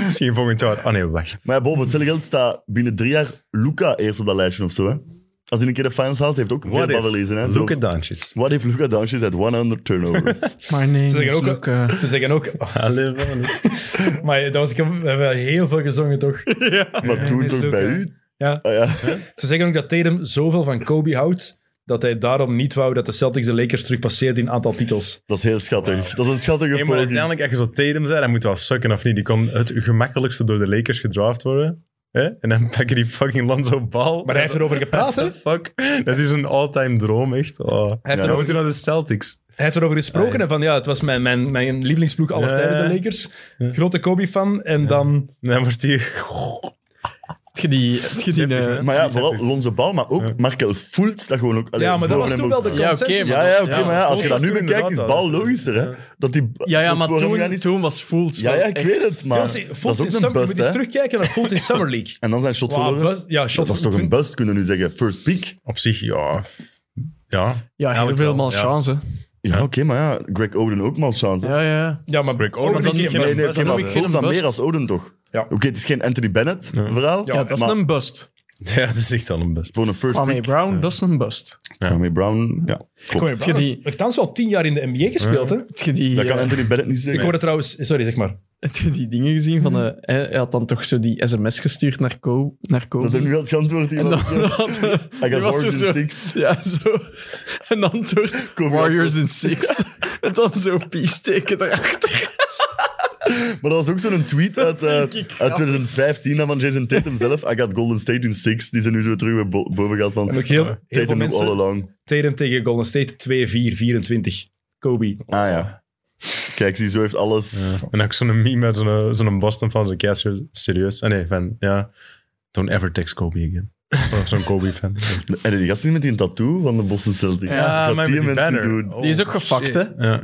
[SPEAKER 1] Misschien volgend jaar. Ah nee, wacht.
[SPEAKER 3] Maar ja, boven hetzelfde geld staat binnen drie jaar Luca eerst op dat lijstje of zo. Hè. Als hij een keer de finals haalt, heeft hij ook veel
[SPEAKER 1] What
[SPEAKER 3] bal
[SPEAKER 1] if?
[SPEAKER 3] verliezen. Hè.
[SPEAKER 1] Look
[SPEAKER 3] Zo,
[SPEAKER 1] at Dansjes.
[SPEAKER 3] What if Luca Doncic had 100 turnovers?
[SPEAKER 4] Maar nee,
[SPEAKER 2] Ze
[SPEAKER 4] dat
[SPEAKER 2] zeggen
[SPEAKER 4] is
[SPEAKER 2] ook-
[SPEAKER 4] ook... eh,
[SPEAKER 2] Ze zeggen ook... oh, maar eh, dat was, we hebben heel veel gezongen, toch?
[SPEAKER 3] maar toen
[SPEAKER 2] is
[SPEAKER 3] toch
[SPEAKER 2] Luka.
[SPEAKER 3] bij u?
[SPEAKER 2] Ja.
[SPEAKER 3] Ah, ja.
[SPEAKER 2] Ze zeggen ook dat Tatum zoveel van Kobe houdt dat hij daarom niet wou dat de Celtics de Lakers terugpasseerden in aantal titels.
[SPEAKER 3] Dat is heel schattig. Dat is een schattige
[SPEAKER 1] Nee, maar
[SPEAKER 3] poging.
[SPEAKER 1] uiteindelijk, als je zo Tatum zijn, hij moet wel sukken of niet. Die kon het gemakkelijkste door de Lakers gedraft worden. Hè? En dan pakken die fucking Lonzo bal.
[SPEAKER 2] Maar hij heeft erover gepraat, hè?
[SPEAKER 1] What the fuck? Dat is een all-time droom, echt. Oh. Hij
[SPEAKER 2] heeft
[SPEAKER 1] heeft
[SPEAKER 3] er
[SPEAKER 1] dan
[SPEAKER 3] ook-
[SPEAKER 1] moet hij naar de Celtics.
[SPEAKER 2] Hij heeft erover gesproken en van Ah, ja, het was mijn, mijn, mijn lievelingsploeg aller
[SPEAKER 1] Ja.
[SPEAKER 2] tijden, de Lakers. Grote Kobe-fan en dan...
[SPEAKER 1] Dan wordt hij...
[SPEAKER 4] Heb je die... Heb je die
[SPEAKER 1] Heftig,
[SPEAKER 4] eh,
[SPEAKER 1] hè?
[SPEAKER 3] Maar ja,
[SPEAKER 1] Die
[SPEAKER 3] vooral
[SPEAKER 1] zegt-
[SPEAKER 3] Lonzo Ball, maar ook
[SPEAKER 1] Ja.
[SPEAKER 3] Markel Fultz. Dat gewoon ook, allee,
[SPEAKER 2] ja, maar dat
[SPEAKER 3] voor
[SPEAKER 2] was
[SPEAKER 3] hem
[SPEAKER 2] toen
[SPEAKER 3] ook-
[SPEAKER 2] wel de
[SPEAKER 4] Ja, oké,
[SPEAKER 2] consensus.
[SPEAKER 3] Ja, ja, oké,
[SPEAKER 4] Ja,
[SPEAKER 3] maar ja, als je dat
[SPEAKER 1] was
[SPEAKER 3] nu
[SPEAKER 1] toen
[SPEAKER 3] bekijkt, is
[SPEAKER 1] inderdaad
[SPEAKER 3] Ball
[SPEAKER 1] wel, dat is-
[SPEAKER 3] logischer, hè? Dat die,
[SPEAKER 4] ja, ja,
[SPEAKER 3] dat
[SPEAKER 4] maar
[SPEAKER 3] voorheen gaan
[SPEAKER 4] toen,
[SPEAKER 3] is-
[SPEAKER 4] toen was Fultz
[SPEAKER 3] Ja,
[SPEAKER 4] wel
[SPEAKER 3] ja, ik
[SPEAKER 4] echt-
[SPEAKER 3] weet het, maar
[SPEAKER 2] Fultz in- Fultz
[SPEAKER 3] dat
[SPEAKER 2] in
[SPEAKER 3] is ook
[SPEAKER 2] Summer-
[SPEAKER 3] een
[SPEAKER 2] je moet
[SPEAKER 3] bust,
[SPEAKER 2] eens
[SPEAKER 3] hè?
[SPEAKER 2] terugkijken naar Fultz in Summer League.
[SPEAKER 3] En dan zijn shot
[SPEAKER 2] Wow,
[SPEAKER 3] verloren.
[SPEAKER 2] bust- ja, shot
[SPEAKER 3] Dat is toch een bust, kunnen we nu zeggen. First pick.
[SPEAKER 1] Op zich, ja. Ja.
[SPEAKER 4] Ja, heel
[SPEAKER 1] Eigenlijk
[SPEAKER 4] veel
[SPEAKER 1] wel,
[SPEAKER 4] mal
[SPEAKER 1] ja.
[SPEAKER 4] chance.
[SPEAKER 3] Ja, oké, maar ja, Greg Oden ook mal chance.
[SPEAKER 4] Ja, ja.
[SPEAKER 2] Ja, maar
[SPEAKER 1] Break
[SPEAKER 2] Oden
[SPEAKER 1] over.
[SPEAKER 2] vind ik
[SPEAKER 4] dan-
[SPEAKER 2] geen
[SPEAKER 3] Nee,
[SPEAKER 2] bust.
[SPEAKER 3] nee,
[SPEAKER 4] dat
[SPEAKER 3] oké,
[SPEAKER 4] is
[SPEAKER 3] maar
[SPEAKER 4] ook geen
[SPEAKER 3] Fultz dan
[SPEAKER 4] bust.
[SPEAKER 3] meer als Oden, toch?
[SPEAKER 2] Ja.
[SPEAKER 3] Oké, het is geen Anthony Bennett verhaal.
[SPEAKER 4] Ja, dat is
[SPEAKER 3] maar
[SPEAKER 4] een bust.
[SPEAKER 1] Ja, dat is echt wel een best.
[SPEAKER 3] Voor een first
[SPEAKER 4] Kwame
[SPEAKER 3] pick.
[SPEAKER 4] Brown, dat is een bust.
[SPEAKER 3] Kwame Brown, ja, klopt.
[SPEAKER 4] Heb je die...
[SPEAKER 2] Heeft Thans wel tien jaar in de NBA gespeeld, hè?
[SPEAKER 4] Heb je die,
[SPEAKER 3] Dat kan
[SPEAKER 4] eh,
[SPEAKER 3] Anthony Bennett niet
[SPEAKER 2] Ik
[SPEAKER 3] zeggen.
[SPEAKER 2] hoorde trouwens... Sorry, zeg maar.
[SPEAKER 4] heb je die dingen gezien van... eh, hij hij had dan toch zo die sms gestuurd naar Co. Naar Co.
[SPEAKER 3] Dat heb ik nu al geantwoord. die
[SPEAKER 4] En dan
[SPEAKER 3] was-
[SPEAKER 4] had eh,
[SPEAKER 3] I
[SPEAKER 4] die
[SPEAKER 3] got
[SPEAKER 4] was er
[SPEAKER 3] Warriors in
[SPEAKER 4] zo,
[SPEAKER 3] six.
[SPEAKER 4] ja, zo een antwoord.
[SPEAKER 3] Kom,
[SPEAKER 4] Warriors in six. en dan zo peace teken
[SPEAKER 3] Oh,
[SPEAKER 4] erachter.
[SPEAKER 3] Maar dat was ook zo'n tweet uit, eh,
[SPEAKER 4] ik
[SPEAKER 3] uit 2015 dan van Jason Tatum zelf. I got Golden State in six. Die zijn nu zo terug weer bo- boven gehad van
[SPEAKER 2] En ook heel, heel veel
[SPEAKER 3] Tatum all
[SPEAKER 2] mensen...
[SPEAKER 3] along.
[SPEAKER 2] Tatum tegen Golden State 2-4, 24. Kobe.
[SPEAKER 3] Ah ja. Kijk, zie, zo heeft alles...
[SPEAKER 1] En ook zo'n meme uit zo'n, eh, zo'n Boston van zo'n ja, ser- serieus. Ah nee, van ja. Don't ever text Kobe again. Zo- Zo'n Kobe fan.
[SPEAKER 3] En die gast niet met die tattoo van de Boston Celtics.
[SPEAKER 4] Ja,
[SPEAKER 3] dat
[SPEAKER 1] Ah, maar met die
[SPEAKER 3] mensen
[SPEAKER 1] banner. Oh,
[SPEAKER 3] doen. Mhm.
[SPEAKER 4] Die is ook gefakt, hè?
[SPEAKER 1] Ja.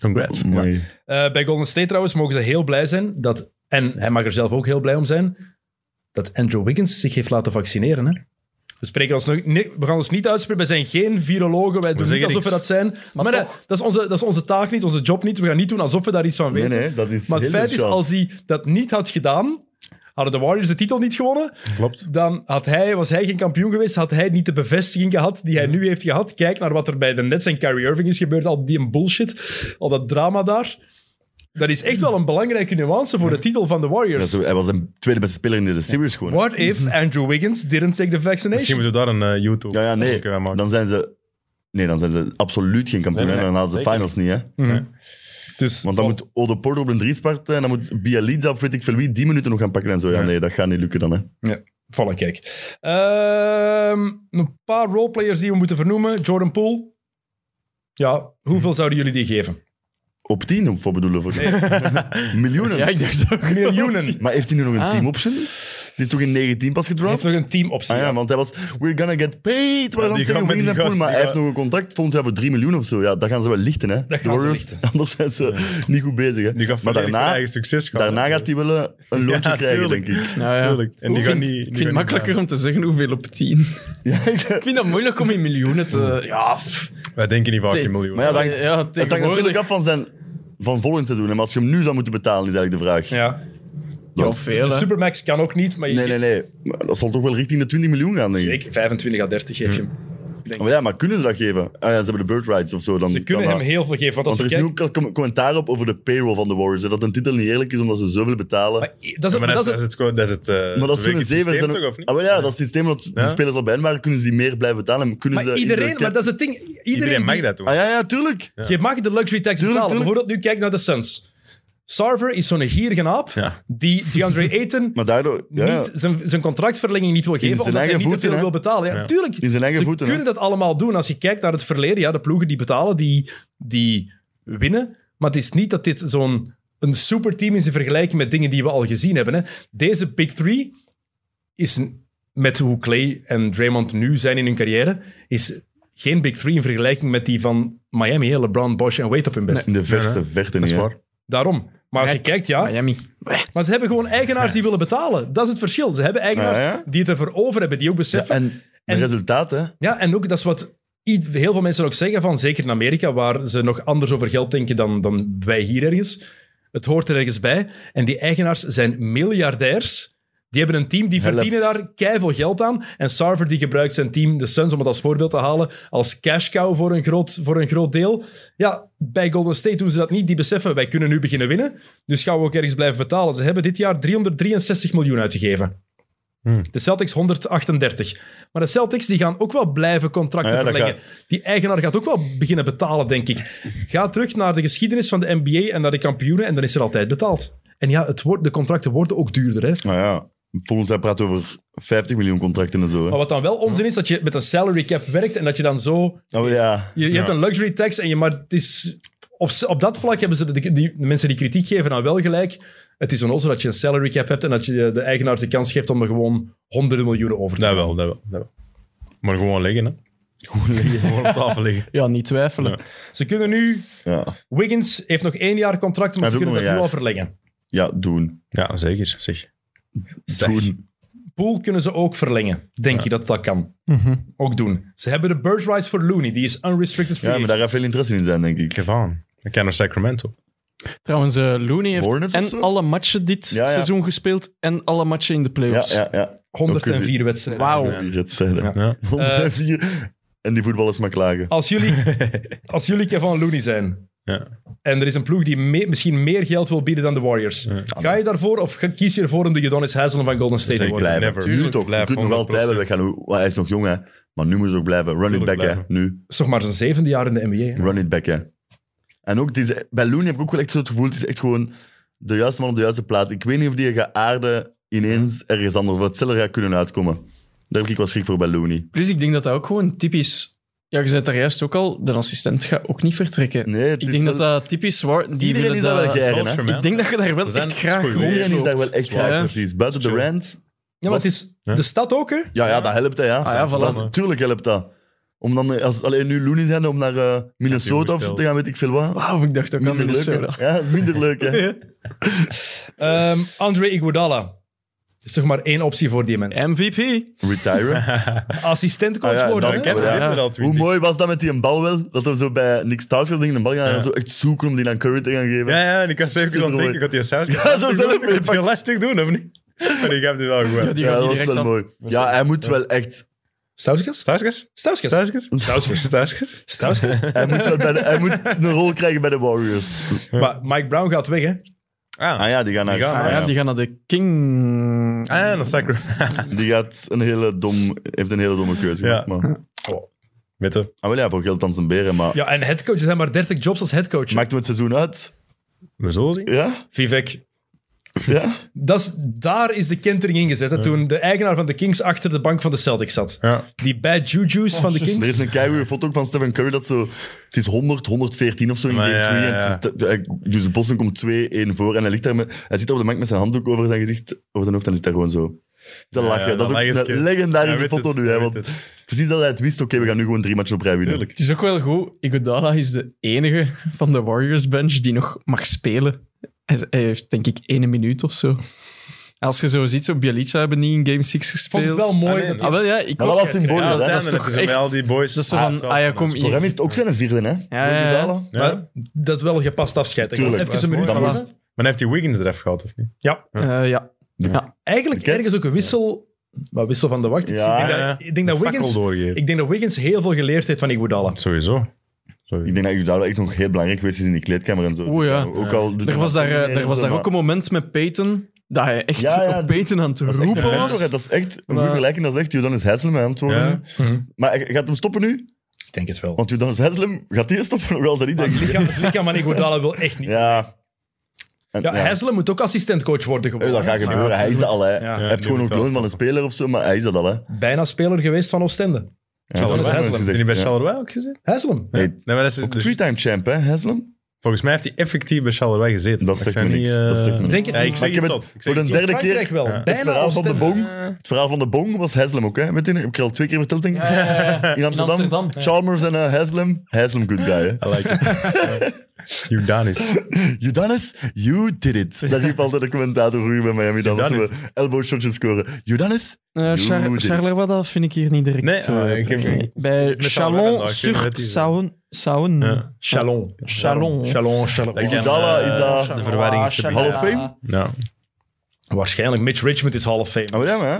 [SPEAKER 1] Congrats.
[SPEAKER 3] Mooi.
[SPEAKER 2] Eh, bij Golden State trouwens mogen ze heel blij zijn dat... En hij mag er zelf ook heel blij om zijn dat Andrew Wiggins zich heeft laten vaccineren, hè? We, spreken ons nog, nee, we gaan ons niet uitspreken. Wij zijn geen virologen. Wij doen
[SPEAKER 1] zeggen
[SPEAKER 2] niet alsof we
[SPEAKER 1] niks.
[SPEAKER 2] dat zijn. Maar, nee, dat, is onze, dat is onze taak niet, onze job niet. We gaan niet doen alsof we daar iets van
[SPEAKER 3] Nee,
[SPEAKER 2] weten.
[SPEAKER 3] nee, dat is
[SPEAKER 2] Maar het
[SPEAKER 3] heel
[SPEAKER 2] feit is,
[SPEAKER 3] interessant.
[SPEAKER 2] als hij dat niet had gedaan, hadden de Warriors de titel niet gewonnen.
[SPEAKER 1] Klopt.
[SPEAKER 2] Dan had hij, was hij geen kampioen geweest, had hij niet de bevestiging gehad die hij nu heeft gehad. Kijk naar wat er bij de Nets en Kyrie Irving is gebeurd, al die bullshit, al dat drama daar. Dat is echt wel een belangrijke nuance voor de titel van de
[SPEAKER 3] Ja,
[SPEAKER 2] Warriors.
[SPEAKER 3] zo, Mhm. hij was de tweede beste speler in de series gewoon.
[SPEAKER 2] What if Andrew Wiggins didn't take the
[SPEAKER 1] Misschien
[SPEAKER 2] vaccination?
[SPEAKER 1] moeten we daar een eh, YouTube
[SPEAKER 3] Ja, ja, nee.
[SPEAKER 1] filmpje van maken.
[SPEAKER 3] Dan zijn ze... Nee, dan zijn ze absoluut geen kampioen.
[SPEAKER 1] Nee,
[SPEAKER 3] en
[SPEAKER 1] nee,
[SPEAKER 3] dan halen ze de
[SPEAKER 1] zeker.
[SPEAKER 3] finals niet, hè.
[SPEAKER 2] Mhm. Dus,
[SPEAKER 3] Want dan moet Ode Porter op een drie sparten en dan moet Bialidza of weet ik veel wie die minuten nog gaan pakken en zo. Ja, nee, dat gaat niet lukken dan, hè.
[SPEAKER 2] Voilà, kijk. Ehm, een paar roleplayers die we moeten vernoemen. Jordan Poole. Ja,
[SPEAKER 3] Mhm.
[SPEAKER 2] hoeveel zouden jullie die geven?
[SPEAKER 3] Op tien, of voor bedoelen voor miljoenen.
[SPEAKER 4] Ja, ik dacht ook.
[SPEAKER 2] Miljoenen.
[SPEAKER 3] Maar heeft hij nu nog een
[SPEAKER 4] Ah.
[SPEAKER 3] team option? Die is toch in 19 pas
[SPEAKER 2] Hij heeft
[SPEAKER 3] gedraft?
[SPEAKER 2] nog een teamoptie.
[SPEAKER 3] Ah ja, want hij was, we're gonna get paid. We
[SPEAKER 1] Ja,
[SPEAKER 3] gaan
[SPEAKER 1] die
[SPEAKER 3] zeggen,
[SPEAKER 1] gaan met
[SPEAKER 3] Wiggins
[SPEAKER 1] die
[SPEAKER 3] en Poole,
[SPEAKER 1] gast,
[SPEAKER 3] maar
[SPEAKER 1] die
[SPEAKER 3] hij heeft
[SPEAKER 1] gaan-
[SPEAKER 3] nog een contract volgens hebben 3 miljoen of zo. Ja, dat gaan ze wel lichten, hè.
[SPEAKER 2] gaan ze
[SPEAKER 3] De Warriors,
[SPEAKER 2] lichten.
[SPEAKER 3] anders zijn ze niet goed bezig, hè.
[SPEAKER 1] Die gaat
[SPEAKER 3] maar
[SPEAKER 1] volledig van
[SPEAKER 3] daarna,
[SPEAKER 1] eigen succes gaan.
[SPEAKER 3] daarna
[SPEAKER 1] hè.
[SPEAKER 3] gaat hij wel eh, een loontje
[SPEAKER 1] Ja,
[SPEAKER 3] krijgen,
[SPEAKER 1] tuurlijk.
[SPEAKER 3] denk ik.
[SPEAKER 4] Nou ja.
[SPEAKER 1] Tuurlijk. En die
[SPEAKER 4] Ik
[SPEAKER 1] gaan
[SPEAKER 4] vind-
[SPEAKER 1] niet... die
[SPEAKER 4] ik vind het
[SPEAKER 1] gaan niet
[SPEAKER 4] makkelijker
[SPEAKER 1] blijven.
[SPEAKER 4] om te zeggen hoeveel op 10. ik
[SPEAKER 3] Ja, ik-
[SPEAKER 4] vind dat moeilijk om in miljoenen te. Ja, pff.
[SPEAKER 1] Wij denken niet vaak
[SPEAKER 4] Tee-
[SPEAKER 1] in miljoenen.
[SPEAKER 3] Maar ja, dat hangt,
[SPEAKER 4] Ja,
[SPEAKER 3] het hangt natuurlijk
[SPEAKER 4] tegenwoordig.
[SPEAKER 3] af van zijn van volgend seizoen. hè. Maar als je hem nu zou moeten betalen, is eigenlijk de vraag.
[SPEAKER 2] Ja.
[SPEAKER 4] Ja,
[SPEAKER 3] Dat-
[SPEAKER 4] veel.
[SPEAKER 2] De
[SPEAKER 4] hè.
[SPEAKER 2] Supermax kan ook niet, maar je,
[SPEAKER 3] Nee, nee, nee. Maar dat zal toch wel richting de 20 miljoen gaan, denk ik.
[SPEAKER 2] Zeker, 25 à 30 geef je hem.
[SPEAKER 3] Maar ja, maar kunnen ze dat geven? Ah ja, ze hebben de bird rights of zo. Dan,
[SPEAKER 2] Ze kunnen
[SPEAKER 3] dan
[SPEAKER 2] hem
[SPEAKER 3] dat.
[SPEAKER 2] heel veel geven. Want als
[SPEAKER 3] Want er
[SPEAKER 2] we
[SPEAKER 3] is nu
[SPEAKER 2] kijken...
[SPEAKER 3] ook al com- commentaar op over de payroll van de Warriors. Hè, dat een titel niet eerlijk is omdat ze zoveel betalen.
[SPEAKER 2] Maar
[SPEAKER 3] Maar,
[SPEAKER 2] i- dat is,
[SPEAKER 1] Ja, maar
[SPEAKER 2] maar
[SPEAKER 1] dat is
[SPEAKER 2] dat is-
[SPEAKER 1] het... gewoon- Dat is het eh,
[SPEAKER 3] dat is zo'n
[SPEAKER 1] Wiggins
[SPEAKER 3] zeven.
[SPEAKER 1] systeem
[SPEAKER 3] zijn
[SPEAKER 1] toch, of niet?
[SPEAKER 3] Ah, wel ja, dat systeem dat de
[SPEAKER 1] Ja.
[SPEAKER 3] spelers al bij hen waren, kunnen ze die meer blijven betalen. Maar Kunnen
[SPEAKER 2] maar
[SPEAKER 3] ze in de
[SPEAKER 2] iedereen,
[SPEAKER 3] cap-
[SPEAKER 2] maar dat is het ding. Iedereen,
[SPEAKER 1] Iedereen mag
[SPEAKER 2] die-
[SPEAKER 1] dat doen.
[SPEAKER 3] Ah ja, ja, tuurlijk.
[SPEAKER 2] Je mag de luxury tax
[SPEAKER 3] Tuurlijk,
[SPEAKER 2] betalen.
[SPEAKER 3] tuurlijk.
[SPEAKER 2] Bijvoorbeeld nu kijk naar de Suns. Sarver is zo'n gierige aap
[SPEAKER 1] Ja.
[SPEAKER 2] die DeAndre Ayton
[SPEAKER 3] Maar daardoor... Ja, ja.
[SPEAKER 2] niet zijn, zijn contractverlenging niet wil geven,
[SPEAKER 3] zijn
[SPEAKER 2] omdat hij
[SPEAKER 3] eigen
[SPEAKER 2] niet te
[SPEAKER 3] voeten,
[SPEAKER 2] veel
[SPEAKER 3] hè?
[SPEAKER 2] wil betalen. Ja,
[SPEAKER 1] Ja.
[SPEAKER 2] tuurlijk.
[SPEAKER 3] In zijn eigen
[SPEAKER 2] ze
[SPEAKER 3] voeten, hè?
[SPEAKER 2] kunnen dat allemaal doen. Als je kijkt naar het verleden, ja, de ploegen die betalen, die, die winnen. Maar het is niet dat dit zo'n een superteam is in vergelijking met dingen die we al gezien hebben. Hè. Deze Big Three is, een- met hoe Clay en Draymond nu zijn in hun carrière, is geen Big Three in vergelijking met die van Miami, hè, LeBron, Bosch en Wade op hun best.
[SPEAKER 3] In de verste
[SPEAKER 1] Ja,
[SPEAKER 3] verte
[SPEAKER 1] Dat
[SPEAKER 3] niet,
[SPEAKER 1] is
[SPEAKER 3] hè.
[SPEAKER 1] waar.
[SPEAKER 2] Daarom. Maar als je kijkt, ja,
[SPEAKER 4] Miami.
[SPEAKER 2] maar ze hebben gewoon eigenaars die willen betalen. Dat is het verschil. Ze hebben eigenaars
[SPEAKER 3] Ja, ja.
[SPEAKER 2] die het ervoor over hebben, die ook
[SPEAKER 3] Ja,
[SPEAKER 2] beseffen. Ja, en,
[SPEAKER 3] en, de resultaten, hè.
[SPEAKER 2] ook dat is wat i- heel veel mensen ook zeggen, van, zeker in Amerika, waar ze nog anders over geld denken dan, dan wij hier ergens. Het hoort er ergens bij. En die eigenaars zijn miljardairs. Die hebben een team, die
[SPEAKER 3] Helpt.
[SPEAKER 2] verdienen daar keiveel geld aan. En Sarver die gebruikt zijn team, de Suns, om het als voorbeeld te halen, als cash cow voor een, groot, voor een groot deel. Ja, bij Golden State doen ze dat niet. Die beseffen, wij kunnen nu beginnen winnen. Dus gaan we ook ergens blijven betalen. Ze hebben dit jaar 363 miljoen uitgegeven. De Celtics 138. Maar de Celtics die gaan ook wel blijven contracten
[SPEAKER 3] Ah ja, dat
[SPEAKER 2] verlengen. Die eigenaar gaat ook wel beginnen betalen, denk ik. Ga terug naar de geschiedenis van de NBA en naar de kampioenen en dan is er altijd betaald. En ja, het wordt, de contracten worden ook duurder. Hè?
[SPEAKER 3] Nou ja, volgend jaar praten we over 50 miljoen contracten en zo. Hè.
[SPEAKER 2] Maar wat dan wel onzin is, dat je met een salary cap werkt en dat je dan zo...
[SPEAKER 3] Oh ja.
[SPEAKER 2] Je, je hebt een luxury tax, en je, maar het is, op, op dat vlak hebben ze de, die, de mensen die kritiek geven aan wel gelijk. Het is een osse dat je een salary cap hebt en dat je de- de eigenaar de kans geeft om er gewoon honderden miljoenen over te
[SPEAKER 1] Dat wel, dat wel, dat wel. Maar gewoon liggen, hè. Gewoon liggen. gewoon op tafel liggen.
[SPEAKER 4] Ja, niet twijfelen.
[SPEAKER 1] Ja.
[SPEAKER 2] Ze kunnen nu...
[SPEAKER 3] Ja.
[SPEAKER 2] Wiggins heeft nog één jaar contract, maar
[SPEAKER 3] Hij
[SPEAKER 2] ze
[SPEAKER 3] heeft
[SPEAKER 2] kunnen dat
[SPEAKER 3] ook
[SPEAKER 2] nu al
[SPEAKER 3] nog
[SPEAKER 2] verlengen.
[SPEAKER 3] ja, doen.
[SPEAKER 1] Ja, zeker. Zeg. Zeg.
[SPEAKER 3] Doen.
[SPEAKER 2] Pool kunnen ze ook verlengen. Denk je dat dat kan? Ook doen. Ze hebben de bird rights voor Looney. Die is unrestricted free
[SPEAKER 3] Ja, maar daar gaat
[SPEAKER 2] agent.
[SPEAKER 3] veel interesse in zijn, denk ik.
[SPEAKER 1] Gevan. Ik ken naar Sacramento.
[SPEAKER 4] Trouwens, eh, Looney heeft
[SPEAKER 3] Hornets of
[SPEAKER 4] en
[SPEAKER 3] zo?
[SPEAKER 4] alle matchen dit
[SPEAKER 3] Ja, ja.
[SPEAKER 4] seizoen gespeeld en alle matchen in de
[SPEAKER 3] Ja,
[SPEAKER 4] playoffs.
[SPEAKER 3] ja, ja. Ook
[SPEAKER 2] 104
[SPEAKER 3] gezien.
[SPEAKER 2] wedstrijden.
[SPEAKER 4] Wauw.
[SPEAKER 3] Ik wil het zeggen.
[SPEAKER 1] Ja. Eh, Ja.
[SPEAKER 3] 104. En die voetballers maar klagen.
[SPEAKER 2] Als jullie, als jullie Kevin Looney zijn...
[SPEAKER 1] Ja.
[SPEAKER 2] En er is een ploeg die me- misschien meer geld wil bieden dan de Warriors. Ga je daarvoor of ga- kies je ervoor om de Udonis Haslem van Golden State te
[SPEAKER 1] Zeker
[SPEAKER 2] worden?
[SPEAKER 3] Blijven.
[SPEAKER 1] Never.
[SPEAKER 3] Nu
[SPEAKER 1] Tuurlijk,
[SPEAKER 3] toch. Je
[SPEAKER 1] blijf,
[SPEAKER 3] kunt nog wel
[SPEAKER 1] 100%.
[SPEAKER 3] blijven weggaan. Hoe- Hij is nog jong, hè. Maar nu moet je ook blijven. Run it
[SPEAKER 1] Tuurlijk
[SPEAKER 3] back, hè.
[SPEAKER 1] blijven.
[SPEAKER 3] Nu.
[SPEAKER 2] is toch maar zijn zevende jaar in de NBA. hè?
[SPEAKER 3] Run it back, hè. En ook, het is- bij Looney heb ik ook wel echt zo het gevoel, het is echt gewoon de juiste man op de juiste plaats. Ik weet niet of die gaat aarden ineens ergens anders, of het sneller gaat kunnen uitkomen. Daar heb ik wel schrik voor bij Looney.
[SPEAKER 4] Plus, ik denk dat dat ook gewoon typisch... Ja, je zei het daar juist ook al, de assistent gaat ook niet vertrekken.
[SPEAKER 3] Nee, het
[SPEAKER 4] ik
[SPEAKER 3] is
[SPEAKER 4] denk
[SPEAKER 3] wel-
[SPEAKER 4] dat dat typisch... War, die
[SPEAKER 3] Iedereen
[SPEAKER 4] willen
[SPEAKER 3] is daar wel
[SPEAKER 4] dat-
[SPEAKER 3] geëigend, hè.
[SPEAKER 1] Culture, man.
[SPEAKER 4] Ik denk dat je daar wel
[SPEAKER 1] zijn-
[SPEAKER 4] echt
[SPEAKER 1] dat
[SPEAKER 4] graag
[SPEAKER 1] is goed
[SPEAKER 4] rond
[SPEAKER 1] weer.
[SPEAKER 3] Iedereen is daar wel
[SPEAKER 4] loopt.
[SPEAKER 3] echt graag,
[SPEAKER 4] Ja, hè.
[SPEAKER 3] precies. Buiten de
[SPEAKER 1] Chill.
[SPEAKER 3] rant.
[SPEAKER 2] Ja, maar het is
[SPEAKER 1] Ja.
[SPEAKER 2] de stad ook, hè?
[SPEAKER 3] Ja, ja, dat helpt, hè. Ja.
[SPEAKER 4] Ah, ja, voilà.
[SPEAKER 3] Dat- tuurlijk helpt dat. Om dan, eh, als alleen nu Looney zijn, om naar eh, Minnesota of zo
[SPEAKER 1] gespeeld.
[SPEAKER 3] te gaan, weet ik veel wat.
[SPEAKER 4] Wauw, ik dacht ook aan
[SPEAKER 3] Minder leuk,
[SPEAKER 4] Minnesota.
[SPEAKER 3] hè. Ja, minder leuk, hè.
[SPEAKER 2] Ehm, Andre Iguodala. Er is toch maar één optie voor die mens.
[SPEAKER 4] MVP.
[SPEAKER 3] Retiren.
[SPEAKER 2] Assistentcoach
[SPEAKER 3] Ah, ja,
[SPEAKER 2] worden.
[SPEAKER 3] dan
[SPEAKER 2] hè?
[SPEAKER 3] ken
[SPEAKER 1] Kennen
[SPEAKER 3] Ja.
[SPEAKER 1] we dit er al
[SPEAKER 3] Hoe
[SPEAKER 1] 20?
[SPEAKER 3] mooi was dat met die een bal wel? Dat we zo bij Nick Stauskas dingen een bal gaan en
[SPEAKER 1] Ja.
[SPEAKER 3] zo echt zoeken om die aan Curry te gaan geven.
[SPEAKER 1] Ja, ja, en ik was zeker aan het
[SPEAKER 3] Supermooi.
[SPEAKER 1] denken, ik had die saus
[SPEAKER 3] Ja, zo zelf
[SPEAKER 1] Moet je het heel lastig doen, of niet? Maar ik heb dit wel goed.
[SPEAKER 4] Die
[SPEAKER 3] Ja,
[SPEAKER 4] gaat
[SPEAKER 3] dat
[SPEAKER 4] die
[SPEAKER 3] was
[SPEAKER 4] direct
[SPEAKER 3] wel
[SPEAKER 4] aan.
[SPEAKER 3] mooi. Ja, hij moet wel echt...
[SPEAKER 2] Stauskas?
[SPEAKER 1] Stauskas?
[SPEAKER 2] Stauskas?
[SPEAKER 1] Stauskas?
[SPEAKER 2] Stauskas?
[SPEAKER 1] Stauskas?
[SPEAKER 2] Stauskas?
[SPEAKER 3] Hij moet, wel bij de- hij moet een rol krijgen bij de Warriors.
[SPEAKER 2] Maar Mike Brown gaat weg, hè?
[SPEAKER 3] Ah ja, die gaan naar...
[SPEAKER 1] Die gaan,
[SPEAKER 3] ah,
[SPEAKER 4] Ah, ja, die gaan naar de King.
[SPEAKER 1] Ah, dan Sacramento.
[SPEAKER 3] Die gaat een hele dom... Heeft een hele domme keuze gemaakt,
[SPEAKER 1] Ja.
[SPEAKER 3] maar...
[SPEAKER 1] Witte.
[SPEAKER 3] Ah, wel ja, voor geld aan zijn beren, maar...
[SPEAKER 2] Ja, en headcoach. Er zijn maar 30 jobs als headcoach.
[SPEAKER 3] Maakt hem het seizoen uit?
[SPEAKER 1] We zullen zien.
[SPEAKER 3] Ja?
[SPEAKER 2] Vivek.
[SPEAKER 3] Ja?
[SPEAKER 2] Dat is, daar is de kentering ingezet. Hè, toen de eigenaar van de Kings achter de bank van de Celtics zat.
[SPEAKER 1] Ja.
[SPEAKER 2] Die bad juju's van de
[SPEAKER 3] Er is
[SPEAKER 2] Kings.
[SPEAKER 3] een keigoede foto ook van Stephen Curry dat zo... Het is 100, 114 of zo in
[SPEAKER 1] Maar
[SPEAKER 3] game
[SPEAKER 1] ja,
[SPEAKER 3] 3.
[SPEAKER 1] ja, ja.
[SPEAKER 3] Dus Boston komt 2-1 voor en hij, ligt daar met, hij zit op de bank met zijn handdoek over zijn gezicht, over zijn hoofd en zit daar gewoon zo. Te
[SPEAKER 1] Ja,
[SPEAKER 3] lachen.
[SPEAKER 1] ja,
[SPEAKER 3] dat
[SPEAKER 1] dat
[SPEAKER 3] is ook
[SPEAKER 1] lachen is-
[SPEAKER 3] een legendarische
[SPEAKER 1] Hij weet
[SPEAKER 3] foto
[SPEAKER 1] het,
[SPEAKER 3] nu. Hè,
[SPEAKER 1] hij
[SPEAKER 3] want
[SPEAKER 1] weet
[SPEAKER 3] precies dat hij het wist, oké, we gaan nu gewoon drie matchen op rij winnen.
[SPEAKER 1] Tuurlijk.
[SPEAKER 4] Het is ook wel goed. Iguodala is de enige van de Warriors bench die nog mag spelen. Hij hij heeft denk ik één minuut of zo. Als je zo ziet, zo Bielica hebben niet in Game 6
[SPEAKER 2] Ik vond
[SPEAKER 4] gespeeld.
[SPEAKER 2] het wel mooi.
[SPEAKER 1] Ah, nee,
[SPEAKER 2] dat
[SPEAKER 4] Ah,
[SPEAKER 2] die-
[SPEAKER 4] wel ja, ik
[SPEAKER 3] Maar
[SPEAKER 4] was-
[SPEAKER 3] dat was symbolisch,
[SPEAKER 1] Ja,
[SPEAKER 3] hè.
[SPEAKER 4] dat is
[SPEAKER 1] uiteindelijk
[SPEAKER 4] toch
[SPEAKER 1] ze met
[SPEAKER 4] echt-
[SPEAKER 1] al die boys.
[SPEAKER 4] dat ze
[SPEAKER 1] Ah,
[SPEAKER 4] van,
[SPEAKER 1] het was
[SPEAKER 4] ah ja,
[SPEAKER 1] van
[SPEAKER 4] kom
[SPEAKER 1] ons.
[SPEAKER 3] Voor
[SPEAKER 4] hier.
[SPEAKER 3] hem is het ook zijn vierde, hè.
[SPEAKER 4] Ja, ja, ja.
[SPEAKER 3] Iguodala.
[SPEAKER 1] Ja.
[SPEAKER 2] maar dat is wel gepast afscheid. Ik was
[SPEAKER 3] Tuurlijk.
[SPEAKER 2] even een minuut
[SPEAKER 1] Dat
[SPEAKER 2] van
[SPEAKER 1] was-
[SPEAKER 2] was.
[SPEAKER 1] Maar heeft die Wiggins eraf gehad, of niet?
[SPEAKER 2] Ja.
[SPEAKER 4] Eh, ja.
[SPEAKER 2] Eigenlijk
[SPEAKER 3] Kent?
[SPEAKER 2] ergens ook een wissel. Maar wissel van de wacht. Ik
[SPEAKER 3] Ja,
[SPEAKER 2] denk dat-
[SPEAKER 1] ja.
[SPEAKER 2] ik denk dat Nou, Wiggins...
[SPEAKER 1] Fakkel doorgeven.
[SPEAKER 2] Ik denk dat Wiggins heel veel geleerd heeft van Iguodala.
[SPEAKER 1] Sowieso.
[SPEAKER 3] Ik denk dat Iguodala echt nog heel belangrijk geweest is in die kleedkamer en zo.
[SPEAKER 4] Oeh, ja.
[SPEAKER 3] Ook al
[SPEAKER 4] Er was daar, eh, er was daar ook een moment met Peyton dat hij echt
[SPEAKER 3] Ja, ja,
[SPEAKER 4] op Peyton aan het roepen
[SPEAKER 3] roepen.
[SPEAKER 4] was.
[SPEAKER 3] Dat is echt een goede
[SPEAKER 4] Maar-
[SPEAKER 3] vergelijking. Dat is echt Jordan is Heslem aan het worden.
[SPEAKER 1] Ja.
[SPEAKER 3] Maar gaat hem stoppen nu?
[SPEAKER 2] Ik denk het wel.
[SPEAKER 3] Want Jordan Heslem gaat die stoppen nog altijd niet, denk
[SPEAKER 2] Het
[SPEAKER 3] ik.
[SPEAKER 2] lichaam- het lichaam van Iguodala wil echt niet.
[SPEAKER 3] Ja. En,
[SPEAKER 2] Ja,
[SPEAKER 3] ja.
[SPEAKER 2] Haslem moet ook assistentcoach worden
[SPEAKER 3] Hey,
[SPEAKER 2] geworden.
[SPEAKER 3] dat gaat gebeuren. Hij is dat al, hè. hij heeft
[SPEAKER 1] die
[SPEAKER 3] gewoon
[SPEAKER 1] moet
[SPEAKER 3] ook
[SPEAKER 1] wel
[SPEAKER 3] loon van een speler of zo, maar hij is dat al, hè.
[SPEAKER 2] Bijna speler geweest van Oostende.
[SPEAKER 3] Ja,
[SPEAKER 2] dat is Haslam.
[SPEAKER 1] Heb je die bij Charleroi ook gezien?
[SPEAKER 2] Haslem.
[SPEAKER 3] Hey,
[SPEAKER 1] Nee, maar dat is, dus-
[SPEAKER 3] Three-time champ, hè, Haslem?
[SPEAKER 1] volgens mij heeft hij effectief bij Charleroi gezeten.
[SPEAKER 3] Dat
[SPEAKER 1] Ik
[SPEAKER 3] zegt
[SPEAKER 1] zou
[SPEAKER 3] me niks.
[SPEAKER 1] niet, eh,
[SPEAKER 3] Dat zegt me niks.
[SPEAKER 2] Denk het
[SPEAKER 1] Ja, ik
[SPEAKER 2] niet.
[SPEAKER 1] zeg
[SPEAKER 3] ik heb
[SPEAKER 1] iets
[SPEAKER 3] het
[SPEAKER 1] zot. Ik zeg
[SPEAKER 3] voor
[SPEAKER 1] iets
[SPEAKER 3] de
[SPEAKER 2] In
[SPEAKER 1] zot.
[SPEAKER 3] derde
[SPEAKER 2] Frankrijk
[SPEAKER 3] keer-
[SPEAKER 2] wel.
[SPEAKER 1] Ja.
[SPEAKER 3] Het
[SPEAKER 2] Bijna
[SPEAKER 3] verhaal van de
[SPEAKER 2] Oostende.
[SPEAKER 3] bong.
[SPEAKER 1] Eh,
[SPEAKER 3] Het verhaal van de bong was Haslem ook, hè. Weet je, heb ik je al twee keer verteld, denk ik. In Amsterdam.
[SPEAKER 5] Amsterdam, ja.
[SPEAKER 3] Chalmers en eh, Haslem. Haslem, good guy, hè.
[SPEAKER 1] Eh, I like it. Udanis.
[SPEAKER 3] Judanis, you did it. Daar riep altijd de commentator vroeger bij Miami. Dan als
[SPEAKER 1] Jordan
[SPEAKER 3] we elbow shotjes scoren. Judanis,
[SPEAKER 4] Eh, Char-
[SPEAKER 3] Doe dit.
[SPEAKER 4] Charleroi, dat vind ik hier niet direct.
[SPEAKER 1] Nee,
[SPEAKER 4] eh,
[SPEAKER 1] ah, ik heb-
[SPEAKER 4] terug.
[SPEAKER 1] ik-
[SPEAKER 4] Bij
[SPEAKER 1] met Charleroi vandaag, ik weet
[SPEAKER 4] Chalon-sur-Saône.
[SPEAKER 1] het
[SPEAKER 4] Saône.
[SPEAKER 1] niet. Ja.
[SPEAKER 2] Chalon.
[SPEAKER 4] Chalon.
[SPEAKER 2] Chalon, Chalon.
[SPEAKER 1] Ik ken,
[SPEAKER 3] Iguodala
[SPEAKER 1] eh,
[SPEAKER 3] is dat-
[SPEAKER 1] De verwarring is te
[SPEAKER 3] Hall
[SPEAKER 1] bieden.
[SPEAKER 3] of Fame?
[SPEAKER 1] Ja.
[SPEAKER 2] Waarschijnlijk. Mitch Richmond is Hall of Fame.
[SPEAKER 3] Oh ja, maar. hè.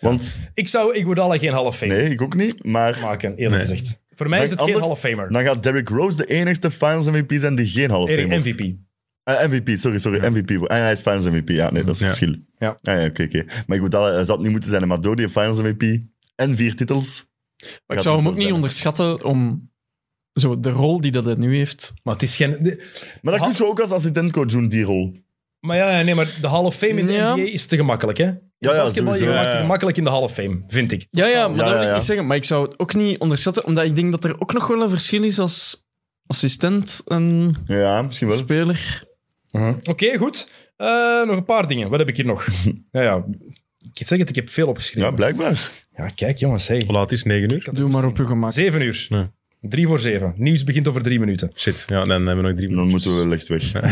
[SPEAKER 3] Want,
[SPEAKER 2] Ik zou Iguodala geen Hall of Fame
[SPEAKER 3] nee, ik ook niet, maar...
[SPEAKER 2] maken, eerlijk
[SPEAKER 1] Nee.
[SPEAKER 2] gezegd. Voor mij is
[SPEAKER 3] Dan
[SPEAKER 2] het geen
[SPEAKER 3] anders-
[SPEAKER 2] Hall of Famer.
[SPEAKER 3] Dan gaat Derrick Rose de enigste Finals MVP zijn die geen halve
[SPEAKER 2] Erik,
[SPEAKER 3] Fame wordt.
[SPEAKER 2] MVP.
[SPEAKER 3] Eh, MVP, sorry, sorry. MVP. Ah, hij is Finals MVP. Ja, nee, dat is
[SPEAKER 1] Ja.
[SPEAKER 3] het verschil.
[SPEAKER 2] Ja.
[SPEAKER 3] Ah, ja, oké, oké. Maar ik bedoel, hij zou het niet moeten zijn, maar door die Finals MVP en vier titels.
[SPEAKER 4] Maar
[SPEAKER 3] gaat
[SPEAKER 4] ik zou
[SPEAKER 3] het
[SPEAKER 4] hem
[SPEAKER 3] wel
[SPEAKER 4] ook niet
[SPEAKER 3] zijn.
[SPEAKER 4] onderschatten om zo de rol die dat hij nu heeft.
[SPEAKER 2] Maar het is geen... de-
[SPEAKER 3] Maar dat
[SPEAKER 2] Ha-
[SPEAKER 3] kun je ook als assistentcoach doen, die rol.
[SPEAKER 2] Maar ja, ja, nee, maar de Hall of Fame in de
[SPEAKER 4] Ja.
[SPEAKER 2] NBA is te gemakkelijk, hè?
[SPEAKER 3] Ja, ja,
[SPEAKER 2] Basketbal, je
[SPEAKER 3] sowieso.
[SPEAKER 2] maakt
[SPEAKER 1] Ja,
[SPEAKER 2] het
[SPEAKER 1] ja.
[SPEAKER 2] gemakkelijk in de Hall of Fame, vind ik.
[SPEAKER 4] Ja, ja, maar
[SPEAKER 3] Ja,
[SPEAKER 4] dat wil
[SPEAKER 3] ja,
[SPEAKER 4] ik
[SPEAKER 3] ja.
[SPEAKER 4] niet zeggen. Maar ik zou het ook niet onderschatten, omdat ik denk dat er ook nog wel een verschil is als assistent en
[SPEAKER 3] Ja, misschien wel.
[SPEAKER 4] speler.
[SPEAKER 2] Mhm. Oké, goed. Eh, nog een paar dingen. Wat heb ik hier nog? ja, ja. Ik zeg het, ik heb veel
[SPEAKER 3] Ja,
[SPEAKER 2] opgeschreven.
[SPEAKER 3] blijkbaar.
[SPEAKER 2] Ja, kijk jongens, hey.
[SPEAKER 1] Hoe laat is het? 9 uur?
[SPEAKER 4] Doe maar op je gemak.
[SPEAKER 2] Zeven uur.
[SPEAKER 1] Nee.
[SPEAKER 2] Drie voor zeven. Nieuws begint over drie minuten.
[SPEAKER 1] Shit, ja, dan hebben we nog drie minuten.
[SPEAKER 3] Dan moeten we wel echt weg.
[SPEAKER 2] We gaan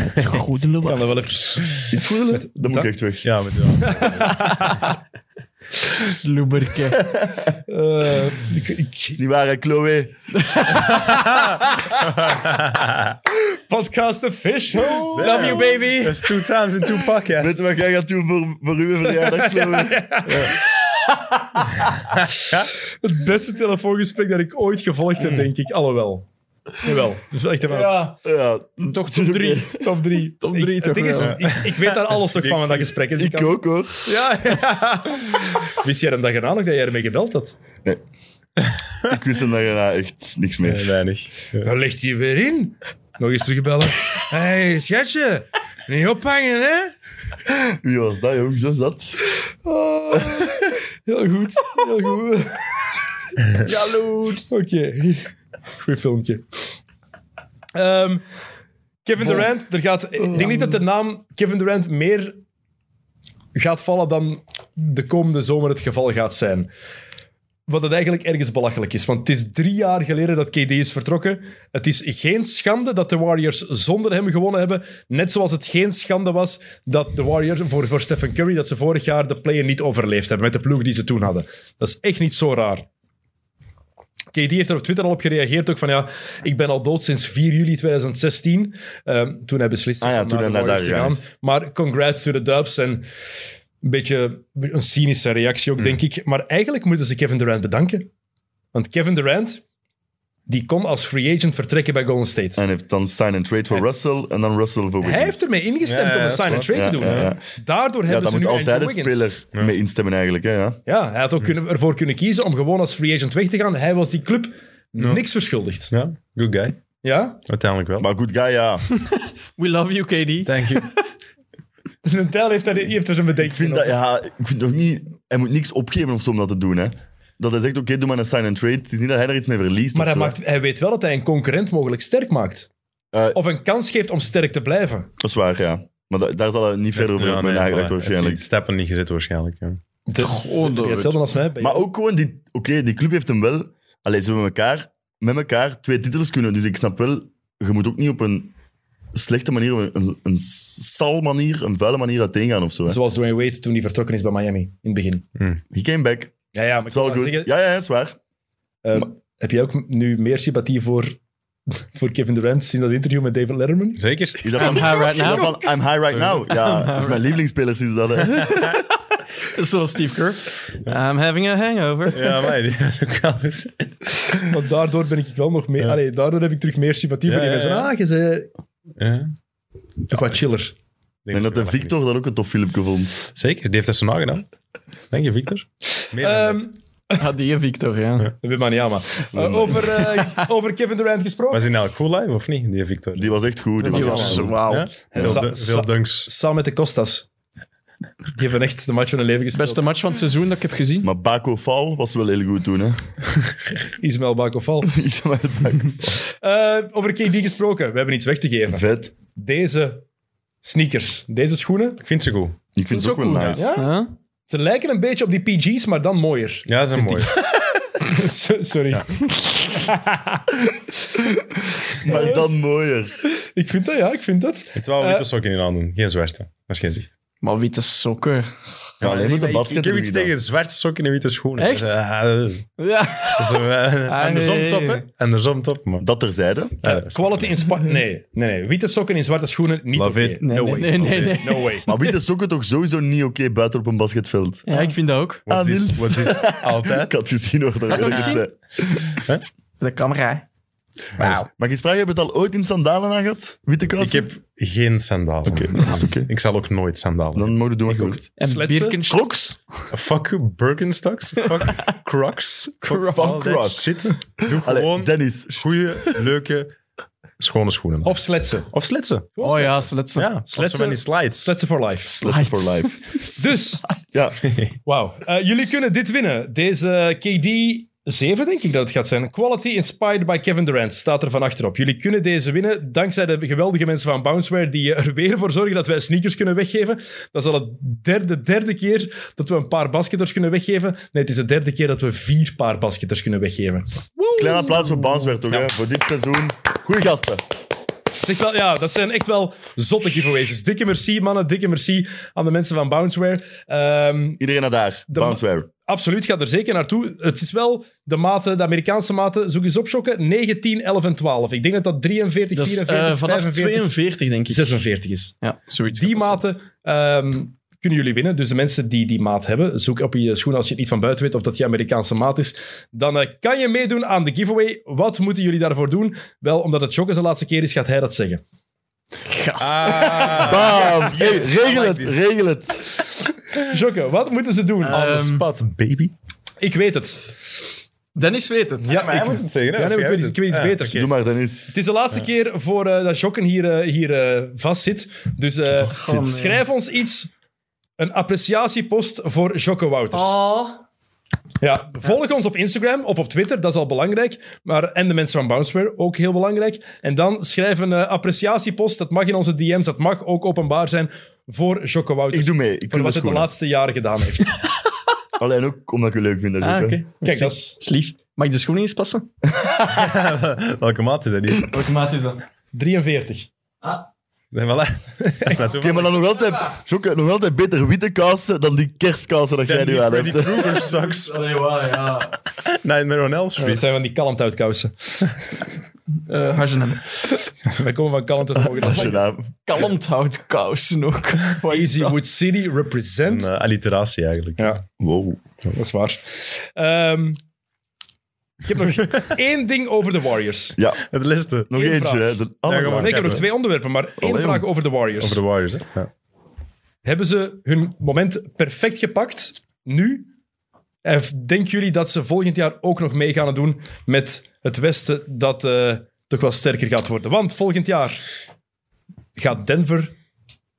[SPEAKER 2] dat wel even...
[SPEAKER 3] Iets voelen? Dan moet
[SPEAKER 2] dat-
[SPEAKER 3] ik echt weg.
[SPEAKER 1] Ja, met ja.
[SPEAKER 4] Sloeberke.
[SPEAKER 2] Eh, ik, ik-
[SPEAKER 3] Niet waar, hè, Chloe?
[SPEAKER 2] podcast official.
[SPEAKER 1] Love you, baby. That's two times in two podcasts.
[SPEAKER 3] Weet je wat jij gaat doen voor, voor uw verjaardag, Chloe?
[SPEAKER 2] Het beste telefoongesprek dat ik ooit gevolgd heb, denk ik. Alhoewel. Jawel. Dus echt even...
[SPEAKER 4] Ja,
[SPEAKER 3] Ja,
[SPEAKER 4] toch top drie.
[SPEAKER 2] Top 3.
[SPEAKER 4] Top drie
[SPEAKER 2] ik,
[SPEAKER 4] toch
[SPEAKER 2] het ding is,
[SPEAKER 4] wel.
[SPEAKER 2] ik, ik weet daar alles nog van, van dat gesprek. Dus ik
[SPEAKER 3] ik
[SPEAKER 2] kan-
[SPEAKER 3] ook hoor.
[SPEAKER 2] Ja, ja. Wist jij hem dag erna nog dat jij ermee gebeld had?
[SPEAKER 3] Ik wist hem daarna echt niks
[SPEAKER 1] Nee,
[SPEAKER 3] meer.
[SPEAKER 1] weinig. Ja.
[SPEAKER 2] Daar ligt hij weer in. Nog eens terugbellen. Hé, hey, schatje. Niet ophangen, hè?
[SPEAKER 3] Wie was dat, jong? Zo zat.
[SPEAKER 2] Oh, heel goed. Heel goed. Jaloers. Oké. Goed filmpje. Ehm, Kevin Durant, er gaat, ik denk niet dat de naam Kevin Durant meer gaat vallen dan de komende zomer het geval gaat zijn. Wat het eigenlijk ergens belachelijk is. Want het is drie jaar geleden dat KD is vertrokken. Het is geen schande dat de Warriors zonder hem gewonnen hebben. Net zoals het geen schande was dat de Warriors voor, voor Stephen Curry, dat ze vorig jaar de play niet overleefd hebben met de ploeg die ze toen hadden. Dat is echt niet zo raar. KD heeft er op Twitter al op gereageerd. Ook van ja, ik ben al dood sinds 4 juli 2016. Ehm, toen hij beslist
[SPEAKER 3] Ah ja,
[SPEAKER 2] om
[SPEAKER 3] toen
[SPEAKER 2] naar de
[SPEAKER 3] hij naar
[SPEAKER 2] Warriors
[SPEAKER 3] daar
[SPEAKER 2] te gaan.
[SPEAKER 3] gegaan
[SPEAKER 2] Maar congrats to the Dubs. En een beetje een cynische reactie ook, denk ik. Maar eigenlijk moeten ze Kevin Durant bedanken. Want Kevin Durant, die kon als free agent vertrekken bij Golden State.
[SPEAKER 3] En heeft dan sign and trade voor Russell en dan Russell voor Wiggins.
[SPEAKER 2] Hij heeft ermee ingestemd
[SPEAKER 1] Ja,
[SPEAKER 2] om
[SPEAKER 1] ja,
[SPEAKER 2] een
[SPEAKER 1] dat is
[SPEAKER 2] sign-and-trade
[SPEAKER 3] waar.
[SPEAKER 2] te
[SPEAKER 3] Ja,
[SPEAKER 2] doen.
[SPEAKER 3] ja, ja.
[SPEAKER 2] Daardoor
[SPEAKER 3] Ja,
[SPEAKER 2] hebben
[SPEAKER 3] daar
[SPEAKER 2] ze
[SPEAKER 3] moet
[SPEAKER 2] nu
[SPEAKER 3] altijd
[SPEAKER 2] Andrew
[SPEAKER 3] een
[SPEAKER 2] Wiggins.
[SPEAKER 3] speler mee instemmen eigenlijk. Hè, ja.
[SPEAKER 2] Ja, hij had ook kunnen, ervoor kunnen kiezen om gewoon als free agent weg te gaan. Hij was die club niks verschuldigd.
[SPEAKER 1] Ja, good guy.
[SPEAKER 2] Ja?
[SPEAKER 1] Uiteindelijk wel.
[SPEAKER 3] Maar goed, guy, ja. Ik
[SPEAKER 4] We love you, KD.
[SPEAKER 1] Thank you.
[SPEAKER 2] Een tel heeft, daar- die heeft er zijn bedenking
[SPEAKER 3] vind dat, ja, ik vind toch niet... Hij moet niks opgeven of zo om dat te doen, hè. Dat hij zegt, oké, doe maar een sign and trade. Het is niet dat hij er iets mee verliest
[SPEAKER 2] Maar
[SPEAKER 3] of
[SPEAKER 2] hij,
[SPEAKER 3] zo.
[SPEAKER 2] maakt, hij weet wel dat hij een concurrent mogelijk sterk maakt.
[SPEAKER 3] Eh,
[SPEAKER 2] of een kans geeft om sterk te blijven.
[SPEAKER 3] Dat is waar, ja. Maar da- daar zal hij niet verder over
[SPEAKER 1] Ja,
[SPEAKER 3] bij
[SPEAKER 1] nee, voilà.
[SPEAKER 3] nagedacht
[SPEAKER 1] Heeft
[SPEAKER 3] waarschijnlijk.
[SPEAKER 1] die Stappen niet gezet waarschijnlijk. Ja.
[SPEAKER 2] De,
[SPEAKER 4] Goh,
[SPEAKER 2] de- hetzelfde als mij. bij
[SPEAKER 3] Maar
[SPEAKER 2] jou.
[SPEAKER 3] ook gewoon, die- oké, die club heeft hem wel... Allee, ze hebben elkaar, met elkaar twee titels kunnen. Dus ik snap wel, je moet ook niet op een slechte manier, op een, een sal manier, een vuile manier uiteengaan of zo. Hè.
[SPEAKER 2] Zoals Dwayne Wade toen hij vertrokken is bij Miami in het begin.
[SPEAKER 3] He came back.
[SPEAKER 2] Ja, ja, maar
[SPEAKER 3] Het
[SPEAKER 2] ik
[SPEAKER 3] is
[SPEAKER 2] wil
[SPEAKER 3] al
[SPEAKER 2] maar
[SPEAKER 3] goed. Ja,
[SPEAKER 2] zeggen,
[SPEAKER 3] ja, ja, is waar.
[SPEAKER 2] eh, Heb jij ook nu meer sympathie voor, voor Kevin Durant sinds dat interview met David Letterman?
[SPEAKER 1] Zeker.
[SPEAKER 3] Is dat van,
[SPEAKER 4] I'm high right
[SPEAKER 3] is dat
[SPEAKER 4] now.
[SPEAKER 3] van I'm high right now? Ja, dat is mijn lievelingsspeler sinds dat. hè.
[SPEAKER 4] Zoals Steve Kerr. I'm having a hangover.
[SPEAKER 1] Ja, maar die is ook wel eens.
[SPEAKER 2] Want daardoor ben ik wel nog meer... Allee, daardoor heb ik terug meer sympathie
[SPEAKER 1] Ja,
[SPEAKER 2] voor die
[SPEAKER 1] ja,
[SPEAKER 2] mensen.
[SPEAKER 1] ja.
[SPEAKER 2] Ah, je zei...
[SPEAKER 1] Ja.
[SPEAKER 2] Toch wat chiller.
[SPEAKER 3] En dat de Victor dat ook een tof filmpje vond.
[SPEAKER 1] Zeker, die heeft dat zo nagedaan. Dank je, Victor. Meer dan
[SPEAKER 2] Ehm,
[SPEAKER 1] dat.
[SPEAKER 4] Had Ah, die eh, Victor, ja.
[SPEAKER 2] dat weet maar niet aan, maar... Eh, over, eh, over Kevin Durant gesproken.
[SPEAKER 1] Was hij nou cool live of niet, die Victor?
[SPEAKER 3] Die was echt goed. Die,
[SPEAKER 4] Die
[SPEAKER 3] was
[SPEAKER 4] was
[SPEAKER 3] echt goed.
[SPEAKER 4] wauw.
[SPEAKER 1] Ja? Veel,
[SPEAKER 2] Sa-
[SPEAKER 1] du-
[SPEAKER 2] sa-
[SPEAKER 1] veel dunks.
[SPEAKER 2] Samen met de Costas. Die hebben echt de match van hun leven gespeeld.
[SPEAKER 4] Beste match van het seizoen dat ik heb gezien.
[SPEAKER 3] Maar Baco Fall was wel heel goed toen. Hè.
[SPEAKER 2] Ismael Bakoval.
[SPEAKER 3] Ik zeg maar, Baco-
[SPEAKER 2] Eh, over KD gesproken. We hebben iets weg te geven.
[SPEAKER 3] Vet.
[SPEAKER 2] Deze sneakers, deze schoenen,
[SPEAKER 1] Ik vind ze goed.
[SPEAKER 3] Ik vind het ook wel nice.
[SPEAKER 2] Ja?
[SPEAKER 4] Huh?
[SPEAKER 2] ze lijken een beetje op die PG's, maar dan mooier.
[SPEAKER 1] Ja, ze zijn mooi.
[SPEAKER 2] So- Sorry.
[SPEAKER 3] Maar dan mooier.
[SPEAKER 2] Ik vind dat, ja, ik vind dat.
[SPEAKER 1] Met
[SPEAKER 3] Eh.
[SPEAKER 1] wel witte sokken in aandoen, geen zwarte. Dat is geen zicht.
[SPEAKER 4] Maar witte sokken.
[SPEAKER 3] Ja, alleen met de
[SPEAKER 1] ik,
[SPEAKER 3] basket
[SPEAKER 1] ik heb
[SPEAKER 3] doe
[SPEAKER 1] iets
[SPEAKER 3] ik dat.
[SPEAKER 1] tegen zwarte sokken en witte schoenen.
[SPEAKER 4] Echt?
[SPEAKER 1] Ja, dat is-
[SPEAKER 4] Ja.
[SPEAKER 1] dat is een- andersom top, hè? Andersom top, man.
[SPEAKER 3] Dat terzijde.
[SPEAKER 1] Ja, dat is-
[SPEAKER 2] Quality in zwart. Nee, nee, nee. Witte sokken in zwarte schoenen, niet oké.
[SPEAKER 1] Love it.
[SPEAKER 2] No way.
[SPEAKER 4] nee, nee, nee.
[SPEAKER 2] No way.
[SPEAKER 3] Maar witte sokken toch sowieso niet oké buiten op een basketveld.
[SPEAKER 4] Ja, ik vind dat ook.
[SPEAKER 1] What's
[SPEAKER 3] Ah,
[SPEAKER 1] this?
[SPEAKER 3] Niels.
[SPEAKER 1] What's this?
[SPEAKER 3] Ik
[SPEAKER 1] Altijd.
[SPEAKER 3] had gezien hoor. Dat
[SPEAKER 4] Had je
[SPEAKER 3] ik
[SPEAKER 4] ook
[SPEAKER 3] het
[SPEAKER 4] gezien?
[SPEAKER 3] zei.
[SPEAKER 4] De camera.
[SPEAKER 1] Wauw.
[SPEAKER 3] Mag ik eens vragen, heb je het al ooit in sandalen aan gehad? Witte
[SPEAKER 1] Ik
[SPEAKER 3] kousen?
[SPEAKER 1] heb geen sandalen.
[SPEAKER 3] Oké, dat is oké.
[SPEAKER 1] Ik zal ook nooit sandalen.
[SPEAKER 3] Dan mogen we doen wat je wilt.
[SPEAKER 4] En
[SPEAKER 2] Sletsen.
[SPEAKER 4] Birkenstock.
[SPEAKER 3] Crocs?
[SPEAKER 1] Fuck Birkenstocks. Fuck Crocs. Fuck all that
[SPEAKER 3] Crocs.
[SPEAKER 1] Shit. Doe
[SPEAKER 3] Allee,
[SPEAKER 1] gewoon
[SPEAKER 3] Dennis.
[SPEAKER 1] goede, leuke, schone schoenen. Of,
[SPEAKER 2] Of sletsen.
[SPEAKER 1] of slitsen.
[SPEAKER 4] Oh ja, sletsen.
[SPEAKER 1] Ja, of zo
[SPEAKER 2] Sletsen.
[SPEAKER 1] van die slides.
[SPEAKER 2] Sletsen for life.
[SPEAKER 3] Lesson for life.
[SPEAKER 2] Dus,
[SPEAKER 3] Ja,
[SPEAKER 2] wauw. Eh, jullie kunnen dit winnen. Deze KD 7, denk ik dat het gaat zijn. Quality inspired by Kevin Durant staat er van achterop. Jullie kunnen deze winnen dankzij de geweldige mensen van Bounceware die er weer voor zorgen dat wij sneakers kunnen weggeven. Dat is al de derde, derde keer dat we een paar basketters kunnen weggeven. Nee, het is de derde keer dat we vier paar basketters kunnen weggeven.
[SPEAKER 3] Klein applaus voor Bounceware toch, hè? Voor dit seizoen. Goeie gasten.
[SPEAKER 2] Dat is echt wel, ja, dat zijn echt wel zotte giveaways. Dus dikke merci, mannen. Dikke merci aan de mensen van Bounceware. Ehm,
[SPEAKER 3] Iedereen naar daar.
[SPEAKER 2] De
[SPEAKER 3] Bounceware.
[SPEAKER 2] absoluut, ga er zeker naartoe. Het is wel de mate, de Amerikaanse mate, zoek eens op, Sjokke, 9, 10, 11 en 12. Ik denk dat dat 43,
[SPEAKER 4] Dat is eh,
[SPEAKER 2] 44,
[SPEAKER 4] vanaf
[SPEAKER 2] 45,
[SPEAKER 4] 42, denk ik.
[SPEAKER 2] 46 is.
[SPEAKER 4] Ja, zoiets.
[SPEAKER 2] Die mate ehm, kunnen jullie winnen. Dus de mensen die die maat hebben, zoek op je schoen als je het niet van buiten weet of dat je Amerikaanse maat is. Dan eh, kan je meedoen aan de giveaway. Wat moeten jullie daarvoor doen? Wel, omdat het Sjokke zijn laatste keer is, gaat hij dat zeggen.
[SPEAKER 1] Ah,
[SPEAKER 3] Bam! Hey,
[SPEAKER 1] yes.
[SPEAKER 3] regel
[SPEAKER 1] I
[SPEAKER 3] het,
[SPEAKER 1] like this.
[SPEAKER 3] regel het.
[SPEAKER 2] Sjokke, wat moeten ze doen?
[SPEAKER 4] Eh,
[SPEAKER 1] On the
[SPEAKER 4] Ehm,
[SPEAKER 1] spot, baby.
[SPEAKER 2] ik weet het.
[SPEAKER 4] Dennis weet het.
[SPEAKER 2] Ja,
[SPEAKER 1] Jij
[SPEAKER 2] ik,
[SPEAKER 1] moet het zeggen, hè?
[SPEAKER 2] Ja, nee,
[SPEAKER 1] Of
[SPEAKER 2] maar ik weet,
[SPEAKER 1] jij doet
[SPEAKER 2] iets- ik weet iets
[SPEAKER 1] het?
[SPEAKER 2] beter.
[SPEAKER 3] Doe maar, Dennis.
[SPEAKER 2] Het is de laatste keer voor eh, dat Jokken hier, eh, hier eh, vast zit. Dus eh,
[SPEAKER 4] nee.
[SPEAKER 2] schrijf ons iets. Een appreciatiepost voor Jokke Wouters.
[SPEAKER 4] Oh.
[SPEAKER 2] Ja, volg ons op Instagram of op Twitter, dat is al belangrijk. Maar, en de mensen van Bounceware, ook heel belangrijk. En dan schrijf een eh, appreciatiepost, dat mag in onze DM's, dat mag ook openbaar zijn, voor Jokke Wouters.
[SPEAKER 3] Ik doe mee. Ik dus
[SPEAKER 2] voor
[SPEAKER 3] wil
[SPEAKER 2] wat
[SPEAKER 3] wat
[SPEAKER 2] het de laatste jaren gedaan heeft.
[SPEAKER 3] Alleen ook omdat ik het leuk vind. dat
[SPEAKER 4] Ah,
[SPEAKER 3] ook,
[SPEAKER 4] oké.
[SPEAKER 3] hè.
[SPEAKER 2] Kijk, dat is
[SPEAKER 4] Dat is lief. Mag ik de schoenen eens passen?
[SPEAKER 1] Welke maat is dat hier?
[SPEAKER 4] Welke maat is dat?
[SPEAKER 2] 43.
[SPEAKER 1] Nee, voilà. Dat is maar
[SPEAKER 3] Oké, maar dan nog altijd, Jokke, nog altijd beter witte kaasen dan die kerstkaasen dat jij nu aan hebt.
[SPEAKER 1] Freddy Krueger sucks.
[SPEAKER 4] Allee, wauw, ja.
[SPEAKER 1] Nightmare on Elm
[SPEAKER 2] Dat
[SPEAKER 1] Street.
[SPEAKER 2] zijn van die kalmte uitkousen.
[SPEAKER 4] Eh Hajenam.
[SPEAKER 2] Wij komen van kalmte uit
[SPEAKER 3] Dat is je
[SPEAKER 2] mogen.
[SPEAKER 3] naam.
[SPEAKER 4] Kalmthoutkousen ook.
[SPEAKER 2] Easy Wood City represent.
[SPEAKER 1] Een eh, alliteratie eigenlijk.
[SPEAKER 2] Ja,
[SPEAKER 3] Wow.
[SPEAKER 2] dat is waar. Ehm, ik heb nog één ding over de Warriors.
[SPEAKER 3] Ja,
[SPEAKER 1] Het liste.
[SPEAKER 3] nog
[SPEAKER 2] Eén
[SPEAKER 3] eentje.
[SPEAKER 2] vraag.
[SPEAKER 3] Hè. De andere
[SPEAKER 1] Ja, gewoon.
[SPEAKER 3] vraag.
[SPEAKER 2] Nee, ik heb nog
[SPEAKER 1] even.
[SPEAKER 2] twee onderwerpen, maar één
[SPEAKER 3] Allee,
[SPEAKER 2] vraag
[SPEAKER 3] jong.
[SPEAKER 2] over de Warriors.
[SPEAKER 1] Over de Warriors, hè? Ja.
[SPEAKER 2] Hebben ze hun moment perfect gepakt nu? En v- denken jullie dat ze volgend jaar ook nog mee gaan doen met het Westen dat eh, toch wel sterker gaat worden? Want volgend jaar gaat Denver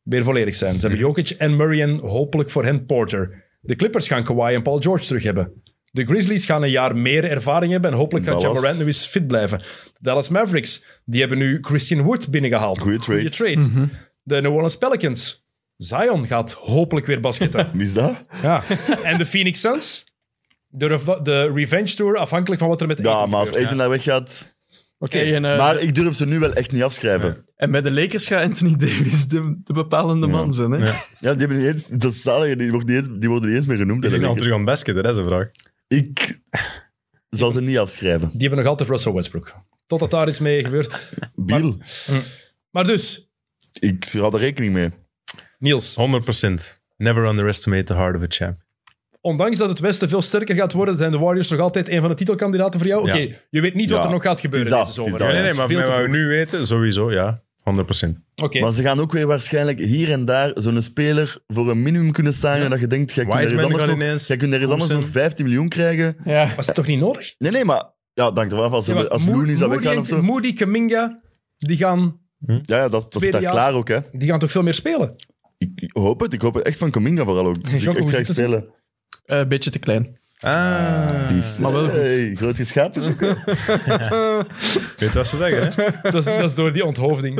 [SPEAKER 2] weer volledig zijn. Ze hebben Jokic en Murray en hopelijk voor hen Porter. De Clippers gaan Kawhi en Paul George terug hebben. De Grizzlies gaan een jaar meer ervaring hebben en hopelijk gaat Ja
[SPEAKER 3] Dallas.
[SPEAKER 2] Morant nu eens fit blijven. De Dallas Mavericks, die hebben nu Christian Wood binnengehaald.
[SPEAKER 3] Goeie trade.
[SPEAKER 2] Goeie trade. De New Orleans Pelicans. Zion gaat hopelijk weer basketten.
[SPEAKER 3] Wie is dat?
[SPEAKER 2] ja. En de Phoenix Suns. De, rev- de Revenge Tour, afhankelijk van wat er met
[SPEAKER 3] Ja,
[SPEAKER 2] Aiton
[SPEAKER 3] maar als
[SPEAKER 2] gebeurt.
[SPEAKER 3] Aiden daar weggaat...
[SPEAKER 4] Oké, en, eh,
[SPEAKER 3] Maar ik durf ze nu wel echt niet afschrijven.
[SPEAKER 4] en bij de Lakers gaat Anthony Davis de, de bepalende man zijn. Hè?
[SPEAKER 3] Ja, die, hebben niet eens, dat is zalig, die, wordt niet eens, die worden niet eens meer genoemd.
[SPEAKER 1] Is
[SPEAKER 3] hè,
[SPEAKER 1] hij nou
[SPEAKER 3] de
[SPEAKER 1] terug aan basket? Dat is een vraag.
[SPEAKER 3] Ik zal ze niet afschrijven.
[SPEAKER 2] Die hebben nog altijd Russell Westbrook. Totdat daar iets mee gebeurt.
[SPEAKER 3] Biel,
[SPEAKER 2] Maar dus,
[SPEAKER 3] ik had er rekening mee.
[SPEAKER 2] Niels.
[SPEAKER 1] 100%. Never underestimate the heart of a champ.
[SPEAKER 2] Ondanks dat het Westen veel sterker gaat worden, zijn de Warriors nog altijd een van de titelkandidaten voor jou. Oké,
[SPEAKER 1] Ja.
[SPEAKER 2] je weet niet wat
[SPEAKER 3] Ja.
[SPEAKER 2] er nog gaat gebeuren
[SPEAKER 3] Het is
[SPEAKER 2] deze
[SPEAKER 3] dat, het
[SPEAKER 2] zomer.
[SPEAKER 3] is dat. Ja,
[SPEAKER 1] nee, nee, maar
[SPEAKER 2] Veel
[SPEAKER 1] met
[SPEAKER 2] te
[SPEAKER 1] wat we
[SPEAKER 2] vroeg.
[SPEAKER 1] nu weten, sowieso, ja. 100%.
[SPEAKER 2] Oké.
[SPEAKER 3] Maar ze gaan ook weer waarschijnlijk hier en daar zo'n speler voor een minimum kunnen signen dat je denkt, jij kunt
[SPEAKER 1] Wiseman
[SPEAKER 3] ergens anders,
[SPEAKER 1] gaat
[SPEAKER 3] nog,
[SPEAKER 1] ineens,
[SPEAKER 3] jij kunt ergens anders nog
[SPEAKER 1] Thompson.
[SPEAKER 3] 15 miljoen krijgen.
[SPEAKER 4] Ja.
[SPEAKER 2] Was het toch niet nodig?
[SPEAKER 3] Nee, nee, maar ja, dank ervan af. Als,
[SPEAKER 2] Ja, maar
[SPEAKER 3] als
[SPEAKER 2] Mo-
[SPEAKER 3] Looney zou
[SPEAKER 2] Moody
[SPEAKER 3] weggaan
[SPEAKER 2] en-
[SPEAKER 3] of zo.
[SPEAKER 2] Moody, Kaminga, die gaan,
[SPEAKER 3] Ja, ja dat, dat
[SPEAKER 2] Tweede
[SPEAKER 3] staat
[SPEAKER 2] jaar.
[SPEAKER 3] klaar ook, hè.
[SPEAKER 2] die gaan toch veel meer spelen?
[SPEAKER 3] Ik, ik hoop het. Ik hoop het echt van Cominga vooral ook. Dat
[SPEAKER 2] Jacques,
[SPEAKER 3] ik
[SPEAKER 2] hoe
[SPEAKER 3] echt krijg
[SPEAKER 2] zitten ze?
[SPEAKER 3] spelen.
[SPEAKER 4] Eh, Een beetje te klein.
[SPEAKER 1] Ah.
[SPEAKER 3] Die is-
[SPEAKER 4] Maar wel goed.
[SPEAKER 3] Hey, groot geschapen. Jacques.
[SPEAKER 1] Weet wat ze zeggen, hè?
[SPEAKER 2] dat, is, dat is door die onthoofding.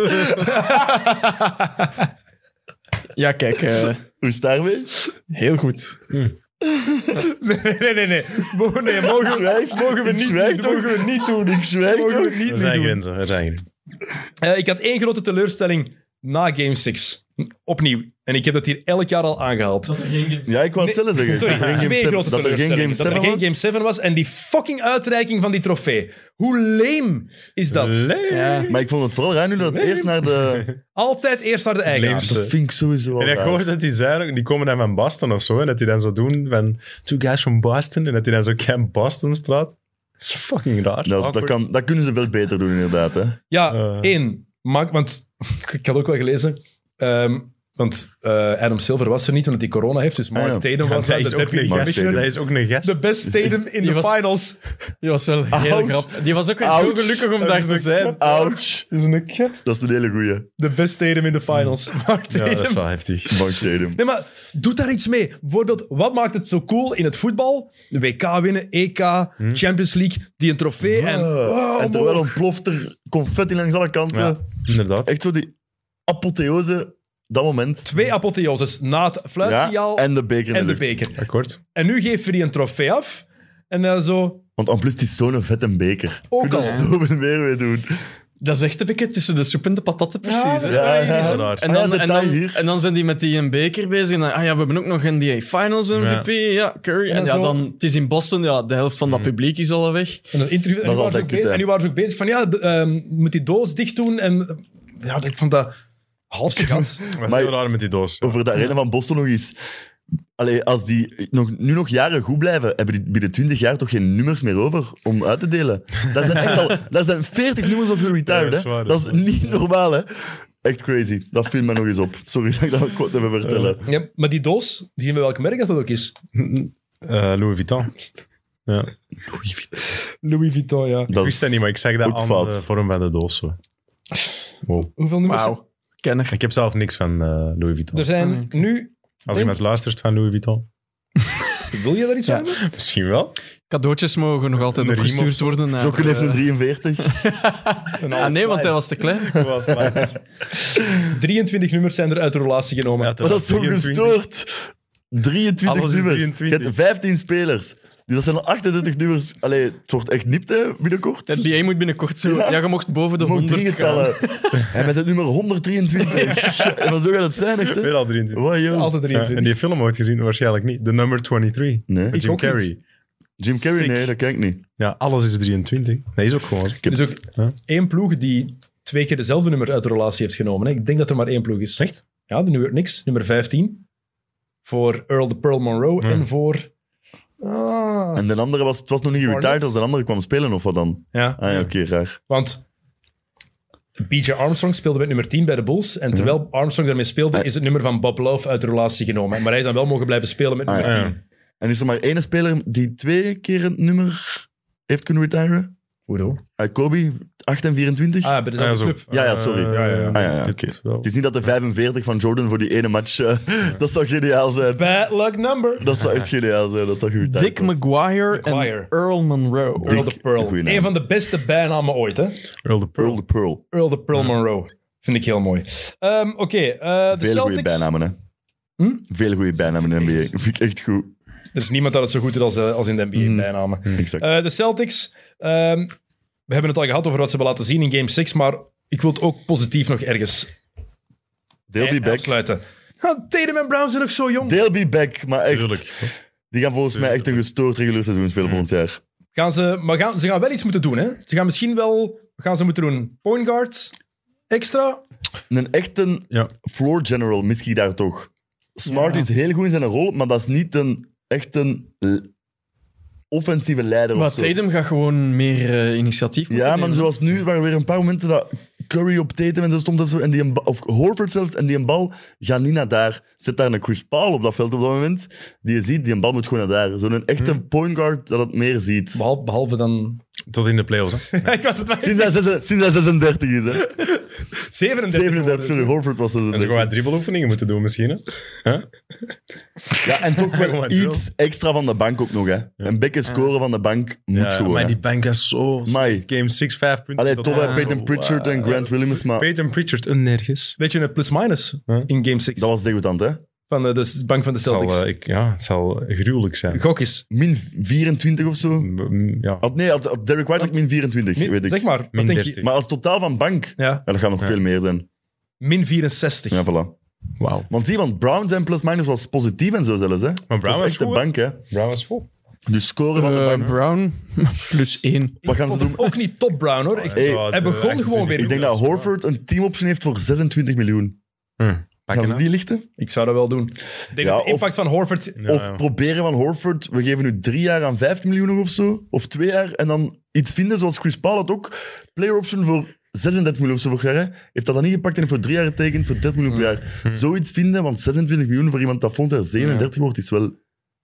[SPEAKER 4] Ja, kijk, eh,
[SPEAKER 3] Hoe is het daarmee?
[SPEAKER 4] heel goed.
[SPEAKER 2] Nee, nee, nee. nee. Mo- nee, mogen,
[SPEAKER 3] Zwijg,
[SPEAKER 2] mogen we
[SPEAKER 3] ik
[SPEAKER 2] niet
[SPEAKER 3] zwijg
[SPEAKER 2] doen.
[SPEAKER 3] toch?
[SPEAKER 2] Mogen we niet doen.
[SPEAKER 3] Ik zwijg
[SPEAKER 2] Mogen we
[SPEAKER 3] toch?
[SPEAKER 2] het niet,
[SPEAKER 1] Er
[SPEAKER 2] niet
[SPEAKER 1] zijn
[SPEAKER 2] doen.
[SPEAKER 1] grenzen, er zijn grenzen.
[SPEAKER 2] Eh, ik had één grote teleurstelling na Game 6. Opnieuw. En ik heb dat hier elk jaar al aangehaald.
[SPEAKER 3] Ja, ik wou het zelf zeggen. Dat er
[SPEAKER 2] Sorry,
[SPEAKER 3] geen
[SPEAKER 2] twee
[SPEAKER 3] game
[SPEAKER 2] grote
[SPEAKER 3] seven- Dat er geen game
[SPEAKER 2] teleurstellingen. Dat er
[SPEAKER 3] 7
[SPEAKER 2] geen
[SPEAKER 3] was.
[SPEAKER 2] Game 7 was en die fucking uitreiking van die trofee. Hoe leem is dat?
[SPEAKER 1] Leem.
[SPEAKER 4] Ja.
[SPEAKER 3] Maar ik vond het vooral raar nu dat het eerst naar de...
[SPEAKER 2] Altijd eerst naar de eigenaar.
[SPEAKER 1] Leemste.
[SPEAKER 3] Dat vind ik sowieso wel
[SPEAKER 1] En ik
[SPEAKER 3] raar.
[SPEAKER 1] hoorde dat die zei, die komen dan van Boston of zo, en dat die dan zo doen van two guys from Boston, en dat die dan zo Camp Boston's praat. Dat is fucking raar.
[SPEAKER 3] Dat, dat, kan, dat kunnen ze veel beter doen, inderdaad. Hè.
[SPEAKER 2] Ja,
[SPEAKER 1] Eh.
[SPEAKER 2] één. Maak, want ik had ook wel gelezen. ehm, Want eh, Adam Silver was er niet, omdat hij corona heeft. Dus Mark
[SPEAKER 3] Ah, ja.
[SPEAKER 2] Tatum was
[SPEAKER 1] dat,
[SPEAKER 2] daar,
[SPEAKER 1] is
[SPEAKER 2] de
[SPEAKER 1] ook
[SPEAKER 2] deputy
[SPEAKER 1] een gast,
[SPEAKER 2] commissioner.
[SPEAKER 1] dat is ook een gast.
[SPEAKER 2] De best Tatum in de
[SPEAKER 4] Die was-
[SPEAKER 2] finals.
[SPEAKER 4] Die was wel heel
[SPEAKER 3] Ouch.
[SPEAKER 4] grappig. Die was ook weer zo
[SPEAKER 3] Ouch.
[SPEAKER 4] gelukkig om
[SPEAKER 2] Dat
[SPEAKER 4] daar
[SPEAKER 2] is
[SPEAKER 4] te
[SPEAKER 2] een
[SPEAKER 4] zijn.
[SPEAKER 2] klap.
[SPEAKER 3] Ouch.
[SPEAKER 2] Dat is een kip.
[SPEAKER 3] Dat is een hele goeie.
[SPEAKER 2] De best Tatum in de finals. Mark
[SPEAKER 1] Ja,
[SPEAKER 2] Tatum.
[SPEAKER 1] dat is wel heftig.
[SPEAKER 3] Mark Tatum.
[SPEAKER 2] Nee, maar doe daar iets mee. Bijvoorbeeld, wat maakt het zo cool in het voetbal? De WK winnen, EK, Champions League, die een trofee. En, wow,
[SPEAKER 3] en terwijl ontploft er confetti langs alle kanten.
[SPEAKER 1] Ja, inderdaad.
[SPEAKER 3] Echt zo die apotheose, dat moment.
[SPEAKER 2] Twee apotheoses na het
[SPEAKER 3] Ja,
[SPEAKER 2] fluitsignaal en,
[SPEAKER 3] en de beker.
[SPEAKER 2] de
[SPEAKER 3] natuurlijk.
[SPEAKER 2] beker.
[SPEAKER 1] Akkoord.
[SPEAKER 2] En nu geven we die een trofee af. En dan zo,
[SPEAKER 3] Want en plus, het is zo'n vette beker.
[SPEAKER 2] Ook
[SPEAKER 3] Kun je
[SPEAKER 2] al.
[SPEAKER 3] er zoveel meer mee doen.
[SPEAKER 4] Dat is echt een beetje tussen de soep en de patatten, precies.
[SPEAKER 2] Ja,
[SPEAKER 4] hè.
[SPEAKER 2] dat is
[SPEAKER 3] Ja, ja.
[SPEAKER 1] Zo daar.
[SPEAKER 4] En
[SPEAKER 3] Ah ja,
[SPEAKER 4] dan, en,
[SPEAKER 3] detail
[SPEAKER 4] dan,
[SPEAKER 3] hier.
[SPEAKER 4] en dan zijn die met die een beker bezig. En dan, ah ja, we hebben ook nog NBA Finals MVP. Ja, Curry. En,
[SPEAKER 2] En
[SPEAKER 4] ja,
[SPEAKER 2] zo.
[SPEAKER 4] dan, het is in Boston. Ja, de helft van dat publiek is al weg.
[SPEAKER 2] en een interview. En
[SPEAKER 3] Dat
[SPEAKER 2] nu, waren
[SPEAKER 3] is
[SPEAKER 2] ze
[SPEAKER 3] altijd
[SPEAKER 2] ook
[SPEAKER 3] kut,
[SPEAKER 2] bezig,
[SPEAKER 3] hè.
[SPEAKER 2] en nu waren ze ook bezig van, ja, de, ehm, moet die doos dicht doen. En ja, ik vond dat half gigant.
[SPEAKER 1] Dat is
[SPEAKER 3] Maar-
[SPEAKER 1] heel raar met die doos.
[SPEAKER 3] Over de arena van Boston nog eens. Allee, als die nog, nu nog jaren goed blijven, hebben die binnen 20 jaar toch geen nummers meer over om uit te delen. Daar zijn, echt al, daar zijn 40 nummers over retired.
[SPEAKER 1] Ja, dat
[SPEAKER 3] dat,
[SPEAKER 1] is waar,
[SPEAKER 3] dat
[SPEAKER 1] dat
[SPEAKER 3] is
[SPEAKER 1] is waar.
[SPEAKER 3] niet normaal, hè? Echt crazy. Dat viel mij nog eens op. Sorry dat ik dat kort even vertellen.
[SPEAKER 2] Ja, maar die doos, die bij welk merk dat, dat ook is?
[SPEAKER 1] Eh, Louis Vuitton. Ja.
[SPEAKER 2] Louis Vuitton, ja.
[SPEAKER 3] Dat
[SPEAKER 1] Ik wist dat niet, maar ik zeg dat
[SPEAKER 3] ook
[SPEAKER 1] aan
[SPEAKER 3] fout.
[SPEAKER 1] de vorm van de doos. Zo. Wow.
[SPEAKER 2] Hoeveel nummers?
[SPEAKER 4] Wauw. Kenner.
[SPEAKER 1] Ik heb zelf niks van eh, Louis Vuitton.
[SPEAKER 2] Er zijn
[SPEAKER 4] Ah, oké.
[SPEAKER 2] nu...
[SPEAKER 1] Als iemand luistert van Louis Vuitton,
[SPEAKER 2] Wil je daar iets
[SPEAKER 4] Ja.
[SPEAKER 2] aan doen?
[SPEAKER 1] misschien wel.
[SPEAKER 4] Cadeautjes mogen nog altijd
[SPEAKER 1] Een riem of
[SPEAKER 4] opgestuurd
[SPEAKER 1] zo.
[SPEAKER 4] worden. naar,
[SPEAKER 3] Jokken heeft
[SPEAKER 4] eh,
[SPEAKER 3] nu 43.
[SPEAKER 4] Ah nee, want hij was te klein.
[SPEAKER 1] Was laat.
[SPEAKER 2] 23 nummers zijn er uit de relatie genomen.
[SPEAKER 1] Ja, te-
[SPEAKER 3] Maar dat is zo
[SPEAKER 1] 23.
[SPEAKER 3] gestoord. 23
[SPEAKER 1] Alles is
[SPEAKER 3] nummers.
[SPEAKER 1] 23.
[SPEAKER 3] Je hebt 15 spelers. Dus dat zijn al 38 nummers. Allee, het wordt echt nipt, hè, binnenkort.
[SPEAKER 4] Het NBA moet binnenkort zo... Ja, je mocht boven de
[SPEAKER 3] Gewoon
[SPEAKER 4] 100 gaan.
[SPEAKER 3] driegetallen. En met het nummer 123. En maar zo gaat het zijn, echt, hè?
[SPEAKER 1] Weer al 23.
[SPEAKER 3] Wow, joh.
[SPEAKER 2] Altijd
[SPEAKER 1] Ja,
[SPEAKER 2] 23.
[SPEAKER 1] en die film ooit gezien? Waarschijnlijk niet. The Number 23.
[SPEAKER 3] Nee.
[SPEAKER 1] Met Jim
[SPEAKER 2] ook niet.
[SPEAKER 1] Carrey.
[SPEAKER 3] Jim Carrey,
[SPEAKER 1] Sick.
[SPEAKER 3] nee, dat ken ik niet.
[SPEAKER 1] Ja, alles is 23. Dat is ook gewoon.
[SPEAKER 3] heb-
[SPEAKER 2] Er is ook
[SPEAKER 1] Ja.
[SPEAKER 2] één ploeg die twee keer dezelfde nummer uit de relatie heeft genomen. hè. Ik denk dat er maar één ploeg is. Echt? Ja, de New York Knicks, nummer 15. Voor Earl de Pearl Monroe
[SPEAKER 1] Ja.
[SPEAKER 2] en voor... Ah.
[SPEAKER 3] En de andere was, het was nog niet
[SPEAKER 2] Barnett?
[SPEAKER 3] retired als de andere kwam spelen, of wat dan?
[SPEAKER 2] Ja,
[SPEAKER 3] Ah ja, oké, raar.
[SPEAKER 2] want B.J. Armstrong speelde met nummer 10 bij de Bulls. En terwijl Armstrong daarmee speelde, is het nummer van Bob Love uit de relatie genomen. Maar hij is dan wel mogen blijven spelen met
[SPEAKER 3] Ah,
[SPEAKER 2] nummer 10.
[SPEAKER 1] ja.
[SPEAKER 3] En is er maar één speler die twee keer het nummer heeft kunnen retiren?
[SPEAKER 2] Hoezo?
[SPEAKER 3] Ah, Kobe, 8 en 24?
[SPEAKER 2] Ah, bij dezelfde club.
[SPEAKER 3] Ja, ja, sorry.
[SPEAKER 1] Eh, ja, ja,
[SPEAKER 3] Ah, ja, ja,
[SPEAKER 1] Dit
[SPEAKER 3] oké.
[SPEAKER 1] wel.
[SPEAKER 3] Het is niet dat de 45 van Jordan voor die ene match... eh, dat zou geniaal zijn.
[SPEAKER 2] Bad luck number.
[SPEAKER 3] Dat zou echt geniaal zijn, dat dat goed
[SPEAKER 4] Dick McGuire,
[SPEAKER 2] Maguire.
[SPEAKER 4] en Earl Monroe.
[SPEAKER 2] Earl de Pearl.
[SPEAKER 3] Goeie naam.
[SPEAKER 2] Een van de beste bijnamen ooit, hè?
[SPEAKER 1] Earl de
[SPEAKER 3] Pearl
[SPEAKER 1] Pearl.
[SPEAKER 3] de Pearl.
[SPEAKER 2] Earl de Pearl Monroe. Vind ik heel mooi. Ehm, Oké, eh, de
[SPEAKER 3] Mm. Veel goede
[SPEAKER 2] Celtics.
[SPEAKER 3] bijnamen, hè. Veel goede bijnamen in de NBA. Vind ik echt goed.
[SPEAKER 2] Er is niemand dat het zo goed doet als, eh, als in de NBA bijnamen.
[SPEAKER 3] Exact.
[SPEAKER 2] Eh, de Celtics. ehm, we hebben het al gehad over wat ze hebben laten zien in Game 6, maar ik wil het ook positief nog ergens
[SPEAKER 3] They'll be
[SPEAKER 2] eh,
[SPEAKER 3] back.
[SPEAKER 2] afsluiten. Ja, Tatum en Brown zijn nog zo jong.
[SPEAKER 3] They'll be back, maar echt.
[SPEAKER 1] Tuurlijk.
[SPEAKER 3] Die gaan volgens mij echt een gestoord regulier seizoen spelen volgend jaar.
[SPEAKER 2] Gaan ze, maar gaan, ze gaan wel iets moeten doen, hè? Ze gaan misschien wel... wat gaan ze moeten doen? Point guard? Extra?
[SPEAKER 3] Een echte
[SPEAKER 1] Ja.
[SPEAKER 3] floor general mis ik daar toch. Smart is heel goed in zijn rol, maar dat is niet een echt een l- offensieve leider
[SPEAKER 4] Maar
[SPEAKER 3] of zo.
[SPEAKER 4] Tatum gaat gewoon meer eh, initiatief moeten
[SPEAKER 3] Ja, maar
[SPEAKER 4] nemen.
[SPEAKER 3] zoals nu waren er weer een paar momenten dat Curry op Tatum en zo stond. En zo, en die een ba- of Horford zelfs, en die een bal gaat niet naar daar. Zet daar een Chris Paul op dat veld op dat moment. Die je ziet, die een bal moet gewoon naar daar. Zo'n echte
[SPEAKER 1] Hm.
[SPEAKER 3] point guard dat het meer ziet.
[SPEAKER 2] Behalve, behalve dan...
[SPEAKER 1] Tot in de playoffs. Hè?
[SPEAKER 2] ik was het maar...
[SPEAKER 3] Sinds hij, zes- sinds hij 36 is, hè.
[SPEAKER 2] 37.
[SPEAKER 3] 37, sorry,
[SPEAKER 2] geworden.
[SPEAKER 3] Horford was
[SPEAKER 1] En ze gaan
[SPEAKER 3] 36.
[SPEAKER 1] wat dribbeloefeningen moeten doen misschien. Hè?
[SPEAKER 3] Ja, en toch wel
[SPEAKER 1] Gewoon drill.
[SPEAKER 3] iets extra van de bank ook nog, hè. Een bekken scoren van de bank moet gewoon,
[SPEAKER 1] maar
[SPEAKER 3] hè.
[SPEAKER 1] die bank is zo...
[SPEAKER 3] Mai.
[SPEAKER 1] Game 6, 5 punten.
[SPEAKER 3] Allee,
[SPEAKER 1] tot
[SPEAKER 3] tot bij
[SPEAKER 1] aan.
[SPEAKER 3] Peyton
[SPEAKER 1] Zo,
[SPEAKER 3] Pritchard
[SPEAKER 1] eh,
[SPEAKER 3] en Grant Williams, maar
[SPEAKER 1] Peyton Pritchard een nergens.
[SPEAKER 2] Weet je, een plus-minus
[SPEAKER 1] Huh?
[SPEAKER 2] in Game 6
[SPEAKER 3] dat was degoutant, hè.
[SPEAKER 2] van de, de bank van de
[SPEAKER 1] Het zal,
[SPEAKER 2] Celtics.
[SPEAKER 1] eh, ik, ja, het zal gruwelijk
[SPEAKER 3] eh,
[SPEAKER 1] zijn.
[SPEAKER 2] Gok eens.
[SPEAKER 3] Min 24 of zo.
[SPEAKER 1] Mm, Ja.
[SPEAKER 3] Had, nee, had, had Derek White had min 24,
[SPEAKER 2] Min-
[SPEAKER 3] weet ik.
[SPEAKER 2] Zeg maar, wat
[SPEAKER 1] Min
[SPEAKER 2] denk je?
[SPEAKER 1] 30.
[SPEAKER 3] Maar als totaal van bank,
[SPEAKER 2] Ja,
[SPEAKER 3] ja, dat gaat nog veel meer zijn.
[SPEAKER 2] min 64.
[SPEAKER 3] Ja, voilà.
[SPEAKER 1] Wauw.
[SPEAKER 3] Want zie, want Brown zijn plus-minus was positief en zo zelfs, hè.
[SPEAKER 1] Maar
[SPEAKER 3] Dat
[SPEAKER 1] Brown
[SPEAKER 3] is
[SPEAKER 1] was
[SPEAKER 3] echt de
[SPEAKER 1] goed. hè?
[SPEAKER 3] bank, hè.
[SPEAKER 1] Brown was goed.
[SPEAKER 3] Dus scoren van de
[SPEAKER 4] Eh,
[SPEAKER 3] bank.
[SPEAKER 4] Brown, plus één.
[SPEAKER 3] Wat gaan ze
[SPEAKER 2] Vond hem
[SPEAKER 3] doen?
[SPEAKER 2] ook niet top Brown hoor. Echt.
[SPEAKER 3] Hey,
[SPEAKER 1] Ja,
[SPEAKER 2] hij
[SPEAKER 1] de
[SPEAKER 2] begon gewoon
[SPEAKER 1] 28.
[SPEAKER 2] weer.
[SPEAKER 3] Ik denk dat Horford een teamoption heeft voor 26 miljoen.
[SPEAKER 1] Hm,
[SPEAKER 3] Gaan
[SPEAKER 1] Pakken
[SPEAKER 3] ze
[SPEAKER 1] hè?
[SPEAKER 3] die lichten?
[SPEAKER 2] Ik zou dat wel doen. Ik denk
[SPEAKER 3] Ja,
[SPEAKER 2] dat de impact van Horford.
[SPEAKER 1] Ja,
[SPEAKER 3] of
[SPEAKER 1] ja.
[SPEAKER 3] proberen van Horford, we geven nu drie jaar aan 15 miljoen nog of zo, of twee jaar, en dan iets vinden zoals Chris Paul had ook, player option voor 36 miljoen of zo vorig jaar, hè. heeft dat dan niet gepakt en heeft voor drie jaar getekend, voor 30 miljoen per
[SPEAKER 4] Hm.
[SPEAKER 3] jaar. Zoiets vinden, want 26 miljoen voor iemand dat vond er 37 wordt, is wel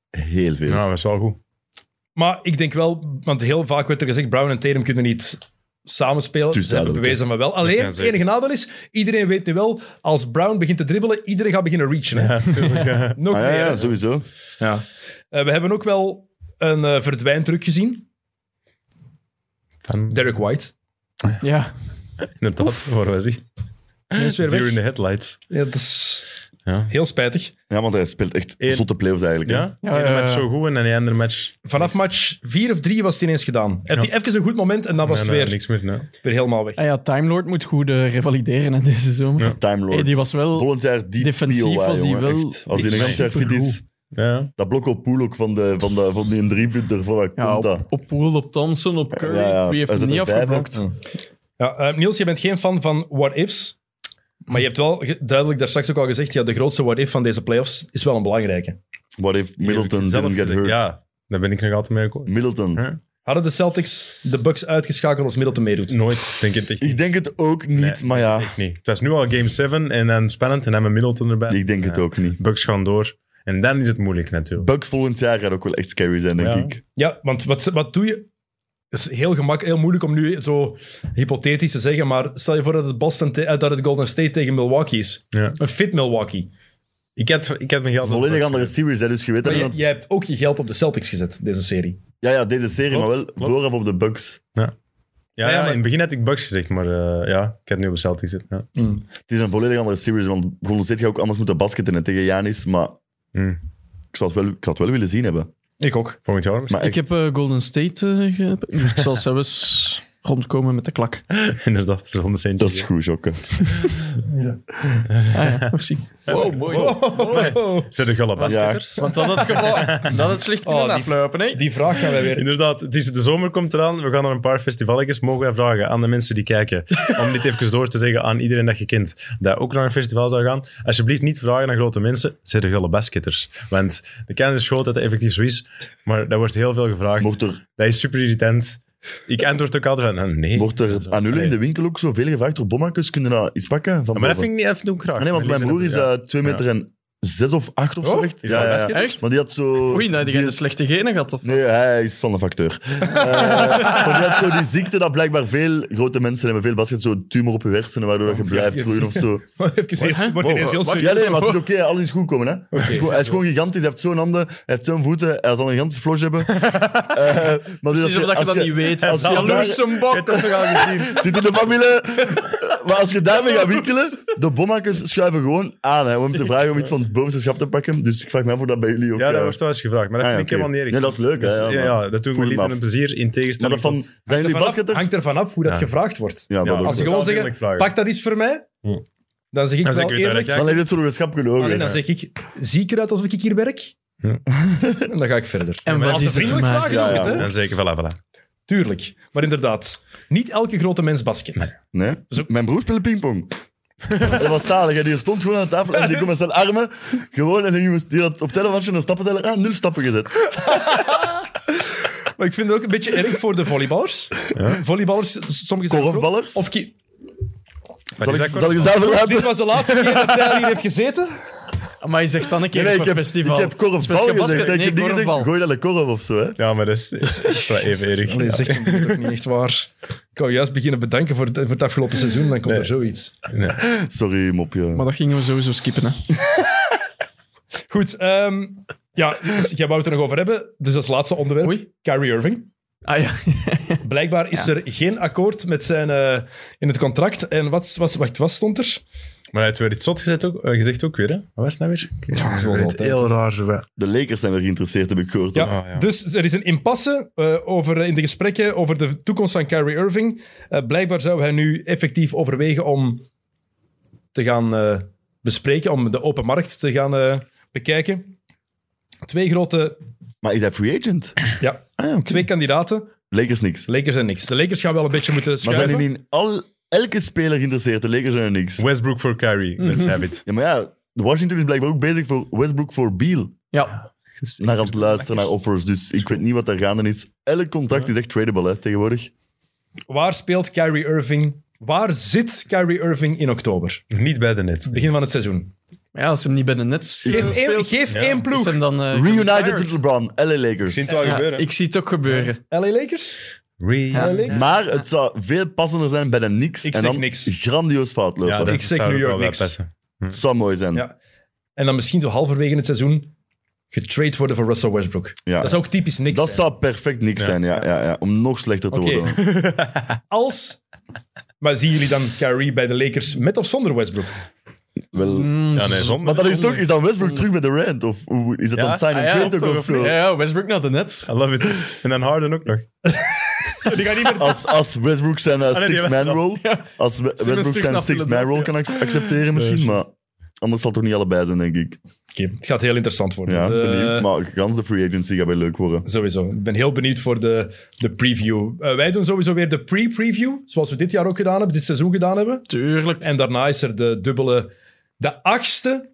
[SPEAKER 3] heel veel.
[SPEAKER 1] Nou, dat is wel goed.
[SPEAKER 2] Maar ik denk wel, want heel vaak werd er gezegd, Brown en Tatum kunnen niet samenspelen.
[SPEAKER 3] Dus
[SPEAKER 2] Ze hebben
[SPEAKER 3] duidelijk,
[SPEAKER 2] bewezen, maar wel. Alleen,
[SPEAKER 1] kan
[SPEAKER 2] het
[SPEAKER 1] zeker.
[SPEAKER 2] enige nadeel is, iedereen weet nu wel, als Brown begint te dribbelen, iedereen gaat beginnen reachen. hè. Nog
[SPEAKER 3] Ah, ja,
[SPEAKER 2] meer.
[SPEAKER 3] ja, sowieso.
[SPEAKER 1] Ja.
[SPEAKER 2] Eh, we hebben ook wel een eh verdwijntruc gezien.
[SPEAKER 1] Dan,
[SPEAKER 2] Derek White.
[SPEAKER 4] Ja.
[SPEAKER 1] inderdaad, waar was hij?
[SPEAKER 2] Die is weer weg.
[SPEAKER 1] During the headlights.
[SPEAKER 2] Ja, dat is
[SPEAKER 1] Ja.
[SPEAKER 2] heel spijtig.
[SPEAKER 3] Ja, want hij speelt echt
[SPEAKER 1] Eén-
[SPEAKER 3] zotte playoffs eigenlijk. hè.
[SPEAKER 1] Ja,
[SPEAKER 4] Ja,
[SPEAKER 1] ene
[SPEAKER 4] ja, ja.
[SPEAKER 1] match zo goed en de andere match...
[SPEAKER 2] Vanaf match 4 of 3 was het ineens gedaan. Heeft hij even een goed moment en dan was
[SPEAKER 1] Nee,
[SPEAKER 2] het
[SPEAKER 1] nee,
[SPEAKER 2] weer,
[SPEAKER 1] Niks meer, nee.
[SPEAKER 2] weer helemaal weg.
[SPEAKER 4] Ah ja, Time Lord moet goed eh, revalideren hè, deze zomer.
[SPEAKER 1] Ja.
[SPEAKER 3] Time Lord.
[SPEAKER 4] Hey, die was wel
[SPEAKER 3] Volgend jaar die
[SPEAKER 4] defensief
[SPEAKER 3] POI,
[SPEAKER 4] was die
[SPEAKER 3] jongen,
[SPEAKER 4] wel
[SPEAKER 3] echt. Als die een
[SPEAKER 4] echt
[SPEAKER 3] ganse jaar fit is.
[SPEAKER 4] supergoed.
[SPEAKER 1] Ja.
[SPEAKER 3] Dat blok op Poel ook van, de, van, de, van die driepunter. Van waar
[SPEAKER 4] Ja,
[SPEAKER 3] komt dat?
[SPEAKER 4] op, op Poole, op Thompson, op Curry.
[SPEAKER 3] Ja, ja.
[SPEAKER 4] Wie heeft
[SPEAKER 3] Hij
[SPEAKER 4] het
[SPEAKER 3] zet
[SPEAKER 4] niet
[SPEAKER 3] er vijf,
[SPEAKER 4] afgeblokt?
[SPEAKER 3] hè.
[SPEAKER 2] Ja, eh, Niels, je bent geen fan van what-ifs. Maar je hebt wel ge- duidelijk daar straks ook al gezegd, ja, de grootste what-if van deze playoffs is wel een belangrijke.
[SPEAKER 3] What if Middleton
[SPEAKER 1] Zelf
[SPEAKER 3] didn't get
[SPEAKER 1] gezegd.
[SPEAKER 3] hurt?
[SPEAKER 1] Ja, daar ben ik nog altijd mee akkoord.
[SPEAKER 3] Middleton.
[SPEAKER 1] Huh?
[SPEAKER 2] Hadden de Celtics de Bucks uitgeschakeld als Middleton meedoet?
[SPEAKER 1] Nooit, denk ik het echt
[SPEAKER 3] Ik denk het ook niet,
[SPEAKER 1] Nee.
[SPEAKER 3] maar ja,
[SPEAKER 1] niet. Het was nu al game 7 en dan spannend en dan met Middleton erbij.
[SPEAKER 3] ik denk het
[SPEAKER 1] Ja.
[SPEAKER 3] ook niet.
[SPEAKER 1] Bucks gaan door. En dan is het moeilijk natuurlijk.
[SPEAKER 3] Bucks volgend jaar gaat ook wel echt scary zijn, denk
[SPEAKER 1] Ja.
[SPEAKER 3] ik.
[SPEAKER 2] Ja, want wat, wat doe je? Het is heel, gemak, heel moeilijk om nu zo hypothetisch te zeggen, maar stel je voor dat het, Boston te- eh, dat het Golden State tegen Milwaukee is.
[SPEAKER 1] Ja.
[SPEAKER 2] Een fit Milwaukee.
[SPEAKER 1] Ik had, ik had mijn geld... op
[SPEAKER 3] Volledig
[SPEAKER 1] Bucks.
[SPEAKER 3] andere series, hè, dus je weet dat.
[SPEAKER 2] Maar je,
[SPEAKER 3] iemand-
[SPEAKER 2] jij hebt ook je geld op de Celtics gezet, deze serie.
[SPEAKER 3] Ja, ja, deze serie, maar wel
[SPEAKER 1] klopt.
[SPEAKER 3] vooraf op de Bucks.
[SPEAKER 1] Ja,
[SPEAKER 2] Ja,
[SPEAKER 1] ja,
[SPEAKER 2] maar-
[SPEAKER 1] in het begin had ik Bucks gezegd, maar eh, ja, ik had nu op Celtics zitten. Ja.
[SPEAKER 3] Het is een volledig andere series, want Golden State gaat ook anders moeten basketten hè, tegen Janis, maar
[SPEAKER 1] Hmm.
[SPEAKER 3] ik zou het wel, ik zou het wel willen zien hebben.
[SPEAKER 2] Ik ook.
[SPEAKER 1] Volgend jaar misschien.
[SPEAKER 3] Maar Ah, echt,
[SPEAKER 4] Ik heb eh, Golden State eh, ge- dus Ik zal zelfs rondkomen met de klak.
[SPEAKER 1] Inderdaad, zonder centjes.
[SPEAKER 3] dat is goed, Jokke.
[SPEAKER 4] Ah ja, merci. Wow, mooi.
[SPEAKER 3] Oh,
[SPEAKER 1] Zijn de gulle basketters?
[SPEAKER 4] Want dat had geval, dat had slecht kunnen
[SPEAKER 2] Oh, die-
[SPEAKER 4] aflopen, hè?
[SPEAKER 2] Die vraag gaan wij weer
[SPEAKER 1] Inderdaad, het is, de zomer komt eraan. We gaan naar een paar festivalletjes. Mogen wij vragen aan de mensen die kijken, om dit even door te zeggen aan iedereen dat je kent, dat ook naar een festival zou gaan. Alsjeblieft niet vragen aan grote mensen, zijn de gulle basketters. Want de kans is groot dat dat effectief zo is, maar daar wordt heel veel gevraagd.
[SPEAKER 3] Wordt er,
[SPEAKER 1] Dat is super irritant. Ik antwoord ook altijd van, "Ah, nee.
[SPEAKER 3] wordt er aan jullie in de winkel ook zoveel gevraagd door bommakjes? Kunnen dat iets pakken? Van
[SPEAKER 1] Ja, maar dat
[SPEAKER 3] boven?
[SPEAKER 1] vind ik niet even doen graag.
[SPEAKER 3] Ah, Nee, want mijn broer is
[SPEAKER 1] Ja.
[SPEAKER 3] eh 2 meter en 6 of 8 of zo.
[SPEAKER 2] Oh,
[SPEAKER 3] echt.
[SPEAKER 1] is dat
[SPEAKER 3] Ja, ja,
[SPEAKER 1] basket?
[SPEAKER 3] ja.
[SPEAKER 4] Echt?
[SPEAKER 3] Maar die had zo.
[SPEAKER 4] Oei, nou, die
[SPEAKER 3] die- Dus
[SPEAKER 4] hebben de slechte genen gehad. Of...
[SPEAKER 3] Nee, hij is van de facteur. Eh, maar die had zo die ziekte dat blijkbaar veel grote mensen hebben, veel basket, zo'n tumor op je hersenen, waardoor dat je blijft
[SPEAKER 2] yes.
[SPEAKER 3] groeien of zo. Oh,
[SPEAKER 2] Even eerst, wordt ineens heel
[SPEAKER 3] Ja,
[SPEAKER 2] serieus.
[SPEAKER 3] nee, maar het is oké, alles is goed komen. Hè? hij, is gewoon, hij is gewoon gigantisch, hij heeft zo'n handen, hij heeft zo'n voeten, hij zal een gigantische flosh hebben. Eh, maar dus als
[SPEAKER 4] Precies
[SPEAKER 3] je-
[SPEAKER 4] omdat je
[SPEAKER 3] als
[SPEAKER 4] dat
[SPEAKER 3] je-
[SPEAKER 4] niet weet.
[SPEAKER 3] als je
[SPEAKER 4] Jaloers
[SPEAKER 3] daar-
[SPEAKER 4] een bok.
[SPEAKER 3] dat toch al gezien. Zit in de familie. Maar als je daarmee gaat wikkelen, de bommakers schuiven gewoon aan. Hè, om te vragen om iets van het bovenste schap te pakken. Dus ik vraag me af of dat bij jullie ook...
[SPEAKER 1] Ja, dat
[SPEAKER 3] eh,
[SPEAKER 1] wordt wel eens gevraagd, maar dat
[SPEAKER 3] Ah, ja,
[SPEAKER 1] vind ik
[SPEAKER 3] oké.
[SPEAKER 1] helemaal niet erg.
[SPEAKER 3] Nee, dat is leuk, hè,
[SPEAKER 1] ja,
[SPEAKER 3] ja,
[SPEAKER 1] ja,
[SPEAKER 3] maar-
[SPEAKER 1] dat doet me
[SPEAKER 3] Voel
[SPEAKER 1] lief
[SPEAKER 3] me
[SPEAKER 1] en
[SPEAKER 3] af.
[SPEAKER 1] een plezier, in
[SPEAKER 3] maar
[SPEAKER 1] tegenstelling
[SPEAKER 3] dat van...
[SPEAKER 1] tot...
[SPEAKER 3] Zijn jullie
[SPEAKER 2] Vanaf-
[SPEAKER 3] basketters?
[SPEAKER 2] hangt er vanaf hoe dat
[SPEAKER 1] Ja.
[SPEAKER 2] gevraagd wordt.
[SPEAKER 3] Ja, dat
[SPEAKER 1] Ja,
[SPEAKER 3] ook.
[SPEAKER 2] Als ze
[SPEAKER 1] ik
[SPEAKER 2] gewoon
[SPEAKER 1] zou
[SPEAKER 2] zeggen,
[SPEAKER 1] eerlijk vragen.
[SPEAKER 2] pak dat iets voor mij,
[SPEAKER 1] Hm.
[SPEAKER 2] dan zeg ik
[SPEAKER 1] Dan zeg
[SPEAKER 2] wel
[SPEAKER 1] ik weet dat
[SPEAKER 2] eerlijk...
[SPEAKER 1] jij-
[SPEAKER 3] Dan heeft het zo nog een schapje
[SPEAKER 2] Allee,
[SPEAKER 3] over.
[SPEAKER 2] dan zeg ik, zie ik eruit alsof ik hier werk?
[SPEAKER 1] Ja.
[SPEAKER 2] En dan ga ik verder.
[SPEAKER 4] En wat
[SPEAKER 2] als
[SPEAKER 4] is
[SPEAKER 2] ze
[SPEAKER 4] het te
[SPEAKER 2] vriendelijk
[SPEAKER 4] maken?
[SPEAKER 2] vragen, doe ik
[SPEAKER 3] Ja,
[SPEAKER 2] het,
[SPEAKER 3] ja.
[SPEAKER 2] hè?
[SPEAKER 1] Dan zeker, voilà, voilà.
[SPEAKER 2] Tuurlijk. Maar inderdaad, niet elke grote mens basket.
[SPEAKER 3] Nee?
[SPEAKER 2] Zo-
[SPEAKER 3] Mijn broer speelde pingpong. dat was zalig. Hè. Die stond gewoon aan de tafel en die kon met zijn armen gewoon... En die moest- die had op telefoontje een stappenteller aan, nul stappen gezet.
[SPEAKER 2] Maar ik vind het ook een beetje erg voor de volleyballers. Volleyballers, s- sommigen zijn...
[SPEAKER 3] Korfballers?
[SPEAKER 2] Of ki-
[SPEAKER 1] Maar
[SPEAKER 3] Zal
[SPEAKER 1] is
[SPEAKER 3] ik,
[SPEAKER 1] dat
[SPEAKER 3] zal ik
[SPEAKER 1] correct?
[SPEAKER 3] eens even
[SPEAKER 2] Dit
[SPEAKER 3] laten?
[SPEAKER 2] was de laatste keer dat hij hier heeft gezeten.
[SPEAKER 4] Maar je zegt dan een keer
[SPEAKER 3] Nee, nee,
[SPEAKER 4] op
[SPEAKER 3] ik
[SPEAKER 4] een
[SPEAKER 3] heb,
[SPEAKER 4] festival.
[SPEAKER 3] ik heb
[SPEAKER 4] Speelt
[SPEAKER 3] korfbal
[SPEAKER 4] je
[SPEAKER 3] gezegd.
[SPEAKER 4] basket?
[SPEAKER 3] hè. Ik
[SPEAKER 4] Nee,
[SPEAKER 3] heb niet gezegd,
[SPEAKER 4] korfbal.
[SPEAKER 3] gooi dat de korf of zo. Hè.
[SPEAKER 1] Ja, maar dat is, is, is wel even erg.
[SPEAKER 2] Allee, zegt hem dat ook niet echt waar. Ik wou juist beginnen bedanken voor het, voor het afgelopen seizoen, dan komt er zoiets.
[SPEAKER 3] Sorry, mopje.
[SPEAKER 4] Maar dat gingen we sowieso skippen, hè.
[SPEAKER 2] Goed, ehm, ja, dus jij wou het er nog over hebben. Dus als laatste onderwerp,
[SPEAKER 4] Oei.
[SPEAKER 2] Kyrie Irving.
[SPEAKER 4] Ah ja.
[SPEAKER 2] Blijkbaar is er geen akkoord met zijn, eh, in het contract. En wat, wat, wacht, wat stond er?
[SPEAKER 1] Maar hij heeft weer iets zot gezet ook, eh, gezegd ook weer, hè? Wat was het nou weer? Ik-
[SPEAKER 2] zoals
[SPEAKER 1] ik weet het,
[SPEAKER 2] altijd,
[SPEAKER 1] heel raar. we-
[SPEAKER 3] De Lakers zijn weer geïnteresseerd, heb ik gehoord.
[SPEAKER 2] Ja,
[SPEAKER 3] hoor.
[SPEAKER 1] Ah, ja.
[SPEAKER 2] Dus er is een impasse eh, over, eh, in de gesprekken over de toekomst van Kyrie Irving. Eh, blijkbaar zou hij nu effectief overwegen om te gaan eh, bespreken, om de open markt te gaan eh, bekijken. Twee grote
[SPEAKER 3] Maar is hij free agent?
[SPEAKER 2] ja,
[SPEAKER 3] Ah, ja, oké.
[SPEAKER 2] twee kandidaten,
[SPEAKER 3] Lakers niks.
[SPEAKER 2] de Lakers en niks. De Lakers gaan wel een beetje moeten
[SPEAKER 3] Maar zijn
[SPEAKER 2] schuiven.
[SPEAKER 3] die niet in al, elke speler geïnteresseerd? De Lakers zijn er niks.
[SPEAKER 1] Westbrook voor Kyrie, let's have it.
[SPEAKER 3] Ja, maar ja, Washington is blijkbaar ook bezig voor Westbrook voor Beal.
[SPEAKER 4] Ja.
[SPEAKER 3] Naar aan het luisteren naar offers. Dus ik weet niet wat daar gaande is. Elk contract is echt tradable hè, tegenwoordig.
[SPEAKER 2] Waar speelt Kyrie Irving Waar zit Kyrie Irving in oktober?
[SPEAKER 1] Niet bij de net.
[SPEAKER 2] Het begin van het seizoen.
[SPEAKER 4] Maar ja, als hem niet bij de Nets
[SPEAKER 2] Geef één,
[SPEAKER 4] speelt,
[SPEAKER 2] geef
[SPEAKER 1] Ja.
[SPEAKER 2] één
[SPEAKER 4] is
[SPEAKER 2] ploeg.
[SPEAKER 4] hem dan... eh,
[SPEAKER 3] Reunited
[SPEAKER 4] retired.
[SPEAKER 3] with LeBron, LA
[SPEAKER 1] Ik zie
[SPEAKER 3] Lakers.
[SPEAKER 1] het wel
[SPEAKER 4] Ja,
[SPEAKER 1] gebeuren.
[SPEAKER 4] ik zie het ook gebeuren.
[SPEAKER 2] LA Lakers?
[SPEAKER 1] Re-
[SPEAKER 2] LA Lakers?
[SPEAKER 3] Maar het zou veel passender zijn bij de Knicks.
[SPEAKER 2] Ik
[SPEAKER 3] en
[SPEAKER 2] zeg
[SPEAKER 3] dan
[SPEAKER 2] niks.
[SPEAKER 3] grandioos fout lopen.
[SPEAKER 1] Ja, dat
[SPEAKER 2] ik zeg
[SPEAKER 1] zou
[SPEAKER 2] New
[SPEAKER 1] ook wel
[SPEAKER 2] York
[SPEAKER 1] bij
[SPEAKER 2] niks.
[SPEAKER 1] passen.
[SPEAKER 3] Het zou mooi zijn.
[SPEAKER 2] Ja. En dan misschien toch halverwege het seizoen getrade worden voor Russell Westbrook.
[SPEAKER 3] Ja.
[SPEAKER 2] Dat is ook typisch niks.
[SPEAKER 3] Dat
[SPEAKER 2] zijn.
[SPEAKER 3] zou perfect niks
[SPEAKER 1] Ja.
[SPEAKER 3] zijn, ja, ja, ja, om nog slechter te
[SPEAKER 2] Oké.
[SPEAKER 3] worden.
[SPEAKER 2] Als... Maar zien jullie dan Kyrie bij de Lakers met of zonder Westbrook?
[SPEAKER 3] Wel,
[SPEAKER 4] Mm,
[SPEAKER 1] Ja, nee, zonder.
[SPEAKER 3] maar dan is, het ook, is dan Westbrook terug bij de Rand? Of hoe- is het
[SPEAKER 1] Ja?
[SPEAKER 3] dan sign
[SPEAKER 1] Ah,
[SPEAKER 3] and
[SPEAKER 1] ja,
[SPEAKER 3] trade
[SPEAKER 1] toch,
[SPEAKER 3] ook of
[SPEAKER 1] of
[SPEAKER 3] zo?
[SPEAKER 4] Ja, ja, Westbrook naar de Nets.
[SPEAKER 1] I love it. En dan Harden ook nog.
[SPEAKER 2] Die gaat niet meer...
[SPEAKER 3] Als, als Westbrook zijn eh,
[SPEAKER 1] nee, die was
[SPEAKER 3] six-man
[SPEAKER 1] er al.
[SPEAKER 3] role, als We- Westbrook
[SPEAKER 1] terug
[SPEAKER 3] zijn
[SPEAKER 1] naar
[SPEAKER 3] six-man role kan ac- accepteren misschien, maar anders zal het toch niet allebei zijn, denk ik.
[SPEAKER 2] Oké, het gaat heel interessant worden.
[SPEAKER 3] Ja,
[SPEAKER 2] De-
[SPEAKER 3] benieuwd. Maar gans de free agency gaat wel leuk worden.
[SPEAKER 2] Sowieso. Ik ben heel benieuwd voor de, de preview. Eh, wij doen sowieso weer de pre-preview, zoals we dit jaar ook gedaan hebben, dit seizoen gedaan hebben.
[SPEAKER 4] Tuurlijk.
[SPEAKER 2] En daarna is er de dubbele, de achtste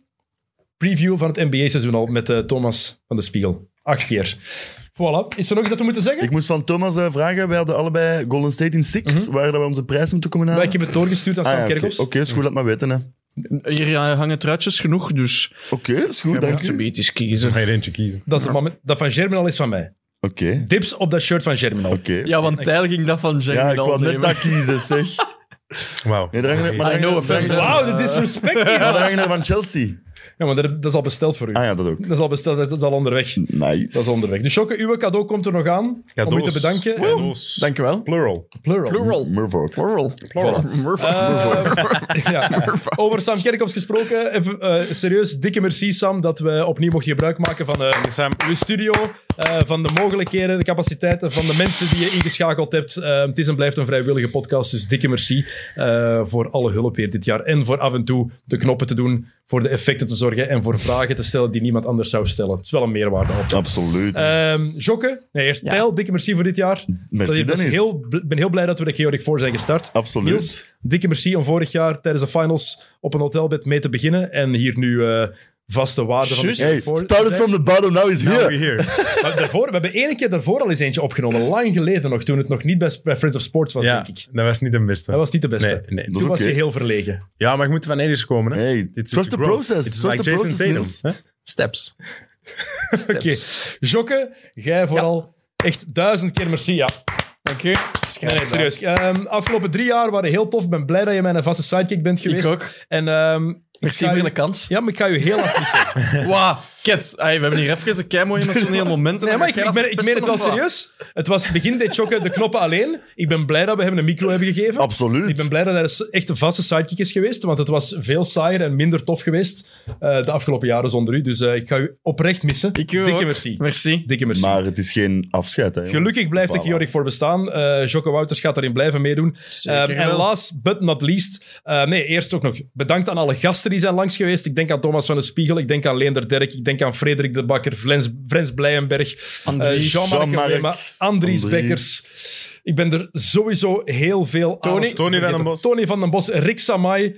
[SPEAKER 2] preview van het NBA-seizoen al met eh, Thomas van de Spiegel. Acht keer. Voilà. Is er nog iets dat we moeten zeggen?
[SPEAKER 3] Ik moest van Thomas eh, vragen, wij hadden allebei Golden State in six, waar dat we onze prijs moeten komen
[SPEAKER 2] Maar
[SPEAKER 3] halen.
[SPEAKER 2] ik heb het doorgestuurd Mhm. aan
[SPEAKER 3] Ah,
[SPEAKER 2] Sam
[SPEAKER 3] ja, Oké,
[SPEAKER 2] Kerkhoffs.
[SPEAKER 3] Oké, is goed, laat maar weten. hè.
[SPEAKER 4] Hier eh, hangen truitjes genoeg, dus
[SPEAKER 3] Oké, is goed,
[SPEAKER 4] je
[SPEAKER 3] dank
[SPEAKER 4] moet een
[SPEAKER 3] je.
[SPEAKER 4] beetje eens kiezen.
[SPEAKER 1] Ga je er eentje kiezen.
[SPEAKER 2] Dat, is het moment- dat van Germinal is van mij.
[SPEAKER 3] Oké,
[SPEAKER 2] Dips op dat shirt van Germinal.
[SPEAKER 3] oké.
[SPEAKER 4] Ja, want Tijl ging dat van Jeremy
[SPEAKER 3] Ja, ik wou net
[SPEAKER 4] nemen.
[SPEAKER 3] dat kiezen, zeg.
[SPEAKER 1] Wauw.
[SPEAKER 3] Nee, daar hangen, maar daar
[SPEAKER 4] I know
[SPEAKER 3] hangen- daar
[SPEAKER 4] offense,
[SPEAKER 3] hangen-
[SPEAKER 2] Wauw, de disrespect hier.
[SPEAKER 3] Ja, daar hangen er van Chelsea.
[SPEAKER 2] Ja, maar dat, dat is al besteld voor u.
[SPEAKER 3] Ah ja, dat ook.
[SPEAKER 2] Dat is al besteld, dat is al onderweg.
[SPEAKER 3] Nice.
[SPEAKER 2] Dat is onderweg. Dus Jokke, uw cadeau komt er nog aan. Om u te bedanken.
[SPEAKER 1] Cadeaus.
[SPEAKER 4] Dankjewel.
[SPEAKER 1] Plural.
[SPEAKER 2] Plural. Ah,
[SPEAKER 3] Murvold.
[SPEAKER 4] Plural.
[SPEAKER 1] Plural.
[SPEAKER 2] Eh, ja. Over Sam Kerkhoffs gesproken. Even, eh, serieus, dikke merci Sam dat we opnieuw mochten gebruik maken van eh,
[SPEAKER 1] Sam.
[SPEAKER 2] uw studio, eh, van de mogelijkheden, de capaciteiten van de mensen die je ingeschakeld hebt. Eh, het is en blijft een vrijwillige podcast, dus dikke merci eh, voor alle hulp weer dit jaar. En voor af en toe de knoppen te doen, voor de effecten te zorgen en voor vragen te stellen die niemand anders zou stellen. Het is wel een meerwaarde. altijd.
[SPEAKER 3] Absoluut.
[SPEAKER 2] Ehm Jokke, nee, eerst
[SPEAKER 4] Ja.
[SPEAKER 2] Tijl, dikke merci voor dit jaar. Dat
[SPEAKER 3] Merci,
[SPEAKER 2] hier- dat is
[SPEAKER 3] Dennis.
[SPEAKER 2] heel, bl- ben heel blij dat we de Georg voor zijn gestart.
[SPEAKER 3] Absoluut.
[SPEAKER 2] Niels, dikke merci om vorig jaar tijdens de finals op een hotelbed mee te beginnen. En hier nu eh, vaste waarde van de
[SPEAKER 4] Juist.
[SPEAKER 3] Hey,
[SPEAKER 2] Georg voor Nou, te
[SPEAKER 3] started
[SPEAKER 2] zijn.
[SPEAKER 3] from the bottom, now he's
[SPEAKER 1] Now
[SPEAKER 3] here.
[SPEAKER 1] we're here.
[SPEAKER 2] Maar daarvoor, we hebben één keer daarvoor al eens eentje opgenomen. Lang geleden nog, toen het nog niet bij, Sp- bij Friends of Sports was,
[SPEAKER 1] Ja,
[SPEAKER 2] denk ik.
[SPEAKER 1] dat was niet de beste.
[SPEAKER 2] Dat was niet de beste.
[SPEAKER 1] Nee, nee.
[SPEAKER 2] Toen
[SPEAKER 3] Dat is
[SPEAKER 2] was
[SPEAKER 3] oké.
[SPEAKER 2] je heel verlegen.
[SPEAKER 1] Ja, maar ik moet van ergens komen. Hè.
[SPEAKER 3] Hey,
[SPEAKER 1] It's- it's
[SPEAKER 3] trust the
[SPEAKER 1] growth.
[SPEAKER 3] process.
[SPEAKER 1] It's
[SPEAKER 3] Trust
[SPEAKER 1] like
[SPEAKER 3] the
[SPEAKER 1] Jason
[SPEAKER 3] process,
[SPEAKER 1] Tatum.
[SPEAKER 3] Niels.
[SPEAKER 1] hè? Steps.
[SPEAKER 2] Oké. Jokke, jij vooral echt duizend keer merci. Ja.
[SPEAKER 4] Dank je.
[SPEAKER 2] Nee, nee, serieus. Ehm, afgelopen drie jaar waren heel tof. Ik ben blij dat je mijn vaste sidekick bent geweest.
[SPEAKER 4] Ik ook.
[SPEAKER 2] En, ehm,
[SPEAKER 4] Merci
[SPEAKER 2] ga
[SPEAKER 4] voor
[SPEAKER 2] je-
[SPEAKER 4] de kans.
[SPEAKER 2] Ja, maar ik ga je heel hard missen.
[SPEAKER 4] Wauw, ket. Ai, we hebben hier even een keimooi emotioneel moment. en
[SPEAKER 2] Nee,
[SPEAKER 4] dan
[SPEAKER 2] maar
[SPEAKER 4] ga
[SPEAKER 2] ik,
[SPEAKER 4] jij
[SPEAKER 2] ik,
[SPEAKER 4] dat
[SPEAKER 2] meen, ik meen
[SPEAKER 4] verpesten
[SPEAKER 2] het wel
[SPEAKER 4] of wat?
[SPEAKER 2] serieus. Het was begin dit chokken, de knoppen alleen. Ik ben blij dat we hem een micro hebben gegeven. Ik
[SPEAKER 3] Absoluut.
[SPEAKER 2] ben blij dat hij s- echt een vaste sidekick is geweest, want het was veel saaier en minder tof geweest eh, de afgelopen jaren zonder u. Dus eh, ik ga u oprecht missen.
[SPEAKER 4] Ik u
[SPEAKER 2] Dikke
[SPEAKER 4] ook.
[SPEAKER 2] merci.
[SPEAKER 4] Merci.
[SPEAKER 2] Dikke merci.
[SPEAKER 3] Maar het is geen afscheid. Hè, jongens.
[SPEAKER 2] Gelukkig blijft de
[SPEAKER 3] Voilà.
[SPEAKER 2] Kiorik voor bestaan. Eh Jocke Wouters gaat daarin blijven meedoen.
[SPEAKER 4] Zeker
[SPEAKER 2] Ehm, en
[SPEAKER 4] wel.
[SPEAKER 2] last but not least, eh, nee, eerst ook nog bedankt aan alle gasten die zijn langs geweest. Ik denk aan Thomas van de Spiegel, ik denk aan Leender Derk, ik denk aan Frederik de Bakker, Flens, Frens Blijenberg,
[SPEAKER 4] Andries.
[SPEAKER 2] eh, Jean-Marc
[SPEAKER 3] Jean-Marc.
[SPEAKER 2] Weema, Andries
[SPEAKER 3] Andries.
[SPEAKER 2] Bekkers. Ik ben er sowieso heel veel aan
[SPEAKER 4] Tony.
[SPEAKER 2] het
[SPEAKER 1] Tony van den
[SPEAKER 2] vergeten.
[SPEAKER 1] Bos.
[SPEAKER 2] Tony van den Bos, Rick Samai.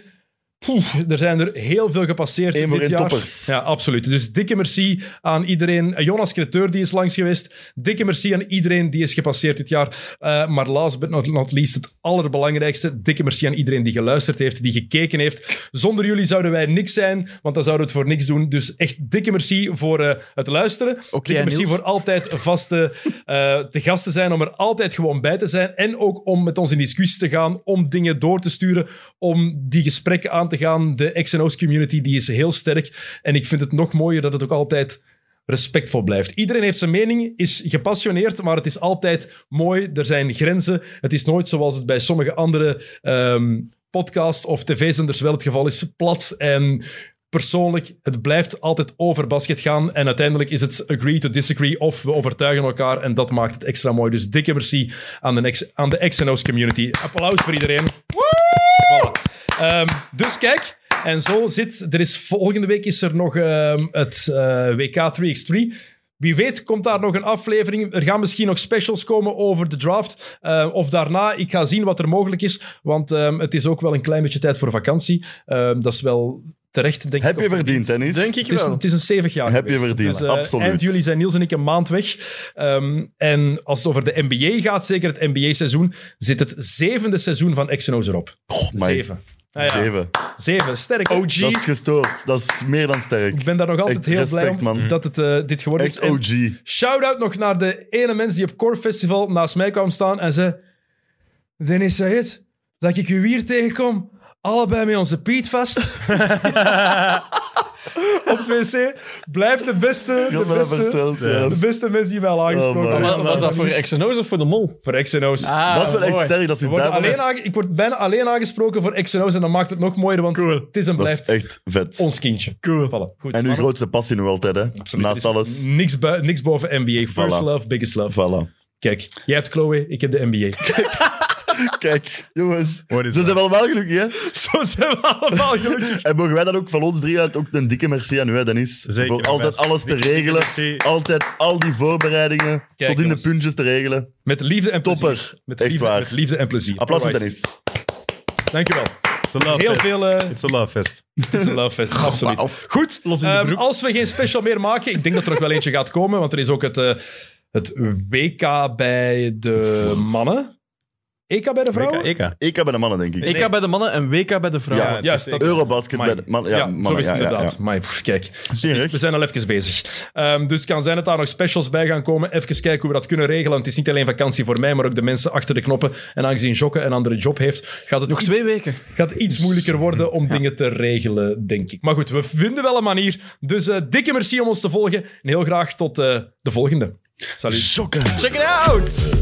[SPEAKER 2] Poeh, er zijn er heel veel gepasseerd
[SPEAKER 3] Emer
[SPEAKER 2] dit
[SPEAKER 3] en
[SPEAKER 2] jaar.
[SPEAKER 3] toppers.
[SPEAKER 2] Ja, absoluut. Dus dikke merci aan iedereen. Jonas Creteur, die is langs geweest. Dikke merci aan iedereen die is gepasseerd dit jaar. Eh, maar last but not, not least, het allerbelangrijkste. Dikke merci aan iedereen die geluisterd heeft, die gekeken heeft. Zonder jullie zouden wij niks zijn, want dan zouden we het voor niks doen. Dus echt dikke merci voor eh, het luisteren. dikke merci
[SPEAKER 4] Niels.
[SPEAKER 2] voor altijd vaste eh, te gasten zijn, om er altijd gewoon bij te zijn. En ook om met ons in discussie te gaan, om dingen door te sturen, om die gesprekken aan te gaan. De X&O's community die is heel sterk. En ik vind het nog mooier dat het ook altijd respectvol blijft. Iedereen heeft zijn mening, is gepassioneerd, maar het is altijd mooi. Er zijn grenzen. Het is nooit zoals het bij sommige andere ehm, podcasts of tv-zenders wel het geval is. Plat en persoonlijk, het blijft altijd over basket gaan. En uiteindelijk is het agree to disagree of we overtuigen elkaar. En dat maakt het extra mooi. Dus dikke merci aan de, X- aan de X&O's community. Applaus voor iedereen. Voilà. Ehm, dus kijk, en zo zit... Er is, volgende week is er nog ehm, het eh, WK 3x3. Wie weet komt daar nog een aflevering. Er gaan misschien nog specials komen over de draft. Eh, of daarna, ik ga zien wat er mogelijk is. Want ehm, het is ook wel een klein beetje tijd voor vakantie. Ehm, dat is wel terecht, denk
[SPEAKER 3] Heb
[SPEAKER 2] ik.
[SPEAKER 3] je
[SPEAKER 2] of
[SPEAKER 3] verdiend, Dennis?
[SPEAKER 4] Denk ik
[SPEAKER 2] Het is,
[SPEAKER 4] wel.
[SPEAKER 2] een- het is een stevig jaar
[SPEAKER 3] Heb je
[SPEAKER 2] geweest.
[SPEAKER 3] verdiend,
[SPEAKER 2] eh,
[SPEAKER 3] absoluut.
[SPEAKER 2] Eind juli zijn Niels en ik een maand weg. Ehm, en als het over de NBA gaat, zeker het NBA-seizoen, zit het zevende seizoen van Exynos erop.
[SPEAKER 3] my.
[SPEAKER 2] Zeven. Ah ja,
[SPEAKER 3] Zeven.
[SPEAKER 2] zeven, sterk.
[SPEAKER 3] Dat is
[SPEAKER 2] OG.
[SPEAKER 3] gestoord. Dat is meer dan sterk.
[SPEAKER 2] Ik ben daar nog altijd
[SPEAKER 3] Echt
[SPEAKER 2] heel blij
[SPEAKER 3] respect,
[SPEAKER 2] om
[SPEAKER 3] man.
[SPEAKER 2] dat het eh, dit geworden is.
[SPEAKER 3] Echt
[SPEAKER 2] En
[SPEAKER 3] OG.
[SPEAKER 2] Shout-out nog naar de ene mens die op Core Festival naast mij kwam staan en zei... Dennis, zeg het, dat ik u hier tegenkom, allebei met onze Piet vast. op het wc, blijft de beste,
[SPEAKER 3] Ik
[SPEAKER 2] de
[SPEAKER 3] had me dat
[SPEAKER 2] beste,
[SPEAKER 3] verteld. ja.
[SPEAKER 2] de beste mens die mij al aangesproken
[SPEAKER 3] Oh, man.
[SPEAKER 2] heeft.
[SPEAKER 4] Wa- Was dat Ah. voor Exynos of voor de mol?
[SPEAKER 2] Voor Xenos.
[SPEAKER 3] Dat is wel echt
[SPEAKER 4] mooi.
[SPEAKER 3] sterk dat je
[SPEAKER 2] Ah, We worden
[SPEAKER 3] daar
[SPEAKER 2] alleen
[SPEAKER 3] bent.
[SPEAKER 2] aange- ik word bijna alleen aangesproken voor Xenos en dat maakt het nog mooier, want het is en
[SPEAKER 3] Dat is
[SPEAKER 2] blijft
[SPEAKER 3] echt vet.
[SPEAKER 2] ons kindje.
[SPEAKER 4] Cool.
[SPEAKER 2] Voilà, goed.
[SPEAKER 3] En uw
[SPEAKER 2] Mannen,
[SPEAKER 3] grootste passie nog altijd, hè?
[SPEAKER 2] absoluut,
[SPEAKER 3] Naast
[SPEAKER 2] er is
[SPEAKER 3] alles.
[SPEAKER 2] Niks, bui- niks boven NBA. First
[SPEAKER 3] Voilà.
[SPEAKER 2] love, biggest love.
[SPEAKER 3] Voilà.
[SPEAKER 2] Kijk, jij hebt Chloe, ik heb de NBA.
[SPEAKER 3] Kijk, jongens.
[SPEAKER 1] What is
[SPEAKER 3] Ze
[SPEAKER 1] that?
[SPEAKER 3] zijn wel wel gelukkig, hè?
[SPEAKER 2] Zo zijn we allemaal gelukkig.
[SPEAKER 3] En mogen wij dan ook van ons drie uit ook een dikke merci aan u, hè, Dennis.
[SPEAKER 1] Zeker,
[SPEAKER 3] Voor altijd
[SPEAKER 1] best.
[SPEAKER 3] alles te
[SPEAKER 1] Dikke
[SPEAKER 3] regelen.
[SPEAKER 1] merci.
[SPEAKER 3] Altijd al die voorbereidingen. tot in
[SPEAKER 2] jongens.
[SPEAKER 3] de puntjes te regelen.
[SPEAKER 2] Met liefde en
[SPEAKER 3] Topper.
[SPEAKER 2] plezier. Met
[SPEAKER 3] Echt
[SPEAKER 2] liefde,
[SPEAKER 3] waar.
[SPEAKER 2] Met liefde en plezier.
[SPEAKER 3] Applaus voor
[SPEAKER 2] Alright.
[SPEAKER 3] Dennis.
[SPEAKER 2] Dankjewel.
[SPEAKER 1] It's a love
[SPEAKER 2] Heel
[SPEAKER 1] fest.
[SPEAKER 2] veel, eh,
[SPEAKER 1] It's a love fest.
[SPEAKER 2] Het is een love fest, absoluut. Goed,
[SPEAKER 4] in de
[SPEAKER 2] ehm,
[SPEAKER 4] broek.
[SPEAKER 2] als we geen special meer maken, ik denk dat er nog wel eentje gaat komen, want er is ook het, eh, het WK bij de mannen. EK bij de vrouwen?
[SPEAKER 1] Eka, Eka.
[SPEAKER 3] Ik heb bij de mannen, denk ik.
[SPEAKER 4] EK bij de mannen en WK bij de vrouwen.
[SPEAKER 3] Ja,
[SPEAKER 2] Juist,
[SPEAKER 1] het
[SPEAKER 2] dat
[SPEAKER 1] is
[SPEAKER 3] Eurobasket
[SPEAKER 2] Amai.
[SPEAKER 3] bij de mannen. Ja,
[SPEAKER 2] Ja,
[SPEAKER 3] mannen,
[SPEAKER 2] zo is het
[SPEAKER 3] ja, ja,
[SPEAKER 2] inderdaad.
[SPEAKER 3] ja.
[SPEAKER 2] Maar pff, kijk, Dus
[SPEAKER 3] Serieus?
[SPEAKER 2] we zijn al even bezig. Ehm, dus het kan zijn dat daar nog specials bij gaan komen. Even kijken hoe we dat kunnen regelen. Het is niet alleen vakantie voor mij, maar ook de mensen achter de knoppen. En aangezien Jokke een andere job heeft, gaat het
[SPEAKER 4] Nog
[SPEAKER 2] iets
[SPEAKER 4] twee weken.
[SPEAKER 2] gaat iets moeilijker worden om dingen te regelen, denk ik. Maar goed, we vinden wel een manier. Dus eh, dikke merci om ons te volgen. En heel graag tot eh, de volgende. Salut.
[SPEAKER 3] Schokken.
[SPEAKER 4] Check it out!